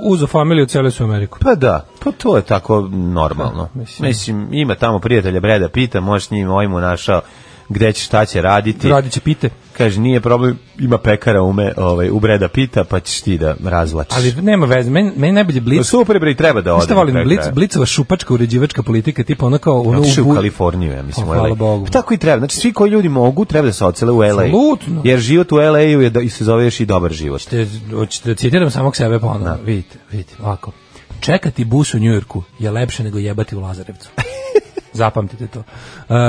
Speaker 6: uzo familiju cijelu su Ameriku.
Speaker 5: Pa da, pa to je tako normalno.
Speaker 6: Da, mislim.
Speaker 5: Mislim, ima tamo prijatelja Breda Pita, možeš s njim ojmu našao gde će, šta će raditi.
Speaker 6: Radit će pite.
Speaker 5: Kaže, nije problem, ima pekara ume, ovaj, u Breda Pita, pa ćeš ti da razvlačiš.
Speaker 6: Ali nema veze, meni, meni najbolje blic.
Speaker 5: Pa Super, bre, i treba da ode.
Speaker 6: Šta volim, blic, blicova šupačka uređivačka politika, tipa ono kao ono
Speaker 5: Pa Otišao
Speaker 6: bu-
Speaker 5: u Kaliforniju, ja mislim,
Speaker 6: Pa,
Speaker 5: u
Speaker 6: hvala
Speaker 5: LA.
Speaker 6: Bogu.
Speaker 5: Pa tako i treba. Znači, svi koji ljudi mogu, treba da se ocele u LA.
Speaker 6: Apsolutno.
Speaker 5: Jer život u LA-u je, da, i se zove još i dobar život.
Speaker 6: Te, hoćete da citiram samog sebe ponovno.
Speaker 5: Da.
Speaker 6: Vidite, vidite, ovako. Čekati bus u Njujorku je lepše nego jebati u Lazarevcu. Zapamtite to. Uh,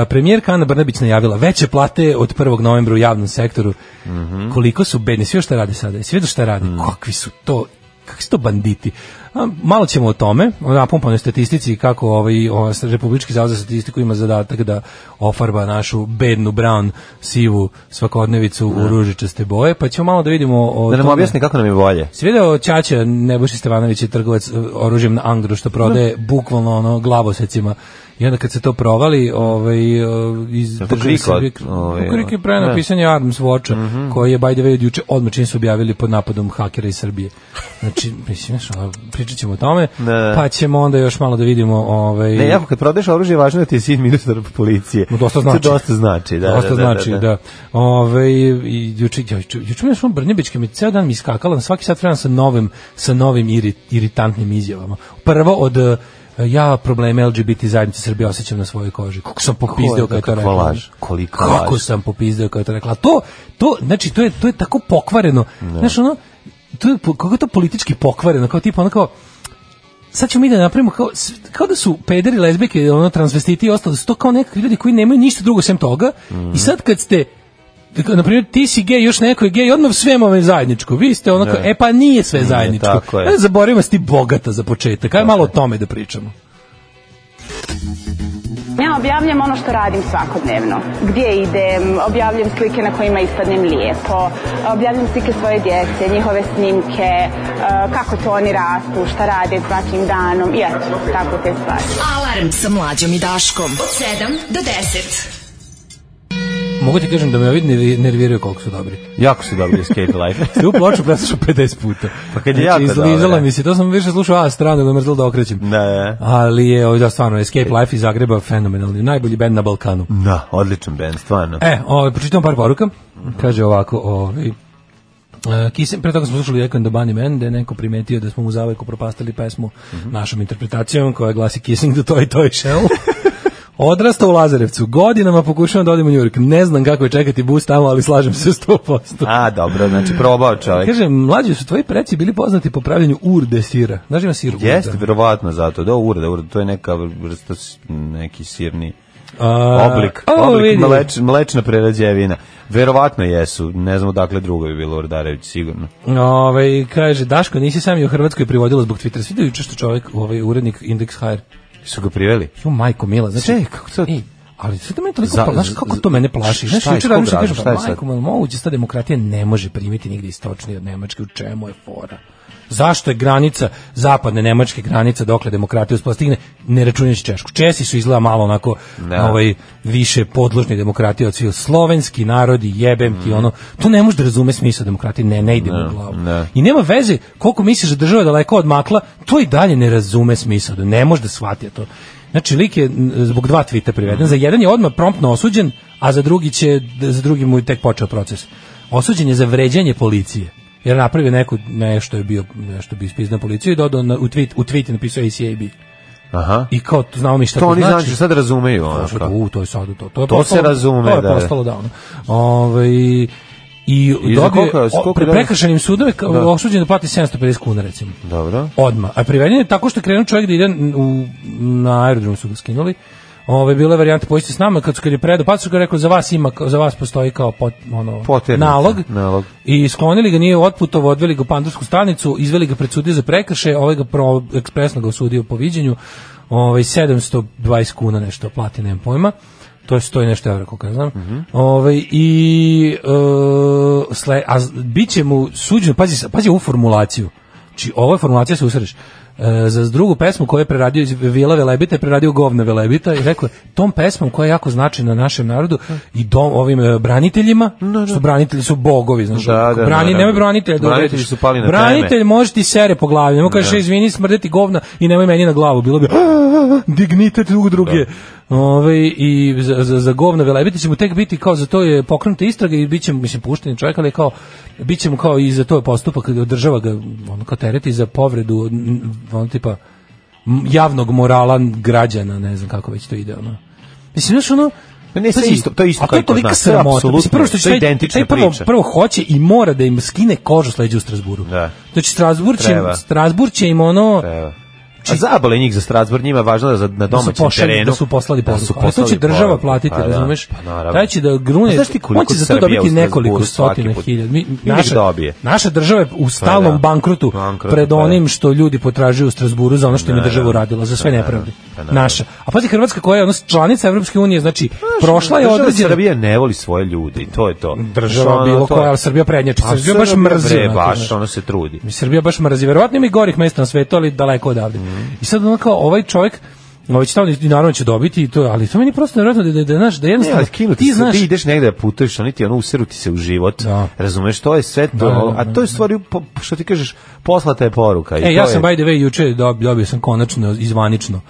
Speaker 6: premijerka Ana Brnabić najavila veće plate od 1. novembra u javnom sektoru.
Speaker 5: Mhm.
Speaker 6: Koliko su bedni, svi još šta rade sada, svi vidio šta rade, kakvi su to, kakvi su to banditi. A, malo ćemo o tome, o napumpanoj statistici i kako ovaj, ovaj Republički zavod za statistiku ima zadatak da ofarba našu bednu, brown, sivu svakodnevicu u ružičaste boje, pa ćemo malo da vidimo o
Speaker 5: Da nam
Speaker 6: tome.
Speaker 5: objasni kako nam je bolje.
Speaker 6: Si video Ćaća Nebojša Stevanović je trgovac e, oružjem na Angru što prodaje bukvalno ono glavosecima. I onda kad se to provali, ovaj e, iz
Speaker 5: to Krik od- ovaj,
Speaker 6: Krik je
Speaker 5: od-
Speaker 6: prena
Speaker 5: da. Mhm.
Speaker 6: pisanje Arms Watcha, koji je by the way od juče odmah čim su objavili pod napadom hakera iz Srbije. Znači, mislim, znaš, ono, pričat ćemo o tome,
Speaker 5: Da, da.
Speaker 6: pa ćemo onda još malo da vidimo ovaj
Speaker 5: Ne, jako kad prodaješ oružje, važno je da ti je sin ministar policije.
Speaker 6: No, dosta znači.
Speaker 5: To dosta znači, da. da,
Speaker 6: Dosta
Speaker 5: da,
Speaker 6: znači, da. Ove, i juče, ja, juče, juče mi je samo Brnebićka mi ceo dan mi iskakala, na svaki sat vremena sa novim, sa novim iri- iritantnim izjavama. Prvo od e, ja probleme LGBT zajednice Srbije osjećam na svojoj koži. Kako sam
Speaker 5: Ko-
Speaker 6: popizdeo kad je to
Speaker 5: kakva
Speaker 6: rekla.
Speaker 5: laž, kolika
Speaker 6: Kako
Speaker 5: laž.
Speaker 6: sam popizdeo kad je to rekla. A To, to, znači, to je, to je tako pokvareno.
Speaker 5: Da.
Speaker 6: Znaš, ono, to je, po- kako je to politički pokvareno, kao tipa, ono kao, sad ćemo mi da napravimo kao, s- kao da su pederi, lezbijke, ono, transvestiti i ostalo, da su to kao nekakvi ljudi koji nemaju ništa drugo sem toga i sad kad ste na primjer ti si gej, još neko je gej, odmah sve vam je zajedničko. Vi ste onako,
Speaker 5: Da.
Speaker 6: e pa nije sve zajedničko.
Speaker 5: tako je.
Speaker 6: Ajde, Zaboravimo da si ti bogata za početak. Ajde malo o tome da pričamo.
Speaker 10: Ja objavljam ono što radim svakodnevno. Gdje idem, objavljam slike na kojima ispadnem lijepo, objavljam slike svoje djece, njihove snimke, eh, kako to oni rastu, šta rade svakim danom, i eto, tako te stvari.
Speaker 4: Alarm sa mlađom i Daškom. Od 7 do 10.
Speaker 6: Mogu ti kažem da me ovi nervi- nerviraju koliko su dobri.
Speaker 5: Jako su dobri Escape [laughs] Life.
Speaker 6: Ste u ploču [laughs] preslušao 50 puta.
Speaker 5: Pa kad je jako dobro,
Speaker 6: izlizala
Speaker 5: da.
Speaker 6: mi se, to sam više slušao A stranu, da me mrzelo da okrećem.
Speaker 5: Da, da.
Speaker 6: Ali je, ovaj, da, stvarno, Escape Life iz Zagreba fenomenalni, najbolji band na Balkanu.
Speaker 5: Da, odličan band, stvarno.
Speaker 6: E, ovaj, pročitam par poruka. Kaže ovako, ovaj, Uh, Kisem, pre toga smo slušali Echo and the Bunny Man, da je neko primetio da smo mu zavek upropastili pesmu
Speaker 5: Mhm.
Speaker 6: našom interpretacijom koja glasi Kissing the Toy Toy
Speaker 5: [laughs]
Speaker 6: Shell. Odrasta u Lazarevcu, godinama pokušavam da odem u Njurk, ne znam kako je čekati bus tamo, ali slažem se 100%.
Speaker 5: A, dobro, znači probao čovjek.
Speaker 6: Kaže, mlađi su tvoji preci bili poznati po pravljenju urde sira. Znaš da ima sir urda?
Speaker 5: Jeste, verovatno zato. Da, urda, urda, to je neka vrsta s- neki sirni
Speaker 6: A,
Speaker 5: oblik,
Speaker 6: o,
Speaker 5: oblik
Speaker 6: vidi.
Speaker 5: mleč, mlečna prerađevina. Verovatno jesu, ne znamo dakle drugo je bilo Urdarević, sigurno.
Speaker 6: Ovaj, kaže, Daško, nisi sam i u Hrvatskoj privodila zbog Twittera. Svidio juče što čovjek, ovaj urednik Index HR,
Speaker 5: Su ga priveli?
Speaker 6: Jo majko mila, znači
Speaker 5: Sve, kako to-
Speaker 6: Ej, ali sad me toliko
Speaker 5: Za-
Speaker 6: pla- znaš
Speaker 5: za-
Speaker 6: kako to mene
Speaker 5: šta
Speaker 6: plaši. Znaš,
Speaker 5: je,
Speaker 6: juče
Speaker 5: iz kog
Speaker 6: razmišljam,
Speaker 5: razloga,
Speaker 6: kažem,
Speaker 5: šta je
Speaker 6: pa,
Speaker 5: sad?
Speaker 6: majko mila, moguće da demokratija ne može primiti nigde istočnije od Nemačke, u čemu je fora? Zašto je granica zapadne nemačke granice dokle demokratija uspostigne, ne računajući Češku. Česi su izgleda malo onako
Speaker 5: Da.
Speaker 6: ovaj više podložni demokratiji od svih. Slovenski narodi jebem ti ono. To ne može da razume smisao demokratije, ne ne
Speaker 5: Da,
Speaker 6: ide mu u glavu.
Speaker 5: ne.
Speaker 6: I nema veze koliko misliš da država je daleko od makla, to i dalje ne razume smisao, da ne može da shvati to. Znači, lik je m, zbog dva tvita priveden. Za jedan je odmah promptno osuđen, a za drugi, će, za drugi mu je tek počeo proces. Osuđen je za vređanje policije. Jer je napravio neku, nešto je bio, nešto bi ispiznao policiju i dodao na, u tweet, u tweet je napisao ACAB.
Speaker 5: Aha.
Speaker 6: I kao, znamo mi šta
Speaker 5: To
Speaker 6: to,
Speaker 5: oni
Speaker 6: znači.
Speaker 5: znači, sad razumeju. ono
Speaker 6: Prošlo je
Speaker 5: kao.
Speaker 6: to, u, to je sad, to, to, je
Speaker 5: To
Speaker 6: postalo-
Speaker 5: se razume,
Speaker 6: to je
Speaker 5: da, da.
Speaker 6: postalo da, ono. Ovaj, i, I
Speaker 5: za
Speaker 6: dobio je-
Speaker 5: koliko je- za
Speaker 6: o-
Speaker 5: koliko je
Speaker 6: pred
Speaker 5: dobio?
Speaker 6: prekršajnim sudom je kao
Speaker 5: Da.
Speaker 6: osuđen da plati 750 kuna recimo.
Speaker 5: Dobro.
Speaker 6: Odma. A priveden je tako što je krenuo čovjek da ide u, na aerodrom su ga skinuli. Ove, bila je varijanta pođite s nama, kad su kad je predao, pa su ga rekao, za vas ima, za vas postoji kao pot, ono,
Speaker 5: Poternica,
Speaker 6: nalog.
Speaker 5: nalog.
Speaker 6: I sklonili ga, nije otputovo, odveli ga u pandursku stanicu, izveli ga pred sudiju za prekrše, ovaj ga pro, ekspresno ga osudio po viđenju, ovaj, 720 kuna nešto plati, nemam pojma. To je stoji nešto evra, koliko ja znam. ovaj, I, e, sle, a z- bit će mu suđeno, pazi, sa- pazi ovu formulaciju. Znači, ovo je formulacija se usreš. E, za drugu pesmu koju je preradio iz Vila Velebita, je preradio Govna Velebita i rekao je, tom pesmom koja je jako značajna našem narodu i dom, ovim e, braniteljima, što branitelji su bogovi, znaš,
Speaker 5: Da,
Speaker 6: da,
Speaker 5: da,
Speaker 6: brani,
Speaker 5: naravno.
Speaker 6: nemoj branitelja da
Speaker 5: Branitelji
Speaker 6: uvrediš.
Speaker 5: su pali na Da.
Speaker 6: Branitelj
Speaker 5: teme.
Speaker 6: može ti sere po glavi, nemo kažeš, izvini, smrdeti govna i nemoj meni na glavu, bilo bi dignitet drug druge.
Speaker 5: Da.
Speaker 6: Ove, I za, za, za govna velebiti će mu tek biti kao za to je pokrenuta istraga i bit će mu, mislim, pušten je čovjek, ali kao, bit će mu kao i za to je postupak, država ga ono kao tereti za povredu, n- ono tipa, m- javnog morala građana, ne znam kako već to ide, ono. Mislim, znaš, ono,
Speaker 5: Pa ne, sve
Speaker 6: Pazi,
Speaker 5: isto, to je isto
Speaker 6: a to
Speaker 5: kao i
Speaker 6: je
Speaker 5: kod
Speaker 6: tolika
Speaker 5: nas, to je
Speaker 6: sramota.
Speaker 5: apsolutno,
Speaker 6: Mislim, prvo što
Speaker 5: to
Speaker 6: će
Speaker 5: je
Speaker 6: taj,
Speaker 5: identična
Speaker 6: taj prvo,
Speaker 5: priča.
Speaker 6: prvo hoće i mora da im skine kožu s leđa u Strasburu.
Speaker 5: Da.
Speaker 6: Znači, Strasbur će,
Speaker 5: Treba.
Speaker 6: Strasbur će im ono...
Speaker 5: Treba. A zabole njih za Strasbourg, njima je važno da za, na
Speaker 6: da su
Speaker 5: domaćem
Speaker 6: pošalj,
Speaker 5: terenu.
Speaker 6: da su poslali
Speaker 5: da su
Speaker 6: poruku. Ali to će
Speaker 5: poslali
Speaker 6: država
Speaker 5: poruku.
Speaker 6: platiti,
Speaker 5: Pa da,
Speaker 6: razumeš?
Speaker 5: pa naravno.
Speaker 6: Taj će da
Speaker 5: A
Speaker 6: grune,
Speaker 5: znaš ti koliko
Speaker 6: on će za to
Speaker 5: Srbija
Speaker 6: dobiti
Speaker 5: u Strasbourgu
Speaker 6: nekoliko
Speaker 5: svaki
Speaker 6: stotina
Speaker 5: put?
Speaker 6: hiljada. Mi,
Speaker 5: Ili
Speaker 6: naša,
Speaker 5: dobije.
Speaker 6: naša država je u
Speaker 5: da.
Speaker 6: stalnom bankrotu,
Speaker 5: Bankrotu,
Speaker 6: pred
Speaker 5: pa da.
Speaker 6: onim što ljudi potražuju u Strasburu za ono što im je država uradila, za
Speaker 5: da.
Speaker 6: sve nepravde.
Speaker 5: Pa
Speaker 6: Naša. A pazi Hrvatska koja je ono, članica Evropske unije, znači, prošla je
Speaker 5: Država da
Speaker 6: određena
Speaker 5: Srbija ne voli svoje ljude i to je to. Ono,
Speaker 6: država bilo
Speaker 5: to-
Speaker 6: koja, ali Srbija prednjači.
Speaker 5: Pa
Speaker 6: Srbija baš
Speaker 5: Srbija,
Speaker 6: mrzi. da.
Speaker 5: bre,
Speaker 6: onako, znaš.
Speaker 5: baš, ono se trudi.
Speaker 6: Mi Srbija baš mrzi. Verovatno ima i gorih mesta na svetu, ali daleko odavde. I sad ono kao ovaj čovjek Ovaj će tamo i naravno će dobiti i to, ali to meni prosto nevjerojatno da da da znaš da
Speaker 5: Ne,
Speaker 6: jednostavno
Speaker 5: ali kinuti
Speaker 6: ti
Speaker 5: ti,
Speaker 6: znaš
Speaker 5: ti ideš negde da putuješ, oni ti ono usiruti se u život.
Speaker 6: Da.
Speaker 5: Razumeš, to je sve to,
Speaker 6: Da, da,
Speaker 5: a to je stvari, po- što ti kažeš, poslata je poruka. i
Speaker 6: E,
Speaker 5: to
Speaker 6: ja sam
Speaker 5: je,
Speaker 6: by the way juče dob- dobio sam konačno izvanično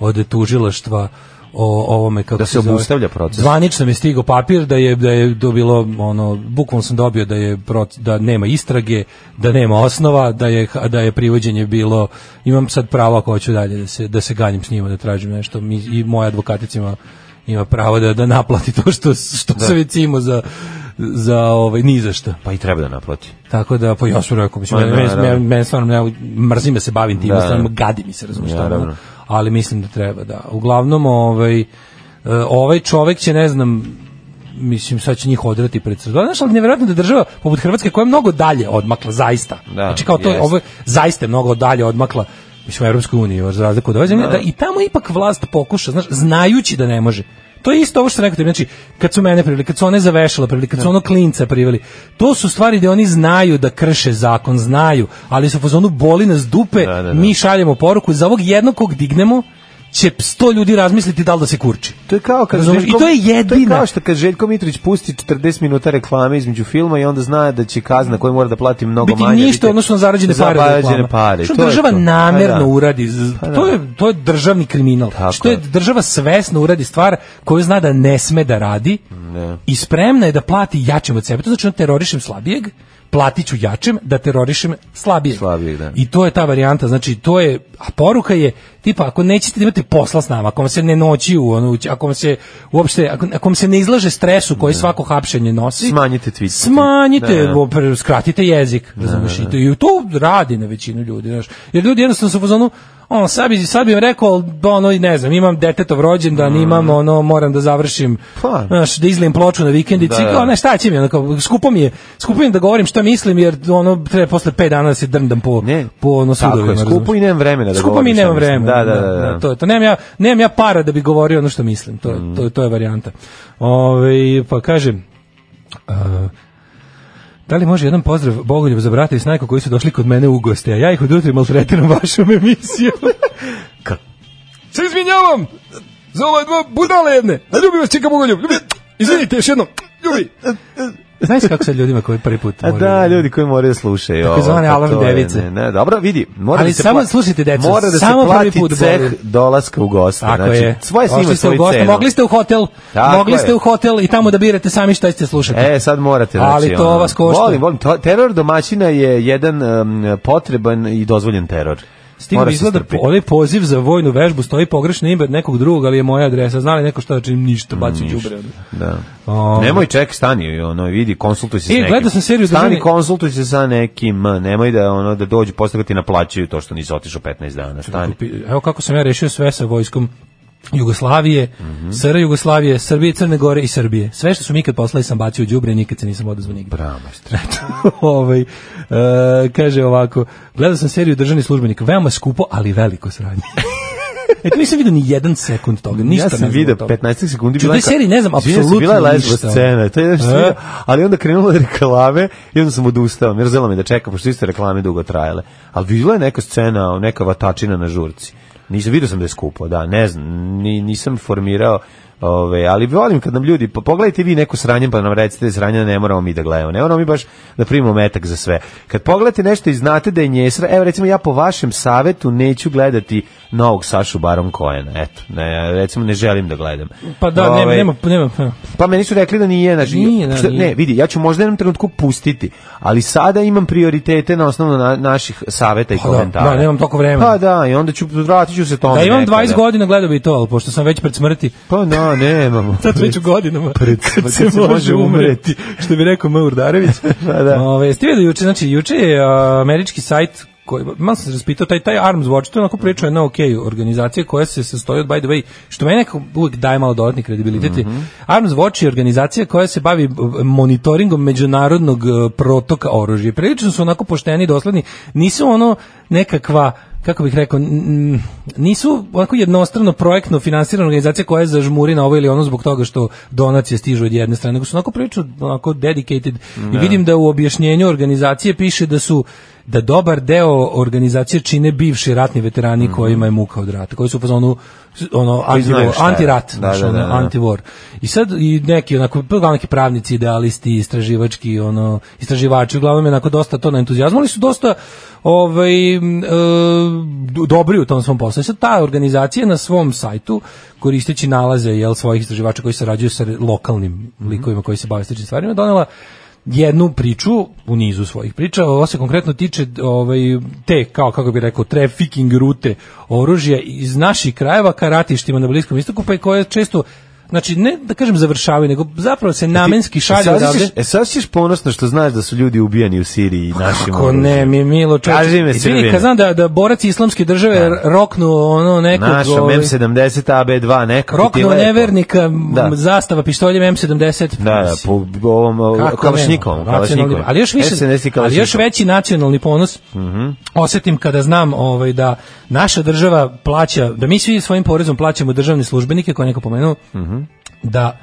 Speaker 6: od tužilaštva o ovome kako
Speaker 5: Da se
Speaker 6: zove.
Speaker 5: obustavlja proces.
Speaker 6: Zvanično mi je stigao papir da je da je dobilo ono bukvalno sam dobio da je proc- da nema istrage, da nema osnova, da je da je privođenje bilo imam sad pravo ako hoću dalje da se da se ganjim s njima da tražim nešto mi i moja advokaticima ima pravo da da naplati to što što
Speaker 5: Da.
Speaker 6: se već imao za za ovaj ni za šta.
Speaker 5: Pa i treba da naplati.
Speaker 6: Tako da, pa ja sam rekao, mislim,
Speaker 5: Ma,
Speaker 6: meni,
Speaker 5: da,
Speaker 6: meni,
Speaker 5: da.
Speaker 6: meni, meni stvarno, ja mrzim da se bavim tim,
Speaker 5: Da,
Speaker 6: da,
Speaker 5: da.
Speaker 6: stvarno, gadi mi se, razumiješ, šta
Speaker 5: Naravno.
Speaker 6: ono, ali mislim da treba, da. Uglavnom, ovaj, e, ovaj čovek će, ne znam, mislim, sad će njih odrati pred sredo. Znaš, ali nevjerojatno da je država, poput Hrvatske, koja je mnogo dalje odmakla, zaista.
Speaker 5: Da,
Speaker 6: znači, kao to,
Speaker 5: jest.
Speaker 6: ovo je zaista je mnogo dalje odmakla, mislim, u Evropskoj uniji, baš za razliku od ove zemlje, da i tamo ipak vlast pokuša, znaš, znajući da ne može. To je isto ovo što sam rekao tebi, znači, kad su mene priveli, kad su one zavešala priveli, kad
Speaker 5: Da.
Speaker 6: su ono klinca priveli, to su stvari gde oni znaju da krše zakon, znaju, ali su u fazonu boli nas dupe,
Speaker 5: Da, da, da.
Speaker 6: mi šaljemo poruku, za ovog jednog kog dignemo, će sto ljudi razmisliti da li da se kurči.
Speaker 5: To je kao kad
Speaker 6: Razumeš?
Speaker 5: Željko,
Speaker 6: I to je
Speaker 5: To je
Speaker 6: jedina.
Speaker 5: kao što kad Željko Mitrović pusti 40 minuta reklame između filma i onda zna da će kazna koju mora da plati mnogo
Speaker 6: biti
Speaker 5: manje.
Speaker 6: ništa odnosno na zarađene
Speaker 5: za
Speaker 6: pare. od
Speaker 5: zarađene
Speaker 6: reklama.
Speaker 5: pare.
Speaker 6: Što
Speaker 5: to je
Speaker 6: država
Speaker 5: to. Pa
Speaker 6: namerno
Speaker 5: da.
Speaker 6: uradi, z-
Speaker 5: Pa da.
Speaker 6: to je to je državni kriminal.
Speaker 5: Tako
Speaker 6: što je
Speaker 5: je.
Speaker 6: država svesno uradi stvar koju zna da ne sme da radi i spremna je da plati jačem od sebe. To znači da terorišem slabijeg, platiću jačem da terorišem slabijeg.
Speaker 5: Slabijeg, da.
Speaker 6: I to je ta varijanta, znači to je a poruka je tipa ako nećete da imate posla s nama, ako vam se ne noći u ono, ako vam se uopšte ako, ako vam se ne izlaže stresu koji svako hapšenje nosi,
Speaker 5: Smanjite tweet.
Speaker 6: Smanjite,
Speaker 5: Da, da.
Speaker 6: bo- pre- skratite jezik, razumeš, i to, i to radi na većinu ljudi, znaš, jer ljudi jednostavno su u fazonu, on, sad bi, sad bi im rekao, ali, ono, i ne znam, imam detetov rođendan, imam, ono, moram da završim,
Speaker 5: Mhm. Pa.
Speaker 6: znaš, da izlim ploču na vikendici,
Speaker 5: Da, da.
Speaker 6: kao, ne, šta će mi, ono, kao, skupo mi je, skupo mi je da govorim šta mislim, jer, ono, treba posle 5 dana da se drndam po,
Speaker 5: Ne,
Speaker 6: po, ono,
Speaker 5: tako
Speaker 6: sudovima,
Speaker 5: je, skupo
Speaker 6: razumeš.
Speaker 5: i nemam vremena da
Speaker 6: Skupo mi
Speaker 5: govorim
Speaker 6: i
Speaker 5: šta
Speaker 6: nemam
Speaker 5: mislim.
Speaker 6: vremena,
Speaker 5: Da, da, da, da.
Speaker 6: to je to. Nemam ja, nemam ja para da bi govorio ono što mislim, to,
Speaker 5: Mm.
Speaker 6: je- to, je- to je varijanta. Ove, pa kažem, Da li može jedan pozdrav Bogoljub za brata i snajku koji su došli kod mene u goste, a ja ih od jutra maltretiram vašom emisijom?
Speaker 5: [laughs] Ka-
Speaker 6: Se izvinjavam za ova dva budale jedne. A ljubi vas čika Bogoljub. Ljubi. Izvinite još jednom.
Speaker 5: [laughs]
Speaker 6: Ljubi. Znaš kako sad ljudima koji prvi put
Speaker 5: A da, ljudi koji moraju da slušaju. ovo,
Speaker 6: zvane
Speaker 5: pa
Speaker 6: alarm
Speaker 5: to je,
Speaker 6: device.
Speaker 5: Ne, ne, dobro, vidi. Mora
Speaker 6: Ali
Speaker 5: da se
Speaker 6: samo
Speaker 5: pla-
Speaker 6: slušajte, deco,
Speaker 5: Mora da
Speaker 6: samo
Speaker 5: se
Speaker 6: prvi
Speaker 5: plati
Speaker 6: put
Speaker 5: ceh
Speaker 6: boli.
Speaker 5: dolaska u goste.
Speaker 6: Tako
Speaker 5: znači,
Speaker 6: je.
Speaker 5: Svoje
Speaker 6: Ošli
Speaker 5: snima
Speaker 6: ste u
Speaker 5: svoju
Speaker 6: goste,
Speaker 5: cenu.
Speaker 6: mogli ste u hotel,
Speaker 5: Tako
Speaker 6: mogli
Speaker 5: je.
Speaker 6: ste u hotel i tamo da birate sami šta ćete slušati.
Speaker 5: E, sad morate. Znači,
Speaker 6: Ali to
Speaker 5: ono,
Speaker 6: vas košta.
Speaker 5: Volim, volim. To, teror domaćina je jedan em, potreban i dozvoljen teror.
Speaker 6: Stigao
Speaker 5: Mora se
Speaker 6: bi izgleda
Speaker 5: strpiti.
Speaker 6: onaj poziv za vojnu vežbu, stoji pogrešno ime od nekog drugog, ali je moja adresa. Znali neko šta da činim? Ništa, baci u đubre.
Speaker 5: Da.
Speaker 6: O.
Speaker 5: Nemoj ček, stani, ono, vidi, konsultuj se s
Speaker 6: E,
Speaker 5: nekim.
Speaker 6: gledao sam seriju
Speaker 5: Stani,
Speaker 6: Državni-
Speaker 5: konsultuj se sa nekim, nemoj da, ono, da dođu posle kad ti naplaćaju to što nisi otišao 15 dana, stani.
Speaker 6: Evo kako sam ja rešio sve sa vojskom Jugoslavije,
Speaker 5: Mhm.
Speaker 6: SR Jugoslavije, Srbije, Crne Gore i Srbije. Sve što su mi ikad poslali sam bacio u đubre, nikad se nisam odazvao nigde.
Speaker 5: Bravo, majstore.
Speaker 6: [laughs] ovaj, e, kaže ovako, gledao sam seriju Državni službenik, veoma skupo, ali
Speaker 5: [laughs]
Speaker 6: veliko sranje. E, tu nisam vidio ni jedan sekund toga, ništa
Speaker 5: ja
Speaker 6: ne znam
Speaker 5: sam
Speaker 6: od
Speaker 5: video
Speaker 6: toga.
Speaker 5: 15 sekundi
Speaker 6: Ču, u toj
Speaker 5: neka-
Speaker 6: seriji ne znam
Speaker 5: Izvinjam se,
Speaker 6: apsolutno
Speaker 5: bila je lesba
Speaker 6: ništa.
Speaker 5: scena to je nešto
Speaker 6: E.
Speaker 5: video, ali onda krenula je reklame i onda sam odustao jer zelo mi da čekam pošto iste reklame dugo trajale ali bila je neka scena neka vatačina na žurci nisam video sam da je skupo da ne znam ni, nisam formirao Ove, ali volim kad nam ljudi, pa pogledajte vi neko sranje pa nam recite da je sranje, ne moramo mi da gledamo, ne moramo mi baš da primimo metak za sve. Kad pogledate nešto i znate da je njesra, evo recimo ja po vašem savetu neću gledati novog Sašu Baron Cohena, eto, ne, recimo ne želim da gledam.
Speaker 6: Pa da, nema,
Speaker 5: Ovaj,
Speaker 6: nema, nema, nema.
Speaker 5: pa meni su rekli da nije, znači,
Speaker 6: Nije, da,
Speaker 5: šta-
Speaker 6: nije.
Speaker 5: ne, vidi, ja ću možda jednom trenutku pustiti, ali sada imam prioritete na osnovu na, naših saveta i
Speaker 6: Pa da,
Speaker 5: komentara.
Speaker 6: da, nemam toliko vremena.
Speaker 5: Pa da, i onda ću, vratit ću se tome
Speaker 6: Da imam
Speaker 5: nekada.
Speaker 6: 20 godina gledao bi to, ali pošto sam već pred smrti,
Speaker 5: Pa da, nemam.
Speaker 6: sad već u godinama,
Speaker 5: Pred-
Speaker 6: kad se može umreti, [laughs] što bi rekao Maur Darević.
Speaker 5: Pa da.
Speaker 6: Ove, ste vidio juče, znači juče je a, američki sajt koji, malo sam se raspitao, taj, taj Arms Watch, to je onako priča jedna ok organizacija koja se sastoji od, by the way, što mene nekako uvijek daje malo dodatni kredibilitet. Mm Arms Watch je organizacija koja se bavi b- monitoringom međunarodnog e, protoka oružja. Prilično su onako pošteni i dosledni. Nisu ono nekakva kako bih rekao, n- n- nisu onako jednostrano projektno finansirana organizacija koja je zažmuri na ovo ili ono zbog toga što donacije stižu od jedne strane, nego su onako priču onako dedicated i vidim da u objašnjenju organizacije piše da su da dobar deo organizacije čine bivši ratni
Speaker 5: Mhm.
Speaker 6: veterani kojima je muka od rata, koji su u fazonu ono
Speaker 5: Koji znaju
Speaker 6: anti-war,
Speaker 5: šta je.
Speaker 6: anti-rat,
Speaker 5: Da,
Speaker 6: znaš,
Speaker 5: da,
Speaker 6: ono,
Speaker 5: da, da.
Speaker 6: anti-war. I sad i neki onako pa uglavnom neki pravnici, idealisti, istraživački, ono istraživači, uglavnom je onako dosta to na entuzijazmu, ali su dosta ovaj m, e, do- dobri u tom svom poslu. I Sad ta organizacija na svom sajtu koristeći nalaze jel svojih istraživača koji sarađuju sa re- lokalnim likovima koji se bave sličnim stvarima donela jednu priču u nizu svojih priča, ovo se konkretno tiče ovaj, te, kao kako bi rekao, trafficking rute oružja iz naših krajeva ka ratištima na Bliskom istoku, pa i koje često Znači, ne da kažem završavaju, nego zapravo
Speaker 5: Znači,
Speaker 6: se [laughs] namenski šalju
Speaker 5: sad
Speaker 6: odavde. Pa
Speaker 5: ćeš- E sad ćeš ponosno što znaš da su ljudi ubijani u Siriji i našim
Speaker 6: Kako ne, mi je milo čovječe.
Speaker 5: Kaži mi,
Speaker 6: I vidi,
Speaker 5: Srbine. Da.
Speaker 6: Kad znam da, da borac islamske države roknu ono nekog...
Speaker 5: Naša
Speaker 6: ovaj,
Speaker 5: M70 AB2 nekako ti
Speaker 6: Roknu
Speaker 5: lepo.
Speaker 6: nevernika, m,
Speaker 5: Da.
Speaker 6: zastava pištoljem M70.
Speaker 5: Da, da, po ovom
Speaker 6: Kako
Speaker 5: kalašnjikovom,
Speaker 6: nema? Nacionalni-
Speaker 5: kalašnjikovom.
Speaker 6: Ali još više,
Speaker 5: SNS i
Speaker 6: ali još
Speaker 5: Kalašnjikov.
Speaker 6: veći nacionalni ponos osetim kada znam ovaj da naša država plaća, da mi svi svojim porezom plaćamo državne službenike, koje je neko pomenuo, da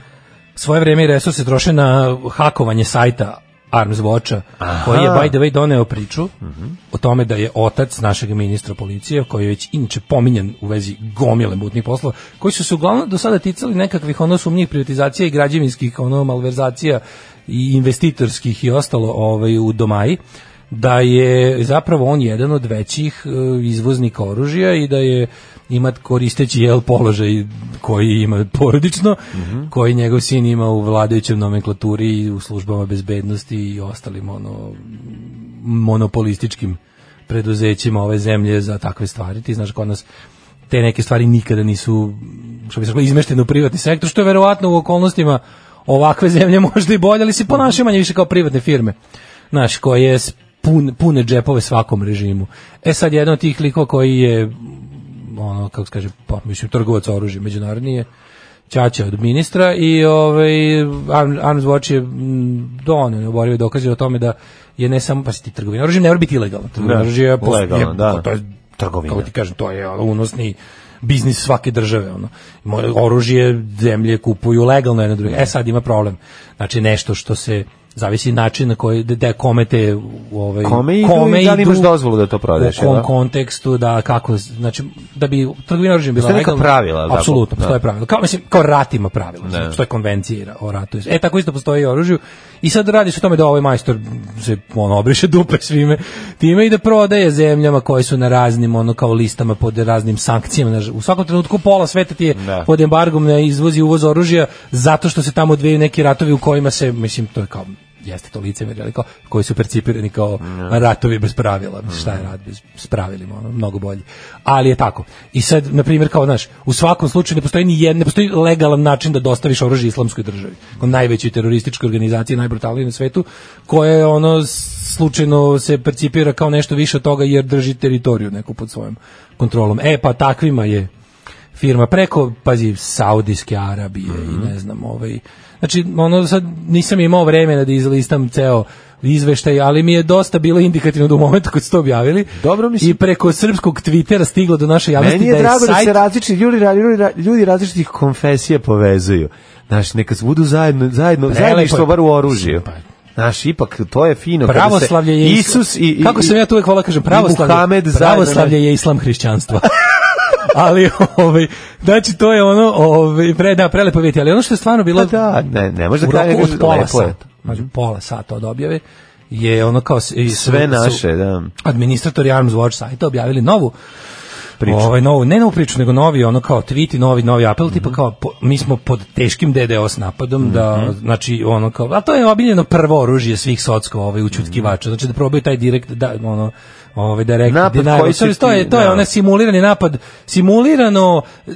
Speaker 6: svoje vreme i resurse troše na hakovanje sajta Arms Watcha, koji je by the way doneo priču o tome da je otac našeg ministra policije, koji je već inače pominjen u vezi gomile mutnih poslova, koji su se uglavnom do sada ticali nekakvih ono sumnjih privatizacija i građevinskih ono malverzacija i investitorskih i ostalo ovaj, u domaji da je zapravo on jedan od većih e, izvoznika oružja i da je ima koristeći jel položaj koji ima porodično, koji njegov sin ima u vladajućem nomenklaturi i u službama bezbednosti i ostalim ono monopolističkim preduzećima ove zemlje za takve stvari. Ti znaš kod nas te neke stvari nikada nisu što bi se reklo izmeštene u privatni sektor, što je verovatno u okolnostima ovakve zemlje [laughs] možda i bolje, ali se ponašaju manje više kao privatne firme. Znaš, koje s- pun, pune džepove svakom režimu. E sad jedan od tih likova koji je ono kako se kaže, pa mislim trgovac oružja međunarodni je Ćaća od ministra i ovaj Arm- Arms Watch je mm, doneo neoborive dokaze o tome da je ne samo pa si ti trgovina oružjem ne mora biti ilegalna. Trgovina
Speaker 5: Da,
Speaker 6: oružjem je, post-
Speaker 5: legalno,
Speaker 6: je-
Speaker 5: da.
Speaker 6: to je
Speaker 5: Trgovina.
Speaker 6: Kako ti kažem, to je ono, unosni biznis svake države ono. Moje oružje zemlje kupuju legalno jedno
Speaker 5: Da.
Speaker 6: drugo. E sad ima problem. Znači nešto što se zavisi način na koji da, da kome te ovaj
Speaker 5: Kome idu i da li imaš dozvolu da to prodaješ,
Speaker 6: u kom
Speaker 5: jel da?
Speaker 6: kontekstu da kako znači da bi trgovina oružjem bila
Speaker 5: Postoje neka
Speaker 6: legalna
Speaker 5: pravila, jel tako? Da.
Speaker 6: apsolutno postoje pravila kao mislim kao rat ima pravila mislim, postoje konvencije ra- o ratu e tako isto postoji i oružju i sad radi se o tome da ovaj majstor se ono obriše dupe svime time i da prodaje zemljama koje su na raznim ono kao listama pod raznim sankcijama Znaš, u svakom trenutku pola sveta ti je
Speaker 5: Da.
Speaker 6: pod embargom na izvoz i uvoz oružja zato što se tamo odvijaju neki ratovi u kojima se mislim to je kao jeste to licemerje, ali kao, koji su percipirani kao ratovi bez pravila. Mislim, Šta je rat bez s pravilima, ono, mnogo bolji. Ali je tako. I sad, na primjer, kao, znaš, u svakom slučaju ne postoji ni jedan, ne postoji legalan način da dostaviš oružje islamskoj državi. Kao najvećoj terorističkoj organizaciji, najbrutalnijoj na svetu, koja je ono slučajno se percipira kao nešto više od toga jer drži teritoriju neku pod svojom kontrolom. E, pa takvima je firma preko pazi Saudijske Arabije
Speaker 5: Mhm.
Speaker 6: i ne znam ovaj znači ono sad nisam imao vremena da izlistam ceo izveštaj, ali mi je dosta bilo indikativno do momenta kad ste to objavili.
Speaker 5: Dobro, mislim-
Speaker 6: I preko srpskog Twittera stiglo do naše javnosti
Speaker 5: Meni je
Speaker 6: da je
Speaker 5: drago da
Speaker 6: sajt
Speaker 5: se različiti ljudi, ljudi, ljudi različitih konfesija povezuju. Znaš, neka se budu zajedno, zajedno,
Speaker 6: Prelepo je.
Speaker 5: zajedništvo bar u oružju.
Speaker 6: Pa-
Speaker 5: Znaš, ipak to je fino. kada da se
Speaker 6: pravoslavlje je islam.
Speaker 5: Isus i, i,
Speaker 6: Kako sam ja to uvek volao da kažem, pravoslavlje,
Speaker 5: Muhamed zajedno-
Speaker 6: pravoslavlje je islam hrišćanstva. [laughs] ali ovaj znači to je ono ovaj pre da prelepo vidjeti, ali ono što je stvarno bilo
Speaker 5: Pa da, ne, ne može
Speaker 6: u
Speaker 5: da kaže
Speaker 6: roku od
Speaker 5: lepo
Speaker 6: pola
Speaker 5: je. Mhm.
Speaker 6: sata, znači pola sata od objave, je ono kao... s- i su-
Speaker 5: Sve
Speaker 6: su
Speaker 5: naše, da.
Speaker 6: Administratori Arms Watch sajta objavili novu
Speaker 5: Priču.
Speaker 6: Ovaj novu, ne novu priču, nego novi ono kao tweet i novi novi apel tipa
Speaker 5: Mhm.
Speaker 6: kao po- mi smo pod teškim DDoS napadom da
Speaker 5: Mhm.
Speaker 6: znači ono kao a to je obiljeno prvo oružje svih socsko ovaj učutkivača.
Speaker 5: Mhm.
Speaker 6: Znači da probaju taj direkt da ono ovaj direkt
Speaker 5: Napad
Speaker 6: denial.
Speaker 5: koji će
Speaker 6: Sorry, to je
Speaker 5: ti-
Speaker 6: to je
Speaker 5: da.
Speaker 6: onaj simulirani napad, simulirano e,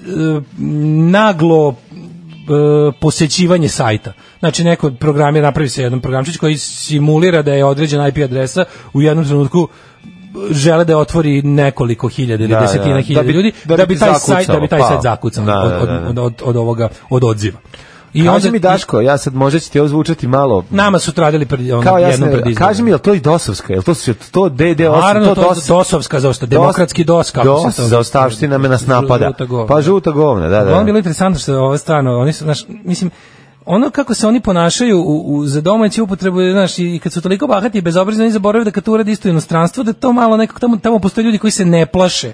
Speaker 6: naglo e, posećivanje sajta. Znači neko program je napravi se jedan programčić koji simulira da je određena IP adresa u jednom trenutku žele da otvori nekoliko hiljada ili
Speaker 5: Da, da,
Speaker 6: desetina
Speaker 5: da bi-
Speaker 6: hiljada ljudi
Speaker 5: da bi
Speaker 6: da bi
Speaker 5: ti
Speaker 6: taj
Speaker 5: zakucalo,
Speaker 6: sajt da bi taj
Speaker 5: pa.
Speaker 6: sajt zakucao
Speaker 5: Da,
Speaker 6: od,
Speaker 5: da,
Speaker 6: od,
Speaker 5: da, da.
Speaker 6: od, od, od ovoga od odziva. I
Speaker 5: I kaži mi Daško, ja sad možda će ti ovo zvučati malo
Speaker 6: nama su tradili pred ono,
Speaker 5: kao ja
Speaker 6: jednom pred izborima.
Speaker 5: Kaži mi, je li to i DOS-ovska? Je li to, su- to DD8?
Speaker 6: Naravno, to,
Speaker 5: DOS-
Speaker 6: DOS-ovska zaosta,
Speaker 5: DOS-
Speaker 6: demokratski DOS, kako
Speaker 5: DOS,
Speaker 6: se to...
Speaker 5: zaostavština me nas napada.
Speaker 6: Žuta govna.
Speaker 5: Pa žuta govna, da, da.
Speaker 6: Ono je bilo interesantno što je ovo stvarno, oni su, znaš, mislim, ono kako se oni ponašaju u, u, za domaću upotrebu, je, znaš, i kad su toliko bahati i bezobrazni, oni zaboravaju da kad to uradi isto inostranstvo, da to malo nekako, tamo, tamo postoje ljudi koji se ne plaše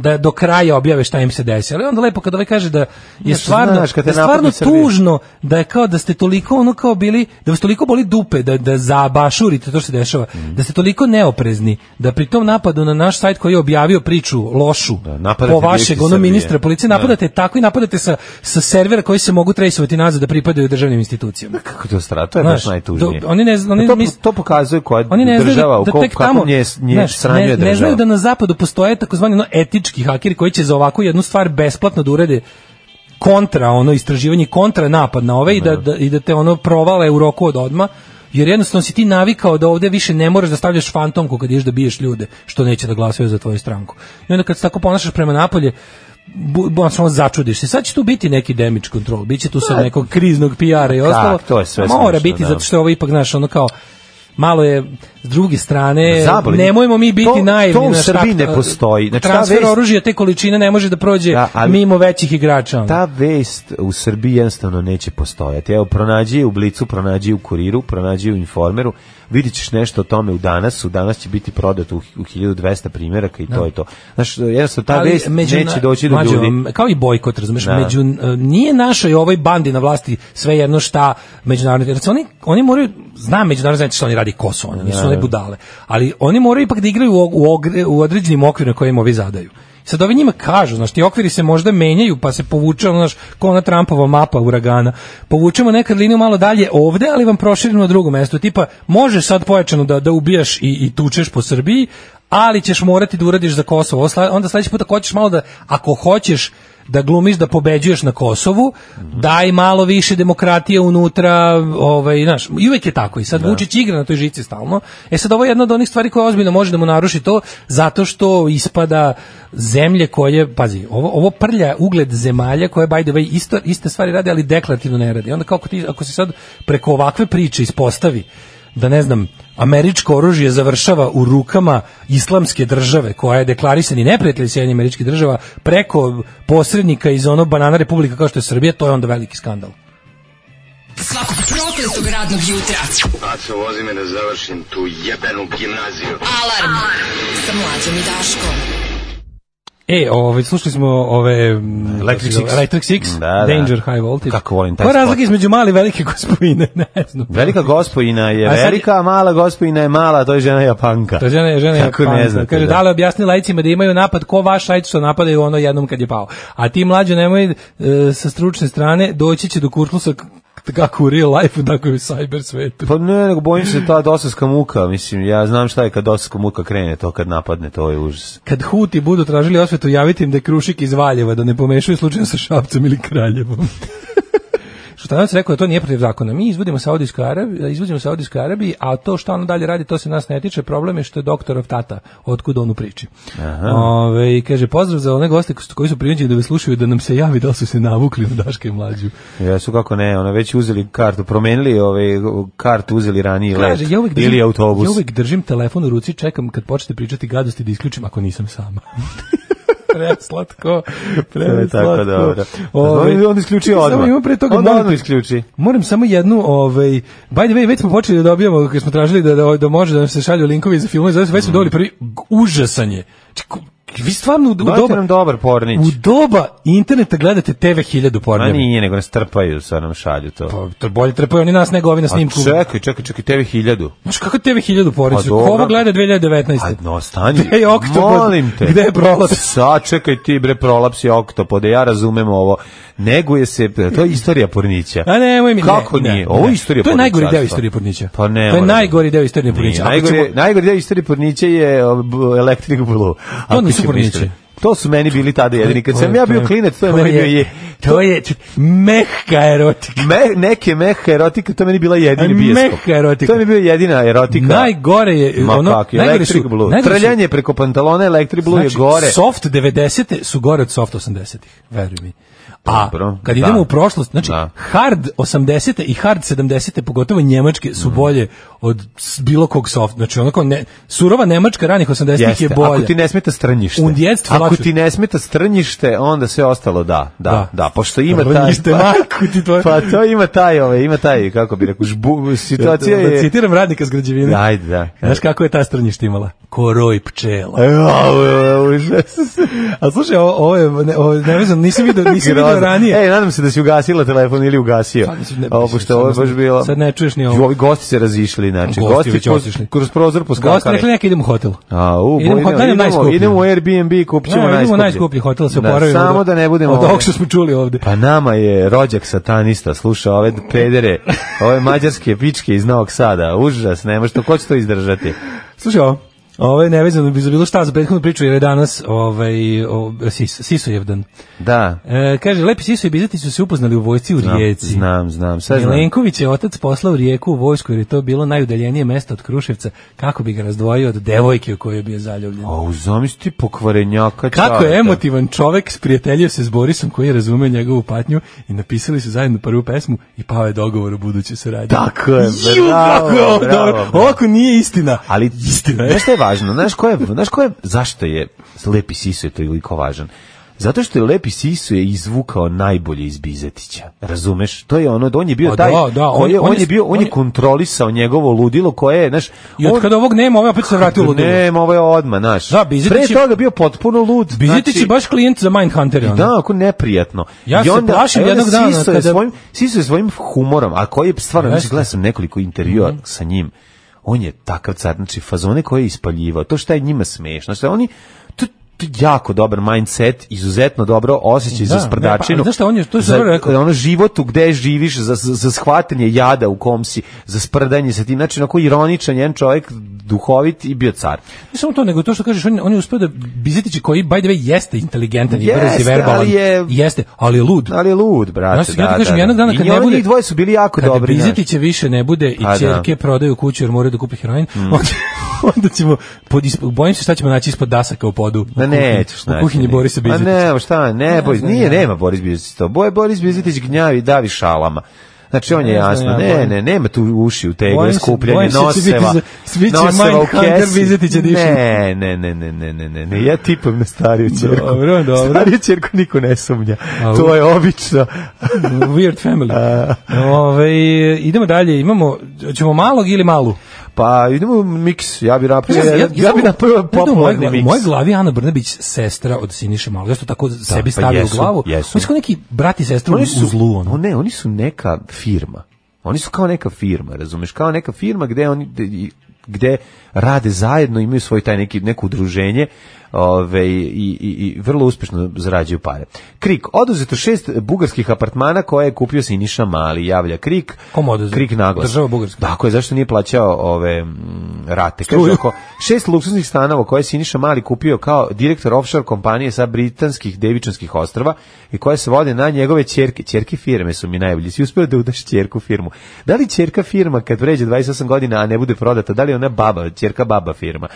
Speaker 6: da do kraja objave šta im se desi. Ali onda lepo kad ovaj kaže da je
Speaker 5: Znaš,
Speaker 6: stvarno,
Speaker 5: znaš, kad te
Speaker 6: da je stvarno
Speaker 5: napadne Srbija.
Speaker 6: tužno da je kao da ste toliko ono kao bili, da vas toliko boli dupe, da, da zabašurite to što se dešava,
Speaker 5: Mhm.
Speaker 6: da ste toliko neoprezni, da pri tom napadu na naš sajt koji je objavio priču lošu,
Speaker 5: Da, napadate
Speaker 6: po
Speaker 5: direktno
Speaker 6: vašeg ono
Speaker 5: Srbije. Da.
Speaker 6: ministra policije, napadate tako i napadate sa, sa servera koji se mogu trejsovati nazad da pripadaju državnim institucijama.
Speaker 5: Kako to stra, to je
Speaker 6: Znaš,
Speaker 5: baš najtužnije.
Speaker 6: do- oni ne zna- oni
Speaker 5: to,
Speaker 6: mis-
Speaker 5: to pokazuje koja
Speaker 6: Oni ne znaju
Speaker 5: država,
Speaker 6: da,
Speaker 5: u
Speaker 6: da
Speaker 5: kom-
Speaker 6: tek
Speaker 5: kakvom
Speaker 6: tamo
Speaker 5: nje, nje
Speaker 6: znaš,
Speaker 5: sranju je
Speaker 6: ne, ne
Speaker 5: država.
Speaker 6: znaju da na zapadu postoje takozvani ono, etički hakeri koji će za ovakvu jednu stvar besplatno da urede kontra ono istraživanje kontra napad na ove i da, da, i da te ono provale u roku od odma jer jednostavno si ti navikao da ovde više ne moraš da stavljaš fantomku kad ideš da biješ ljude što neće da glasaju za tvoju stranku i onda kad se tako ponašaš prema napolje bu, bu, ono, začudiš se. Sad će tu biti neki damage control, bit će tu sad nekog kriznog PR-a i ostalo.
Speaker 5: Da. to je sve
Speaker 6: Mora
Speaker 5: smešno,
Speaker 6: biti,
Speaker 5: da.
Speaker 6: zato što je ovo ipak, znaš, ono kao, malo je s druge strane
Speaker 5: Zaboli.
Speaker 6: nemojmo mi biti
Speaker 5: To-
Speaker 6: naivni
Speaker 5: to u
Speaker 6: znaš,
Speaker 5: Srbiji
Speaker 6: tak-
Speaker 5: ne postoji. Znači, ta
Speaker 6: transfer
Speaker 5: vest-
Speaker 6: oružja te količine ne može da prođe
Speaker 5: Da, ali-
Speaker 6: mimo većih igrača ono.
Speaker 5: Ta vest u Srbiji jednostavno neće postojati. Evo, pronađi je u Blicu, pronađi je u Kuriru, pronađi je u Informeru, vidit ćeš nešto o tome u danas, u danas će biti prodato u, u 1200 primjeraka i to je to. Znaš, jednostavno ta
Speaker 6: Da. Ali
Speaker 5: vest
Speaker 6: među-
Speaker 5: neće doći do
Speaker 6: mlađo,
Speaker 5: ljudi.
Speaker 6: m, Kao i bojkot, razumeš,
Speaker 5: Da.
Speaker 6: među, e, nije našoj ovoj bandi na vlasti svejedno šta međunarodni, jer se oni, oni moraju, znam međunarodni znači šta oni radi Kosovo, oni
Speaker 5: Da,
Speaker 6: nisu one budale, ali oni moraju ipak da igraju u, u, ogre- u određenim okvirima koje im ovi zadaju. Sad ovi njima kažu, znaš, ti okviri se možda menjaju, pa se povuče, ono, znaš, ko ona Trumpova mapa uragana. Povučemo nekad liniju malo dalje ovde, ali vam proširimo na drugo mesto. Tipa, možeš sad pojačano da, da ubijaš i, i tučeš po Srbiji, ali ćeš morati da uradiš za Kosovo. Ovo sla- Onda sledeći put ako hoćeš malo da, ako hoćeš da glumiš da pobeđuješ na Kosovu, daj malo više demokratije unutra, ovaj, znaš, i uvek je tako i sad Vučić igra na toj žici stalno. E sad ovo je jedna od onih stvari koja ozbiljno može da mu naruši to, zato što ispada zemlje koje, pazi, ovo, ovo prlja ugled zemalja koje, by the way, isto, iste stvari rade, ali deklarativno ne rade. I onda kao ako ti, ako se sad preko ovakve priče ispostavi, da ne znam, američko oružje završava u rukama islamske države koja je deklarisani neprijatelj Sjedinjenih američkih država preko posrednika iz ono banana republika kao što je Srbija, to je onda veliki skandal.
Speaker 4: Svakog prokletog radnog jutra.
Speaker 9: Aco, vozi me da završim tu jebenu gimnaziju.
Speaker 4: Alarm sa mlađom i Daškom.
Speaker 6: E, ovaj, slušali smo ove... mm,
Speaker 5: Electric
Speaker 6: kako se zove,
Speaker 5: Six.
Speaker 6: Electric
Speaker 5: Da,
Speaker 6: Six,
Speaker 5: da.
Speaker 6: Danger High Voltage.
Speaker 5: Kako volim taj
Speaker 6: Koja je
Speaker 5: spot.
Speaker 6: razlika između male i velike gospodine? [laughs] Ne znam.
Speaker 5: Velika gospojina je
Speaker 6: A sad-
Speaker 5: velika, a mala gospojina je mala, to je žena Japanka.
Speaker 6: To je žena je žena
Speaker 5: Da. Kako
Speaker 6: je
Speaker 5: ne
Speaker 6: pametna.
Speaker 5: znate,
Speaker 6: Kaže,
Speaker 5: da.
Speaker 6: da li objasni lajcima da imaju napad ko vaš sajt što napadaju ono jednom kad je pao. A ti mlađo nemoj e, sa stručne strane doći će do kurtlusa k- kako u real life, tako i u cyber svetu.
Speaker 5: Pa ne, nego bojim se ta dosovska muka, mislim, ja znam šta je kad dosovska muka krene, to kad napadne, to je užas.
Speaker 6: Kad Huti budu tražili osvetu, javite im da je Krušik iz Valjeva, da ne pomešaju slučajno sa Šapcem ili Kraljevom. Šutanovac rekao da to nije protiv zakona. Mi izvodimo Saudijsku Arabiju, izvodimo Saudijsku Arabiju, a to što ono dalje radi, to se nas ne tiče. Problem je što je doktorov tata, otkud on u priči. Ove, i kaže, pozdrav za one goste koji su prijeđeni da vas slušaju, da nam se javi da li su se navukli na Daška i Mlađu.
Speaker 5: Ja su kako ne, ono već uzeli kartu, promenili ovaj kartu, uzeli raniji let
Speaker 6: Kaže, ja uvek držim,
Speaker 5: ili autobus.
Speaker 6: Ja uvek držim telefon u ruci, čekam kad počnete pričati gadosti da isključim ako nisam sama. [laughs] preslatko,
Speaker 5: [laughs] To je [laughs]
Speaker 6: preslatko.
Speaker 5: tako dobro. Da,
Speaker 6: Ovaj,
Speaker 5: on, on isključi
Speaker 6: samo
Speaker 5: odmah.
Speaker 6: imam pre toga
Speaker 5: Onda
Speaker 6: molim-
Speaker 5: odmah isključi.
Speaker 6: Moram samo jednu, ovaj, by the way, već smo počeli da dobijamo, kad smo tražili da, da, da može da nam se šalju linkovi za filmove, zato već smo dobili prvi g- užasan je. Čekaj, vi stvarno u, u
Speaker 5: Dajte
Speaker 6: doba,
Speaker 5: nam dobar pornić.
Speaker 6: u doba interneta gledate TV 1000
Speaker 5: Ma
Speaker 6: pornjeva.
Speaker 5: nije, nego nas trpaju, sa nam šalju to.
Speaker 6: Pa, to bolje trepaju oni nas nego ovi na
Speaker 5: A
Speaker 6: snimku.
Speaker 5: čekaj, čekaj, čekaj, tebi hiljadu.
Speaker 6: Znači, kako TV 1000
Speaker 5: Pa
Speaker 6: pornjeva? Ko
Speaker 5: dobro.
Speaker 6: ovo gleda 2019?
Speaker 5: A, Pa, no, stani.
Speaker 6: Gde je oktopod?
Speaker 5: Molim te.
Speaker 6: Gde je prolaps?
Speaker 5: Sa, čekaj ti, bre, prolaps je oktopode, ja razumem ovo. Neguje se, to je istorija pornića.
Speaker 6: A Pa nemoj mi.
Speaker 5: Kako
Speaker 6: ne,
Speaker 5: nije?
Speaker 6: ne,
Speaker 5: Ovo je
Speaker 6: ne.
Speaker 5: istorija
Speaker 6: To je najgori deo
Speaker 5: porničarstva.
Speaker 6: istorije Pornića.
Speaker 5: Pa ne
Speaker 6: To je
Speaker 5: mora
Speaker 6: najgori deo istorije Pornića.
Speaker 5: Nije,
Speaker 6: Ako
Speaker 5: najgori,
Speaker 6: ćemo-
Speaker 5: najgori deo istorije Porniće je uh, b- Electric Blue. Ako
Speaker 6: nisu
Speaker 5: ćemo
Speaker 6: Pornići.
Speaker 5: istoriju. To su meni bili tada jedini. Kad
Speaker 6: To je-
Speaker 5: sam ja
Speaker 6: to je-
Speaker 5: bio klinac, to je
Speaker 6: to
Speaker 5: meni
Speaker 6: je-
Speaker 5: bio je
Speaker 6: to je čet- mehka erotika.
Speaker 5: Me, neke meha erotika, to je meni bila jedini bioskop.
Speaker 6: Mehka
Speaker 5: To
Speaker 6: erotika.
Speaker 5: je mi bila jedina erotika.
Speaker 6: Najgore je
Speaker 5: Ma
Speaker 6: ono,
Speaker 5: kak,
Speaker 6: najgore
Speaker 5: Electric
Speaker 6: su-
Speaker 5: Blue.
Speaker 6: najgore su- Znači,
Speaker 5: Trljanje preko pantalona Electric Blue je gore.
Speaker 6: Soft 90-te su gore od soft 80-ih, veruj mi. A
Speaker 5: Dobro,
Speaker 6: kad
Speaker 5: da.
Speaker 6: idemo u prošlost, znači
Speaker 5: Da.
Speaker 6: hard 80-te i hard 70-te, pogotovo njemačke,
Speaker 5: Mm.
Speaker 6: su bolje od s- bilo kog soft. Znači onako ne, surova nemačka ranih 80-ih je
Speaker 5: Jeste,
Speaker 6: bolja.
Speaker 5: ako ti ne smeta strnjište.
Speaker 6: Und jetzt
Speaker 5: ako
Speaker 6: flaču.
Speaker 5: ti ne smeta strnjište, onda sve ostalo da, da, da,
Speaker 6: Da.
Speaker 5: pošto ima taj...
Speaker 6: Strnjište, majku ti tvoju.
Speaker 5: Pa to ima taj, ove, ima taj, kako bi rekao, žbu, situacija
Speaker 6: Da
Speaker 5: je...
Speaker 6: citiram radnika s građevine.
Speaker 5: Ajde, da.
Speaker 6: Znaš kako je ta strnjišta imala? Koroj pčela.
Speaker 5: E, Au, au, užas.
Speaker 6: A slušaj, ovo, ovo je, ne, ovo je nevezano, nisam vidio, nisam vidio
Speaker 5: Grozno.
Speaker 6: ranije.
Speaker 5: Ej, nadam se da si ugasila telefon ili ugasio.
Speaker 6: Pa, mislim, ne-
Speaker 5: Ovo što ovo je baš bilo.
Speaker 6: Sad ne čuješ ni ovo.
Speaker 5: Ju, Ovi gosti se razišli, znači.
Speaker 6: Gosti
Speaker 5: Gosti,
Speaker 6: već
Speaker 5: kroz-
Speaker 6: otišli.
Speaker 5: kroz prozor poskakali.
Speaker 6: Gosti rekli neka idemo u hotel.
Speaker 5: Au,
Speaker 6: idemo,
Speaker 5: boj,
Speaker 6: u hotel, idemo,
Speaker 5: idemo,
Speaker 6: najskuplji.
Speaker 5: idemo u Airbnb, kupit ćemo
Speaker 6: Ne, idemo
Speaker 5: najskuplji.
Speaker 6: u najskuplji hotel, da se oporavimo.
Speaker 5: Da, samo
Speaker 6: od-
Speaker 5: da ne budemo...
Speaker 6: Od
Speaker 5: ove-
Speaker 6: ovog što smo čuli ovde.
Speaker 5: Pa nama je rođak satanista, sluša ove pedere, ove mađarske pičke iz Novog Sada. Užas, nema što, ko će to izdržati?
Speaker 6: Slušaj ovo. Ovo je nevezano bi za bilo šta za prethodnu priču, jer je danas ovaj, o, Sis, Sisojevdan.
Speaker 5: Da.
Speaker 6: E, kaže, Lepi Siso i Bizetić su se upoznali u vojsci u Rijeci.
Speaker 5: Znam, znam, sve znam.
Speaker 6: Milenković je otac poslao u Rijeku u vojsku jer je to bilo najudaljenije mesto od Kruševca kako bi ga razdvojio od devojke u kojoj je bio zaljubljen.
Speaker 5: O, zamisli Pa ti pokvarenjaka.
Speaker 6: Kako
Speaker 5: čarta.
Speaker 6: je emotivan čovek sprijateljio se s Borisom koji je razumeo njegovu patnju i napisali su zajedno prvu pesmu i pao je dogovor o budućoj saradnji.
Speaker 5: Tako je,
Speaker 6: Ju,
Speaker 5: bravo,
Speaker 6: kako je ovo
Speaker 5: bravo,
Speaker 6: dobro.
Speaker 5: bravo.
Speaker 6: Ovako nije istina.
Speaker 5: Ali
Speaker 6: istina je.
Speaker 5: Znaš šta je važno? Znaš ko je, znaš ko je, zašto je Lepi Sisu je toliko važan? Zato što je Lepi Sisu je izvukao najbolje iz Bizetića. Razumeš? To je ono, on je bio
Speaker 6: Pa
Speaker 5: taj,
Speaker 6: da, da,
Speaker 5: on, je, on, je, bio, on,
Speaker 6: on
Speaker 5: je
Speaker 6: je-
Speaker 5: kontrolisao njegovo ludilo koje je, znaš,
Speaker 6: I od
Speaker 5: on,
Speaker 6: kada ovog nema, ovaj opet se vratio u ludilo.
Speaker 5: Dakle, Nema, ovo je odma, znaš.
Speaker 6: Da, Bizetić
Speaker 5: Pre
Speaker 6: je-
Speaker 5: toga bio potpuno lud.
Speaker 6: Bizetić
Speaker 5: znači-
Speaker 6: je baš klijent za Mindhunter.
Speaker 5: I Da, ako neprijatno.
Speaker 6: Ja se
Speaker 5: a
Speaker 6: plašim
Speaker 5: onda
Speaker 6: jednog dana
Speaker 5: Siso je
Speaker 6: kada-
Speaker 5: svojim, Siso je svojim humorom, a koji je stvarno, znači,
Speaker 6: Jeste. Mhm.
Speaker 5: gledao sam nekoliko intervjua sa njim, on je takav car, znači fazone koje je ispaljivao, to šta je njima smešno, šta oni, to, to je jako dobar mindset, izuzetno dobro osjećaj
Speaker 6: Da,
Speaker 5: za sprdačinu.
Speaker 6: ne, pa, znaš šta, on je- to je
Speaker 5: za,
Speaker 6: dobro rekao.
Speaker 5: Ono životu gde živiš, za, za, za shvatanje jada u kom si, za sprdanje sa tim, znači onako ironičan jedan čovjek, duhovit i bio car.
Speaker 6: Ne samo to, nego to što kažeš, on, je- on je uspio da Bizetić koji, by the way, jeste inteligentan i brz
Speaker 5: Jeste,
Speaker 6: i verbalan.
Speaker 5: ali je-
Speaker 6: Jeste, ali je lud.
Speaker 5: Ali je lud, brate,
Speaker 6: Znaš,
Speaker 5: da,
Speaker 6: ja ti
Speaker 5: da,
Speaker 6: kažem,
Speaker 5: da.
Speaker 6: jednog dana
Speaker 5: I
Speaker 6: kad
Speaker 5: oni-
Speaker 6: ne bude-
Speaker 5: njih dvoje su bili jako
Speaker 6: Kada
Speaker 5: dobri. znaš.
Speaker 6: Bizetića više ne bude i
Speaker 5: Pa da. Mm.
Speaker 6: ćerke prodaju kuću jer moraju da kupe heroin, [laughs] onda, onda ćemo, pod, isp- bojim se šta ćemo naći ispod dasaka u podu.
Speaker 5: Na
Speaker 6: U kuhinji-
Speaker 5: nećeš naći.
Speaker 6: U kuhinji
Speaker 5: nikad.
Speaker 6: Borisa Bizetića. [laughs]
Speaker 5: A ne, šta, ne, Boris,
Speaker 6: znam
Speaker 5: nije,
Speaker 6: ja.
Speaker 5: nema Boris Bizetić to. Boje Boris Bizetić gnjavi, davi šalama. Znači, on je
Speaker 6: Ne znam
Speaker 5: jasno,
Speaker 6: ja,
Speaker 5: ne,
Speaker 6: bojim-
Speaker 5: ne, nema tu uši u tegle,
Speaker 6: bojim se-
Speaker 5: skupljanje
Speaker 6: bojim se da će biti
Speaker 5: noseva,
Speaker 6: za- svi će
Speaker 5: noseva u
Speaker 6: Mindhunter
Speaker 5: kesi.
Speaker 6: Bizetića dišu.
Speaker 5: Ne, ne, ne, ne, ne, ne, ne, ne, ja tipam na stariju čerku.
Speaker 6: Dobro, dobro.
Speaker 5: Stariju čerku niko ne sumnja.
Speaker 6: A,
Speaker 5: To je obično.
Speaker 6: Weird family. Ove, idemo dalje, imamo, ćemo malog ili malu?
Speaker 5: Pa, idemo miks, ja bi napravio,
Speaker 6: Čekaj,
Speaker 5: ja, ja bi
Speaker 6: samo-
Speaker 5: napravio
Speaker 6: ne znam, u mojoj
Speaker 5: popularni
Speaker 6: glavi-
Speaker 5: miks.
Speaker 6: U mojoj glavi je Ana Brnabić sestra od Siniše Malog. Ja što tako
Speaker 5: pa
Speaker 6: sebi stavio
Speaker 5: jesu,
Speaker 6: u glavu.
Speaker 5: jesu.
Speaker 6: Oni su kao neki brat i sestra u, u zlu. ono.
Speaker 5: o ne, oni su neka firma. Oni su kao neka firma, razumeš? Kao neka firma gde oni gde- gde rade zajedno, imaju svoj taj neki neko udruženje, ove i, i, i vrlo uspešno zarađuju pare. Krik, oduzeto šest bugarskih apartmana koje je kupio Siniša Mali, javlja Krik.
Speaker 6: Kom oduzeto?
Speaker 5: Krik naglas.
Speaker 6: Država Bugarska.
Speaker 5: Tako Da, je, zašto nije plaćao ove mm, rate? Kaže,
Speaker 6: Struju.
Speaker 5: ako šest luksuznih stanova koje je Siniša Mali kupio kao direktor offshore kompanije sa britanskih devičanskih ostrava i koje se vode na njegove ćerke. Ćerke firme su mi najbolji. Si uspeo da udaš ćerku firmu. Da li ćerka firma kad pređe 28 godina, a ne bude prodata, da li je ona baba, ćerka baba firma?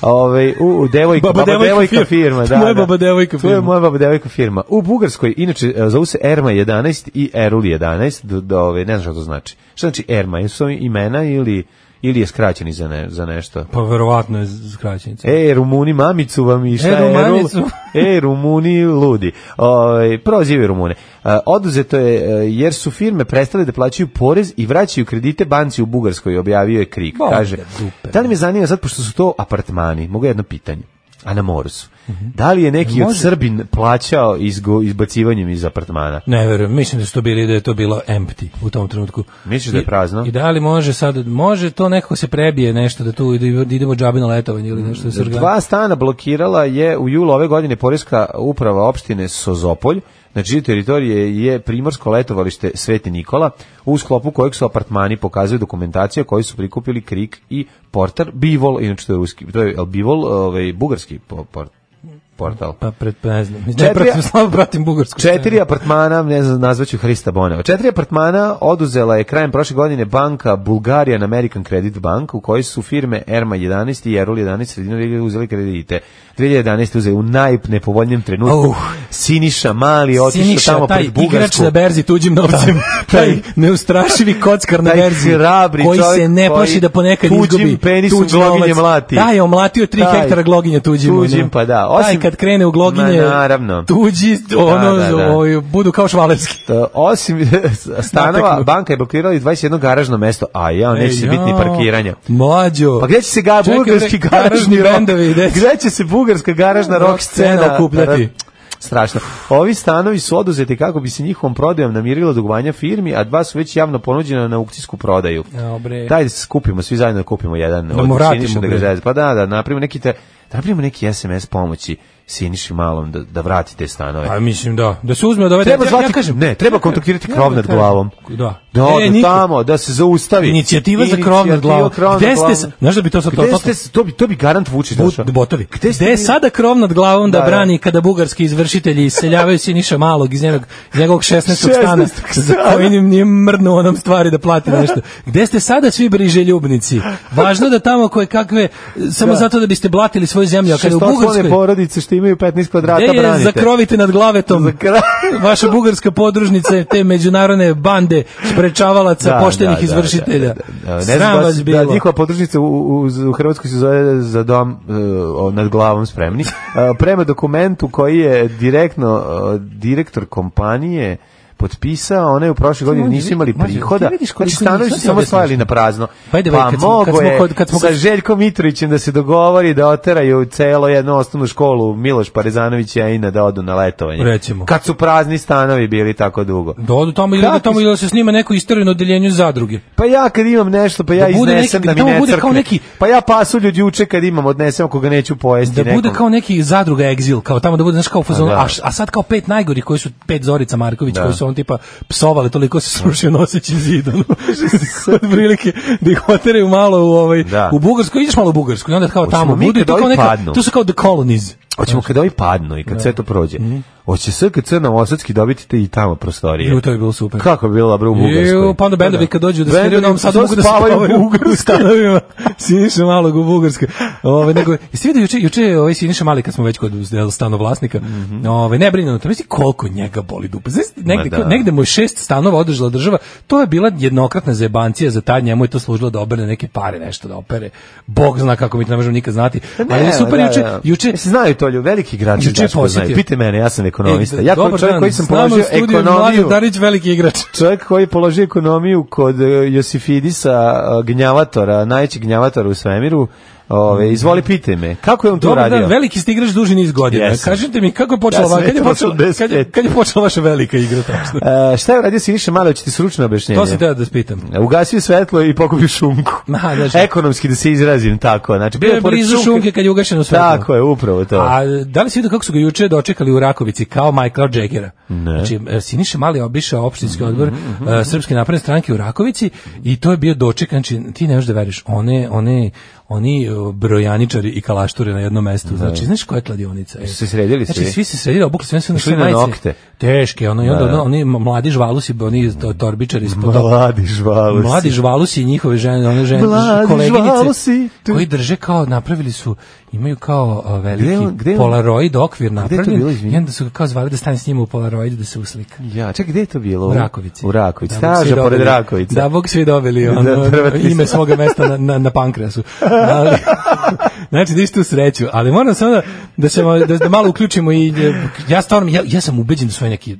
Speaker 5: Ove, u, u devojka, baba, devojka firma.
Speaker 6: [laughs]
Speaker 5: da,
Speaker 6: Moja
Speaker 5: da.
Speaker 6: baba devojka
Speaker 5: To je
Speaker 6: firma.
Speaker 5: moja baba devojka firma. U Bugarskoj, inače, e, zovu se Erma 11 i Erul 11, do, do, ove, ne znam što to znači. Šta znači Erma? Jesu to imena ili, ili je skraćeni za, ne, za nešto?
Speaker 6: Pa verovatno je skraćenica.
Speaker 5: E, Rumuni, mamicu vam i šta
Speaker 6: E,
Speaker 5: je Erul?
Speaker 6: Rumanicu.
Speaker 5: [laughs] E, Rumuni, ludi. Oj, prozive Rumune. E, Oduzeto je e, jer su firme prestale da plaćaju porez i vraćaju kredite banci u Bugarskoj, objavio je Krik.
Speaker 6: Bog
Speaker 5: Kaže,
Speaker 6: te dupe.
Speaker 5: da li me zanima sad, pošto su to apartmani, mogu jedno pitanje, a na moru su.
Speaker 6: Mhm.
Speaker 5: Da li je neki od Srbin plaćao izgo, izbacivanjem iz apartmana?
Speaker 6: Ne verujem, mislim da su to bili da je to bilo empty u tom trenutku.
Speaker 5: Misliš da je
Speaker 6: I-
Speaker 5: prazno?
Speaker 6: I da li može sad, može to nekako se prebije nešto da tu da idemo džabe na letovanje ili nešto da se organizuje?
Speaker 5: Mm, Dva stana blokirala je u julu ove godine Poreska uprava opštine Sozopolj, na čijoj teritoriji je primorsko letovalište Sveti Nikola, u sklopu kojeg su apartmani pokazuju dokumentacija koju su prikupili Krik i Portar Bivol, inače to je ruski, to je jel Bivol, ovaj bugarski po- por- portal.
Speaker 6: Pa pred, ne znam. Ne
Speaker 5: Četiri-
Speaker 6: pratim, [laughs] slabo pratim bugarsku.
Speaker 5: Četiri apartmana, ne znam, nazvaću Hrista Boneva. Četiri apartmana oduzela je krajem prošle godine banka Bulgarian American Credit Bank u kojoj su firme Erma 11 i Erol 11 sredinom 2000 uzeli kredite. 2011 uzeli u najnepovoljnijem trenutku.
Speaker 6: Au.
Speaker 5: Siniša Mali je otišao
Speaker 6: Siniša,
Speaker 5: tamo
Speaker 6: taj
Speaker 5: pred Bugarsku. Da.
Speaker 6: igrač na berzi tuđim novcem, [laughs] taj, neustrašivi kockar na
Speaker 5: Taj
Speaker 6: berzi,
Speaker 5: hrabri
Speaker 6: koji se
Speaker 5: čovjek
Speaker 6: ne
Speaker 5: koji
Speaker 6: plaši da ponekad
Speaker 5: tuđim
Speaker 6: izgubi
Speaker 5: penisom
Speaker 6: tuđ
Speaker 5: gloginje
Speaker 6: novac.
Speaker 5: mlati.
Speaker 6: Da, je omlatio 3
Speaker 5: Taj,
Speaker 6: hektara gloginje tuđim.
Speaker 5: tuđim,
Speaker 6: ono.
Speaker 5: pa da.
Speaker 6: taj
Speaker 5: Osim-
Speaker 6: kad krene u gloginje,
Speaker 5: Ma, naravno.
Speaker 6: tuđi,
Speaker 5: Da,
Speaker 6: ono,
Speaker 5: da, da.
Speaker 6: ovaj, budu kao švalerski.
Speaker 5: To, Da, osim [laughs] stanova,
Speaker 6: Nateknu.
Speaker 5: banka je blokirala i 21 garažno mesto, a ja, neće se
Speaker 6: Ej,
Speaker 5: biti ni
Speaker 6: jao,
Speaker 5: parkiranja.
Speaker 6: Mlađo.
Speaker 5: Pa gde će se ga
Speaker 6: Čekaj,
Speaker 5: bugarski
Speaker 6: bre,
Speaker 5: garažni
Speaker 6: garažni
Speaker 5: rock,
Speaker 6: bendovi, gde će-
Speaker 5: gde će se bugarska garažna rock
Speaker 6: Rock scena
Speaker 5: scena
Speaker 6: okupljati?
Speaker 5: Strašno. Ovi stanovi su oduzeti kako bi se njihovom prodajom namirilo dugovanja firmi, a dva su već javno ponuđena na aukcijsku prodaju.
Speaker 6: Jao, bre.
Speaker 5: Daj da se skupimo, svi zajedno da kupimo jedan.
Speaker 6: Da mu
Speaker 5: od
Speaker 6: vratimo,
Speaker 5: Siniše da ga
Speaker 6: bre.
Speaker 5: zez- Pa da, da, napravimo neki, te, da napravimo neki SMS pomoći Siniši malom da, da vrati te stanove.
Speaker 6: Pa mislim da, da se uzme od ove...
Speaker 5: Treba
Speaker 6: ja-
Speaker 5: zvati,
Speaker 6: ja kažem,
Speaker 5: ne, treba kontaktirati
Speaker 6: ja-
Speaker 5: krov
Speaker 6: ja
Speaker 5: nad
Speaker 6: kažem,
Speaker 5: glavom.
Speaker 6: Da.
Speaker 5: Da,
Speaker 6: E,
Speaker 5: odu
Speaker 6: niko-
Speaker 5: tamo, da se zaustavi.
Speaker 6: Inicijativa za krov nad glavom.
Speaker 5: Inicijativa krov nad
Speaker 6: Gde ste
Speaker 5: glavom.
Speaker 6: s- znaš da bi to sad-
Speaker 5: Gde
Speaker 6: to-
Speaker 5: ste s- to bi to bi garant Vučić došao.
Speaker 6: Bud, botovi.
Speaker 5: Da, Gde
Speaker 6: Gde,
Speaker 5: ste
Speaker 6: je
Speaker 5: vi?
Speaker 6: sada krov nad glavom da,
Speaker 5: Da, da.
Speaker 6: brani kada bugarski izvršitelji iseljavaju Siniša Malog iz njegovog, iz njegovog 16. stana
Speaker 5: 16.
Speaker 6: za koji im nije mrdnuo onom stvari da plati nešto. Gde ste sada svi briželjubnici? Važno da tamo koje kakve, samo zato da biste blatili svoju zemlju, a kada u
Speaker 5: Šestoslovne
Speaker 6: Bugarskoj...
Speaker 5: porodice što imaju 15 kvadrata
Speaker 6: Gde je
Speaker 5: branite.
Speaker 6: zakrovite nad
Speaker 5: [laughs]
Speaker 6: glavetom?
Speaker 5: Za kraj.
Speaker 6: Vaša bugarska podružnica je te međunarodne bande sprečavalaca
Speaker 5: Da,
Speaker 6: poštenih
Speaker 5: da, da,
Speaker 6: izvršitelja.
Speaker 5: da, da, da. Ne znam
Speaker 6: Sram
Speaker 5: da-
Speaker 6: vas bilo.
Speaker 5: Da, njihova podružnica u, u, u Hrvatskoj se zove za dom e, o, nad glavom spremni.
Speaker 6: [laughs]
Speaker 5: E, prema dokumentu koji je direktno e, direktor kompanije potpisao, one u prošle godine
Speaker 6: Mlađe,
Speaker 5: nisu imali
Speaker 6: mlađe, ti
Speaker 5: prihoda.
Speaker 6: vidiš koliko
Speaker 5: Znači stanovi su
Speaker 6: njih-
Speaker 5: samo
Speaker 6: sad ti
Speaker 5: stajali
Speaker 6: objasniš.
Speaker 5: na prazno.
Speaker 6: By the way,
Speaker 5: Pa
Speaker 6: kad smo- kad
Speaker 5: mogo
Speaker 6: smo
Speaker 5: je
Speaker 6: kod- kad smo
Speaker 5: sa
Speaker 6: kod-
Speaker 5: Željkom Mitrovićem da se dogovori da oteraju celo jednu osnovnu školu Miloš Parezanović i Aina da odu na letovanje.
Speaker 6: Recimo.
Speaker 5: Kad su prazni stanovi bili tako dugo.
Speaker 6: Da odu tamo ili da
Speaker 5: Kakvi
Speaker 6: tamo
Speaker 5: su-
Speaker 6: ili da se snima neko istorino odeljenju zadruge.
Speaker 5: Pa ja kad imam nešto, pa ja
Speaker 6: Da bude
Speaker 5: iznesem
Speaker 6: neki-
Speaker 5: da mi
Speaker 6: da
Speaker 5: ne
Speaker 6: ovo bude
Speaker 5: crkne.
Speaker 6: kao neki-
Speaker 5: Pa ja pasulju đuče kad imam, odnesem ako ga neću pojesti.
Speaker 6: Da bude
Speaker 5: nekom.
Speaker 6: kao neki zadruga Exil, kao tamo da bude znaš kao u fazonu,
Speaker 5: A da.
Speaker 6: a, š- a sad kao pet najgorih koji su pet Zorica Marković koji su on tipa psovale toliko se srušio noseći
Speaker 5: [laughs]
Speaker 6: zid. ono. [laughs] Od prilike da ih oteraju malo u ovaj
Speaker 5: Da.
Speaker 6: u Bugarsku, ideš malo u Bugarsku i onda kao
Speaker 5: Hoćemo
Speaker 6: tamo
Speaker 5: mi
Speaker 6: bude
Speaker 5: kad
Speaker 6: to kao
Speaker 5: ovi
Speaker 6: neka,
Speaker 5: padnu?
Speaker 6: to su kao the colonies.
Speaker 5: Hoćemo kad ovi padnu
Speaker 6: Da.
Speaker 5: i kad sve to prođe.
Speaker 6: Mhm.
Speaker 5: Hoće sve kad sve na Osadski dobiti te i tamo prostorije.
Speaker 6: Ju, to je bilo super.
Speaker 5: Kako bi bilo dobro u Bugarskoj?
Speaker 6: Ju, pa onda bendovi kad dođu da sviraju u Novom Sadu mogu da
Speaker 5: spavaju u
Speaker 6: u [laughs] stanovima. Siniša Malog u Bugarskoj. Ove, nego, jeste vidio juče, juče je ovaj Siniša Mali kad smo već kod stanovlasnika, ove, ne brinu, to misli koliko njega boli dupe. Znaš, negde,
Speaker 5: Mhm. Ma da.
Speaker 6: negde mu je šest stanova održala država, to je bila jednokratna zebancija za tad, njemu je to služilo da obere neke pare, nešto da opere. Bog zna kako mi to ne možemo nikad znati.
Speaker 5: Ne,
Speaker 6: Ali je super
Speaker 5: da,
Speaker 6: juče,
Speaker 5: da.
Speaker 6: juče,
Speaker 5: Mislim, znaju to ljudi, veliki igrači
Speaker 6: Juče je
Speaker 5: Daško znaju.
Speaker 6: posjetio.
Speaker 5: Pite mene, ja sam ekonomista.
Speaker 6: E,
Speaker 5: ja kao
Speaker 6: dobar
Speaker 5: čovjek
Speaker 6: dan,
Speaker 5: koji sam
Speaker 6: s nama u
Speaker 5: položio
Speaker 6: studiju je Mladen
Speaker 5: ekonomiju,
Speaker 6: Darić, veliki igrač.
Speaker 5: čovjek koji je položio ekonomiju kod e, Josifidisa e, gnjavatora, najvećeg gnjavatora u svemiru, ove, izvoli pite me, kako je on to
Speaker 6: Dobar
Speaker 5: radio?
Speaker 6: dan, da, veliki ste igrač duži niz godina.
Speaker 5: Jesam.
Speaker 6: Kažite mi kako je počela
Speaker 5: Ja sam
Speaker 6: va- kad je
Speaker 5: metro
Speaker 6: počela,
Speaker 5: 85.
Speaker 6: kad je, kad je počela vaša velika igra
Speaker 5: [laughs]
Speaker 6: tačno?
Speaker 5: E, šta je uradio Siniša Mali, hoće ti sručno objašnjenje?
Speaker 6: To sam teo da spitam.
Speaker 5: Ugasio svetlo i pokupio šunku.
Speaker 6: [laughs] Ma, znači-
Speaker 5: Ekonomski da se izrazim tako. Znači,
Speaker 6: Bio je
Speaker 5: pored
Speaker 6: blizu šunke kad je ugašeno svetlo.
Speaker 5: Tako je, upravo to.
Speaker 6: A da li si vidio kako su ga juče dočekali u Rakovici kao Michaela Jaggera? Znači, e, Siniša Mali je obišao opštinski odbor
Speaker 5: Mhm,
Speaker 6: e, Srpske napredne stranke u Rakovici i to je bio doček, znači, ti ne možeš da veriš, one, one, oni e, brojaničari i kalašture na jednom mestu, znači, znaš koja je kladionica?
Speaker 5: Su
Speaker 6: E,
Speaker 5: Da. se sredili
Speaker 6: znači,
Speaker 5: svi?
Speaker 6: svi se sredili, obukli sve su na
Speaker 5: Išli
Speaker 6: sve
Speaker 5: na
Speaker 6: majice.
Speaker 5: nokte.
Speaker 6: Teške, ono, i onda
Speaker 5: Da, da.
Speaker 6: ono, oni mladi žvalusi, oni to- torbičari ispod
Speaker 5: Mladi žvalusi.
Speaker 6: Mladi žvalusi i njihove žene, one žene,
Speaker 5: Mladi
Speaker 6: koleginice,
Speaker 5: žvalusi, tu.
Speaker 6: koji drže kao, napravili su, imaju kao a, veliki
Speaker 5: Gde on- gde on-
Speaker 6: polaroid okvir
Speaker 5: to bilo,
Speaker 6: napravljen,
Speaker 5: izvini?
Speaker 6: i onda su ga kao zvali da stane s njima u polaroid da se uslika.
Speaker 5: Ja, čekaj, gde je to bilo?
Speaker 6: U Rakovici.
Speaker 5: U Rakovici.
Speaker 6: Da, Bog svi
Speaker 5: Staža pored
Speaker 6: dobili-
Speaker 5: Rakovice.
Speaker 6: Da, Bog svi
Speaker 5: [laughs]
Speaker 6: dobili ono,
Speaker 5: Da, prvatni
Speaker 6: ime
Speaker 5: su.
Speaker 6: svoga mesta na, na, na pankrasu.
Speaker 5: [laughs]
Speaker 6: Ali, znači, ništa u sreću. Ali moram samo da, da, se, malo- da, da malo uključimo i... e, Ja stvarno, ja, ja sam ubeđen da su oni neki...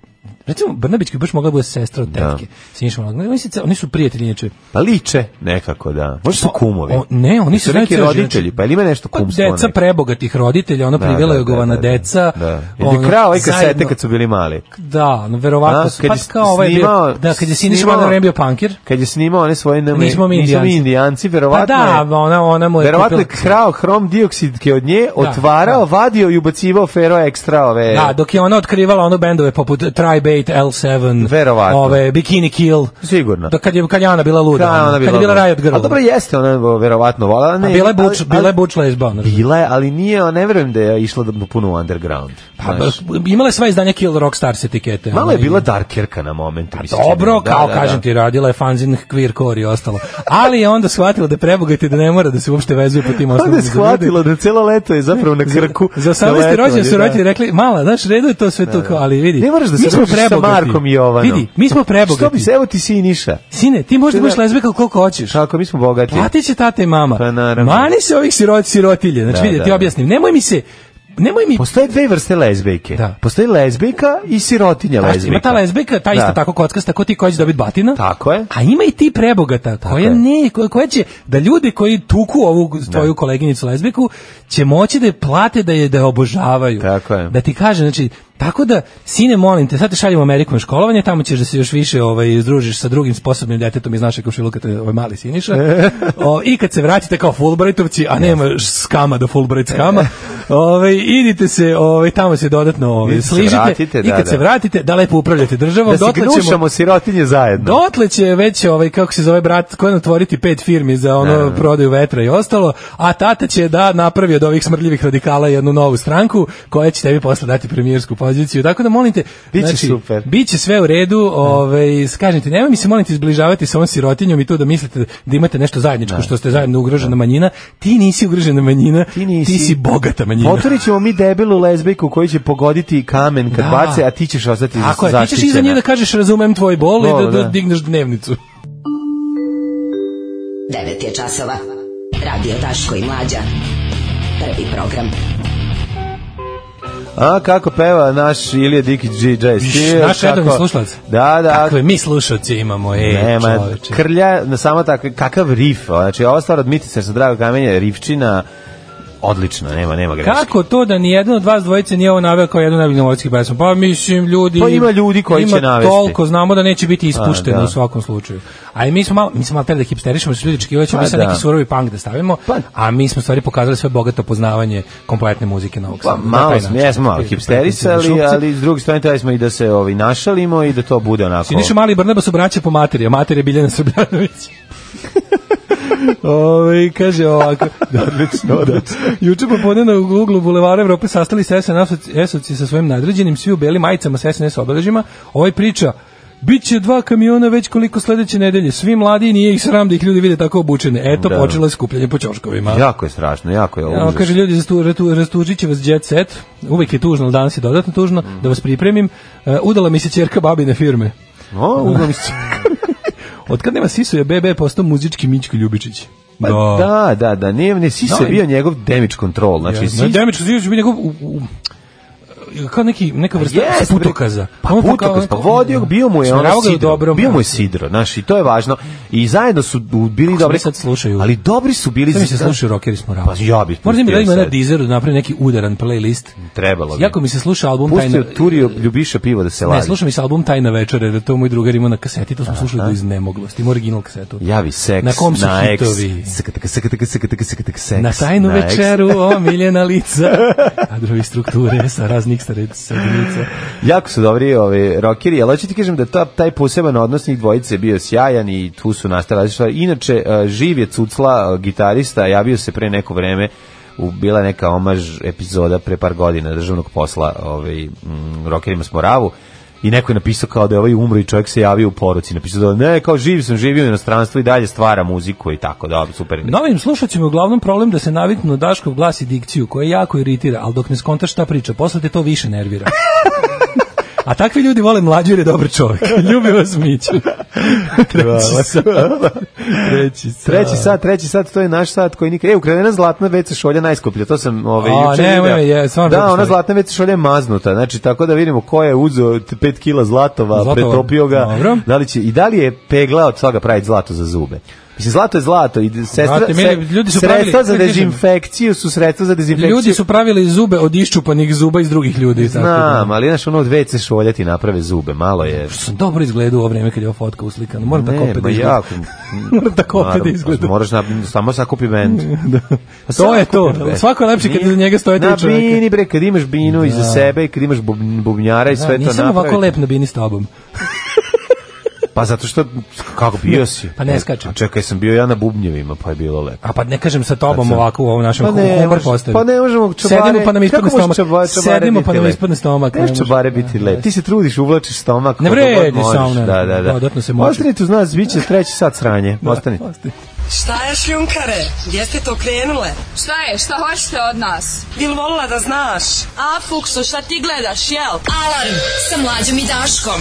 Speaker 6: Recimo, Brnabić bi baš mogla da bude sestra od tetke. Siniša Malog. Oni, se- oni su prijatelji, inače.
Speaker 5: Pa liče nekako, da. Možda su
Speaker 6: O-
Speaker 5: kumovi.
Speaker 6: Pa, o- ne, oni
Speaker 5: Jesu
Speaker 6: se znaju
Speaker 5: neki
Speaker 6: cijelo život.
Speaker 5: roditelji, pa ili ima nešto
Speaker 6: Pa
Speaker 5: kumstvo?
Speaker 6: deca
Speaker 5: neko?
Speaker 6: prebogatih roditelja, ono
Speaker 5: Da,
Speaker 6: privela
Speaker 5: da,
Speaker 6: je govana
Speaker 5: da, da,
Speaker 6: deca.
Speaker 5: Da.
Speaker 6: ono,
Speaker 5: Ili krao ove kasete
Speaker 6: zajedno-
Speaker 5: kad su bili mali.
Speaker 6: Da, ono, verovatno
Speaker 5: A,
Speaker 6: su,
Speaker 5: kad
Speaker 6: pa
Speaker 5: je
Speaker 6: kao ovaj je bio-
Speaker 5: snimao-
Speaker 6: da, kad je Siniša
Speaker 5: snimao-
Speaker 6: Malog na vreme bio punkir,
Speaker 5: Kad je snimao one svoje name,
Speaker 6: Nismo mi Indijanci.
Speaker 5: indijanci,
Speaker 6: Pa
Speaker 5: verovatno
Speaker 6: da,
Speaker 5: je-
Speaker 6: ona, ona mu je
Speaker 5: Verovatno je
Speaker 6: kupila-
Speaker 5: krao hrom dioksidke od nje, otvarao,
Speaker 6: da.
Speaker 5: vadio i ubacivao fero ekstra ove...
Speaker 6: Da, dok je ona otkrivala ono bendove poput Tribe Skybait, L7,
Speaker 5: Verovatno.
Speaker 6: ove, Bikini Kill.
Speaker 5: Sigurno.
Speaker 6: Da kad je, kad je ona bila luda,
Speaker 5: Kad
Speaker 6: ona, kad je bila Riot Girl.
Speaker 5: A dobro jeste, ona je verovatno vola. Ne,
Speaker 6: A bila je
Speaker 5: ali-
Speaker 6: Butch,
Speaker 5: ali-
Speaker 6: bila je Butch Lesba. ona.
Speaker 5: Bila je, ali nije, ne verujem da je išla do- puno u underground.
Speaker 6: Pa,
Speaker 5: Znaš,
Speaker 6: imala je sva izdanja Kill Rockstars etikete.
Speaker 5: malo
Speaker 6: ono,
Speaker 5: je
Speaker 6: i-
Speaker 5: bila darkerka na momentu. mi se čini.
Speaker 6: Pa Dobro,
Speaker 5: Da,
Speaker 6: kao
Speaker 5: da,
Speaker 6: kažem
Speaker 5: da.
Speaker 6: ti, radila je fanzin, queer core i ostalo. Ali je onda shvatila da je prebogata i da ne mora da se uopšte vezuje po tim osnovama.
Speaker 5: Onda je shvatila da celo leto je zapravo na krku.
Speaker 6: Za
Speaker 5: Na
Speaker 6: 18.
Speaker 5: leto,
Speaker 6: rođendan su
Speaker 5: da.
Speaker 6: roditelji rekli, mala, znaš, redu je to sve to, kao, ali vidi.
Speaker 5: Ne moraš da
Speaker 6: mi
Speaker 5: se
Speaker 6: smo
Speaker 5: družiš sa
Speaker 6: prebogati.
Speaker 5: Markom i Jovanom.
Speaker 6: Vidi, mi smo
Speaker 5: Što bi
Speaker 6: prebogati.
Speaker 5: se, evo ti si i Niša.
Speaker 6: Sine, ti možda
Speaker 5: Ti
Speaker 6: budeš
Speaker 5: ne-
Speaker 6: lezbika koliko hoćeš.
Speaker 5: Šako, mi smo bogati.
Speaker 6: Platit će tata i mama.
Speaker 5: Pa naravno.
Speaker 6: Mani se ovih sirot, sirotilje. Znači,
Speaker 5: Da,
Speaker 6: vidi,
Speaker 5: da,
Speaker 6: ti
Speaker 5: da.
Speaker 6: objasnim. Nemoj mi se, nemoj mi
Speaker 5: Postoje dve vrste lezbijke.
Speaker 6: Da.
Speaker 5: Postoji lezbijka i sirotinja
Speaker 6: Znaš,
Speaker 5: lezbijka.
Speaker 6: Ima ta lezbika, ta isto
Speaker 5: Da.
Speaker 6: tako kockasta, ko ti koja će dobiti batina.
Speaker 5: Tako je.
Speaker 6: A ima i ti prebogata, koja
Speaker 5: je. Da.
Speaker 6: ne, koja, koja će, da ljudi koji tuku ovu tvoju koleginicu lezbiku, će moći da je plate da je, da je obožavaju.
Speaker 5: Tako je.
Speaker 6: Da ti kaže, znači, tako da, sine, molim te, sad te šaljem u Ameriku na školovanje, tamo ćeš da se još više ovaj, združiš sa drugim sposobnim djetetom iz naše komšiluka, to je ovaj
Speaker 5: [laughs]
Speaker 6: mali siniša. o, I kad se vratite kao Fulbrightovci, a nema skama do Fulbright skama, ovaj, idite se, ovaj, tamo se dodatno ovaj,
Speaker 5: Idite se
Speaker 6: sližite.
Speaker 5: vratite,
Speaker 6: I
Speaker 5: da,
Speaker 6: kad
Speaker 5: da.
Speaker 6: se vratite, da lepo upravljate državom,
Speaker 5: Da se
Speaker 6: dotle ćemo
Speaker 5: gnušamo sirotinje zajedno.
Speaker 6: Dotle će Da. već ovaj kako se zove brat koji otvoriti pet firmi za ono prodaju vetra i ostalo, a tata će da napravi od ovih smrdljivih radikala jednu novu stranku koja će tebi posle dati premijersku poziciju. Tako da molim te,
Speaker 5: Biće super. Da.
Speaker 6: biće sve u redu, ovaj kažem ti, nemoj mi se molim te izbližavati sa ovom sirotinjom i to da mislite da imate nešto zajedničko što ste zajedno ugrožena manjina. Ti nisi ugrožena manjina, ti,
Speaker 5: Da. Ti nisi.
Speaker 6: si bogata manjina.
Speaker 5: Otvorit ćemo mi debelu lezbijku koji će pogoditi kamen kad
Speaker 6: Da.
Speaker 5: bace, a ti ćeš ostati
Speaker 6: Tako je, ti ćeš
Speaker 5: zaštićena.
Speaker 6: iza nje da kažeš razumem tvoj bol i da,
Speaker 5: Bol,
Speaker 6: da
Speaker 5: da.
Speaker 6: digneš dnevnicu.
Speaker 4: 9 je časova. Radio Daško i Mlađa. Prvi program.
Speaker 6: da-
Speaker 5: A kako peva naš Ilija Dikić DJ Steel.
Speaker 6: naš
Speaker 5: kako-
Speaker 6: redovni slušalac.
Speaker 5: Da, da.
Speaker 6: Kakve Dakle, mi slušalce imamo, ej,
Speaker 5: Nema,
Speaker 6: čoveče.
Speaker 5: krlja, na samo tako, kakav rif, znači ova stvar od Mitice sa drago kamenje, rifčina, odlično, nema, nema greške.
Speaker 6: Kako to da ni jedan od vas dvojice nije ovo naveo kao jednu najbolju novotarskih pesma? Pa mislim, ljudi...
Speaker 5: Pa ima ljudi koji
Speaker 6: ima
Speaker 5: će navesti.
Speaker 6: toliko, znamo da neće biti ispušteno
Speaker 5: A, da.
Speaker 6: u svakom slučaju. A i mi smo malo, mi smo malo teli da hipsterišemo, što ljudi očekivali ćemo
Speaker 5: Pa,
Speaker 6: mi sad
Speaker 5: da.
Speaker 6: neki surovi punk da stavimo,
Speaker 5: Pa-
Speaker 6: a mi smo u stvari pokazali sve bogato poznavanje kompletne muzike novog
Speaker 5: Pa
Speaker 6: sada.
Speaker 5: malo smo, jesmo malo hipsterisali, ali s druge strane trebali smo i da se ovi našalimo i da to bude onako...
Speaker 6: Siniša Mali i Brnaba su braće po materija, materija je Biljana Srbljanović. Ove, kaže ovako. odlično, odlično. Juče popodne na uglu Bulevara Evrope sastali se SNS-ovci sa svojim nadređenim, svi u belim majicama sa SNS obeležima. Ovaj priča, Biće dva kamiona već koliko sledeće nedelje. Svi mladi nije ih sram da ih ljudi vide tako obučene. Eto,
Speaker 5: Da.
Speaker 6: počelo je skupljanje po ćoškovima.
Speaker 5: Jako je strašno, jako je
Speaker 6: Ja,
Speaker 5: užas.
Speaker 6: on kaže ljudi zastu- ratu- rastužit će vas jet set, uvek je tužno, ali danas je dodatno tužno, da vas pripremim. E, udala mi se ćerka babine firme.
Speaker 5: O, uglavnom se-
Speaker 6: Od kad nema Sisu je BB postao muzički Mićko Ljubičić.
Speaker 5: Pa da, da, da, nije, ne, Sis
Speaker 6: Da,
Speaker 5: je bio njegov damage control, znači Sis...
Speaker 6: Znači, Demić Zivić bi njegov u, u, kao neki neka vrsta
Speaker 5: Yes, bre.
Speaker 6: putokaza.
Speaker 5: Pa
Speaker 6: On je
Speaker 5: putokaz, pa
Speaker 6: kao-
Speaker 5: vodio, ga, bio mu je ono
Speaker 6: Usmeravao ga u
Speaker 5: sidro.
Speaker 6: dobrom
Speaker 5: bio mu je
Speaker 6: pravcu.
Speaker 5: sidro, znaš, i to je važno. I zajedno su u- bili
Speaker 6: Kako
Speaker 5: dobri.
Speaker 6: se sad slušaju?
Speaker 5: Ali dobri su bili...
Speaker 6: Sve mi da se
Speaker 5: za-
Speaker 6: slušaju rockeri s morala.
Speaker 5: Pa ja bih
Speaker 6: Možda mi
Speaker 5: pustio
Speaker 6: da ima na
Speaker 5: sad.
Speaker 6: Deezeru da napravi neki udaran playlist.
Speaker 5: Trebalo bi.
Speaker 6: Jako mi se sluša album
Speaker 5: Pustio
Speaker 6: Tajna...
Speaker 5: Turio Ljubiša pivo da se
Speaker 6: Ne,
Speaker 5: lavi.
Speaker 6: slušam i sa album Tajna večera, jer to moj drugar ima na kaseti, to smo slušali do iznemoglosti, ima original kasetu.
Speaker 5: Javi seks
Speaker 6: Na kom su
Speaker 5: na
Speaker 6: hitovi?
Speaker 5: Eks, sktk, sktk, sktk, sktk, seks,
Speaker 6: Na tajnu
Speaker 5: na eks.
Speaker 6: večeru omiljena
Speaker 5: [laughs]
Speaker 6: lica, kadrovi strukture sa raznih sredinica.
Speaker 5: Jako su dobri ovi rokeri, ali hoću ti kažem da ta, taj poseban odnos njih dvojice je bio sjajan i tu su nastale različite stvari. Inače, eh, živ je Cucla, eh, gitarista, javio se pre neko vreme u bila je neka omaž epizoda pre par godina državnog posla ovaj, mm, rokerima s Moravu i neko je napisao kao da je ovaj umro i čovjek se javio u poruci, napisao da ne, kao živ sam, živio u inostranstvu i dalje stvara muziku i tako, da, super.
Speaker 6: Novim slušacima je uglavnom problem da se naviknu na Daškov glas i dikciju koja jako iritira, ali dok ne skontaš šta priča, posle te to više
Speaker 5: [laughs]
Speaker 6: nervira. A takvi ljudi vole mlađu jer je dobar
Speaker 5: [laughs]
Speaker 6: čovjek. Ljubi vas Miću. Treći sat.
Speaker 5: Treći
Speaker 6: Treći sat.
Speaker 5: sat, treći sat, to je naš sat koji nikad... E, ukradena zlatna veca šolja najskuplja, to sam ovaj,
Speaker 6: A,
Speaker 5: juče
Speaker 6: nemoj
Speaker 5: video.
Speaker 6: me, je, stvarno
Speaker 5: da,
Speaker 6: zato
Speaker 5: ona
Speaker 6: što-
Speaker 5: zlatna veca šolja je maznuta, znači tako da vidimo ko je uzeo 5 kila zlatova,
Speaker 6: Zlatova.
Speaker 5: pretopio ga,
Speaker 6: Dobro.
Speaker 5: da li će, i da li je pegla od toga praviti zlato za zube. Mislim, zlato je zlato. I sestra,
Speaker 6: Brate, meni, ljudi su pravili-
Speaker 5: sredstva za
Speaker 6: kako kažem?
Speaker 5: dezinfekciju su sredstva za dezinfekciju.
Speaker 6: Ljudi su pravili zube od iščupanih zuba iz drugih ljudi. tako da.
Speaker 5: Znam, ali znaš, ono od WC šolja ti naprave zube, malo je...
Speaker 6: Sam da- dobro izgledao u ovo vreme kad je ova fotka uslikana. Moram tako opet
Speaker 5: ma
Speaker 6: da izgleda. [laughs]
Speaker 5: jako.
Speaker 6: Moram tako opet da
Speaker 5: Naravno, pa
Speaker 6: izgleda. Da.
Speaker 5: Moraš na, samo sakupi
Speaker 6: [laughs]
Speaker 5: bend. Pa
Speaker 6: To je to. Svako je najlepše kad iza njega stoje tri
Speaker 5: Na
Speaker 6: čoveka. Da.
Speaker 5: bini, bre, kad imaš binu iza sebe i kad imaš bub, bubnjara i sve to
Speaker 6: nisam Da, ovako
Speaker 5: napraviti.
Speaker 6: lep na bini s tobom.
Speaker 5: Pa zato što, kako bio si? E,
Speaker 6: Pa ne skačem.
Speaker 5: A čekaj, sam bio ja na bubnjevima, pa je bilo lepo.
Speaker 6: A pa ne kažem sa tobom
Speaker 5: Kad sam-
Speaker 6: ovako u ovom našem
Speaker 5: Pa
Speaker 6: pa
Speaker 5: ne,
Speaker 6: humor
Speaker 5: možeš-
Speaker 6: postavi.
Speaker 5: pa ne možemo čabare-
Speaker 6: Sedimo pa nam
Speaker 5: kako
Speaker 6: ispadne
Speaker 5: možeš
Speaker 6: stomak.
Speaker 5: čaba- čabare
Speaker 6: Sedimo
Speaker 5: biti
Speaker 6: pa nam
Speaker 5: lep?
Speaker 6: ispadne stomak.
Speaker 5: Ne
Speaker 6: ne
Speaker 5: možeš
Speaker 6: može.
Speaker 5: čabare biti lep. Ti se trudiš, uvlačiš stomak.
Speaker 6: Ne
Speaker 5: koliko god
Speaker 6: vredi
Speaker 5: možeš.
Speaker 6: sa mnom.
Speaker 5: Da, da, da.
Speaker 6: Dodatno se može. Da.
Speaker 5: Ostani tu, znaš, bit će treći sat sranje. Ostani.
Speaker 6: Ostaje. [laughs]
Speaker 4: Šta je šljunkare? Gdje ste to krenule?
Speaker 11: Šta je? Šta hoćete od nas?
Speaker 4: Bil volila da znaš?
Speaker 11: A, Fuksu, šta ti gledaš, jel?
Speaker 4: Alarm sa mlađom i Daškom.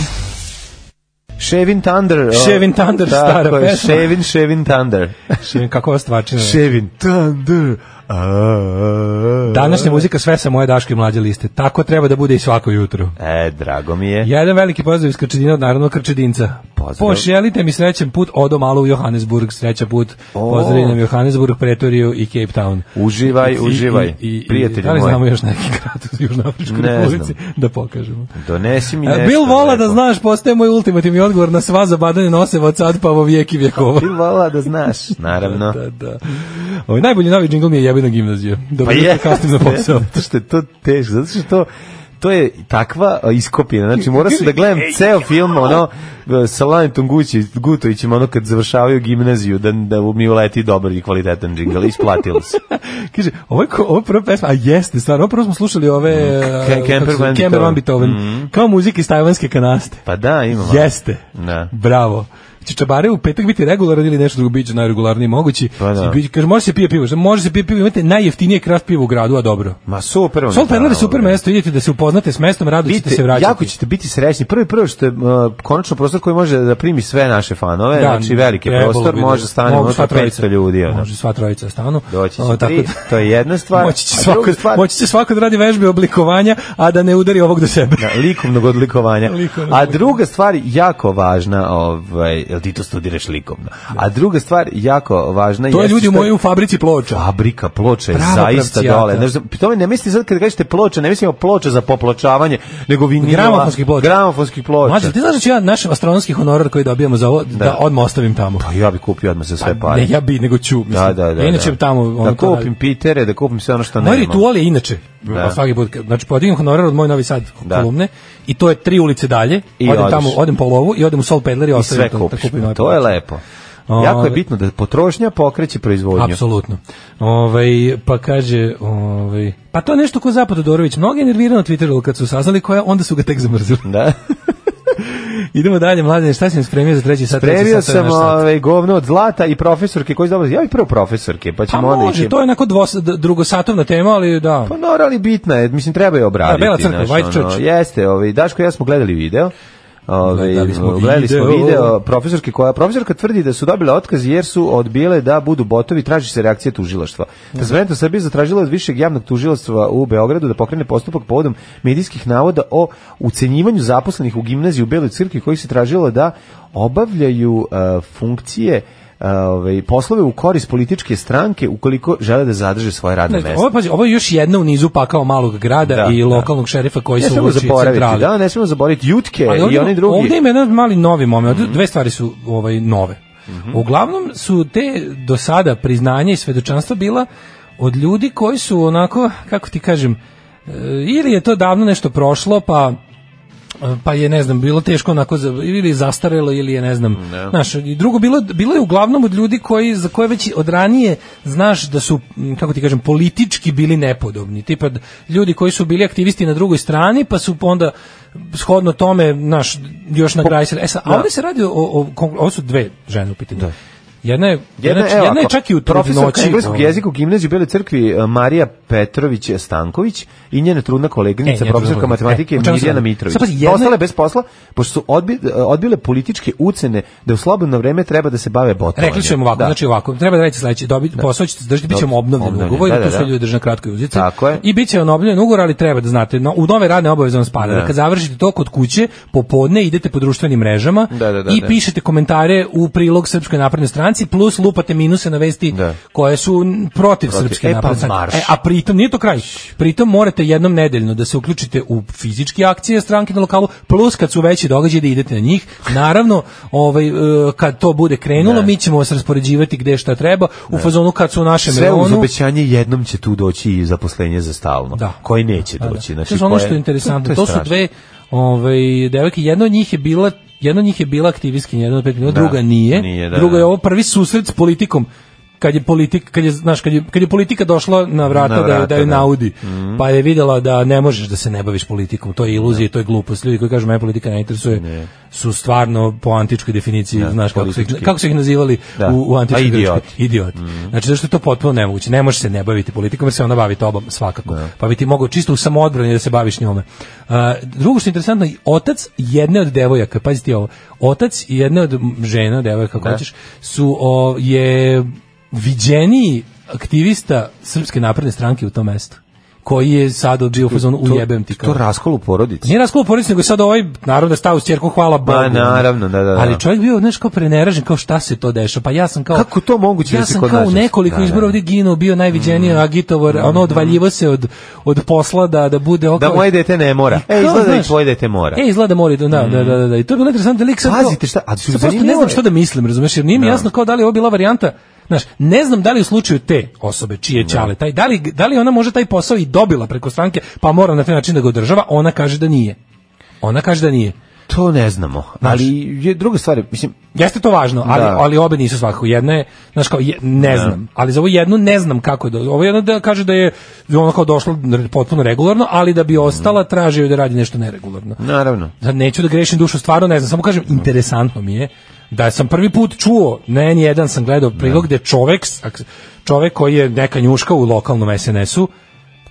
Speaker 5: Shaving Thunder. o,
Speaker 6: Shaving Thunder,
Speaker 5: tako
Speaker 6: stara
Speaker 5: je,
Speaker 6: pesma.
Speaker 5: Shaving, Shaving
Speaker 6: [laughs]
Speaker 5: Thunder.
Speaker 6: Širim, kako ova stvačina.
Speaker 5: Shaving Thunder. A,
Speaker 6: Današnja muzika sve sa moje Daške i mlađe liste. Tako treba da bude i svako jutro.
Speaker 5: E, drago mi je.
Speaker 6: Jedan veliki pozdrav iz Krčedina od Narodnog Krčedinca.
Speaker 5: Pozdrav.
Speaker 6: Pošelite mi srećan put odo malo u Johannesburg, sreća put.
Speaker 5: O.
Speaker 6: Pozdravi nam Johannesburg, Pretoriju i Cape Town.
Speaker 5: Uživaj,
Speaker 6: I-
Speaker 5: uživaj. Prijatelji
Speaker 6: da li
Speaker 5: moji.
Speaker 6: znamo još neki grad [laughs] u Južnoafričkoj
Speaker 5: Ne
Speaker 6: republici
Speaker 5: znam.
Speaker 6: da pokažemo?
Speaker 5: Donesi mi
Speaker 6: E,
Speaker 5: nešto.
Speaker 6: Bil vola da
Speaker 5: lepo.
Speaker 6: znaš, postaje moj ultimativni odgovor na sva zabadanje noseva od sad pa ovo vijek i
Speaker 5: [laughs]
Speaker 6: vjekova.
Speaker 5: Bil vola da znaš, naravno.
Speaker 6: da, da. Ovo, najbolji novi džingl mi je jebina gimnazija. Dobro,
Speaker 5: Pa je,
Speaker 6: jutro, Da, kasnim
Speaker 5: [laughs]
Speaker 6: za posao.
Speaker 5: Zato što je to teško, zato što to to je takva a, iskopina. Znači, mora se da gledam ceo film, ono, e, sa Lajem Tungući, Gutovićem, ono, kad završavaju gimnaziju, da, da mi uleti dobar i kvalitetan džingl. Isplatilo se.
Speaker 6: Kaže, ovo je, ko- ovo je prva pesma, a jeste, stvarno, ovo prvo smo slušali ove...
Speaker 5: Mm. Ke-
Speaker 6: e,
Speaker 5: Kemper
Speaker 6: kako se zove,
Speaker 5: Van
Speaker 6: Kemper Van
Speaker 5: Beethoven. Mm.
Speaker 6: Beethoven. Kao muzik iz tajvanske kanaste.
Speaker 5: Pa da, imamo.
Speaker 6: Jeste.
Speaker 5: Da.
Speaker 6: Bravo. Će čabare u petak biti regularan ili nešto drugo biće najregularniji mogući.
Speaker 5: Pa da.
Speaker 6: Biće- Kaže, može se pije pivo. Šta, Može se pije pivo, imate najjeftinije kraft pivo u gradu, a dobro.
Speaker 5: Ma super.
Speaker 6: Sol Perler je
Speaker 5: naravno,
Speaker 6: super
Speaker 5: bre.
Speaker 6: mesto, idete da se upoznate s mestom, rado ćete se vraćati.
Speaker 5: ovaj. jako ćete biti srećni. Prvi prvo što je uh, konačno prostor koji može da primi sve naše fanove,
Speaker 6: Da,
Speaker 5: znači veliki
Speaker 6: trebalo
Speaker 5: prostor,
Speaker 6: bi da-
Speaker 5: može stane
Speaker 6: mogu
Speaker 5: unutra
Speaker 6: sva trojica.
Speaker 5: 500 ljudi. Ono.
Speaker 6: Može sva trojica da stanu.
Speaker 5: Doći
Speaker 6: O,
Speaker 5: će
Speaker 6: tako
Speaker 5: tri,
Speaker 6: da-
Speaker 5: to je jedna stvar.
Speaker 6: [laughs] Moći će,
Speaker 5: A
Speaker 6: svako,
Speaker 5: druga stvar-
Speaker 6: moći će svako da radi vežbe oblikovanja, a da ne udari ovog do sebe.
Speaker 5: Na, Da, likovnog odlikovanja.
Speaker 6: Likovnog
Speaker 5: A druga stvar jako važna, ovaj, jel ti to studiraš likovno? A druga stvar jako važna
Speaker 6: [laughs] To je
Speaker 5: jeste
Speaker 6: ljudi u
Speaker 5: što-
Speaker 6: mojoj u fabrici ploča.
Speaker 5: fabrika ploča je
Speaker 6: Pravo
Speaker 5: zaista
Speaker 6: pravcijata.
Speaker 5: dole. Ne, znam, pri tome ne mislim sad kad kažete ploča, ne mislimo ploča za popločavanje, nego vinila.
Speaker 6: Gramofonskih ploča.
Speaker 5: Gramofonskih Pa, ploča.
Speaker 6: Mlađe, ti znaš da ću ja naš astronomski honorar koji dobijamo za ovo, da, odmah ostavim tamo.
Speaker 5: Pa ja bi kupio odmah za sve pare.
Speaker 6: Ne, ja bi, nego ću. Mislim.
Speaker 5: Da, da, da.
Speaker 6: Ja inače
Speaker 5: da.
Speaker 6: tamo... ono,
Speaker 5: da
Speaker 6: to
Speaker 5: kupim
Speaker 6: radim.
Speaker 5: pitere, da kupim sve ono što
Speaker 6: Moj
Speaker 5: nemam.
Speaker 6: ritual je inače, da. svaki put, kad- znači podignem honorar od moj Novi Sad
Speaker 5: Da.
Speaker 6: kolumne i to je tri ulice dalje,
Speaker 5: I
Speaker 6: odem
Speaker 5: odiš.
Speaker 6: tamo, odem po lovu i odem u Sol Pedler i
Speaker 5: I
Speaker 6: ostavim
Speaker 5: sve
Speaker 6: to,
Speaker 5: kupiš. Pa
Speaker 6: da kupim nove
Speaker 5: to je
Speaker 6: ploče.
Speaker 5: lepo. Jako je
Speaker 6: Ove-
Speaker 5: bitno da potrošnja pokreće proizvodnju.
Speaker 6: Apsolutno. Ovaj pa kaže, ovaj pa to je nešto ko Zapad Todorović, mnogo je nervirano na Twitteru kad su saznali koja, onda su ga tek
Speaker 5: [laughs]
Speaker 6: zamrzili.
Speaker 5: Da.
Speaker 6: Znači, Idemo dalje, mladen, šta si nam spremio za treći sat? Treći
Speaker 5: Premio
Speaker 6: sat, to je
Speaker 5: sam
Speaker 6: naš sat.
Speaker 5: ovaj govno od zlata i profesorke koji dobro. Ja bih prvo profesorke, pa
Speaker 6: Pa
Speaker 5: ćemo onda
Speaker 6: može,
Speaker 5: ići.
Speaker 6: to je onako dvos, d- drugosatovna tema, ali da.
Speaker 5: Pa naravno, ali bitna je, mislim treba je obraditi.
Speaker 6: Da, Bela crkva,
Speaker 5: znaš,
Speaker 6: White Church.
Speaker 5: Jeste, ovaj Daško i ja smo gledali video. Ovaj
Speaker 6: Gledali smo
Speaker 5: gledali smo
Speaker 6: Da, video.
Speaker 5: video profesorke koja profesorka tvrdi da su dobile otkaz jer su odbile da budu botovi, traži se reakcija tužilaštva. Transparentno Srbija zatražila od višeg javnog tužilaštva u Beogradu da pokrene postupak povodom medijskih navoda o ucenjivanju zaposlenih u gimnaziji u Beloj crkvi koji se tražilo da obavljaju eh, funkcije eh, ovaj, poslove u korist političke stranke ukoliko žele da zadrže svoje radne
Speaker 6: Ne,
Speaker 5: mesto.
Speaker 6: ovo, pazi, ovo je još jedna u nizu pakao malog grada
Speaker 5: Da,
Speaker 6: i
Speaker 5: da.
Speaker 6: lokalnog šerifa koji
Speaker 5: Ne
Speaker 6: se
Speaker 5: smemo
Speaker 6: uvuči
Speaker 5: zaboraviti,
Speaker 6: centrali.
Speaker 5: da, ne smemo zaboraviti jutke
Speaker 6: Ali
Speaker 5: i
Speaker 6: ovdje-
Speaker 5: oni drugi. Mhm.
Speaker 6: Ovdje ima jedan mali novi moment, dve stvari su ovaj nove. Uglavnom su te do sada priznanje i svedočanstva bila od ljudi koji su onako, kako ti kažem, e, ili je to davno nešto prošlo, pa pa je ne znam bilo teško onako za, ili je zastarelo ili je ne znam znaš i drugo bilo bilo je uglavnom od ljudi koji za koje već od ranije znaš da su m, kako ti kažem politički bili nepodobni tipa d- ljudi koji su bili aktivisti na drugoj strani pa su onda shodno tome naš još na kraju e sad, a ovde se radi o, o, kon- ovo su dve žene u pitanju jedna je jedna, je-
Speaker 5: evo
Speaker 6: znači, jedna je
Speaker 5: ovako,
Speaker 6: čak i u
Speaker 5: profesorka
Speaker 6: trudnoći
Speaker 5: engleskog
Speaker 6: ovaj.
Speaker 5: jezika u gimnaziji u Beloj crkvi e, Marija Petrović Stanković i njena trudna
Speaker 6: E,
Speaker 5: koleginica
Speaker 6: njena
Speaker 5: profesorka
Speaker 6: trudna
Speaker 5: matematike
Speaker 6: koleginica. E, o čemu se
Speaker 5: Mirjana
Speaker 6: radi?
Speaker 5: Mitrović.
Speaker 6: Sad pazi, jedna-
Speaker 5: Ostale bez posla pošto su odbi- e, odbile političke ucene da u slobodno vreme treba da se bave botovanjem.
Speaker 6: Rekli su im ovako,
Speaker 5: Da.
Speaker 6: znači ovako, treba da reći sledeće, dobi, posao ćete zdržati, bit ćemo
Speaker 5: Dobro,
Speaker 6: obnovljen
Speaker 5: obnovljen,
Speaker 6: ugovor,
Speaker 5: da,
Speaker 6: da,
Speaker 5: da,
Speaker 6: tu
Speaker 5: da.
Speaker 6: sve ljudi drže na kratkoj uzici.
Speaker 5: Tako je.
Speaker 6: I bit će on obnovljen ugovor, ali treba da znate, no, u nove radne obaveze vam spada.
Speaker 5: Da.
Speaker 6: Da. Kad završite to kod kuće, popodne idete po društvenim mrežama
Speaker 5: Da, da, da,
Speaker 6: i
Speaker 5: da.
Speaker 6: pišete komentare u prilog Srpskoj naprednoj stranci plus lupate minuse na vesti
Speaker 5: Da.
Speaker 6: koje su n- protiv,
Speaker 5: Protiv.
Speaker 6: srpske
Speaker 5: E, pa
Speaker 6: napredne stranke.
Speaker 5: marš.
Speaker 6: E, a pritom nije to kraj. Pritom morate jednom nedeljno da se uključite u fizičke akcije stranke na lokalu plus kad su veći događaji da idete na njih. Naravno, ovaj e, kad to bude krenulo, mi ćemo vas raspoređivati gde šta treba. U fazonu kad su u našem
Speaker 5: Sve uz
Speaker 6: reonu-
Speaker 5: obećanje jednom će tu doći i zaposlenje za stalno,
Speaker 6: Da.
Speaker 5: koji neće
Speaker 6: Da, da.
Speaker 5: doći. Znači,
Speaker 6: to je ono
Speaker 5: koje-
Speaker 6: što je interesantno.
Speaker 5: je
Speaker 6: To, su
Speaker 5: strašno.
Speaker 6: dve ovaj devojke, jedna od njih je bila jedna od njih je bila aktivistkinja, jedna od pet
Speaker 5: Da,
Speaker 6: minuta, druga nije.
Speaker 5: nije, da,
Speaker 6: druga
Speaker 5: da.
Speaker 6: je ovo prvi susret s politikom kad je politik kad je znaš kad je, kad je politika došla na vrata,
Speaker 5: Na
Speaker 6: da,
Speaker 5: vrata,
Speaker 6: da je
Speaker 5: da.
Speaker 6: naudi pa je videla da ne možeš da se ne baviš politikom to je iluzija i to je glupost ljudi koji kažu mene politika ne interesuje su stvarno po antičkoj definiciji znaš kako su, ih,
Speaker 5: Da, politički.
Speaker 6: kako su ih nazivali
Speaker 5: Da.
Speaker 6: u, u
Speaker 5: Pa
Speaker 6: antičkoj
Speaker 5: idioti.
Speaker 6: Grčkoj idiot.
Speaker 5: Mhm.
Speaker 6: Znači zašto je to potpuno nemoguće? Ne može se ne baviti politikom jer se ona bavi tobom svakako. Pa bi ti mogao čisto u samoodbrani da se baviš njome. A, drugo što je interesantno, otac jedne od devojaka, pazi ti ovo, otac jedne od žena, devojaka kako
Speaker 5: Da.
Speaker 6: hoćeš, su o, je viđeniji aktivista Srpske napredne stranke u tom mestu koji je sad bio u fazonu
Speaker 5: To-
Speaker 6: ujebem ti kao.
Speaker 5: To raskol u porodici.
Speaker 6: Nije raskolo porodice, nego je sad ovaj, naravno da stavu s ćerkom, hvala Bogu.
Speaker 5: Ma, naravno, da, da, da.
Speaker 6: Ali čovjek bio, znaš, kao preneražen, kao šta se to dešava. Pa ja sam kao...
Speaker 5: Kako to moguće
Speaker 6: Ja
Speaker 5: da se
Speaker 6: sam
Speaker 5: kod
Speaker 6: kao
Speaker 5: nas
Speaker 6: u
Speaker 5: desi?
Speaker 6: nekoliko
Speaker 5: Da, da. Mm.
Speaker 6: izbora ovdje ginuo, bio najviđeniji agitovor, ono, odvaljivo se od, od posla da, da bude oko...
Speaker 5: Da moje dete ne mora.
Speaker 6: I
Speaker 5: E,
Speaker 6: kao,
Speaker 5: izgleda da i
Speaker 6: znaš,
Speaker 5: tvoje dete mora.
Speaker 6: E, izgleda mora, da, da, da, da, da. I to je bilo interesantno, lik sad kao-
Speaker 5: Pazite šta- a su
Speaker 6: sad prosto ne
Speaker 5: zanimljivo
Speaker 6: znam
Speaker 5: je-
Speaker 6: šta da mislim, razumeš, jer nije mi jasno kao da li je ovo bila varijanta Znaš, ne znam da li u slučaju te osobe čije je ćale taj, da li, da li ona može taj posao i dobila preko stranke, pa mora na taj način da ga održava, ona kaže da nije. Ona kaže da nije.
Speaker 5: To ne znamo. Ali je druga stvar, je, mislim,
Speaker 6: Jeste to važno, ali,
Speaker 5: Da.
Speaker 6: ali obe nisu svakako. Jedna je, znaš kao, je- ne znam, ali za ovu jednu ne znam kako je. Do, ovo jedna da kaže da je ono kao došlo potpuno regularno, ali da bi
Speaker 5: Mm.
Speaker 6: ostala tražio je da radi nešto neregularno.
Speaker 5: naravno.
Speaker 6: Sad neću da grešim dušu, stvarno ne znam, samo kažem, interesantno mi je da sam prvi put čuo, ne, ni jedan sam gledao prilog gde čovek, s- ak- čovek koji je neka njuška u lokalnom SNS-u,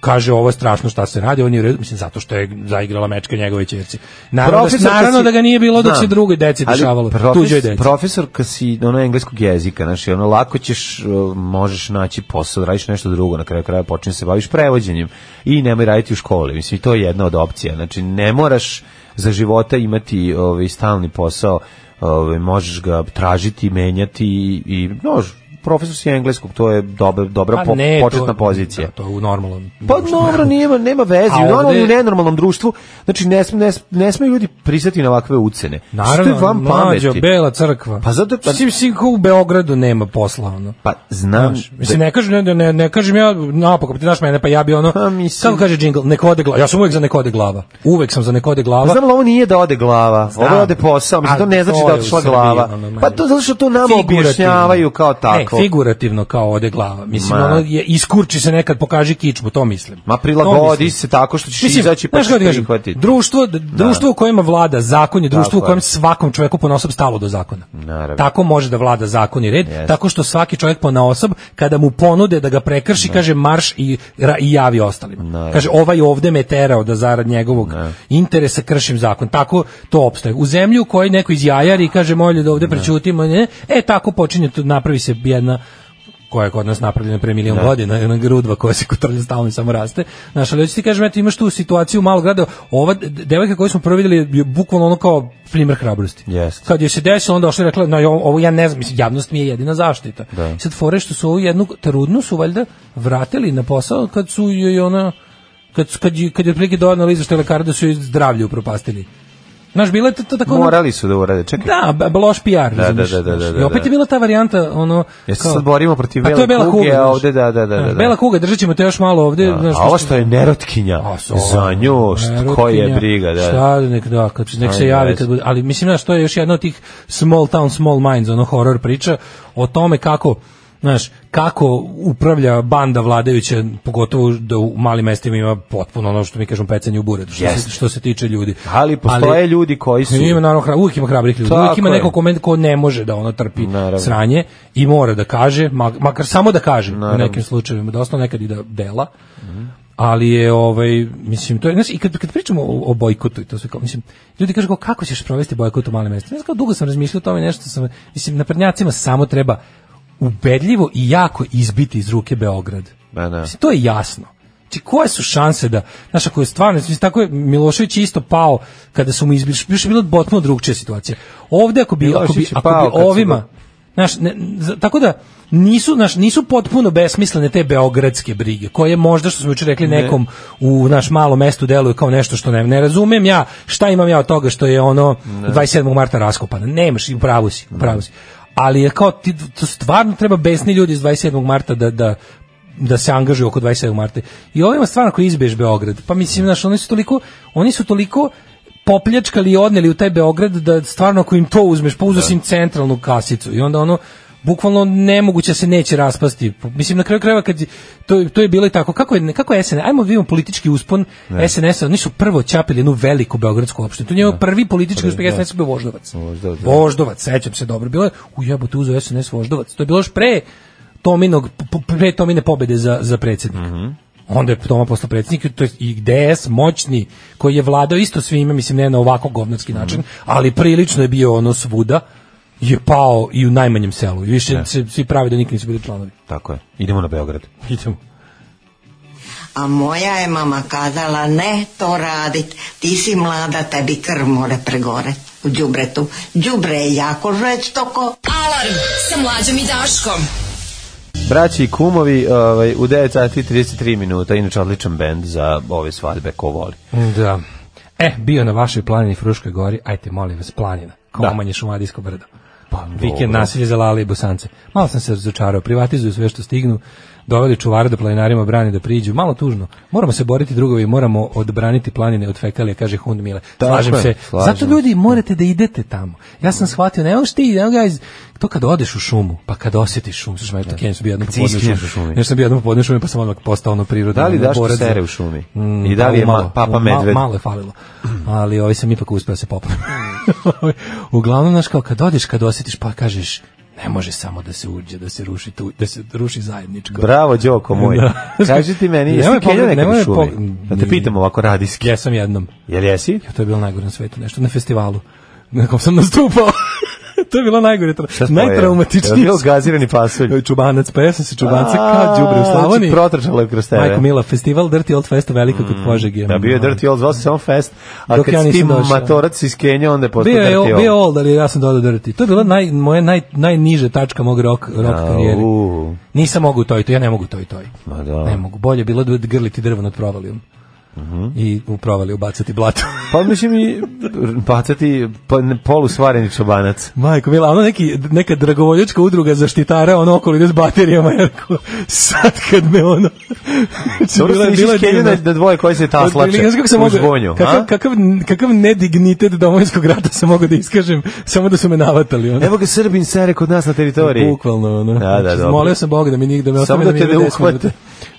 Speaker 6: kaže ovo je strašno šta se radi, on je u redu, mislim, zato što je zaigrala mečka njegove ćerci. Naravno, da,
Speaker 5: Profesorka
Speaker 6: naravno
Speaker 5: si-
Speaker 6: da ga nije bilo dok
Speaker 5: Znam.
Speaker 6: se drugoj deci
Speaker 5: Ali
Speaker 6: dešavalo,
Speaker 5: profes-
Speaker 6: tuđoj deci.
Speaker 5: Profesorka si ono engleskog jezika, znači ono lako ćeš, uh, možeš naći posao, da radiš nešto drugo, na kraju kraja počinje da se baviš prevođenjem i nemoj raditi u školi, mislim i to je jedna od opcija, znači ne moraš za života imati ovaj, stalni posao, ovaj, možeš ga tražiti, menjati i, i no, profesor si engleskog, to je dobra, dobra
Speaker 6: Pa
Speaker 5: po-
Speaker 6: ne, to-
Speaker 5: početna pozicija.
Speaker 6: Da, to je u normalnom.
Speaker 5: Pa
Speaker 6: društvu.
Speaker 5: dobro, nema, nema veze,
Speaker 6: A
Speaker 5: u normalnom
Speaker 6: ovde-
Speaker 5: i u nenormalnom društvu, znači ne, sme, ne, sme- ne smeju ljudi pristati na ovakve ucene.
Speaker 6: Naravno,
Speaker 5: Što je vam
Speaker 6: mlađo,
Speaker 5: pameti?
Speaker 6: Bela crkva.
Speaker 5: Pa zato-
Speaker 6: Pa, mislim, mislim, kao u Beogradu nema posla, ono.
Speaker 5: Pa znam,
Speaker 6: Znaš, mislim, ne kažem, ja- ne, ne, ne kažem ja napako, pa ti znaš mene, pa ja bi ono,
Speaker 5: Pa, mislim-
Speaker 6: kako kaže džingl, neko ode glava, ja sam uvek za neko ode glava, uvek sam za neko ode glava,
Speaker 5: Pa znam, ali ovo nije da ode glava.
Speaker 6: Znam.
Speaker 5: Ovo je ode posao. Mislim, to
Speaker 6: A
Speaker 5: ne znači
Speaker 6: to
Speaker 5: da
Speaker 6: je u
Speaker 5: otišla
Speaker 6: Srbiji,
Speaker 5: glava.
Speaker 6: ono, manje.
Speaker 5: Pa to zato što to nama
Speaker 6: Figurativno. E,
Speaker 5: objašnjavaju kao tako.
Speaker 6: Ne, figurativno kao ode glava. Mislim,
Speaker 5: Ma.
Speaker 6: ono, je, iskurči se nekad, pokaži kičmu, to mislim.
Speaker 5: Ma
Speaker 6: To
Speaker 5: prilagodi
Speaker 6: mislim.
Speaker 5: se tako što ćeš
Speaker 6: Mislim,
Speaker 5: izaći pa
Speaker 6: znaš
Speaker 5: ćeš
Speaker 6: kako ti kažem,
Speaker 5: prihvatiti. Da.
Speaker 6: Društvo, d- društvo u kojima vlada zakon je društvo
Speaker 5: Tako
Speaker 6: u
Speaker 5: je.
Speaker 6: kojem svakom čovjeku ponaosob stalo do zakona.
Speaker 5: Naravno.
Speaker 6: Tako može da vlada zakon i red,
Speaker 5: Jeste.
Speaker 6: tako što svaki čovjek ponaosob kada mu ponude da ga prekrši, kaže marš i, ra- i javi ostalima. Kaže ovaj ovde me terao da zarad njegovog interesa kršim zakon. Tako to opstaje. U zemlju u kojoj neko izjajari i kaže molje da ovde prećutimo, ne, e tako počinje, tu napravi se jedna koja je kod nas napravljena pre milion godina, jedna grudva koja se kotrlja stalno i samo raste. Znaš, ali hoću ti kažem, eto, imaš tu situaciju u malom gradu, ova d- devojka koju smo prvo vidjeli je bukvalno ono kao primjer hrabrosti.
Speaker 5: Jeste.
Speaker 6: Kad je se desilo, onda došla i rekla, no, jo- ovo ja ne znam, mislim, javnost mi je jedina zaštita.
Speaker 5: Da.
Speaker 6: I Sad fore što su ovu jednu trudnu su valjda vratili na posao kad su joj ona, kad, su- kad, je- kad je otprilike dovoljno izveštaj lekara da su joj zdravlje upropastili. Znaš, bila je to, to tako... ono-
Speaker 5: Morali su da urade. Čekaj.
Speaker 6: Da, b- b- loš PR,
Speaker 5: da,
Speaker 6: razumeš,
Speaker 5: da, da,
Speaker 6: znaš.
Speaker 5: da,
Speaker 6: I opet
Speaker 5: da.
Speaker 6: je bila ta varijanta, ono...
Speaker 5: Jer se
Speaker 6: kao-
Speaker 5: sad borimo protiv
Speaker 6: A to je
Speaker 5: Bela
Speaker 6: Bela
Speaker 5: kuge,
Speaker 6: kuga,
Speaker 5: a
Speaker 6: znaš.
Speaker 5: ovde da, da, da, da, da.
Speaker 6: Bela kuga, držat ćemo te još malo ovde. Da, znaš,
Speaker 5: A ovo što je nerotkinja,
Speaker 6: A, so-
Speaker 5: za nju, što, ko je
Speaker 6: Erotkinja,
Speaker 5: briga, da.
Speaker 6: Pa, Šta, nek, da, kad, nek se
Speaker 5: Ajde,
Speaker 6: javi
Speaker 5: ajde.
Speaker 6: kad bude. Ali mislim, znaš, to je još jedna od tih small town, small minds, ono horror priča o tome kako znaš, kako upravlja banda vladajuća, pogotovo da u malim mestima ima potpuno ono što mi kažemo pecanje u buredu, što,
Speaker 5: Jeste.
Speaker 6: se, što se tiče ljudi.
Speaker 5: Ali postoje ljudi koji su...
Speaker 6: Ima naravno hra, uvijek ima hrabrih ljudi.
Speaker 5: Tako
Speaker 6: uvijek ima
Speaker 5: je.
Speaker 6: neko kome ko ne može da ono trpi
Speaker 5: Naravno.
Speaker 6: sranje i mora da kaže, mak- makar samo da kaže u
Speaker 5: Naravno.
Speaker 6: nekim slučajevima, dosta nekad i da dela. Ali je ovaj mislim to je znaš, i kad kad pričamo o, o bojkotu i to sve kao mislim ljudi kažu kao, kako ćeš provesti bojkot u malim mestima. Ja sam kao dugo sam razmišljao o tome nešto sam mislim na prednjacima samo treba ubedljivo i jako izbiti iz ruke Beograd.
Speaker 5: Ba, da.
Speaker 6: Mislim, to je jasno. Znači, koje su šanse da, znaš, ako je stvarno, mislim, tako je Milošević isto pao kada su mu izbili, još je bila potpuno drugčija situacija. Ovde ako bi, ako bi,
Speaker 5: Milošević je
Speaker 6: ako bi
Speaker 5: pao kad su
Speaker 6: ovima,
Speaker 5: ga-
Speaker 6: Znaš, ne, za- tako da nisu naš nisu potpuno besmislene te beogradske brige koje možda što smo juče rekli
Speaker 5: Ne.
Speaker 6: nekom u naš malo mestu deluje kao nešto što ne ne razumem ja šta imam ja od toga što je ono 27. marta raskopano nemaš i u pravu si u pravu si ali je kao ti to stvarno treba besni ljudi iz 27. marta da da da se angažuju oko 27. marta. I ovo ima stvarno koji izbiješ Beograd. Pa mislim, znaš, oni su toliko, oni su toliko popljačkali i odneli u taj Beograd da stvarno ako im to uzmeš, pa uzeo
Speaker 5: Da.
Speaker 6: si im centralnu kasicu i onda ono bukvalno nemoguće da se neće raspasti. Mislim, na kraju krajeva, kad je- to, to je bilo i tako. Kako je, kako je SNS? Ajmo da vidimo politički uspon SNS-a. Oni su prvo ćapili jednu veliku beogradsku opštinu. To je njegov prvi politički uspeh SNS-a bio Voždovac.
Speaker 5: Da. Voždovac, da.
Speaker 6: Voždovac, sećam se dobro. Bilo je, u jebote, uzeo SNS Voždovac. To je bilo još pre Tominog, p- p- pre Tomine pobede za, za predsjednika.
Speaker 5: Mhm.
Speaker 6: Onda je Toma postao predsjednik, to je i DS moćni, koji je vladao isto svime, mislim ne na ovako govnarski način, ali prilično je bio ono svuda, je pao i u najmanjem selu. I više se svi pravi da nikad nisu bili članovi.
Speaker 5: Tako je. Idemo na Beograd.
Speaker 6: Idemo.
Speaker 12: A moja je mama kazala, ne to radit, ti si mlada, tebi krv more pregore u džubretu. Džubre je jako žestoko.
Speaker 4: Alarm sa mlađom i Daškom.
Speaker 5: Braći i kumovi, ovaj, u 9 sati 33 minuta, inače odličan bend za ove svadbe, ko voli.
Speaker 6: Da. E, bio na vašoj planini Fruškoj gori, ajte molim vas, planina, kao
Speaker 5: Da.
Speaker 6: manje šumadijsko brdo. Pa, Vikend nasilje za Lale i Bosance. Malo sam se razočarao, privatizuju sve što stignu, doveli čuvare da planinarima brani da priđu, malo tužno. Moramo se boriti drugovi, moramo odbraniti planine od fekalije, kaže Hund Mile.
Speaker 5: Tako
Speaker 6: Slažem
Speaker 5: je,
Speaker 6: se.
Speaker 5: slažem
Speaker 6: Zato ljudi morate da idete tamo. Ja sam shvatio, ne možeš ti, ne možeš guys, to kad odeš u šumu, pa kad osjetiš šum, slušaj, ja to Kenja sam bio jednom
Speaker 5: Da. Kad si
Speaker 6: popodne u šumi.
Speaker 5: iskineš u šumi.
Speaker 6: Ja sam bio jednom popodne u šumi, pa sam odmah postao ono priroda.
Speaker 5: Da li
Speaker 6: ono,
Speaker 5: daš
Speaker 6: borac za-
Speaker 5: sere u šumi?
Speaker 6: Mm,
Speaker 5: I da li je
Speaker 6: malo,
Speaker 5: ma- papa
Speaker 6: malo,
Speaker 5: medved?
Speaker 6: Malo je falilo. Ali ovaj sam ipak uspeo da se popravim. [laughs] Uglavnom, znaš, kao kad odeš, kad osjetiš, pa kažeš, ne može samo da se uđe, da se ruši tu, da se ruši zajedničko.
Speaker 5: Bravo, Đoko moj.
Speaker 6: Da.
Speaker 5: Kaži ti meni, jesi
Speaker 6: Nemoj
Speaker 5: ti Kenja
Speaker 6: pogled-
Speaker 5: nekad u
Speaker 6: nemoj
Speaker 5: šumi?
Speaker 6: pog- Da,
Speaker 5: Da te pitam ovako radijski.
Speaker 6: Jesam jednom.
Speaker 5: Jel jesi?
Speaker 6: Jo, to je bilo najgore na svetu, nešto na festivalu. Na kom sam nastupao. [laughs] to je bilo najgore, tra-
Speaker 5: Šta si pojeo? Jel
Speaker 6: najtraumatičnije.
Speaker 5: bio gazirani pasulj?
Speaker 6: Čubanac, pa ja sam se čubanca
Speaker 5: A,
Speaker 6: kao đubre u
Speaker 5: znači,
Speaker 6: Slavoniji.
Speaker 5: protrčalo je kroz tebe.
Speaker 6: Majko Mila, festival Dirty Old Fest u Veliko kod Požege.
Speaker 5: Da, bio je Dirty Old, zvao se samo Fest, a
Speaker 6: Dok
Speaker 5: kad
Speaker 6: ja
Speaker 5: si ti
Speaker 6: nisam došao.
Speaker 5: matorac iz Kenja, onda je postao
Speaker 6: Bio je,
Speaker 5: Dirty Old.
Speaker 6: bio je old, ali ja sam dodao dirty. To je bila naj, moja naj, najniže tačka mog rock, rock
Speaker 5: A,
Speaker 6: karijere.
Speaker 5: Da, u.
Speaker 6: Nisam mogu to i to, ja ne mogu to i to.
Speaker 5: Ma da.
Speaker 6: Ne mogu. Bolje je bilo da grliti drvo nad provalijom.
Speaker 5: Mhm.
Speaker 6: I u provaliju bacati blato. [laughs]
Speaker 5: Pa mislim i bacati pa, polusvareni čobanac.
Speaker 6: Majko, bila ono neki, neka dragovoljačka udruga zaštitara, ono okolo s baterijama, jerko, sad kad me ono...
Speaker 5: [laughs] Dobro ste
Speaker 6: Bila je-
Speaker 5: išli
Speaker 6: bila je
Speaker 5: iz Kenja na,
Speaker 6: divna.
Speaker 5: na dvoje koji se taslače
Speaker 6: Otprilike, znaš kako sam
Speaker 5: u
Speaker 6: mogao-
Speaker 5: žbonju.
Speaker 6: Kakav,
Speaker 5: a?
Speaker 6: kakav, kakav nedignitet domovinskog rata sam mogao da iskažem, samo da su me navatali. Ono.
Speaker 5: Evo ga Srbin sere kod nas na teritoriji.
Speaker 6: Bukvalno, ono.
Speaker 5: Da, da,
Speaker 6: Znači,
Speaker 5: dobro.
Speaker 6: Molio sam Boga da mi nigde me
Speaker 5: Samo
Speaker 6: ostane
Speaker 5: da
Speaker 6: mi
Speaker 5: te
Speaker 6: ide
Speaker 5: ne
Speaker 6: 10 minuta.
Speaker 5: uhvate. Da.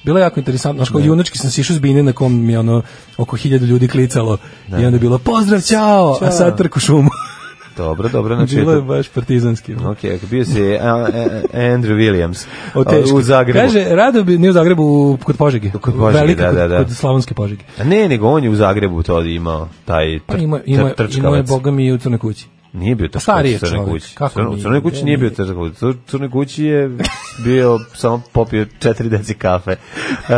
Speaker 6: Bilo je jako interesantno, znači junački sam sišao s bine na kom mi je ono oko 1000 ljudi klicalo
Speaker 5: Da.
Speaker 6: i onda je bilo pozdrav, ćao, a sad trku
Speaker 5: [laughs]
Speaker 6: šumu.
Speaker 5: Dobro, dobro, znači...
Speaker 6: bilo je baš partizanski.
Speaker 5: Ok, ok, bio si a, a, a- Andrew Williams
Speaker 6: O,
Speaker 5: a,
Speaker 6: teško.
Speaker 5: u Zagrebu.
Speaker 6: Kaže, rado bi, ne u Zagrebu, u- kod Požege.
Speaker 5: Kod Požege,
Speaker 6: Velika,
Speaker 5: da,
Speaker 6: kod-
Speaker 5: da, da.
Speaker 6: Kod Slavonske Požege.
Speaker 5: A ne, nego on je u Zagrebu to imao, taj
Speaker 6: Pa
Speaker 5: tr-
Speaker 6: ima,
Speaker 5: tr-
Speaker 6: ima, ima je,
Speaker 5: trčkavac.
Speaker 6: boga mi, i u Crnoj kući.
Speaker 5: Nije bio trčkavac
Speaker 6: stariji je
Speaker 5: u Crnoj
Speaker 6: čovjek,
Speaker 5: kući.
Speaker 6: kako
Speaker 5: Crno- u
Speaker 6: nije,
Speaker 5: Crnoj kući
Speaker 6: gde
Speaker 5: nije bio
Speaker 6: nije?
Speaker 5: trčkavac. U Crnoj kući je bio, samo popio četiri deci kafe uh,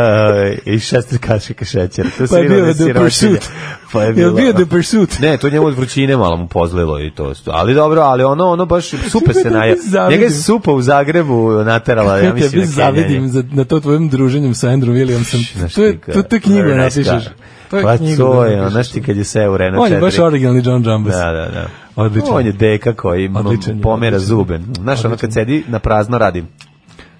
Speaker 5: i šest kašika šećera. To
Speaker 6: Pa
Speaker 5: svi
Speaker 6: je bio
Speaker 5: one
Speaker 6: The
Speaker 5: sirotinje.
Speaker 6: Pursuit.
Speaker 5: Pa je
Speaker 6: Jel
Speaker 5: bilo,
Speaker 6: bio da The [laughs] Pursuit?
Speaker 5: [laughs] Ne, to njemu od vrućine malo mu pozlilo i to. Ali dobro, ali ono, ono baš supe
Speaker 6: [laughs] Kako
Speaker 5: se
Speaker 6: tebi
Speaker 5: naja. Njega je
Speaker 6: zavidim?
Speaker 5: supa u Zagrebu naterala, ja
Speaker 6: Ja
Speaker 5: mislim,
Speaker 6: tebi
Speaker 5: na kenjanje.
Speaker 6: zavidim za, na to tvojim druženjem sa Andrew Williamsom.
Speaker 5: Znaš
Speaker 6: To je,
Speaker 5: ti ka-
Speaker 6: to, to je knjigu da
Speaker 5: Very nice
Speaker 6: napišeš.
Speaker 5: guy.
Speaker 6: To je
Speaker 5: pa
Speaker 6: knjigu
Speaker 5: to
Speaker 6: da
Speaker 5: je, ono,
Speaker 6: napišeš.
Speaker 5: znaš ti kad je sve u Renault
Speaker 6: On
Speaker 5: 4.
Speaker 6: je baš originalni John Jambas.
Speaker 5: Da, da, da.
Speaker 6: Odličan.
Speaker 5: On je deka koji m-
Speaker 6: Odličan je,
Speaker 5: pomera
Speaker 6: odličan.
Speaker 5: zube. Znaš, ono kad sedi na prazno radim.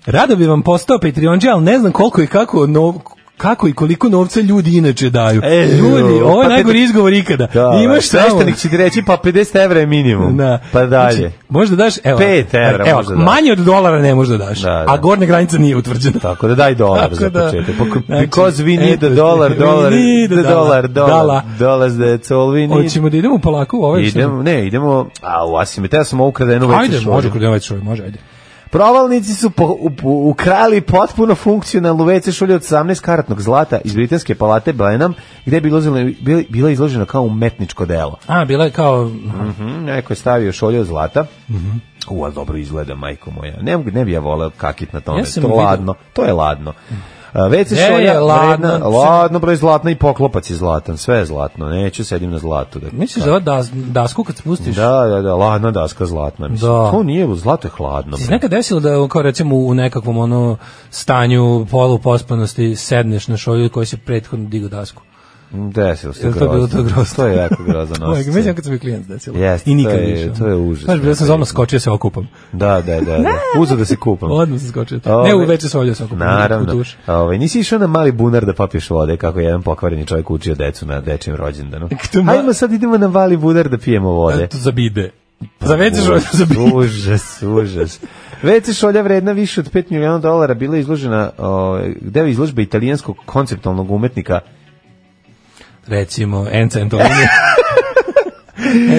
Speaker 6: Rado bi vam postao Patreonđe, ali ne znam koliko i kako nov, kako i koliko novca ljudi inače daju.
Speaker 5: E,
Speaker 6: ljudi,
Speaker 5: jo,
Speaker 6: ovo je
Speaker 5: pa
Speaker 6: najgori
Speaker 5: pet-
Speaker 6: izgovor ikada.
Speaker 5: Da,
Speaker 6: Imaš samo...
Speaker 5: sveštenik će ti reći pa 50 evra je minimum.
Speaker 6: Da.
Speaker 5: Pa dalje.
Speaker 6: Znači, možda daš, evo,
Speaker 5: Pet evra
Speaker 6: evo,
Speaker 5: možda daš.
Speaker 6: manje od dolara ne možeš da daš,
Speaker 5: Da, da.
Speaker 6: a gornja granica nije utvrđena.
Speaker 5: Tako da daj dolar
Speaker 6: Tako
Speaker 5: za
Speaker 6: da,
Speaker 5: početak. Poko-
Speaker 6: znači,
Speaker 5: Because we need
Speaker 6: eto
Speaker 5: a
Speaker 6: ti,
Speaker 5: dollar,
Speaker 6: we
Speaker 5: dollar,
Speaker 6: need a
Speaker 5: the dollar,
Speaker 6: dollar,
Speaker 5: dollar,
Speaker 6: dollar.
Speaker 5: dollars, that's all we need.
Speaker 6: Hoćemo da idemo polako u ovaj
Speaker 5: Idemo, ne, idemo, a u Asimetra sam ovu kradenu već
Speaker 6: Ajde,
Speaker 5: još
Speaker 6: može
Speaker 5: ovdje.
Speaker 6: kod ovaj čovjek, može, ajde.
Speaker 5: Provalnici su po, u, u- ukrali potpuno funkcionalnu WC šulju od 18 karatnog zlata iz britanske palate Blenheim, gde je bilo, bila, bila izložena kao umetničko delo.
Speaker 6: A, bila je kao...
Speaker 5: Mhm, neko je stavio šolju od zlata.
Speaker 6: Mhm.
Speaker 5: U, a dobro izgleda, majko moja. Ne, mogu- ne bi ja voleo kakit na tome.
Speaker 6: Ja sam
Speaker 5: to,
Speaker 6: vidio-
Speaker 5: ladno, to je ladno. WC
Speaker 6: Ne,
Speaker 5: šolja,
Speaker 6: je ladna,
Speaker 5: vredna,
Speaker 6: sve-
Speaker 5: ladno, broj zlatna i poklopac je zlatan, sve je zlatno, neću sedim na zlatu. Da,
Speaker 6: Misliš da ova das, dasku kad spustiš?
Speaker 5: Da, da, da, ladna daska zlatna, mislim.
Speaker 6: Da.
Speaker 5: To nije, zlato je hladno.
Speaker 6: Ti se
Speaker 5: bre.
Speaker 6: nekad desilo da kao recimo u nekakvom ono stanju polupospanosti sedneš na šolju koji se prethodno digo dasku?
Speaker 5: Desilo se
Speaker 6: Jel to bilo to grozno?
Speaker 5: To je jako
Speaker 6: [laughs]
Speaker 5: grozno.
Speaker 6: Ojeg, mislim kad sam bio klijent desilo.
Speaker 5: Da, Jeste,
Speaker 6: I nikad
Speaker 5: to je-
Speaker 6: više.
Speaker 5: to je užasno.
Speaker 6: Znaš, bio sam zoma skočio se okupam.
Speaker 5: Da, da, da. da. Uzeo da se kupam.
Speaker 6: Odmah sam skočio.
Speaker 5: Ove-
Speaker 6: Ne, u veče se oljao se okupam. u
Speaker 5: Naravno.
Speaker 6: tuš.
Speaker 5: Ove, nisi išao na mali bunar da popiješ vode, kako je jedan pokvareni čovjek učio decu na dečijem
Speaker 6: [laughs]
Speaker 5: rođendanu.
Speaker 6: ma-
Speaker 5: Ajmo sad idemo na mali bunar da pijemo vode.
Speaker 6: To zabide. Za veče šolju
Speaker 5: Užas,
Speaker 6: zabide.
Speaker 5: Užas, užas. WC šolja vredna više od 5 miliona dolara bila je izložena ovaj, gde je izložba italijanskog konceptualnog umetnika
Speaker 6: Recimo,
Speaker 5: [laughs]
Speaker 6: Enca Antonija.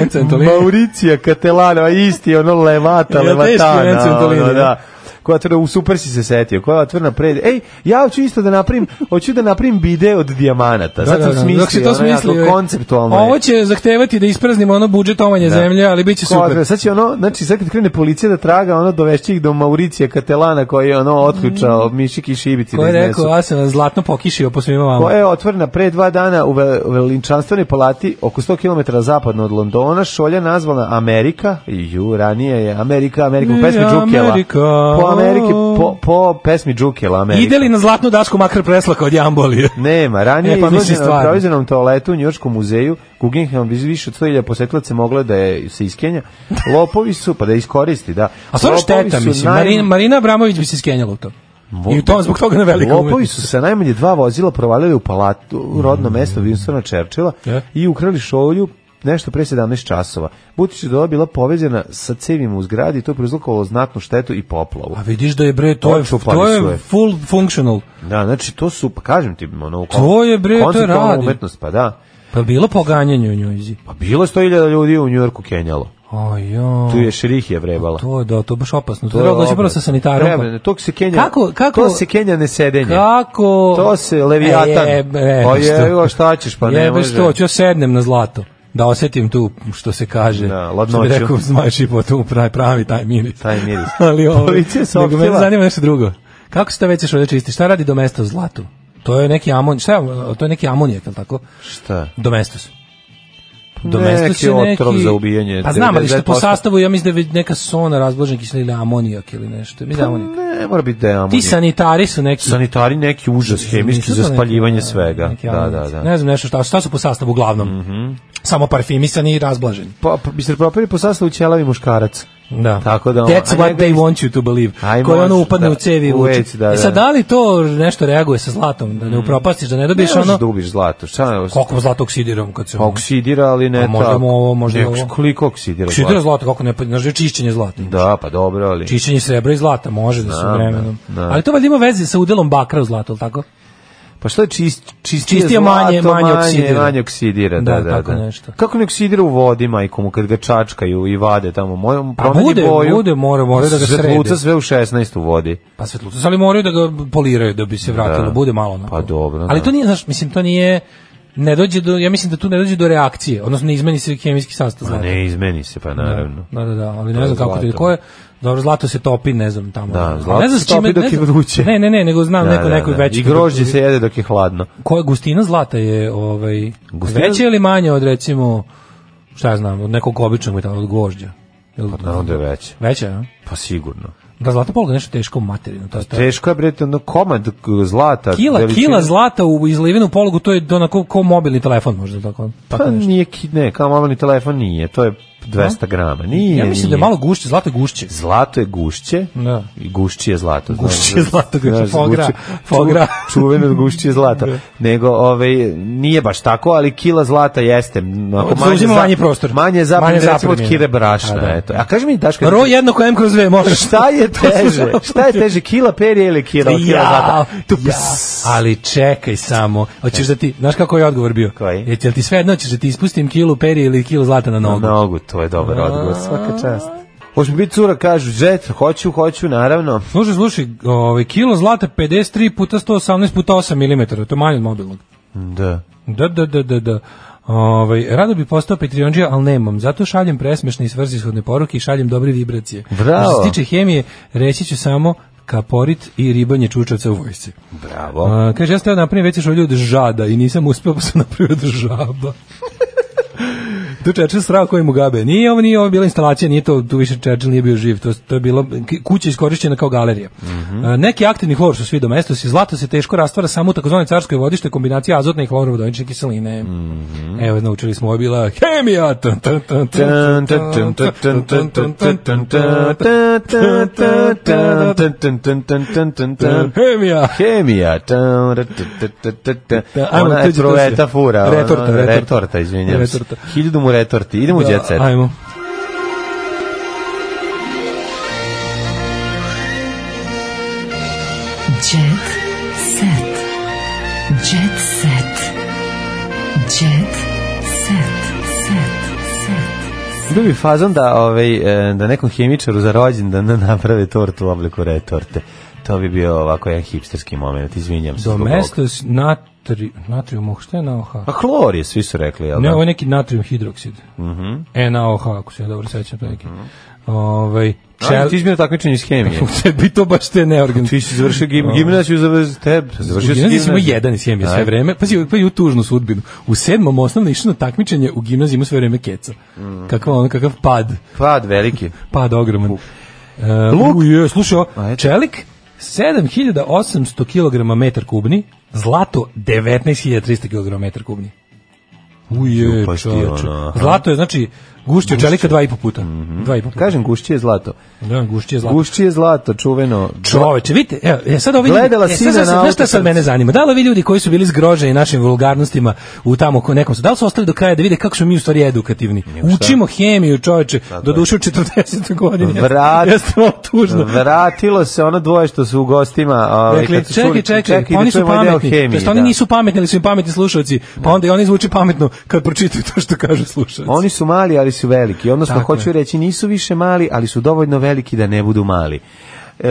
Speaker 6: Enca Antonija.
Speaker 5: Mauricija Catelano, a isti ono levata,
Speaker 6: Ja, teški Renzo
Speaker 5: levatana,
Speaker 6: Antolini,
Speaker 5: ono,
Speaker 6: da.
Speaker 5: da. Koja otvara, u super si se setio, koja otvrna pred. Ej, ja hoću isto da napravim, hoću da napravim bide od dijamanata. Da, Zato da, da, smislio,
Speaker 6: dok si to smislio, je.
Speaker 5: konceptualno. je.
Speaker 6: Ovo će zahtevati da ispraznimo ono budžet omanje
Speaker 5: Da.
Speaker 6: zemlje, ali bit će
Speaker 5: Ko otvara,
Speaker 6: super.
Speaker 5: Sad će ono, znači sad kad krene policija da traga, ono dovešće ih do Mauricija Katelana koji je ono otključao mišik i šibici.
Speaker 6: Ko
Speaker 5: da
Speaker 6: Mm. je
Speaker 5: iznesu.
Speaker 6: rekao, ja sam vas zlatno pokišio po svima vama.
Speaker 5: koja je otvorena pre dva dana u ve- u veličanstvenoj palati oko 100 km zapadno od Londona, šolja nazvana Amerika, ju, ranije je Amerika, Amerika po
Speaker 6: Ne,
Speaker 5: pesmi Džukela.
Speaker 6: Amerika.
Speaker 5: Po Ameriki, po, po pesmi Džukela Amerika.
Speaker 6: Ide li na zlatnu dasku makar preslaka od jambolije?
Speaker 5: Nema, ranije
Speaker 6: E,
Speaker 5: je
Speaker 6: pa mislim
Speaker 5: izložena na
Speaker 6: stvarno.
Speaker 5: provizornom toaletu u Njorskom muzeju, Guggenheim iz više od 100.000 posetilaca mogla da je se iskenja. Lopovi su, pa da je iskoristi, da.
Speaker 6: A stvarno
Speaker 5: Lopovi
Speaker 6: šteta,
Speaker 5: su
Speaker 6: mislim.
Speaker 5: naj-
Speaker 6: Marina, Marina Abramović bi se skenjala u to. I u tom, zbog toga na veliko
Speaker 5: Lopovi su se najmanje dva vozila provalili u palatu, u rodno mesto Winstona Churchilla
Speaker 6: E?
Speaker 5: i ukrali šolju nešto pre 17 časova. Budući da je ova bila povezana sa cevima u zgradi, to je prouzrokovalo znatnu štetu i poplavu.
Speaker 6: A vidiš da je bre, to je,
Speaker 5: Očupali
Speaker 6: to
Speaker 5: su je.
Speaker 6: je full functional.
Speaker 5: Da, znači to su, pa kažem ti, ono,
Speaker 6: To je, bre, to je
Speaker 5: konceptualna
Speaker 6: radi.
Speaker 5: umetnost, pa da.
Speaker 6: Pa je bilo poganjanje u njojzi.
Speaker 5: Pa bilo je 100.000 ljudi u Njujorku kenjalo.
Speaker 6: Ajo.
Speaker 5: Tu je šerih je vrebala.
Speaker 6: To je, da, to je baš opasno. To
Speaker 5: je
Speaker 6: je doći prvo
Speaker 5: obraz.
Speaker 6: sa sanitarom. pa-
Speaker 5: Treba, da ne, tog se Kenja,
Speaker 6: Kako- kako-
Speaker 5: to se Kenja ne sedenje.
Speaker 6: Kako?
Speaker 5: To se Leviatan.
Speaker 6: E, jebe,
Speaker 5: Pa
Speaker 6: što-
Speaker 5: jebe, šta ćeš, pa ne
Speaker 6: jebe
Speaker 5: može.
Speaker 6: što, ću ja sednem na zlato. Da osetim tu, što se kaže.
Speaker 5: Da,
Speaker 6: što
Speaker 5: ladnoću.
Speaker 6: bi rekao, znaš i po tu pravi, pravi taj miris.
Speaker 5: Taj miris.
Speaker 6: [laughs] Ali ovo,
Speaker 5: Policija je
Speaker 6: nego mene
Speaker 5: saopštila-
Speaker 6: zanima nešto drugo. Kako se ta veća šolja čisti? Šta radi domesto u zlatu? To je neki amon, šta je, to je neki amonijak, je li tako?
Speaker 5: Šta?
Speaker 6: Domestos.
Speaker 5: Neki
Speaker 6: Domestos je neki...
Speaker 5: otrov za ubijanje.
Speaker 6: Pa znam, ali što po
Speaker 5: 99%.
Speaker 6: sastavu, ja mislim da je već neka sona razblažena kiselina ili amonijak ili nešto. Mislim da je amonijak.
Speaker 5: Ne, mora biti da je
Speaker 6: Ti
Speaker 5: Pa amonijak.
Speaker 6: sanitari su neki...
Speaker 5: Sanitari neki užas hemijski
Speaker 6: Nisu
Speaker 5: za
Speaker 6: to neki-
Speaker 5: spaljivanje
Speaker 6: da,
Speaker 5: svega.
Speaker 6: neki
Speaker 5: Da, da,
Speaker 6: amonijak.
Speaker 5: da. Mhm.
Speaker 6: Ne znam nešto šta, šta su po sastavu uglavnom. Samo parfimisani i razblaženi.
Speaker 5: Pa, pa, Mr. Proper je po sastavu ćelavi muškarac.
Speaker 6: Da.
Speaker 5: Tako da-
Speaker 6: That's
Speaker 5: a
Speaker 6: what
Speaker 5: njega
Speaker 6: they
Speaker 5: isto-
Speaker 6: want you to believe.
Speaker 5: Aj,
Speaker 6: Koji ono
Speaker 5: može,
Speaker 6: upadne
Speaker 5: da,
Speaker 6: u cevi i
Speaker 5: u
Speaker 6: vuče.
Speaker 5: vec, da,
Speaker 6: E sad,
Speaker 5: da. Mm.
Speaker 6: da li to nešto reaguje sa zlatom? Da ne upropastiš, da ne dobiješ
Speaker 5: Ne možeš
Speaker 6: ono...
Speaker 5: da ubiš zlato. Šta je?
Speaker 6: Koliko zlata oksidiram kad se...
Speaker 5: Pa oksidira, ali ne
Speaker 6: A možda
Speaker 5: tako.
Speaker 6: mu ovo, možda
Speaker 5: Ne,
Speaker 6: ovo.
Speaker 5: Koliko oksidira?
Speaker 6: Oksidira
Speaker 5: zlato?
Speaker 6: zlato, kako ne... pa, Znaš, da je čišćenje zlata.
Speaker 5: Da, pa dobro, ali...
Speaker 6: Čišćenje srebra i zlata može da se
Speaker 5: Znam,
Speaker 6: vremenom.
Speaker 5: da, da.
Speaker 6: Ali to valjda ima veze sa udelom bakra u zlatu, ili tako?
Speaker 5: Pa što je čist, čistije,
Speaker 6: Čistije manje-
Speaker 5: zlato,
Speaker 6: manje oksidira.
Speaker 5: Manje oksidira, da, da,
Speaker 6: Da,
Speaker 5: da.
Speaker 6: tako nešto.
Speaker 5: Kako ne oksidira u vodi, majko mu, kad ga čačkaju i vade tamo, moj,
Speaker 6: Pa
Speaker 5: promeni
Speaker 6: bude,
Speaker 5: boju.
Speaker 6: bude, mora- mora da ga
Speaker 5: Svetluca
Speaker 6: srede.
Speaker 5: sve u 16 u vodi.
Speaker 6: Pa svetluca, ali moraju da ga poliraju da bi se vratilo,
Speaker 5: Da.
Speaker 6: bude malo onako.
Speaker 5: Pa dobro,
Speaker 6: Ali
Speaker 5: da.
Speaker 6: to nije, znaš, mislim, to nije, ne dođe do, ja mislim da tu ne dođe do reakcije, odnosno ne izmeni se kemijski sastav
Speaker 5: Pa
Speaker 6: zlata.
Speaker 5: ne, izmeni se, pa naravno.
Speaker 6: Da, da, da, ali
Speaker 5: je
Speaker 6: ne znam kako
Speaker 5: zlato.
Speaker 6: ti, ko je, dobro, zlato se topi, ne znam tamo.
Speaker 5: Da,
Speaker 6: Ali
Speaker 5: zlato
Speaker 6: ne znam
Speaker 5: se
Speaker 6: s čime-
Speaker 5: topi dok
Speaker 6: ne
Speaker 5: je
Speaker 6: znam-
Speaker 5: vruće.
Speaker 6: Ne, ne, ne, nego znam
Speaker 5: Da,
Speaker 6: neko,
Speaker 5: da,
Speaker 6: neko
Speaker 5: da.
Speaker 6: veće.
Speaker 5: I grožđe se jede dok je hladno.
Speaker 6: Koja gustina zlata je, ovaj,
Speaker 5: Gustina-
Speaker 6: veća ili manja od, recimo, šta ja znam, od nekog običnog metala, od gvožđa. Jel-
Speaker 5: Pa naravno da je veće.
Speaker 6: Veća, a?
Speaker 5: Pa sigurno.
Speaker 6: Da zlata poluga je nešto teško u materinu. To, je- to, je-
Speaker 5: Teško je, bre, to ono komad k- zlata.
Speaker 6: Da. Kila,
Speaker 5: veličine-
Speaker 6: kila zlata u izlivenu polugu, to je onako ko mobilni telefon možda tako.
Speaker 5: Pa
Speaker 6: Tako nešto.
Speaker 5: nije, ki- ne, kao mobilni telefon nije, to je 200 grama. Nije,
Speaker 6: Ja mislim da je
Speaker 5: nije.
Speaker 6: malo gušće, zlato je gušće.
Speaker 5: Zlato je gušće.
Speaker 6: Da.
Speaker 5: I gušće je zlato. znaš.
Speaker 6: Gušće je zlato, gušće,
Speaker 5: Znaš,
Speaker 6: fogra,
Speaker 5: da, gušće-
Speaker 6: fogra.
Speaker 5: ču- Čuveno gušće je zlata. Nego, ovaj, nije baš tako, ali kila zlata jeste. m, ako
Speaker 6: Zauzima
Speaker 5: za-
Speaker 6: manji prostor.
Speaker 5: Manje
Speaker 6: Manje
Speaker 5: zapremljeno, recimo od
Speaker 6: zapremljeno.
Speaker 5: kire brašna.
Speaker 6: A, da.
Speaker 5: eto. A kaži mi, Daška,
Speaker 6: Ro jednako M kroz V, možeš.
Speaker 5: šta je teže? Šta je teže, kila perje ili kila, kila zlata?
Speaker 6: Ja,
Speaker 5: Tu,
Speaker 6: ja,
Speaker 5: ps.
Speaker 6: ali čekaj samo. pa- Hoćeš da ti, znaš kako je odgovor bio?
Speaker 5: Koji?
Speaker 6: Jel ti- jel ti sve jedno, hoćeš da ti ispustim kilu perje ili kilu zlata na nogu?
Speaker 5: Na nogu, to je dobar odgovor, svaka čast. Hoće mi biti cura, kažu, žet, hoću, hoću, naravno.
Speaker 6: Slušaj, slušaj, ovaj, kilo zlata 53 puta 118 puta 8 mm, to je manje od mobilnog.
Speaker 5: Da.
Speaker 6: Da, da, da, da, da. Ovaj, rado bi postao Patreonđija, ali nemam. Zato šaljem presmešne i svrsishodne poruke i šaljem dobre vibracije.
Speaker 5: Bravo.
Speaker 6: A Što se tiče hemije, reći ću samo kaporit i ribanje čučavca u vojsci.
Speaker 5: Bravo.
Speaker 6: A, kaže, ja ste napravim veće šolju od žada i nisam uspeo pa sam napravio od žaba. tu Čečil strao koji mu gabe. Nije ovo, nije ovo bila instalacija, nije to, tu više Čečil nije bio živ. To, to je bilo, k- kuća je iskorišćena kao galerija. A, neki aktivni hlor su svi domestosi. Zlato se teško rastvara samo u takozvanoj carskoj vodi, što je kombinacija azotne i hlorovodonične kiseline. Evo, naučili smo, ovo je bila hemija. Tan, tan, tan, tan, tan, tan, tan, tan, tan, tan, tan, tan, tan, tan, tan, tan. Hemija.
Speaker 5: Hemija. Ta, ra, ta, ta, ta, ta, ta.
Speaker 6: Da, ajmo,
Speaker 5: Ona je
Speaker 6: tuđi, tuđi.
Speaker 5: truveta fura. ono,
Speaker 6: Retorta, retorta.
Speaker 5: Retorta, izvinjam se.
Speaker 6: Retorta.
Speaker 5: Hiljadu mu retorti. Idemo u
Speaker 6: Da,
Speaker 5: jet set.
Speaker 6: Ajmo.
Speaker 4: Jet set. Jet set. Jet set. Set. Set.
Speaker 5: Bio bi fazon da, ovaj, e, da nekom hemičaru za rođendan da naprave tortu u obliku retorte. To bi bio ovako jedan hipsterski moment, izvinjam se. zbog ovoga.
Speaker 6: Domestos natri, natrium, oh, šta je NaOH?
Speaker 5: A hlor je, svi su rekli, jel Mhm.
Speaker 6: Ne,
Speaker 5: da?
Speaker 6: ovo je neki natrium hidroksid. E, NaOH, ako se ja dobro sećam, to je neki. Ovaj,
Speaker 5: Čel...
Speaker 6: čel...
Speaker 5: Mhm. Ti izmira takmičenje iz
Speaker 6: [laughs]
Speaker 5: hemije.
Speaker 6: Tebi to baš te neorgan.
Speaker 5: Ti si završio
Speaker 6: [laughs]
Speaker 5: gim, gimnaziju, za tebe. Završio si
Speaker 6: gimnaziji smo
Speaker 5: gimnaziju.
Speaker 6: jedan iz hemije sve
Speaker 5: Aj.
Speaker 6: vreme. Pazi, pa i u tužnu sudbinu. U sedmom osnovno išli na takmičenje u gimnaziji ima sve vreme keca.
Speaker 5: Mhm.
Speaker 6: Kakav on, kakav pad.
Speaker 5: Pad veliki.
Speaker 6: Pad ogroman. Uh,
Speaker 5: Luk? Pa,
Speaker 6: u, je, e, slušaj, o,
Speaker 5: Ajde.
Speaker 6: čelik 7800 kg metar kubni, zlato 19300 kg metar kubni. Uje,
Speaker 5: Upaš pa ti,
Speaker 6: čoveče.
Speaker 5: ono, aha. Mhm.
Speaker 6: Zlato je, znači, gušće od čelika dva i po puta. Dva i po puta.
Speaker 5: Kažem, gušće je zlato.
Speaker 6: Da, gušće je zlato.
Speaker 5: Gušće je zlato, čuveno.
Speaker 6: Čoveče, vidite, evo, e, sad ovi
Speaker 5: Gledala
Speaker 6: ljudi, e,
Speaker 5: sina
Speaker 6: sad, sad,
Speaker 5: na
Speaker 6: znaš šta sad
Speaker 5: autostradi.
Speaker 6: mene zanima, da li ovi ljudi koji su bili zgroženi našim vulgarnostima u tamo ko nekom su, da li su ostali do kraja da vide kako smo mi u stvari edukativni? Učimo hemiju, čoveče, do duše u 40. godini.
Speaker 5: Da, Vrat.
Speaker 6: Jeste malo tužno.
Speaker 5: Vratilo se ono dvoje što su u gostima. Ovaj,
Speaker 6: Rekli,
Speaker 5: kad su
Speaker 6: čekaj,
Speaker 5: čuli-
Speaker 6: čekaj,
Speaker 5: čekaj,
Speaker 6: pa
Speaker 5: da
Speaker 6: oni su
Speaker 5: čujemo deo
Speaker 6: pametni, to
Speaker 5: hemije,
Speaker 6: jest oni
Speaker 5: da.
Speaker 6: nisu pametni, ali su im pametni slušalci, pa onda i oni zvuči pametno kad pročitaju to što kaže slušalci.
Speaker 5: Oni su mali, ali su veliki. Odnosno,
Speaker 6: Tako
Speaker 5: hoću
Speaker 6: je.
Speaker 5: reći, nisu više mali, ali su dovoljno veliki da ne budu mali. E,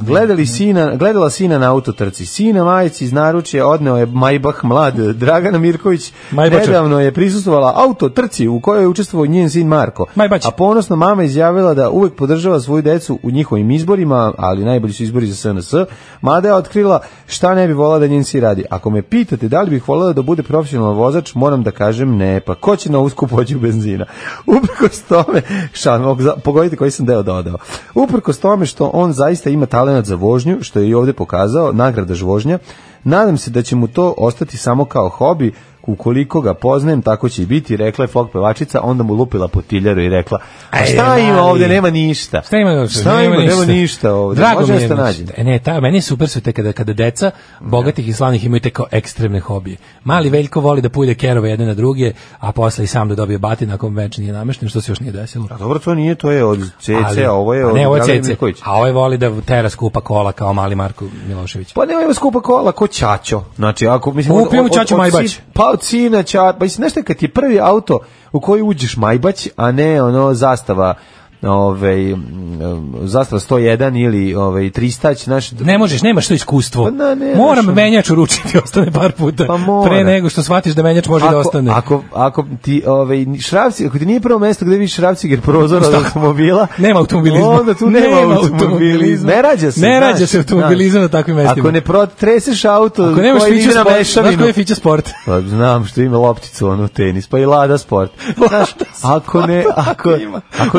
Speaker 5: gledali sina, gledala sina na autotrci. Sina majici iz naručja odneo je Majbah mlad. Dragana Mirković
Speaker 6: Majbačar.
Speaker 5: nedavno je prisustvovala autotrci u kojoj je učestvovao njen sin Marko.
Speaker 6: Majbać.
Speaker 5: A ponosno mama izjavila da uvek podržava svoju decu u njihovim izborima, ali najbolji su izbori za SNS. Mada je otkrila šta ne bi volala da njen sin radi. Ako me pitate da li bih volala da bude profesionalan vozač, moram da kažem ne, pa ko će na usku pođu benzina? [laughs] Uprkos tome, šta, mogu za- pogodite koji sam deo dodao. Uprkos tome što on zaista ima talenat za vožnju, što je i ovde pokazao, nagrada žvožnja, nadam se da će mu to ostati samo kao hobi, ukoliko ga poznajem, tako će i biti, rekla je folk pevačica, onda mu lupila po tiljaru i rekla, a
Speaker 6: Ej,
Speaker 5: šta
Speaker 6: mali.
Speaker 5: ima ovde, nema ništa.
Speaker 6: Šta ima još?
Speaker 5: Šta ima, nema ništa ovde.
Speaker 6: Drago
Speaker 5: Može
Speaker 6: mi
Speaker 5: da
Speaker 6: je.
Speaker 5: se
Speaker 6: znači,
Speaker 5: nađe.
Speaker 6: e, Ne, ta, meni je super su te kada, kada deca bogatih i slavnih imaju te kao ekstremne hobije. Mali Veljko voli da pulje kerove jedne na druge, a posle i sam da dobije batin ako mu već nije namešten, što se još nije desilo.
Speaker 5: A Pa dobro, to nije, to je od CC, a ovo je
Speaker 6: a
Speaker 5: od
Speaker 6: ne, ovo je
Speaker 5: Dragana
Speaker 6: Cece.
Speaker 5: Mirkovića.
Speaker 6: A ovaj voli da tera skupa kola kao mali Marko Milošević.
Speaker 5: Pa nema ima skupa kola ko Ćaćo. Znači, ako mislim...
Speaker 6: Pa upijemo Ćaćo
Speaker 5: sin-
Speaker 6: Majbać.
Speaker 5: Pa od sina Ćaćo. Pa mislim, nešto je kad ti je prvi auto u koji uđeš Majbać, a ne ono zastava ovaj mm, zastava 101 ili ovaj 300 naš
Speaker 6: Ne možeš, nemaš to iskustvo.
Speaker 5: Pa da, ne,
Speaker 6: Moram
Speaker 5: znaš,
Speaker 6: menjač uručiti, [laughs] ostane par puta.
Speaker 5: Pa mora.
Speaker 6: pre nego što shvatiš da menjač može da ostane.
Speaker 5: Ako, ako ti ovaj šrafci, ako ti nije prvo mesto gde vidiš šrafciger prozor od automobila,
Speaker 6: Nema automobilizma.
Speaker 5: Onda tu nema, automobilizma. Ne rađa se.
Speaker 6: Ne
Speaker 5: znaš,
Speaker 6: rađa se automobilizam na takvim mestima.
Speaker 5: Ako ne protreseš auto,
Speaker 6: Ako nemaš
Speaker 5: koji
Speaker 6: fiću
Speaker 5: ide na
Speaker 6: sport, znaš
Speaker 5: mešavinu.
Speaker 6: koji je fiću sport?
Speaker 5: Pa znam što ima lopticu ono tenis, pa i Lada
Speaker 6: [laughs]
Speaker 5: sport. Znaš, ako ne ako
Speaker 6: Ako,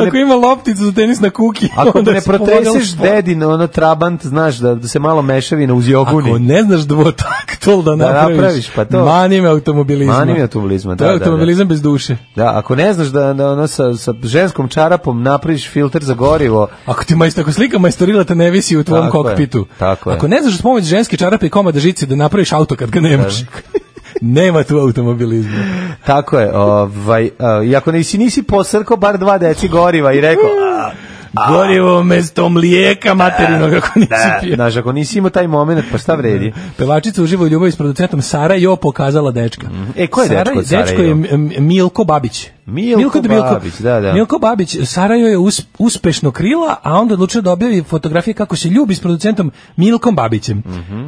Speaker 5: ako ne
Speaker 6: ima lopticu za tenis na kuki,
Speaker 5: ako
Speaker 6: onda
Speaker 5: ne
Speaker 6: si pomogao
Speaker 5: protreseš
Speaker 6: sport.
Speaker 5: dedin ono trabant, znaš da, da se malo mešavina uz joguni.
Speaker 6: Ako ne znaš dvotaktol da napraviš,
Speaker 5: napraviš, pa to.
Speaker 6: mani me automobilizma.
Speaker 5: Mani me automobilizma, da,
Speaker 6: To je
Speaker 5: da, da.
Speaker 6: automobilizam bez duše.
Speaker 5: Da, ako ne znaš da, da ono sa, sa ženskom čarapom napraviš filter za gorivo,
Speaker 6: Ako ti majst, ako slika majstorila te ne visi u tvom
Speaker 5: Tako je,
Speaker 6: kokpitu.
Speaker 5: tako je.
Speaker 6: Ako ne znaš da pomoć ženske čarape i komada žice da napraviš auto kad ga nemaš.
Speaker 5: Da.
Speaker 6: [laughs] Nema tu automobilizma.
Speaker 5: Tako je, ovaj, a, i ako nisi, nisi posrko bar dva deci goriva i [laughs] rekao, "Ah, a,
Speaker 6: Gorivo mesto mlijeka materinog ako nisi pio.
Speaker 5: da, znaš, ako nisi imao taj moment, pa šta vredi?
Speaker 6: Pevačica uživa u ljubavi s producentom Sara Jo pokazala dečka.
Speaker 5: Mhm. E, ko je dečko od Sara
Speaker 6: Dečko je
Speaker 5: Jo?
Speaker 6: M- M- Milko Babić.
Speaker 5: Milko Babić, da, da.
Speaker 6: Milko Babić, Sarajo je us- uspešno krila, a onda odlučio da objavi fotografije kako se ljubi s producentom Milkom Babićem.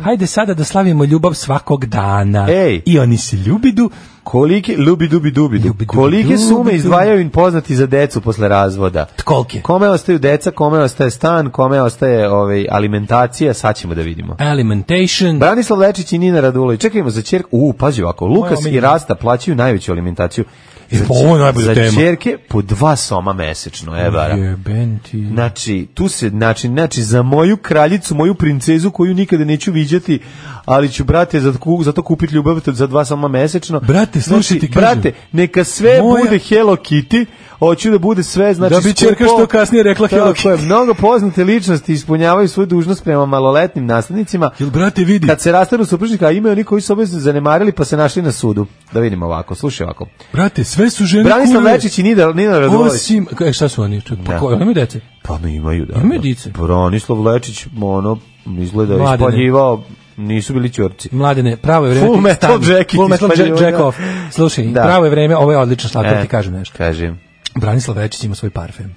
Speaker 6: Hajde sada da slavimo ljubav svakog dana.
Speaker 5: Mhm. Ej.
Speaker 6: I oni se ljubidu.
Speaker 5: Kolike lubi dubi dubi du.
Speaker 6: Ljubi, dubi,
Speaker 5: Kolike
Speaker 6: dubi,
Speaker 5: sume
Speaker 6: dubi.
Speaker 5: izdvajaju im poznati za decu posle razvoda?
Speaker 6: Kolike?
Speaker 5: Kome ostaju deca, kome ostaje stan, kome ostaje ovaj alimentacija, sad ćemo da vidimo.
Speaker 6: Alimentation.
Speaker 5: Branislav Lečić i Nina Radulović. Čekajmo za ćerku. U, pazi ovako, Lukas i
Speaker 6: omiljena.
Speaker 5: Rasta plaćaju najveću alimentaciju.
Speaker 6: E,
Speaker 5: Za
Speaker 6: pa
Speaker 5: će-
Speaker 6: ovo je najbolja
Speaker 5: za
Speaker 6: tema.
Speaker 5: ćerke po dva soma mesečno, evara.
Speaker 6: Jeben ti.
Speaker 5: Znači, tu se, znači, znači, za moju kraljicu, moju princezu koju nikada neću viđati, ali ću, brate, za, ku- za to kupiti ljubav za dva sama mesečno. Znači,
Speaker 6: Brate, slušaj, ti kažem.
Speaker 5: brate, neka sve
Speaker 6: Moja-
Speaker 5: bude Hello Kitty, hoću da bude sve, znači,
Speaker 6: Da bi
Speaker 5: skupo. Znači,
Speaker 6: ćerka što kasnije rekla Hello
Speaker 5: Tako je, mnogo poznate ličnosti ispunjavaju svoju dužnost prema maloletnim naslednicima.
Speaker 6: Jel, brate, vidi?
Speaker 5: Kad se rastaru supružnika, a imaju oni koji su obavezno zanemarili pa se našli na sudu. Da vidimo ovako, slušaj ovako.
Speaker 6: Brate, sve su žene
Speaker 5: Branislav
Speaker 6: kurve.
Speaker 5: Lečić i Nina, Nina Radulović.
Speaker 6: Osim, e, šta su oni? Čak,
Speaker 5: Da.
Speaker 6: pa ko, oni imaju dece?
Speaker 5: Pa ne imaju, da.
Speaker 6: Imaju dice.
Speaker 5: Branislav Lečić, ono, izgleda
Speaker 6: Mladene.
Speaker 5: ispaljivao, nisu bili ćorci.
Speaker 6: Mladene, pravo je vreme.
Speaker 5: Full
Speaker 6: ti
Speaker 5: metal
Speaker 6: stani.
Speaker 5: jacket
Speaker 6: Full metal
Speaker 5: ispaljivanja.
Speaker 6: jack, jack off. Slušaj,
Speaker 5: Da.
Speaker 6: pravo je vreme, ovo je odlično stvar, da
Speaker 5: E,
Speaker 6: ti kažem nešto.
Speaker 5: Kažem.
Speaker 6: Branislav Večić ima svoj
Speaker 5: [laughs]
Speaker 6: parfem.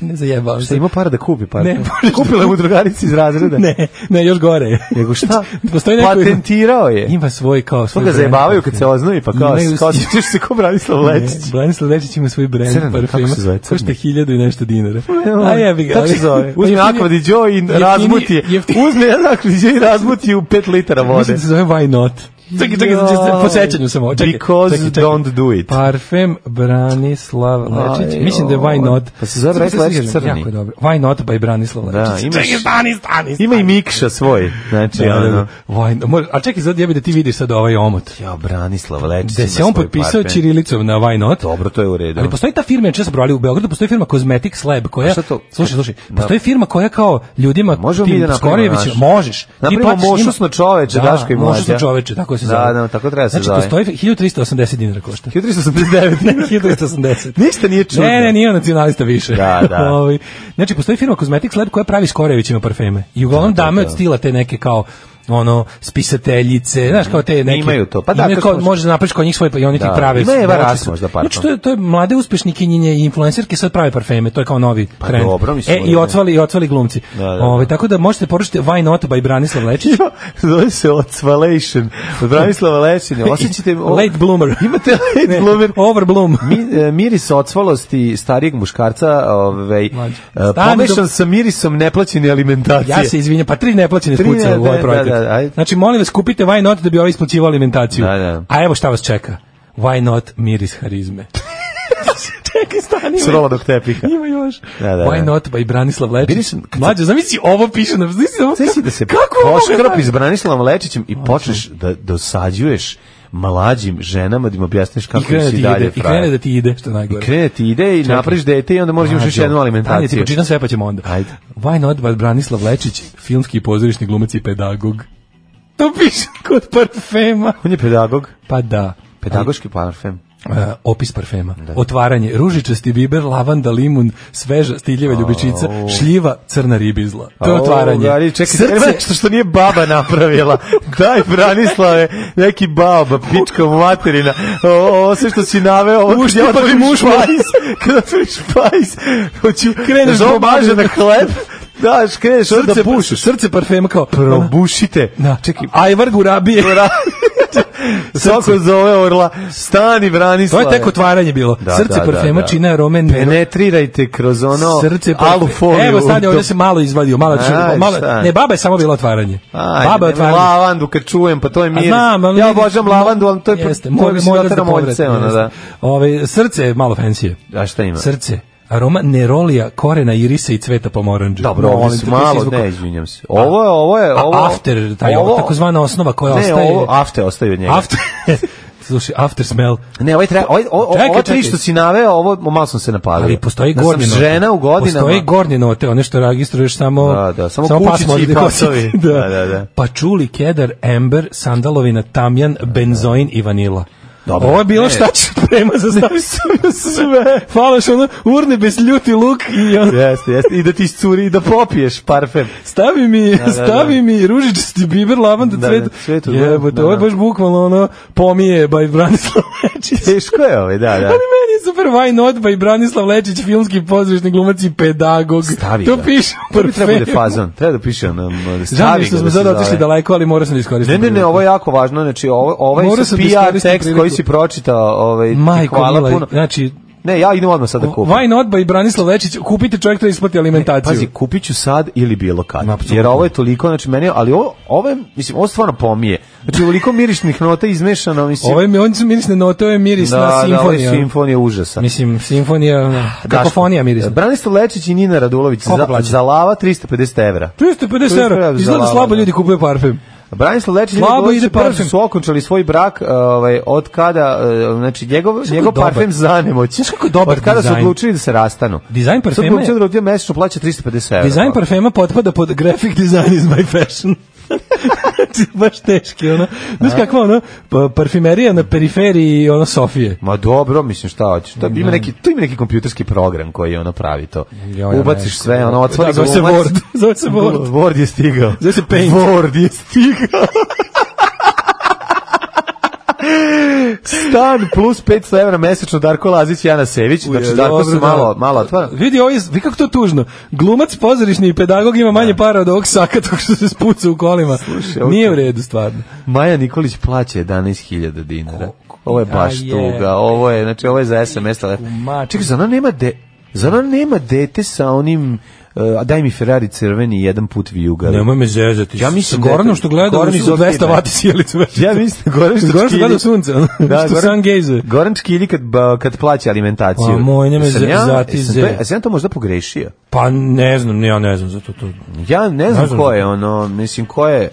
Speaker 6: Ne zajebavam
Speaker 5: Šta
Speaker 6: se.
Speaker 5: ima para da kupi para?
Speaker 6: Ne, može.
Speaker 5: Kupila mu drugarici iz razreda.
Speaker 6: Ne, ne, još gore. je.
Speaker 5: Nego [laughs] šta?
Speaker 6: Postoji neko
Speaker 5: Patentirao je.
Speaker 6: [laughs] Ima svoj kao
Speaker 5: To
Speaker 6: svoj
Speaker 5: ga
Speaker 6: brand
Speaker 5: zajebavaju
Speaker 6: parfem.
Speaker 5: kad se oznovi, pa kao,
Speaker 6: Imaju-
Speaker 5: kao [laughs] si ćeš se ko Branislav Lečić.
Speaker 6: Ne, Branislav Lečić ima svoj brand
Speaker 5: Crni,
Speaker 6: parfema.
Speaker 5: kako se zove, crni?
Speaker 6: Košta hiljadu i nešto dinara. A ja bih ga. ovaj.
Speaker 5: Kako se
Speaker 6: [laughs]
Speaker 5: zove? Uzme Akvadi Joe i razmuti je. Uzme jedan Akvadi Joe i razmuti je u 5 litara
Speaker 6: Mislim
Speaker 5: vode.
Speaker 6: da se zove Why Not. Čekaj, čekaj,
Speaker 5: Joj.
Speaker 6: čekaj, po sećanju sam ovo. Čekaj,
Speaker 5: Because
Speaker 6: čekaj, Pa, čekaj.
Speaker 5: don't do it.
Speaker 6: Parfem Branislav Lečić.
Speaker 5: Aj,
Speaker 6: Mislim da je Why
Speaker 5: joj.
Speaker 6: Not.
Speaker 5: Pa se zove
Speaker 6: Sad
Speaker 5: Branislav
Speaker 6: se
Speaker 5: Lečić
Speaker 6: sjećam,
Speaker 5: crni.
Speaker 6: Jako je dobro. Why Not by Branislav Lečić.
Speaker 5: Da, imaš-
Speaker 6: Čekaj, stani, stani,
Speaker 5: Ima i
Speaker 6: stani.
Speaker 5: Mikša svoj. Znači,
Speaker 6: Da, da,
Speaker 5: ono.
Speaker 6: da. Why Not. Mora- A čekaj, sad jebi da ti vidiš sad ovaj omot.
Speaker 5: Ja, Branislav Lečić.
Speaker 6: Da
Speaker 5: ima
Speaker 6: se on
Speaker 5: svoj
Speaker 6: potpisao
Speaker 5: parfem.
Speaker 6: čirilicom na Why Not.
Speaker 5: Dobro, to je u redu.
Speaker 6: Ali postoji ta firma, često brali u Beogradu, postoji firma Cosmetics Lab koja
Speaker 5: A šta to? Da.
Speaker 6: Slušaj, slušaj, postoji firma koja kao ljudima
Speaker 5: Možemo mi
Speaker 6: tim
Speaker 5: da napravimo
Speaker 6: Skorijeviću
Speaker 5: naš.
Speaker 6: možeš. Ti
Speaker 5: Napravimo
Speaker 6: plaćaš njima-
Speaker 5: mošus na čoveče, Daško i
Speaker 6: mošus na
Speaker 5: mlađa.
Speaker 6: čoveče, tako se
Speaker 5: Da,
Speaker 6: zove.
Speaker 5: da, tako treba se
Speaker 6: znači,
Speaker 5: zove.
Speaker 6: postoji 1380 dinara košta.
Speaker 5: 1389.
Speaker 6: [laughs] Ne, 1380.
Speaker 5: Ništa nije čudno.
Speaker 6: Ne, ne, nije on nacionalista više.
Speaker 5: Da, da.
Speaker 6: [laughs] Ovaj, znači, postoji firma Cosmetics Lab koja pravi Skorevićima parfeme. I
Speaker 5: Da,
Speaker 6: uglavnom dame od stila te neke kao ono spisateljice, znaš kao te neke
Speaker 5: Imaju to, pa da,
Speaker 6: imaju
Speaker 5: kad
Speaker 6: kao,
Speaker 5: smo-
Speaker 6: možeš da napraviš kod njih svoj i oni ti
Speaker 5: Da,
Speaker 6: prave
Speaker 5: ima Eva
Speaker 6: moći
Speaker 5: Rasić
Speaker 6: su-
Speaker 5: možda
Speaker 6: znači
Speaker 5: parfem.
Speaker 6: to je, to je mlade uspešnikinje i influencerke sad prave parfeme to je kao novi
Speaker 5: Pa
Speaker 6: trend
Speaker 5: dobro, mislim,
Speaker 6: e, i
Speaker 5: da.
Speaker 6: otvali i otvali glumci
Speaker 5: Da, da, da.
Speaker 6: Ovaj, tako da možete poručiti Why Not by Branislav Lečić
Speaker 5: Jo, [laughs] Zove se Ocvalation. Od Branislava Lešinja. Osjećate...
Speaker 6: late bloomer
Speaker 5: Imate late
Speaker 6: Ne,
Speaker 5: bloomer.
Speaker 6: overbloom
Speaker 5: Mi, e, miris ocvalosti starijeg muškarca ovaj, e,
Speaker 6: Mlađe. Stani
Speaker 5: pomešan
Speaker 6: dok-
Speaker 5: sa mirisom neplaćene alimentacije.
Speaker 6: Ja se izvinjam, pa tri neplaćene
Speaker 5: Tri ne-
Speaker 6: spucale u
Speaker 5: da, da,
Speaker 6: ovaj projekat.
Speaker 5: da, ajde.
Speaker 6: Znači, molim vas, kupite Why Not da bi ovaj isplaćivao alimentaciju.
Speaker 5: Da, da.
Speaker 6: A evo šta vas čeka. Why Not miris
Speaker 5: [laughs]
Speaker 6: harizme. Čekaj, stani.
Speaker 5: S roladog tepiha.
Speaker 6: Ima još.
Speaker 5: Da, da, da.
Speaker 6: Why Not by Branislav
Speaker 5: Vidiš,
Speaker 6: Lečić.
Speaker 5: kad-
Speaker 6: Mlađe, zamisli ovo piše na... Zamisli ovo,
Speaker 5: Znači da se
Speaker 6: kako da je moguće?
Speaker 5: poškrpi s Branislavom Lečićem i počneš da dosađuješ mlađim ženama da im objasniš
Speaker 6: I
Speaker 5: kako
Speaker 6: krene da
Speaker 5: si
Speaker 6: ti
Speaker 5: dalje
Speaker 6: ide, i krene da ti ide, što je najgore.
Speaker 5: krene ti ide i napraviš dete i onda možeš imaš još
Speaker 6: Mlađo,
Speaker 5: jednu
Speaker 6: Tanja, ti
Speaker 5: alimentaciju.
Speaker 6: počitam sve pa ćemo onda.
Speaker 5: Ajde.
Speaker 6: Why not by Branislav Lečić, filmski i pozorišni glumac i pedagog. To piše kod parfema.
Speaker 5: On je pedagog.
Speaker 6: Pa da.
Speaker 5: Pedagoški parfem.
Speaker 6: E, opis parfema.
Speaker 5: Da.
Speaker 6: Otvaranje, ružičasti biber, lavanda, limun, sveža, stiljiva ljubičica, šljiva, crna ribizla. Pa To je otvaranje.
Speaker 5: Ali čekaj,
Speaker 6: Srce-
Speaker 5: treba nešto što nije baba
Speaker 6: [laughs]
Speaker 5: napravila. Daj Branislave, neki baba, pička mu materina. O, ovo sve što si naveo,
Speaker 6: [laughs]
Speaker 5: ovo
Speaker 6: pa
Speaker 5: kad ja otvorim špajs, kada otvoriš špajs, hoću, kreneš da omaže na hleb, [laughs] daš, kreneš onda [laughs] da
Speaker 6: srce-
Speaker 5: pušiš.
Speaker 6: Srce parfema kao...
Speaker 5: Probušite.
Speaker 6: Da, čekaj. Ajvar gurabije.
Speaker 5: Svako zove orla, stani
Speaker 6: To
Speaker 5: Branislave.
Speaker 6: je tek otvaranje bilo.
Speaker 5: Da,
Speaker 6: Srce
Speaker 5: da,
Speaker 6: parfema
Speaker 5: da, da.
Speaker 6: čine arome
Speaker 5: Penetrirajte kroz ono
Speaker 6: srce parfema.
Speaker 5: alu foliju.
Speaker 6: Evo sad je
Speaker 5: Do-
Speaker 6: ovdje se malo izvadio, malo ću,
Speaker 5: Aj,
Speaker 6: malo.
Speaker 5: šta?
Speaker 6: Ne, baba je samo bilo otvaranje.
Speaker 5: Aj,
Speaker 6: baba je
Speaker 5: nema
Speaker 6: otvaranje.
Speaker 5: lavandu kad čujem, pa to je
Speaker 6: A
Speaker 5: mir.
Speaker 6: znam, ali
Speaker 5: ja
Speaker 6: vidiš,
Speaker 5: obožavam
Speaker 6: mo-
Speaker 5: lavandu, ali to je
Speaker 6: jeste,
Speaker 5: to je
Speaker 6: moj-
Speaker 5: mislim
Speaker 6: moj
Speaker 5: da
Speaker 6: da
Speaker 5: tera
Speaker 6: povrat,
Speaker 5: moljce, ono
Speaker 6: jeste.
Speaker 5: da.
Speaker 6: Ovaj srce je malo fancy.
Speaker 5: A šta ima?
Speaker 6: Srce, aroma nerolija, korena irisa i cveta pomorandža.
Speaker 5: Dobro, ovo
Speaker 6: Molim
Speaker 5: su
Speaker 6: te, to si
Speaker 5: malo,
Speaker 6: izvukao.
Speaker 5: ne, izvinjam se. Ovo je, ovo je,
Speaker 6: A
Speaker 5: ovo...
Speaker 6: after, taj ovo, takozvana osnova koja
Speaker 5: ne,
Speaker 6: ostaje.
Speaker 5: ovo after ostaje od njega.
Speaker 6: after, [laughs] slušaj, after smell.
Speaker 5: Ne, ovaj treba, ovaj, o- o-
Speaker 6: Čekaj,
Speaker 5: ovo tri
Speaker 6: čekaj.
Speaker 5: što si naveo, ovo malo sam se napalio.
Speaker 6: Ali postoji
Speaker 5: Da sam
Speaker 6: gornje note.
Speaker 5: žena u godinama.
Speaker 6: Postoji gornje note, one što registruješ samo...
Speaker 5: Da, da, samo kučići
Speaker 6: pasmo
Speaker 5: i
Speaker 6: od
Speaker 5: pasovi.
Speaker 6: [laughs] da.
Speaker 5: Da, da, da.
Speaker 6: Pačuli, kedar, ember, sandalovina, tamjan, benzoin i vanila.
Speaker 5: Dobro. E.
Speaker 6: Ovo je bilo
Speaker 5: Ne.
Speaker 6: šta ću prema
Speaker 5: [laughs]
Speaker 6: za stavi sve. Falaš ono urne bez ljuti luk i ono,
Speaker 5: Jeste, jeste. I da ti iscuri i da popiješ parfem.
Speaker 6: stavi mi,
Speaker 5: da.
Speaker 6: stavi mi ružičasti biber, lavanda,
Speaker 5: Da,
Speaker 6: cvet.
Speaker 5: da, cvet, da,
Speaker 6: Jebote,
Speaker 5: da,
Speaker 6: ovo je
Speaker 5: da.
Speaker 6: baš bukvalno ono pomije by Branislav Lečić.
Speaker 5: [laughs] Teško je ovaj, da, da.
Speaker 6: [laughs] Ali meni super why not by Branislav Lečić, filmski pozorišni glumac i pedagog.
Speaker 5: Stavi
Speaker 6: to
Speaker 5: ga.
Speaker 6: piše. u
Speaker 5: Prvi treba bude
Speaker 6: portfelju.
Speaker 5: fazan. Treba da piše nam
Speaker 6: Žao mi
Speaker 5: stavi
Speaker 6: je što
Speaker 5: ga
Speaker 6: smo
Speaker 5: da se
Speaker 6: sad otišli
Speaker 5: zove.
Speaker 6: daleko, ali morao sam da iskoristim.
Speaker 5: Ne, ne, ne,
Speaker 6: priliku.
Speaker 5: ovo je jako važno, znači ovo, ovaj
Speaker 6: Morao
Speaker 5: su
Speaker 6: sam da
Speaker 5: PR
Speaker 6: iskoristim
Speaker 5: tekst
Speaker 6: priliku.
Speaker 5: koji si pročitao, ovaj, i
Speaker 6: Majko,
Speaker 5: hvala
Speaker 6: mila,
Speaker 5: puno.
Speaker 6: znači,
Speaker 5: Ne, ja idem odmah sad da kupim.
Speaker 6: why not by Branislav Lečić, kupite čovjek da isplati alimentaciju.
Speaker 5: Pazi, kupit ću sad ili bilo kad. Jer ovo je toliko, znači meni, ali ovo, ovo je, mislim, ovo stvarno pomije. Znači, ovoliko mirišnih nota izmešano, mislim.
Speaker 6: Ovo je mi, on su mirisne note, ovo je miris
Speaker 5: da,
Speaker 6: na
Speaker 5: Da, ovo je
Speaker 6: simfonija.
Speaker 5: simfonija užasa.
Speaker 6: Mislim, simfonija, ono,
Speaker 5: Daško, Da.
Speaker 6: kakofonija mirisna.
Speaker 5: Branislav Lečić i Nina Radulović
Speaker 6: Koliko
Speaker 5: za,
Speaker 6: plaća?
Speaker 5: za lava 350 evra.
Speaker 6: 350 eura,
Speaker 5: Za
Speaker 6: izgleda
Speaker 5: lava,
Speaker 6: slabo
Speaker 5: da.
Speaker 6: ljudi kupuju parfem.
Speaker 5: Branislav Lečić
Speaker 6: Slabo
Speaker 5: Slabo
Speaker 6: ide
Speaker 5: ide parfem.
Speaker 6: parfem.
Speaker 5: su okončali svoj brak, ovaj od kada eh, znači njegov
Speaker 6: kako je
Speaker 5: njegov
Speaker 6: dobar?
Speaker 5: parfem za nemoć.
Speaker 6: Znaš kako je dobar
Speaker 5: Od kada su
Speaker 6: dizajn?
Speaker 5: odlučili da se rastanu.
Speaker 6: Dizajn parfema
Speaker 5: Sad
Speaker 6: je-
Speaker 5: odlučili da odje mesečno plaća 350 evra.
Speaker 6: Dizajn parfema potpada pod graphic design is my fashion. Znači, baš teški, ono. Znaš kakva, ono, pa- parfimerija na periferiji, ono, Sofije.
Speaker 5: Ma dobro, mislim šta hoćeš. To ima neki to ima neki kompjuterski program koji ono pravi to.
Speaker 6: Ja, ja ne
Speaker 5: Ubaciš
Speaker 6: znam.
Speaker 5: sve, ono otvori
Speaker 6: Da, zove se
Speaker 5: Pa glumac.
Speaker 6: Word. [laughs] Zove se Word.
Speaker 5: Word je stigao.
Speaker 6: Zove se Paint.
Speaker 5: Word je stigao. Stan plus 500 evra mesečno Darko Lazić i Ana Sević. Znači,
Speaker 6: Uje,
Speaker 5: Darko se
Speaker 6: dobro, da.
Speaker 5: malo, malo otvara.
Speaker 6: Vidi, ovo je, vidi kako to tužno. Glumac, pozorišni i pedagog ima manje para od ovog saka tog što se spuca u kolima.
Speaker 5: Da. ovo
Speaker 6: Nije
Speaker 5: ti-
Speaker 6: u redu, stvarno.
Speaker 5: Maja Nikolić plaća 11.000 dinara.
Speaker 6: Ko-
Speaker 5: Ovo je baš
Speaker 6: Da je.
Speaker 5: tuga. Ovo je, znači ovo je za SMS.
Speaker 6: Mačka.
Speaker 5: Čekaj, za ona nema de, za ona nema dete sa onim uh, daj mi Ferrari crveni jedan put vijuga.
Speaker 6: Nemoj me zezati.
Speaker 5: Ja mislim
Speaker 6: Sa Goranom
Speaker 5: da je-
Speaker 6: što gleda
Speaker 5: Goran
Speaker 6: u
Speaker 5: iz
Speaker 6: 200
Speaker 5: Optime.
Speaker 6: vati sjelicu.
Speaker 5: Ja mislim da Goran što
Speaker 6: Goran što gleda
Speaker 5: čkilji-
Speaker 6: u sunce. ono,
Speaker 5: [laughs] Da,
Speaker 6: što sun gaze.
Speaker 5: Goran Čkilji kad, ba- kad plaća alimentaciju.
Speaker 6: A Pa moj, nemoj
Speaker 5: Jesam
Speaker 6: za-
Speaker 5: ja-
Speaker 6: zati
Speaker 5: jesam
Speaker 6: ze.
Speaker 5: to- Jesam ja to možda pogrešio?
Speaker 6: Pa ne znam, ne, ja ne znam, zato to...
Speaker 5: Ja ne znam,
Speaker 6: Ne znam.
Speaker 5: ko je ono, mislim ko je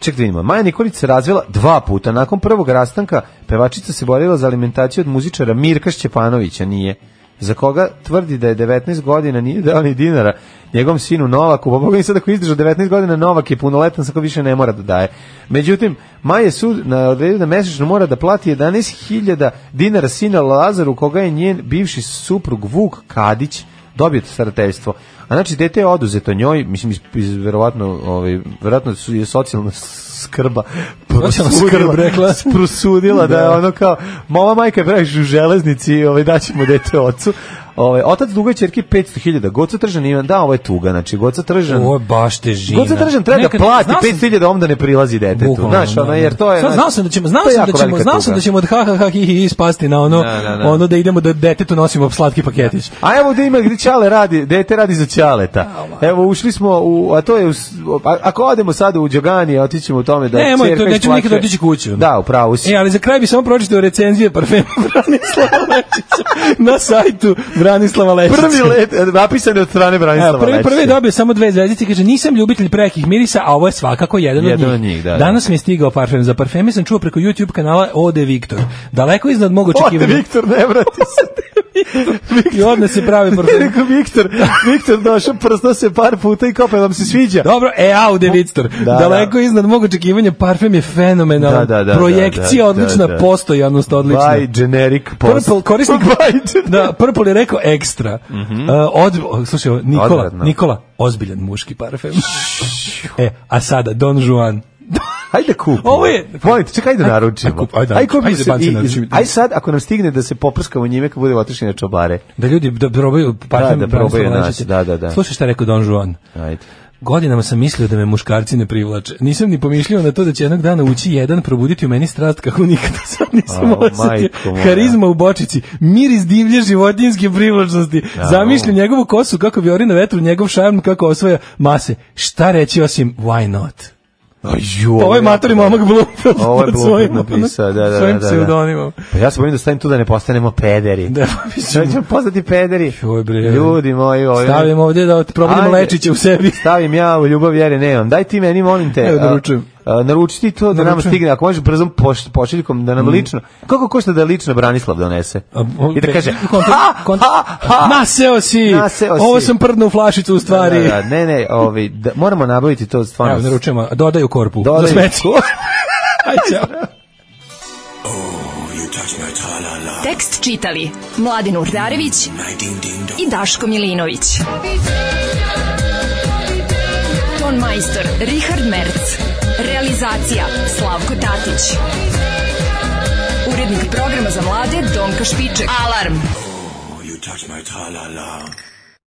Speaker 5: Ček da vidimo, Maja Nikolić se razvela dva puta. Nakon prvog rastanka, pevačica se borila za alimentaciju od muzičara Mirka Šćepanovića, nije. Za koga tvrdi da je 19 godina, nije dao ni dinara njegovom sinu Novaku. Pa boga mi sad ako izdrža 19 godina, Novak je punoletan, sako više ne mora da daje. Međutim, Maja je sud na odredio da mesečno mora da plati 11.000 dinara sina Lazaru, koga je njen bivši suprug Vuk Kadić dobije starateljstvo. A znači dete je oduzeto njoj, mislim iz, iz verovatno, ovaj verovatno su je socijalna skrba
Speaker 6: Socijalna
Speaker 5: prosudila-
Speaker 6: skrb rekla.
Speaker 5: prosudila da je ono kao mala majka je previše u železnici, ovaj daćemo dete ocu. Ovaj otac duga ćerki 500.000, Goca Tržan Ivan, da, ovo je tuga, znači Goca Tržan.
Speaker 6: Ovo je baš težina.
Speaker 5: Goca Tržan treba da
Speaker 6: Nekad-
Speaker 5: plati
Speaker 6: znao sam-
Speaker 5: 500.000 ovom da ne prilazi detetu.
Speaker 6: Bukvalno,
Speaker 5: Znaš,
Speaker 6: da,
Speaker 5: ono,
Speaker 6: da.
Speaker 5: jer to je...
Speaker 6: Sad
Speaker 5: znaš,
Speaker 6: znao sam da ćemo, znao
Speaker 5: to je
Speaker 6: sam da
Speaker 5: jako
Speaker 6: ćemo,
Speaker 5: velika
Speaker 6: znao sam
Speaker 5: tuga.
Speaker 6: da ćemo od ha ha ha hi hi hi spasti na ono,
Speaker 5: Da, da, da.
Speaker 6: ono da idemo da detetu nosimo slatki paketić.
Speaker 5: A evo gde ima gde Ćale radi, dete radi za Ćaleta. Evo ušli smo u a to je u, s- a- ako odemo sad u Đogani, otićemo u tome da
Speaker 6: Ne, moj,
Speaker 5: ćerka
Speaker 6: to nećemo
Speaker 5: isplaćuje-
Speaker 6: nikad otići kući, ono.
Speaker 5: Da, upravo si.
Speaker 6: E, ali za kraj bi samo pročitao recenzije parfema [laughs] Branislava Lečića na sajtu Branislava Lečića.
Speaker 5: Prvi let napisan je od strane Branislava.
Speaker 6: Evo, prvi,
Speaker 5: Lečića.
Speaker 6: prvi je dobio samo dve zvezdice i kaže nisam ljubitelj prekih mirisa, a ovo je svakako jedan,
Speaker 5: Jedan
Speaker 6: od
Speaker 5: od
Speaker 6: njih.
Speaker 5: njih, da, da.
Speaker 6: Danas mi je stigao parfem. Za parfeme sam čuo preko YouTube kanala Ode Viktor. Daleko iznad
Speaker 5: [laughs]
Speaker 6: mog
Speaker 5: Ode
Speaker 6: očekivanja.
Speaker 5: Viktor, ne vrati
Speaker 6: [laughs]
Speaker 5: se.
Speaker 6: I odne
Speaker 5: [laughs]
Speaker 6: se prave parfeme.
Speaker 5: Rekao Viktor, Viktor došao, prstao se par puta i kao pa vam se sviđa.
Speaker 6: Dobro, e, Aude Victor,
Speaker 5: Da, da.
Speaker 6: daleko iznad mog očekivanja, parfem je fenomenalan,
Speaker 5: Da, da, da,
Speaker 6: projekcija
Speaker 5: da, da,
Speaker 6: odlična,
Speaker 5: da.
Speaker 6: postojanost odlična.
Speaker 5: By generic post.
Speaker 6: Purple
Speaker 5: [laughs]
Speaker 6: korisnik
Speaker 5: By generic.
Speaker 6: da Purple je rekao ekstra. Uh, od, o, slušaj, ovo, Nikola,
Speaker 5: Odvratno.
Speaker 6: Nikola, ozbiljan muški parfem. e, a sada Don Juan.
Speaker 5: Hajde kupimo.
Speaker 6: Ovo je-
Speaker 5: Molim te, čekaj da
Speaker 6: Ajde
Speaker 5: naručimo.
Speaker 6: kup- ajde,
Speaker 5: Aj kupimo
Speaker 6: ajde,
Speaker 5: se
Speaker 6: banci
Speaker 5: i- i-
Speaker 6: naručimo.
Speaker 5: aj sad ako nam stigne da se poprskamo njime kad bude otišli na čobare.
Speaker 6: Da ljudi da probaju parfem
Speaker 5: Da, da probaju
Speaker 6: Branislava
Speaker 5: naći,
Speaker 6: Lečića.
Speaker 5: da, da, da.
Speaker 6: Slušaj šta je rekao Don Juan.
Speaker 5: Ajde.
Speaker 6: Godinama sam mislio da me muškarci ne privlače. Nisam ni pomišljao na to da će jednog dana ući jedan, probuditi u meni strast kako nikada [laughs] sad nisam
Speaker 5: Au,
Speaker 6: osetio.
Speaker 5: majko moja.
Speaker 6: Harizma u bočici, miris divlje životinjske privlačnosti.
Speaker 5: Da.
Speaker 6: Zamišljam njegovu kosu kako bi ori na vetru, njegov šarm kako osvaja mase. Šta reći osim why not? Pa
Speaker 5: Aju,
Speaker 6: Ovo je ovaj matori momak Blumfeld
Speaker 5: Ovo je
Speaker 6: pod
Speaker 5: Blumfeld
Speaker 6: svojim,
Speaker 5: napisao, da, da, da,
Speaker 6: svojim
Speaker 5: da, da.
Speaker 6: pseudonimom.
Speaker 5: Pa ja se bojim da stavim tu da ne postanemo pederi.
Speaker 6: Da,
Speaker 5: Sve ćemo postati pederi.
Speaker 6: Joj, bre.
Speaker 5: Ljudi moji, ovi.
Speaker 6: Stavljam ovdje da probudimo
Speaker 5: pa Ajde.
Speaker 6: lečiće u sebi.
Speaker 5: [laughs] Stavim ja u ljubav vjere nemam. Daj ti meni, molim te.
Speaker 6: Evo,
Speaker 5: a,
Speaker 6: naručujem.
Speaker 5: a, naruči ti to da nam
Speaker 6: Naručujem. Mm.
Speaker 5: stigne, ako možeš brzom poš, pošiljkom da nam lično. Kako košta da lično Branislav donese?
Speaker 6: A, o-
Speaker 5: I da
Speaker 6: [laughs]
Speaker 5: kaže,
Speaker 6: kont-
Speaker 5: ha,
Speaker 6: kont-
Speaker 5: ha, ha.
Speaker 6: Naseo si!
Speaker 5: Naseo si.
Speaker 6: Ovo sam prdno u flašicu u stvari.
Speaker 5: Da, da, ne, ne, ovi, da, moramo nabaviti to stvarno.
Speaker 6: Evo, naručujemo, dodaju korpu.
Speaker 5: Dodaju
Speaker 6: Dodaju. Za smeće. [laughs] Aj, ćao.
Speaker 4: Tekst čitali Mladin Urdarević i Daško Milinović. Ton majstor Richard Merc. Realizacija Slavko Tatić. Urednik programa za mlade Donka Špiček. Alarm!
Speaker 12: you touch my tra-la-la.